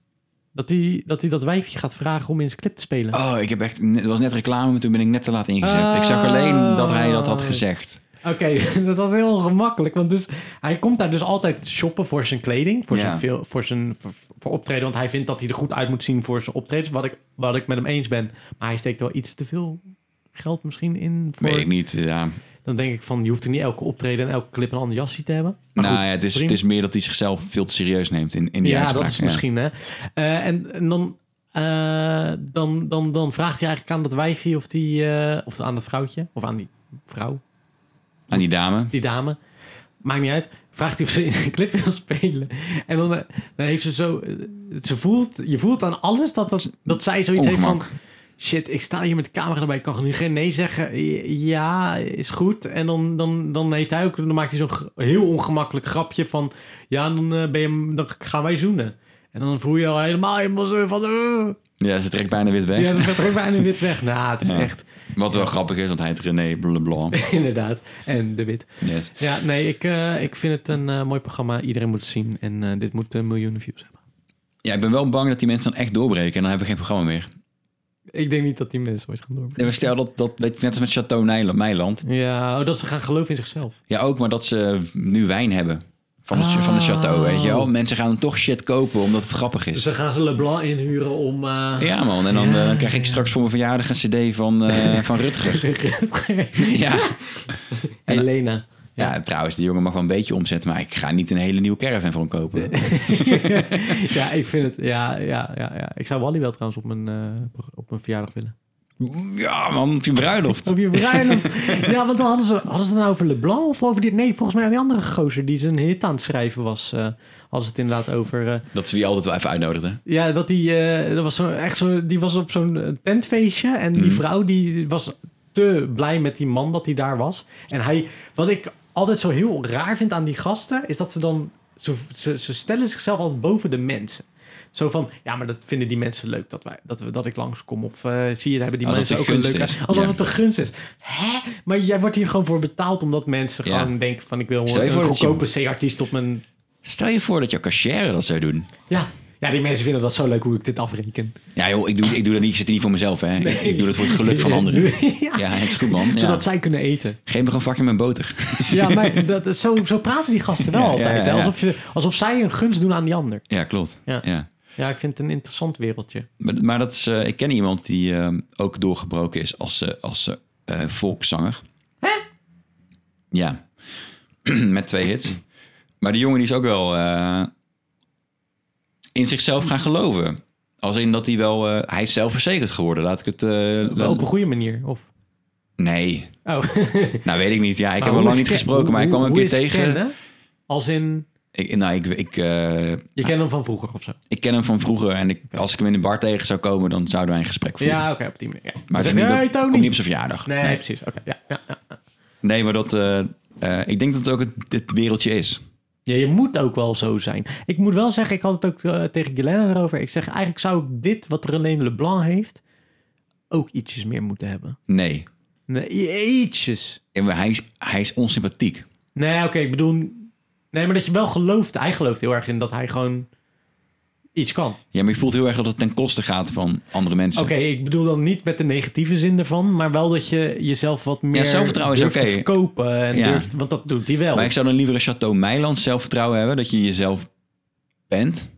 [SPEAKER 2] Dat hij dat, die dat wijfje gaat vragen om in zijn clip te spelen.
[SPEAKER 1] Oh, ik heb echt... Het was net reclame, maar toen ben ik net te laat ingezet. Ik zag alleen dat hij dat had gezegd.
[SPEAKER 2] Oké, dat was heel gemakkelijk. Want dus, hij komt daar dus altijd shoppen voor zijn kleding. Voor,
[SPEAKER 1] Ja.
[SPEAKER 2] zijn, veel, voor zijn voor, voor optreden. Want hij vindt dat hij er goed uit moet zien voor zijn optredens. Wat ik, wat ik met hem eens ben. Maar hij steekt wel iets te veel geld misschien in. Voor,
[SPEAKER 1] Weet ik niet, ja.
[SPEAKER 2] Dan denk ik van, je hoeft er niet elke optreden en elke clip een ander jasje te hebben. Maar
[SPEAKER 1] nou
[SPEAKER 2] goed,
[SPEAKER 1] ja, het is,
[SPEAKER 2] prima.
[SPEAKER 1] het is meer dat hij zichzelf veel te serieus neemt in, in die
[SPEAKER 2] ja,
[SPEAKER 1] uitspraak.
[SPEAKER 2] dat is misschien, hè. Eh, en, en dan, eh, dan, dan, dan vraagt hij eigenlijk aan dat wijfje of, die, eh, of aan dat vrouwtje. Of aan die vrouw,
[SPEAKER 1] Aan die dame.
[SPEAKER 2] die dame. Maakt niet uit. Vraagt hij of ze in een clip wil spelen. En dan, eh, dan heeft ze zo... eh, Ze voelt, je voelt aan alles dat, dat, dat zij zoiets heeft
[SPEAKER 1] Ongemak.
[SPEAKER 2] van... Shit, ik sta hier met de camera erbij. Ik kan nu geen nee zeggen. Eh, Ja, is goed. En dan, dan, dan, heeft hij ook, dan maakt hij zo'n g- heel ongemakkelijk grapje van... Ja, dan, eh, ben je, dan gaan wij zoenen. En dan voel je al helemaal helemaal zo van... eh,
[SPEAKER 1] Ja, ze trekt bijna wit weg.
[SPEAKER 2] ja, dat gaat er ook bijna wit weg. Nou, het is
[SPEAKER 1] Ja.
[SPEAKER 2] echt...
[SPEAKER 1] Wat wel grappig is, want hij heet René Leblanc.
[SPEAKER 2] Inderdaad. En de wit.
[SPEAKER 1] Yes.
[SPEAKER 2] Ja, nee, ik, eh, ik vind het een eh, mooi programma. Iedereen moet het zien. En eh, dit moet eh, miljoenen views hebben.
[SPEAKER 1] Ja, ik ben wel bang dat die mensen dan echt doorbreken en dan hebben we geen programma meer.
[SPEAKER 2] Ik denk niet dat die mensen ooit gaan doorbreken.
[SPEAKER 1] Nee, maar stel dat, dat weet je, net als met Chateau Nijl- Meiland.
[SPEAKER 2] Ja, oh, dat ze gaan geloven in zichzelf.
[SPEAKER 1] Ja, ook, maar dat ze nu wijn hebben. Van, het,
[SPEAKER 2] Ah.
[SPEAKER 1] van de Chateau, weet je wel. Mensen gaan dan toch shit kopen omdat het grappig
[SPEAKER 2] Dus
[SPEAKER 1] is.
[SPEAKER 2] dan gaan ze LeBlanc inhuren om... eh,
[SPEAKER 1] Ja man, en dan,
[SPEAKER 2] Ja,
[SPEAKER 1] eh, dan krijg ik
[SPEAKER 2] ja.
[SPEAKER 1] straks voor mijn verjaardag een cd van, eh, van Rutger. ja.
[SPEAKER 2] Helena.
[SPEAKER 1] ja, trouwens, die jongen mag wel een beetje omzetten, maar ik ga niet een hele nieuwe caravan voor hem kopen.
[SPEAKER 2] ja, ik vind het... Ja, ja, ja, ja. Ik zou Wally wel trouwens op mijn, eh, op mijn verjaardag willen.
[SPEAKER 1] Ja man, op je bruiloft.
[SPEAKER 2] Op je bruiloft. ja, want dan hadden ze, hadden ze het nou over LeBlanc of over dit... Nee, volgens mij die andere gozer die zijn hit aan het schrijven was. eh hadden ze het inderdaad over... eh,
[SPEAKER 1] Dat ze die altijd wel even uitnodigden.
[SPEAKER 2] Ja, dat die, eh, dat was zo, echt zo, die was op zo'n eh, tentfeestje. En die
[SPEAKER 1] Mhm.
[SPEAKER 2] vrouw die was te blij met die man dat hij daar was. En hij, wat ik altijd zo heel raar vind aan die gasten, is dat ze dan, ze, ze, ze stellen zichzelf altijd boven de mensen. Zo van, ja, maar dat vinden die mensen leuk dat, wij, dat, we, dat ik langskom. Of eh, zie je, daar hebben die
[SPEAKER 1] Alsof
[SPEAKER 2] mensen ook
[SPEAKER 1] het
[SPEAKER 2] een
[SPEAKER 1] gunst
[SPEAKER 2] leuke...
[SPEAKER 1] is.
[SPEAKER 2] Alsof
[SPEAKER 1] Ja.
[SPEAKER 2] het een gunst is. Hè? Maar jij wordt hier gewoon voor betaald omdat mensen
[SPEAKER 1] Ja.
[SPEAKER 2] gewoon denken van... ik wil
[SPEAKER 1] Stel je
[SPEAKER 2] een
[SPEAKER 1] voor dat je-
[SPEAKER 2] goedkope C-artiest op mijn...
[SPEAKER 1] Stel je voor dat jouw cashier dat zou doen.
[SPEAKER 2] Ja. ja, die mensen vinden dat zo leuk hoe ik dit afreken.
[SPEAKER 1] Ja joh, ik doe, ik doe dat niet, ik zit hier niet voor mezelf hè. Ik- Ik, doe dat voor het geluk van anderen.
[SPEAKER 2] ja.
[SPEAKER 1] Ja, het is goed man. Ja.
[SPEAKER 2] Zodat zij kunnen eten.
[SPEAKER 1] Geef me een vakje met boter.
[SPEAKER 2] Ja, maar dat, zo, zo praten die gasten wel
[SPEAKER 1] Ja, ja,
[SPEAKER 2] altijd. hè?
[SPEAKER 1] ja, ja.
[SPEAKER 2] Alsof, je, alsof zij een gunst doen aan die ander.
[SPEAKER 1] Ja, klopt.
[SPEAKER 2] Ja.
[SPEAKER 1] Ja.
[SPEAKER 2] Ja, ik vind het een interessant wereldje.
[SPEAKER 1] Maar, maar dat is, eh, ik ken iemand die ehm, ook doorgebroken is als, eh, als eh, eh, volkszanger. Ja, met twee hits. Maar die jongen die is ook wel eh, in zichzelf gaan geloven. Als in dat hij wel... eh, hij is zelfverzekerd geworden, laat ik het... eh,
[SPEAKER 2] Maar
[SPEAKER 1] laat-
[SPEAKER 2] op een goede manier. Of?
[SPEAKER 1] Nee,
[SPEAKER 2] Oh.
[SPEAKER 1] nou weet ik niet. Ja, ik heb hem lang niet gesproken, maar ik kwam hem een keer tegen.
[SPEAKER 2] Kennen? Als in,
[SPEAKER 1] ik, nou, ik, ik, eh,
[SPEAKER 2] je kent hem van vroeger of zo.
[SPEAKER 1] ik ken hem van vroeger en ik, als ik hem in de bar tegen zou komen, dan zouden wij een gesprek voeren.
[SPEAKER 2] Ja, oké, op die manier. Ja.
[SPEAKER 1] Maar het
[SPEAKER 2] zeg,
[SPEAKER 1] is niet dat-
[SPEAKER 2] nee,
[SPEAKER 1] komt
[SPEAKER 2] Tony.
[SPEAKER 1] niet op zijn verjaardag.
[SPEAKER 2] nee, precies. Oké, ja, ja, ja.
[SPEAKER 1] Nee, maar dat, eh, eh, ik denk dat het ook het, het wereldje is.
[SPEAKER 2] Ja, je moet ook wel zo zijn. Ik moet wel zeggen, ik had het ook eh, tegen Guylaine erover. Ik zeg, eigenlijk zou ik dit wat René Leblanc heeft, ook ietsjes meer moeten hebben.
[SPEAKER 1] Nee.
[SPEAKER 2] Nee, i- ietsjes.
[SPEAKER 1] En we- Hij is, hij is onsympathiek.
[SPEAKER 2] Nee, oké, ik bedoel... Nee, maar dat je wel gelooft. Hij gelooft heel erg in dat hij gewoon iets kan.
[SPEAKER 1] Ja, maar je voelt heel erg dat het ten koste gaat van andere mensen.
[SPEAKER 2] Oké, ik bedoel dan niet met de negatieve zin ervan, maar wel dat je jezelf wat meer
[SPEAKER 1] zelfvertrouwen is
[SPEAKER 2] durft
[SPEAKER 1] oké.
[SPEAKER 2] te verkopen. En
[SPEAKER 1] Ja.
[SPEAKER 2] durft, want dat doet hij wel.
[SPEAKER 1] Maar ik zou dan liever een Chateau Meiland zelfvertrouwen hebben, dat je jezelf bent.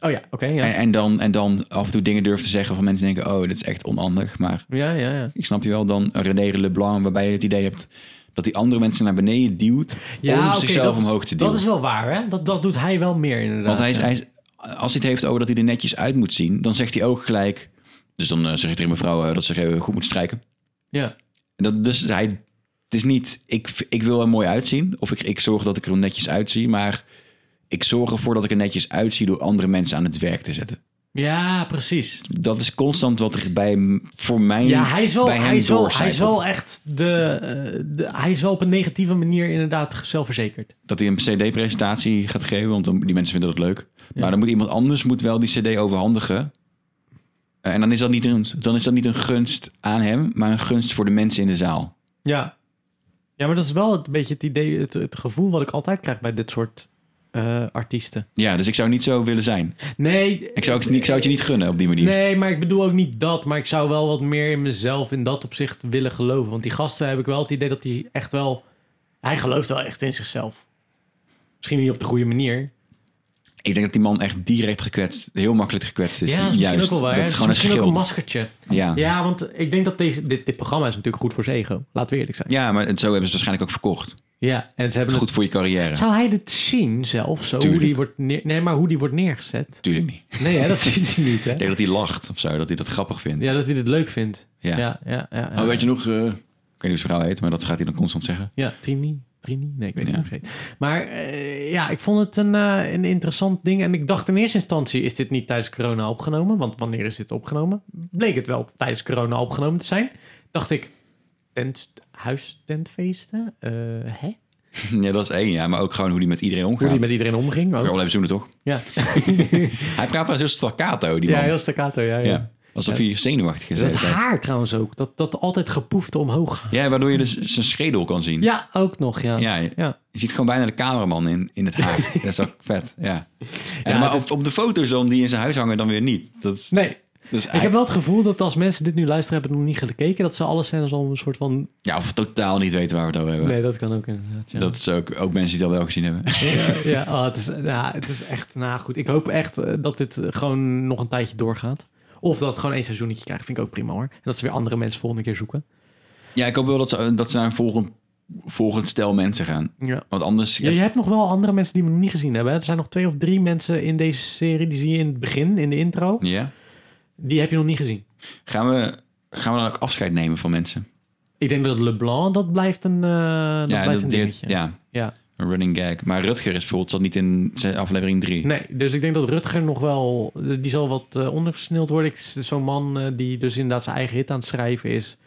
[SPEAKER 2] Oh ja, oké. ja.
[SPEAKER 1] En, en, dan, en dan af en toe dingen durft te zeggen van mensen denken, oh, dit is echt onhandig. Maar
[SPEAKER 2] ja, ja, ja.
[SPEAKER 1] ik snap je wel dan een René Leblanc, waarbij je het idee hebt dat die andere mensen naar beneden duwt om
[SPEAKER 2] Ja, oké,
[SPEAKER 1] zichzelf
[SPEAKER 2] dat-
[SPEAKER 1] omhoog te duwen.
[SPEAKER 2] Dat is wel waar, hè? Dat, dat doet hij wel meer inderdaad.
[SPEAKER 1] Want hij is,
[SPEAKER 2] ja.
[SPEAKER 1] hij is- als hij het heeft over dat hij er netjes uit moet zien, dan zegt hij ook gelijk. Dus dan eh, zegt hij tegen mevrouw eh, dat ze eh, goed moet strijken.
[SPEAKER 2] Ja.
[SPEAKER 1] En Dat, dus hij, het is niet, ik, ik wil er mooi uitzien. Of ik, ik zorg dat ik er netjes uitzie. Maar ik zorg ervoor dat ik er netjes uitzie door andere mensen aan het werk te zetten.
[SPEAKER 2] ja, precies.
[SPEAKER 1] Dat is constant wat er bij, m- voor mij
[SPEAKER 2] Ja, hij is wel,
[SPEAKER 1] bij hem
[SPEAKER 2] hij is wel, hij is
[SPEAKER 1] doorcijpelt.
[SPEAKER 2] wel echt de, eh, de... Hij is wel op een negatieve manier inderdaad zelfverzekerd.
[SPEAKER 1] Dat hij een cd-presentatie gaat geven, want dan- die mensen vinden dat leuk.
[SPEAKER 2] Ja.
[SPEAKER 1] Maar dan moet iemand anders moet wel die cd overhandigen. Eh, En dan is, dat niet een, dan is dat niet een gunst aan hem, maar een gunst voor de mensen in de zaal.
[SPEAKER 2] Ja. Ja, maar dat is wel een beetje het idee, het, het gevoel wat ik altijd krijg bij dit soort eh, artiesten.
[SPEAKER 1] Ja, dus ik zou niet zo willen zijn.
[SPEAKER 2] Nee.
[SPEAKER 1] Ik zou, ook, niet- ik zou het je niet gunnen op die manier.
[SPEAKER 2] Nee, maar ik bedoel ook niet dat. Maar ik zou wel wat meer in mezelf in dat opzicht willen geloven. Want die gasten heb ik wel het idee dat die echt wel... Hij gelooft wel echt in zichzelf. Misschien niet op de goede manier.
[SPEAKER 1] Ik denk dat die man echt direct gekwetst, heel makkelijk gekwetst is.
[SPEAKER 2] ja, dat is misschien
[SPEAKER 1] Juist,
[SPEAKER 2] ook wel waar.
[SPEAKER 1] Dat
[SPEAKER 2] Het
[SPEAKER 1] is
[SPEAKER 2] is
[SPEAKER 1] gewoon een
[SPEAKER 2] misschien ook een
[SPEAKER 1] schild. Ah.
[SPEAKER 2] maskertje.
[SPEAKER 1] ja. Ja.
[SPEAKER 2] Ja, want ik denk dat deze, dit, dit programma is natuurlijk goed voor zijn ego. Laten we eerlijk zijn.
[SPEAKER 1] maar het- zo hebben ze het waarschijnlijk ook verkocht.
[SPEAKER 2] Ja, en ze hebben het-
[SPEAKER 1] Goed voor je carrière.
[SPEAKER 2] Zou hij dit zien zelf? Zo, hoe
[SPEAKER 1] Tuurlijk.
[SPEAKER 2] die wordt neer- nee, maar hoe die wordt neergezet.
[SPEAKER 1] Tuurlijk niet. Ik
[SPEAKER 2] Nee, hè, dat ziet hij niet, hè?
[SPEAKER 1] denk dat hij lacht of zo, dat hij dat grappig vindt.
[SPEAKER 2] Ja, dat hij dit leuk vindt.
[SPEAKER 1] Ja.
[SPEAKER 2] Ja, ja, ja. ja.
[SPEAKER 1] Oh, weet je nog, eh, ik weet niet hoe zijn vrouw heet, maar dat gaat hij dan constant zeggen.
[SPEAKER 2] Ja, Trini. Trini? Nee, ik weet
[SPEAKER 1] Ja.
[SPEAKER 2] niet hoe ze heet. Maar eh, ja, ik vond het een, eh, een interessant ding. En ik dacht in eerste instantie, is dit niet tijdens corona opgenomen? Want wanneer is dit opgenomen? Bleek het wel tijdens corona opgenomen te zijn. Dacht ik, tent, huistentfeesten? Eh, hè?
[SPEAKER 1] ja, dat is één, ja. Maar ook gewoon hoe hij met iedereen
[SPEAKER 2] Hoe
[SPEAKER 1] omgaat.
[SPEAKER 2] die met iedereen omging ook.
[SPEAKER 1] Ook al hebben ze toch?
[SPEAKER 2] Ja,
[SPEAKER 1] Hij praat daar heel staccato, die
[SPEAKER 2] ja
[SPEAKER 1] man.
[SPEAKER 2] heel staccato. Ja, ja.
[SPEAKER 1] Ja. Alsof hij zenuwachtig is. de
[SPEAKER 2] Dat
[SPEAKER 1] hele tijd.
[SPEAKER 2] haar trouwens ook. Dat, dat altijd gepoefde omhoog gaat.
[SPEAKER 1] Ja, waardoor je dus zijn schedel kan zien.
[SPEAKER 2] Ja, ook nog, ja.
[SPEAKER 1] Ja, je,
[SPEAKER 2] Ja.
[SPEAKER 1] je ziet gewoon bijna de cameraman in, in het haar. dat is ook vet, ja. En,
[SPEAKER 2] Ja,
[SPEAKER 1] maar
[SPEAKER 2] het
[SPEAKER 1] op,
[SPEAKER 2] is-
[SPEAKER 1] op de foto's dan die in zijn huis hangen dan weer niet. Dat is,
[SPEAKER 2] Nee,
[SPEAKER 1] dus
[SPEAKER 2] ik
[SPEAKER 1] hij-
[SPEAKER 2] heb wel het gevoel dat als mensen dit nu luisteren, hebben het nog niet gekeken, dat ze alle scènes al een soort van
[SPEAKER 1] Ja, of totaal niet weten waar we het over hebben.
[SPEAKER 2] Nee, dat kan ook inderdaad. Ja.
[SPEAKER 1] Dat is ook, ook mensen die dat wel gezien hebben.
[SPEAKER 2] ja, ja, oh, het, is, ja, het is echt, nou goed. Ik hoop echt eh, dat dit eh, gewoon nog een tijdje doorgaat. Of dat het gewoon één seizoenetje krijgt, vind ik ook prima hoor. En dat ze weer andere mensen volgende keer zoeken.
[SPEAKER 1] ja, ik hoop wel dat ze, dat ze naar een volgend, volgend stel mensen gaan.
[SPEAKER 2] Ja.
[SPEAKER 1] Want anders...
[SPEAKER 2] Je, hebt nog wel andere mensen die we nog niet gezien hebben. hè. Er zijn nog twee of drie mensen in deze serie, die zie je in het begin, in de intro.
[SPEAKER 1] Ja.
[SPEAKER 2] Die heb je nog niet gezien.
[SPEAKER 1] Gaan we, gaan we dan ook afscheid nemen van mensen?
[SPEAKER 2] Ik denk dat LeBlanc, dat blijft een, eh, dat
[SPEAKER 1] ja,
[SPEAKER 2] blijft een
[SPEAKER 1] deert-
[SPEAKER 2] dingetje.
[SPEAKER 1] ja,
[SPEAKER 2] Ja.
[SPEAKER 1] een running gag. Maar Rutger is bijvoorbeeld zat niet in zijn aflevering 3.
[SPEAKER 2] Nee, dus ik denk dat Rutger nog wel... Die zal wat eh, ondergesneeld worden. Ik- Zo'n man eh, die dus inderdaad zijn eigen hit aan het schrijven is...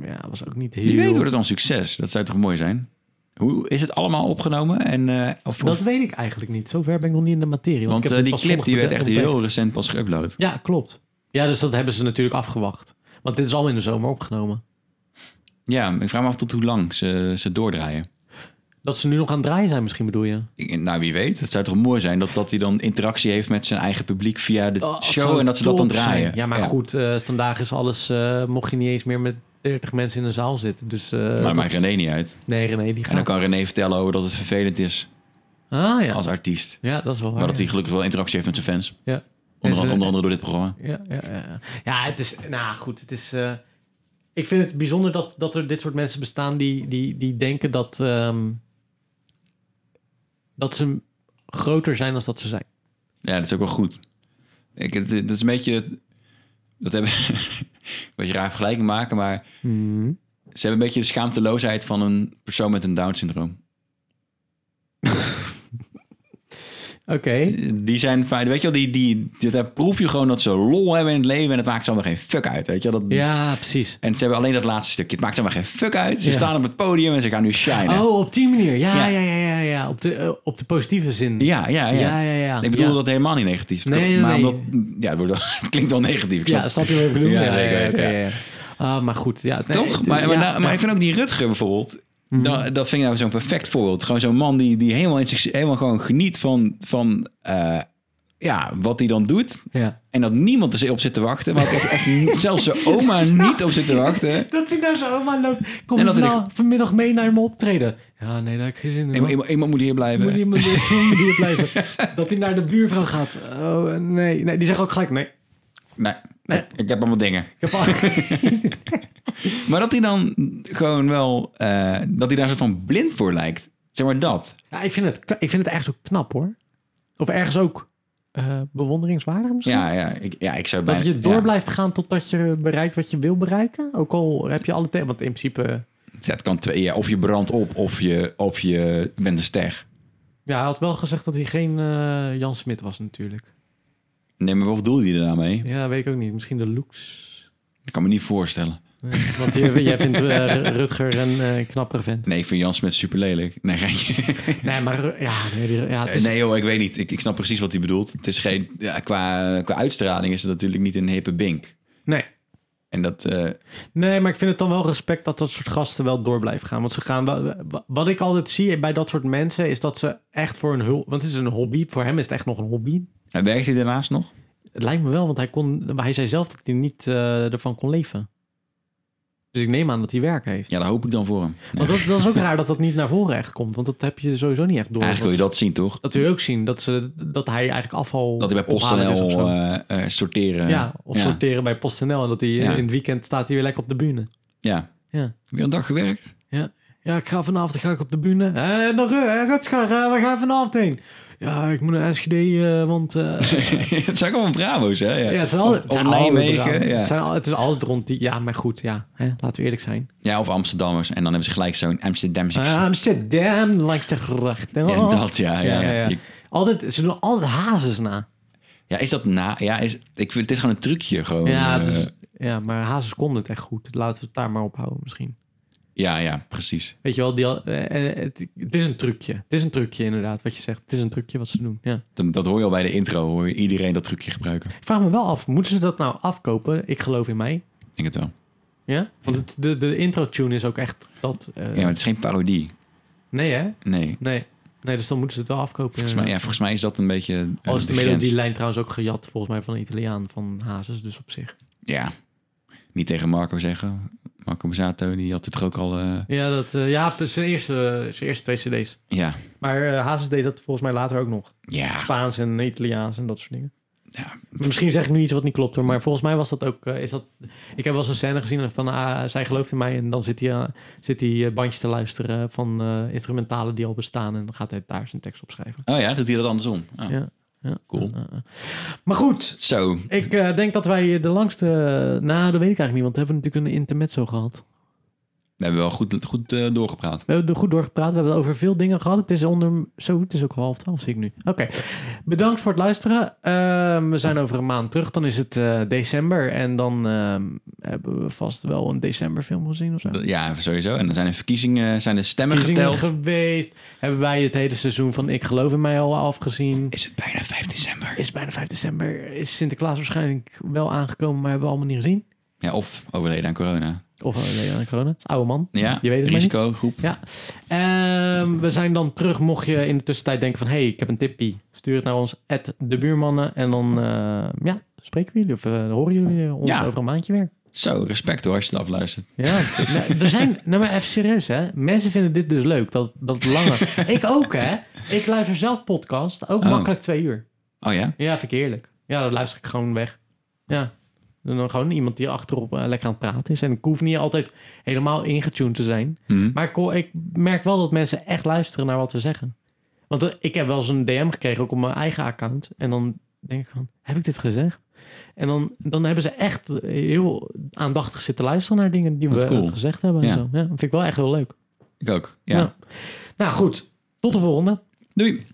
[SPEAKER 2] Ja, was ook niet heel...
[SPEAKER 1] Je weet wordt het dan succes. Dat zou toch mooi zijn? Hoe is het allemaal opgenomen? En, eh, of,
[SPEAKER 2] Dat
[SPEAKER 1] of-
[SPEAKER 2] weet ik eigenlijk niet. Zover ben ik nog niet in de materie. Want,
[SPEAKER 1] want
[SPEAKER 2] ik heb
[SPEAKER 1] eh,
[SPEAKER 2] dit
[SPEAKER 1] die
[SPEAKER 2] pas
[SPEAKER 1] clip die werd echt
[SPEAKER 2] zondag
[SPEAKER 1] heel
[SPEAKER 2] ontdekt.
[SPEAKER 1] recent pas geüpload.
[SPEAKER 2] Ja, klopt. Ja, dus dat hebben ze natuurlijk afgewacht. Want dit is al in de zomer opgenomen.
[SPEAKER 1] Ja, ik vraag me af tot hoe lang ze, ze doordraaien.
[SPEAKER 2] Dat ze nu nog aan het draaien zijn misschien bedoel je?
[SPEAKER 1] Ik- nou, wie weet. Het zou toch mooi zijn dat, dat hij dan interactie heeft met zijn eigen publiek via de
[SPEAKER 2] Oh, dat
[SPEAKER 1] show
[SPEAKER 2] zou
[SPEAKER 1] en dat ze dat dan
[SPEAKER 2] top
[SPEAKER 1] draaien.
[SPEAKER 2] zijn. Ja, maar goed. eh, vandaag is alles... eh, mocht je niet eens meer met 30 mensen in een zaal zitten. Dus, eh,
[SPEAKER 1] maar
[SPEAKER 2] dat-
[SPEAKER 1] maakt René niet uit.
[SPEAKER 2] Nee, René, die
[SPEAKER 1] En dan
[SPEAKER 2] gaat.
[SPEAKER 1] kan René vertellen over dat het vervelend is
[SPEAKER 2] Ah ja.
[SPEAKER 1] als artiest.
[SPEAKER 2] Ja, dat is wel waar.
[SPEAKER 1] Maar dat
[SPEAKER 2] Oh, ja.
[SPEAKER 1] hij gelukkig wel interactie heeft met zijn fans.
[SPEAKER 2] Ja. eh,
[SPEAKER 1] Onder,
[SPEAKER 2] En ze-
[SPEAKER 1] onder andere door dit programma.
[SPEAKER 2] Ja, ja, ja, ja. ja, het is... Nou goed, het is... eh, ik vind het bijzonder dat, dat er dit soort mensen bestaan die, die, die denken dat, ehm, dat ze groter zijn dan dat ze zijn.
[SPEAKER 1] Ja, dat is ook wel goed. Ik, het- dat is een beetje... Dat hebben... een beetje raar vergelijking maken, maar... Mhm. Ze hebben een beetje de schaamteloosheid van een persoon met een Down-syndroom.
[SPEAKER 2] Oké.
[SPEAKER 1] Die zijn fijn, weet je wel, die, die, die- daar proef je gewoon dat ze lol hebben in het leven en het maakt ze allemaal geen fuck uit, weet je wel. Dat,
[SPEAKER 2] Ja, precies.
[SPEAKER 1] En ze hebben alleen dat laatste stukje, het maakt ze allemaal geen fuck uit. Ze
[SPEAKER 2] Ja.
[SPEAKER 1] staan op het podium en ze gaan nu shinen.
[SPEAKER 2] Oh, op die manier. Ja, ja,
[SPEAKER 1] Ja.
[SPEAKER 2] ja, ja. ja, Op, de, eh, op de positieve zin.
[SPEAKER 1] Ja, ja, ja.
[SPEAKER 2] ja, ja. ja.
[SPEAKER 1] Ik bedoel
[SPEAKER 2] Ja.
[SPEAKER 1] dat helemaal niet negatief. Het
[SPEAKER 2] Nee,
[SPEAKER 1] kan-
[SPEAKER 2] nee,
[SPEAKER 1] maar
[SPEAKER 2] nee.
[SPEAKER 1] omdat, ja, het, wordt wel- het klinkt wel negatief. Ik snap
[SPEAKER 2] Ja,
[SPEAKER 1] het.
[SPEAKER 2] snap je wat ik bedoel?
[SPEAKER 1] Ja, zeker
[SPEAKER 2] ja,
[SPEAKER 1] weten,
[SPEAKER 2] oké,
[SPEAKER 1] ja.
[SPEAKER 2] ja, ja. Ah, maar goed. Ja, nee,
[SPEAKER 1] Toch?
[SPEAKER 2] het-
[SPEAKER 1] maar, maar,
[SPEAKER 2] ja,
[SPEAKER 1] nou- maar
[SPEAKER 2] ja. Mhm.
[SPEAKER 1] ik vind ook die Rutger bijvoorbeeld. Dat, dat vind ik nou zo'n perfect voorbeeld. Gewoon zo'n man die, die helemaal, in zich, helemaal gewoon geniet van, van eh, ja, wat hij dan doet.
[SPEAKER 2] Ja.
[SPEAKER 1] En dat niemand er op zit te wachten. Maar ook echt, echt niet- zelfs zijn oma niet op zit te wachten.
[SPEAKER 2] Dat hij naar zijn oma loopt. Kom
[SPEAKER 1] En
[SPEAKER 2] je
[SPEAKER 1] dat hij
[SPEAKER 2] nou vanmiddag mee naar mijn optreden? Ja, nee, daar heb ik geen zin in.
[SPEAKER 1] Iemand,
[SPEAKER 2] man.
[SPEAKER 1] iemand- iemand moet hier blijven.
[SPEAKER 2] Moet die moet die- moet die blijven. Dat hij naar de buurvrouw gaat. Oh, eh, nee, nee. Die zeggen ook gelijk, nee.
[SPEAKER 1] Nee,
[SPEAKER 2] Nee.
[SPEAKER 1] ik- ik heb allemaal dingen.
[SPEAKER 2] Ik heb al...
[SPEAKER 1] Maar dat hij dan gewoon wel... eh, dat hij daar soort van blind voor lijkt. Zeg maar dat.
[SPEAKER 2] ja, ik, vind het, ik vind het ergens ook knap, hoor. Of ergens ook eh, bewonderingswaardig misschien.
[SPEAKER 1] Ja, ja, ik, ja, ik zou bijna...
[SPEAKER 2] Dat je door
[SPEAKER 1] ja.
[SPEAKER 2] blijft gaan totdat je bereikt wat je wil bereiken. Ook al heb je alle... te- Want in principe...
[SPEAKER 1] Ja, het kan twee, ja, of je brandt op of je, of je bent een ster.
[SPEAKER 2] Ja, hij had wel gezegd dat hij geen eh, Jan Smit was natuurlijk.
[SPEAKER 1] Nee, maar wat bedoelde je daarmee?
[SPEAKER 2] Ja, weet ik ook niet. Misschien de looks.
[SPEAKER 1] Ik kan me niet voorstellen.
[SPEAKER 2] Nee, Want je- jij vindt eh, Rutger een eh, knappere vent.
[SPEAKER 1] Nee, ik vind Jan Smit super lelijk. Nee, geintje.
[SPEAKER 2] Nee, maar Ru- ja, nee, die- ja, het is,
[SPEAKER 1] nee joh, ik weet niet. Ik, ik snap precies wat hij bedoelt. Het is geen, ja, qua, qua uitstraling is het natuurlijk niet een hippe bink.
[SPEAKER 2] nee.
[SPEAKER 1] En dat, eh,
[SPEAKER 2] Nee, maar ik vind het dan wel respect dat dat soort gasten wel door blijven gaan. Want ze gaan wel, wat ik altijd zie bij dat soort mensen is dat ze echt voor een hulp. Want het is een hobby. Voor hem is het echt nog een hobby.
[SPEAKER 1] en werkt hij daarnaast nog?
[SPEAKER 2] Het lijkt me wel, want hij, kon, maar hij zei zelf dat hij niet eh, ervan kon leven. Dus ik neem aan dat hij werk heeft.
[SPEAKER 1] Ja, dat hoop ik dan voor hem. Nee.
[SPEAKER 2] Want dat, dat is ook raar dat dat niet naar voren echt komt. Want dat heb je sowieso niet echt door.
[SPEAKER 1] Eigenlijk wil je
[SPEAKER 2] dat,
[SPEAKER 1] dat zien, toch?
[SPEAKER 2] dat wil je ook zien. Dat, ze, dat hij eigenlijk afval
[SPEAKER 1] Dat hij bij
[SPEAKER 2] ophaler is of zo.
[SPEAKER 1] PostNL eh eh sorteren.
[SPEAKER 2] Ja, of
[SPEAKER 1] ja.
[SPEAKER 2] sorteren bij PostNL. En dat hij
[SPEAKER 1] Ja.
[SPEAKER 2] in het weekend staat hij weer lekker op de bühne.
[SPEAKER 1] Ja.
[SPEAKER 2] Ja.
[SPEAKER 1] Weer een dag gewerkt?
[SPEAKER 2] Ja, ik ga vanavond ga ik op de bühne. eh, En dan Ru- Rutger, eh, waar ga je vanavond heen? Ja, ik moet naar Enschede, eh, want... eh,
[SPEAKER 1] het zijn ook allemaal Brabo's, hè? Ja,
[SPEAKER 2] ja,
[SPEAKER 1] ja.
[SPEAKER 2] het, zijn al,
[SPEAKER 1] Of-
[SPEAKER 2] het zijn
[SPEAKER 1] of
[SPEAKER 2] altijd
[SPEAKER 1] Nijmegen,
[SPEAKER 2] raar.
[SPEAKER 1] ja.
[SPEAKER 2] het, zijn al- het is altijd rond die... Ja, maar goed, ja. Hè, laten we eerlijk zijn.
[SPEAKER 1] of Amsterdammers. En dan hebben ze gelijk zo'n Amsterdamse
[SPEAKER 2] Ah,
[SPEAKER 1] accent.
[SPEAKER 2] Amsterdam, langs de gracht.
[SPEAKER 1] Ja, dat ja. Ja,
[SPEAKER 2] Oh. Ja,
[SPEAKER 1] ja.
[SPEAKER 2] nee, ja.
[SPEAKER 1] Je-
[SPEAKER 2] Altijd, ze doen altijd hazes na.
[SPEAKER 1] ja, is dat na? Ja, is, ik vind het is gewoon een trucje. Gewoon,
[SPEAKER 2] Ja, het
[SPEAKER 1] eh,
[SPEAKER 2] is, ja, maar hazes konden het echt goed. Laten we het daar maar op houden misschien.
[SPEAKER 1] ja, ja, precies.
[SPEAKER 2] Weet je wel, die, al- eh, eh, het, het is een trucje. Het is een trucje inderdaad, wat je zegt. Het is een trucje wat ze doen, ja.
[SPEAKER 1] Dat, dat hoor je al bij de intro, hoor je iedereen dat trucje gebruiken.
[SPEAKER 2] Ik vraag me wel af, moeten ze dat nou afkopen? Ik geloof in mij.
[SPEAKER 1] Ik denk het wel.
[SPEAKER 2] Ja? Want het, de, de intro-tune is ook echt dat... eh,
[SPEAKER 1] Ja, maar het is geen parodie.
[SPEAKER 2] Nee, hè?
[SPEAKER 1] Nee.
[SPEAKER 2] Nee. Nee, dus dan moeten ze het wel afkopen.
[SPEAKER 1] Volgens mij, ja, volgens mij is dat een beetje. eh,
[SPEAKER 2] Al Oh, is de
[SPEAKER 1] grens.
[SPEAKER 2] melodielijn trouwens ook gejat, volgens mij, van een Italiaan, van Hazes, dus op zich.
[SPEAKER 1] Ja. Niet tegen Marco zeggen. Marco Bazzato, die had het toch ook al. eh,
[SPEAKER 2] Ja, dat, eh, ja zijn, eerste, eh, zijn eerste twee cd's.
[SPEAKER 1] ja.
[SPEAKER 2] Maar eh, Hazes deed dat volgens mij later ook nog.
[SPEAKER 1] Ja.
[SPEAKER 2] Spaans en Italiaans en dat soort dingen.
[SPEAKER 1] Ja.
[SPEAKER 2] Misschien zeg ik nu iets wat niet klopt hoor, maar volgens mij was dat ook... eh, is dat, ik heb wel eens een scène gezien van ah, zij gelooft in mij en dan zit hij, eh, zit hij eh, bandjes te luisteren van eh, instrumentalen die al bestaan en dan gaat hij daar zijn tekst op schrijven.
[SPEAKER 1] Oh ja, doet hij dat andersom. Ah,
[SPEAKER 2] Ja. Ja.
[SPEAKER 1] Cool.
[SPEAKER 2] Eh, eh. Maar goed,
[SPEAKER 1] Zo.
[SPEAKER 2] ik eh, denk dat wij de langste... nou, dat weet ik eigenlijk niet, want we hebben natuurlijk een intermezzo gehad.
[SPEAKER 1] We hebben wel goed, goed eh, doorgepraat.
[SPEAKER 2] We hebben er goed door gepraat, we hebben het over veel dingen gehad. Het is onder... Zo, het is ook half twaalf, zie ik nu. Oké, bedankt voor het luisteren. Ehm, we zijn over een maand terug, dan is het eh, december. En dan ehm, hebben we vast wel een decemberfilm gezien of zo.
[SPEAKER 1] Dat- Ja, sowieso. En dan zijn er verkiezingen, zijn de stemmen
[SPEAKER 2] Verkiezingen
[SPEAKER 1] geteld.
[SPEAKER 2] geweest. Hebben wij het hele seizoen van Ik geloof in mij al afgezien.
[SPEAKER 1] Is het bijna 5 december?
[SPEAKER 2] Is bijna 5 december. Is Sinterklaas waarschijnlijk wel aangekomen, maar hebben we allemaal niet gezien.
[SPEAKER 1] Ja, of overleden aan corona.
[SPEAKER 2] Of oh nee, aan corona. Oude man.
[SPEAKER 1] Ja,
[SPEAKER 2] Je weet het maar niet.
[SPEAKER 1] risicogroep.
[SPEAKER 2] Ja. Ehm, we zijn dan terug mocht je in de tussentijd denken van... hey, ik heb een tippie. Stuur het naar ons, at de buurmannen. En dan eh, ja, spreken we jullie of eh, horen jullie ons
[SPEAKER 1] Ja.
[SPEAKER 2] over een maandje weer.
[SPEAKER 1] Zo, respect hoor, als je het afluistert.
[SPEAKER 2] Ja, nou, er zijn... Nou, maar even serieus, hè. Mensen vinden dit dus leuk, dat, dat lange. ik ook, hè. Ik luister zelf podcast, ook
[SPEAKER 1] Oh.
[SPEAKER 2] makkelijk twee uur.
[SPEAKER 1] Oh ja?
[SPEAKER 2] Ja, vind ik eerlijk. Ja, dan luister ik gewoon weg. Ja. En dan gewoon iemand die achterop eh, lekker aan het praten is. En ik hoef niet altijd helemaal ingetuned te zijn.
[SPEAKER 1] Hm.
[SPEAKER 2] Maar ik, hoor- ik merk wel dat mensen echt luisteren naar wat we zeggen. Want eh, ik heb wel eens een DM gekregen, ook op mijn eigen account. En dan denk ik van, heb ik dit gezegd? En dan, dan hebben ze echt heel aandachtig zitten luisteren naar dingen die
[SPEAKER 1] Wat
[SPEAKER 2] we
[SPEAKER 1] cool.
[SPEAKER 2] gezegd hebben. En
[SPEAKER 1] Ja.
[SPEAKER 2] zo. Ja, dat vind ik wel echt heel leuk.
[SPEAKER 1] Ik ook. Ja.
[SPEAKER 2] Nou, goed, tot de volgende.
[SPEAKER 1] Doei.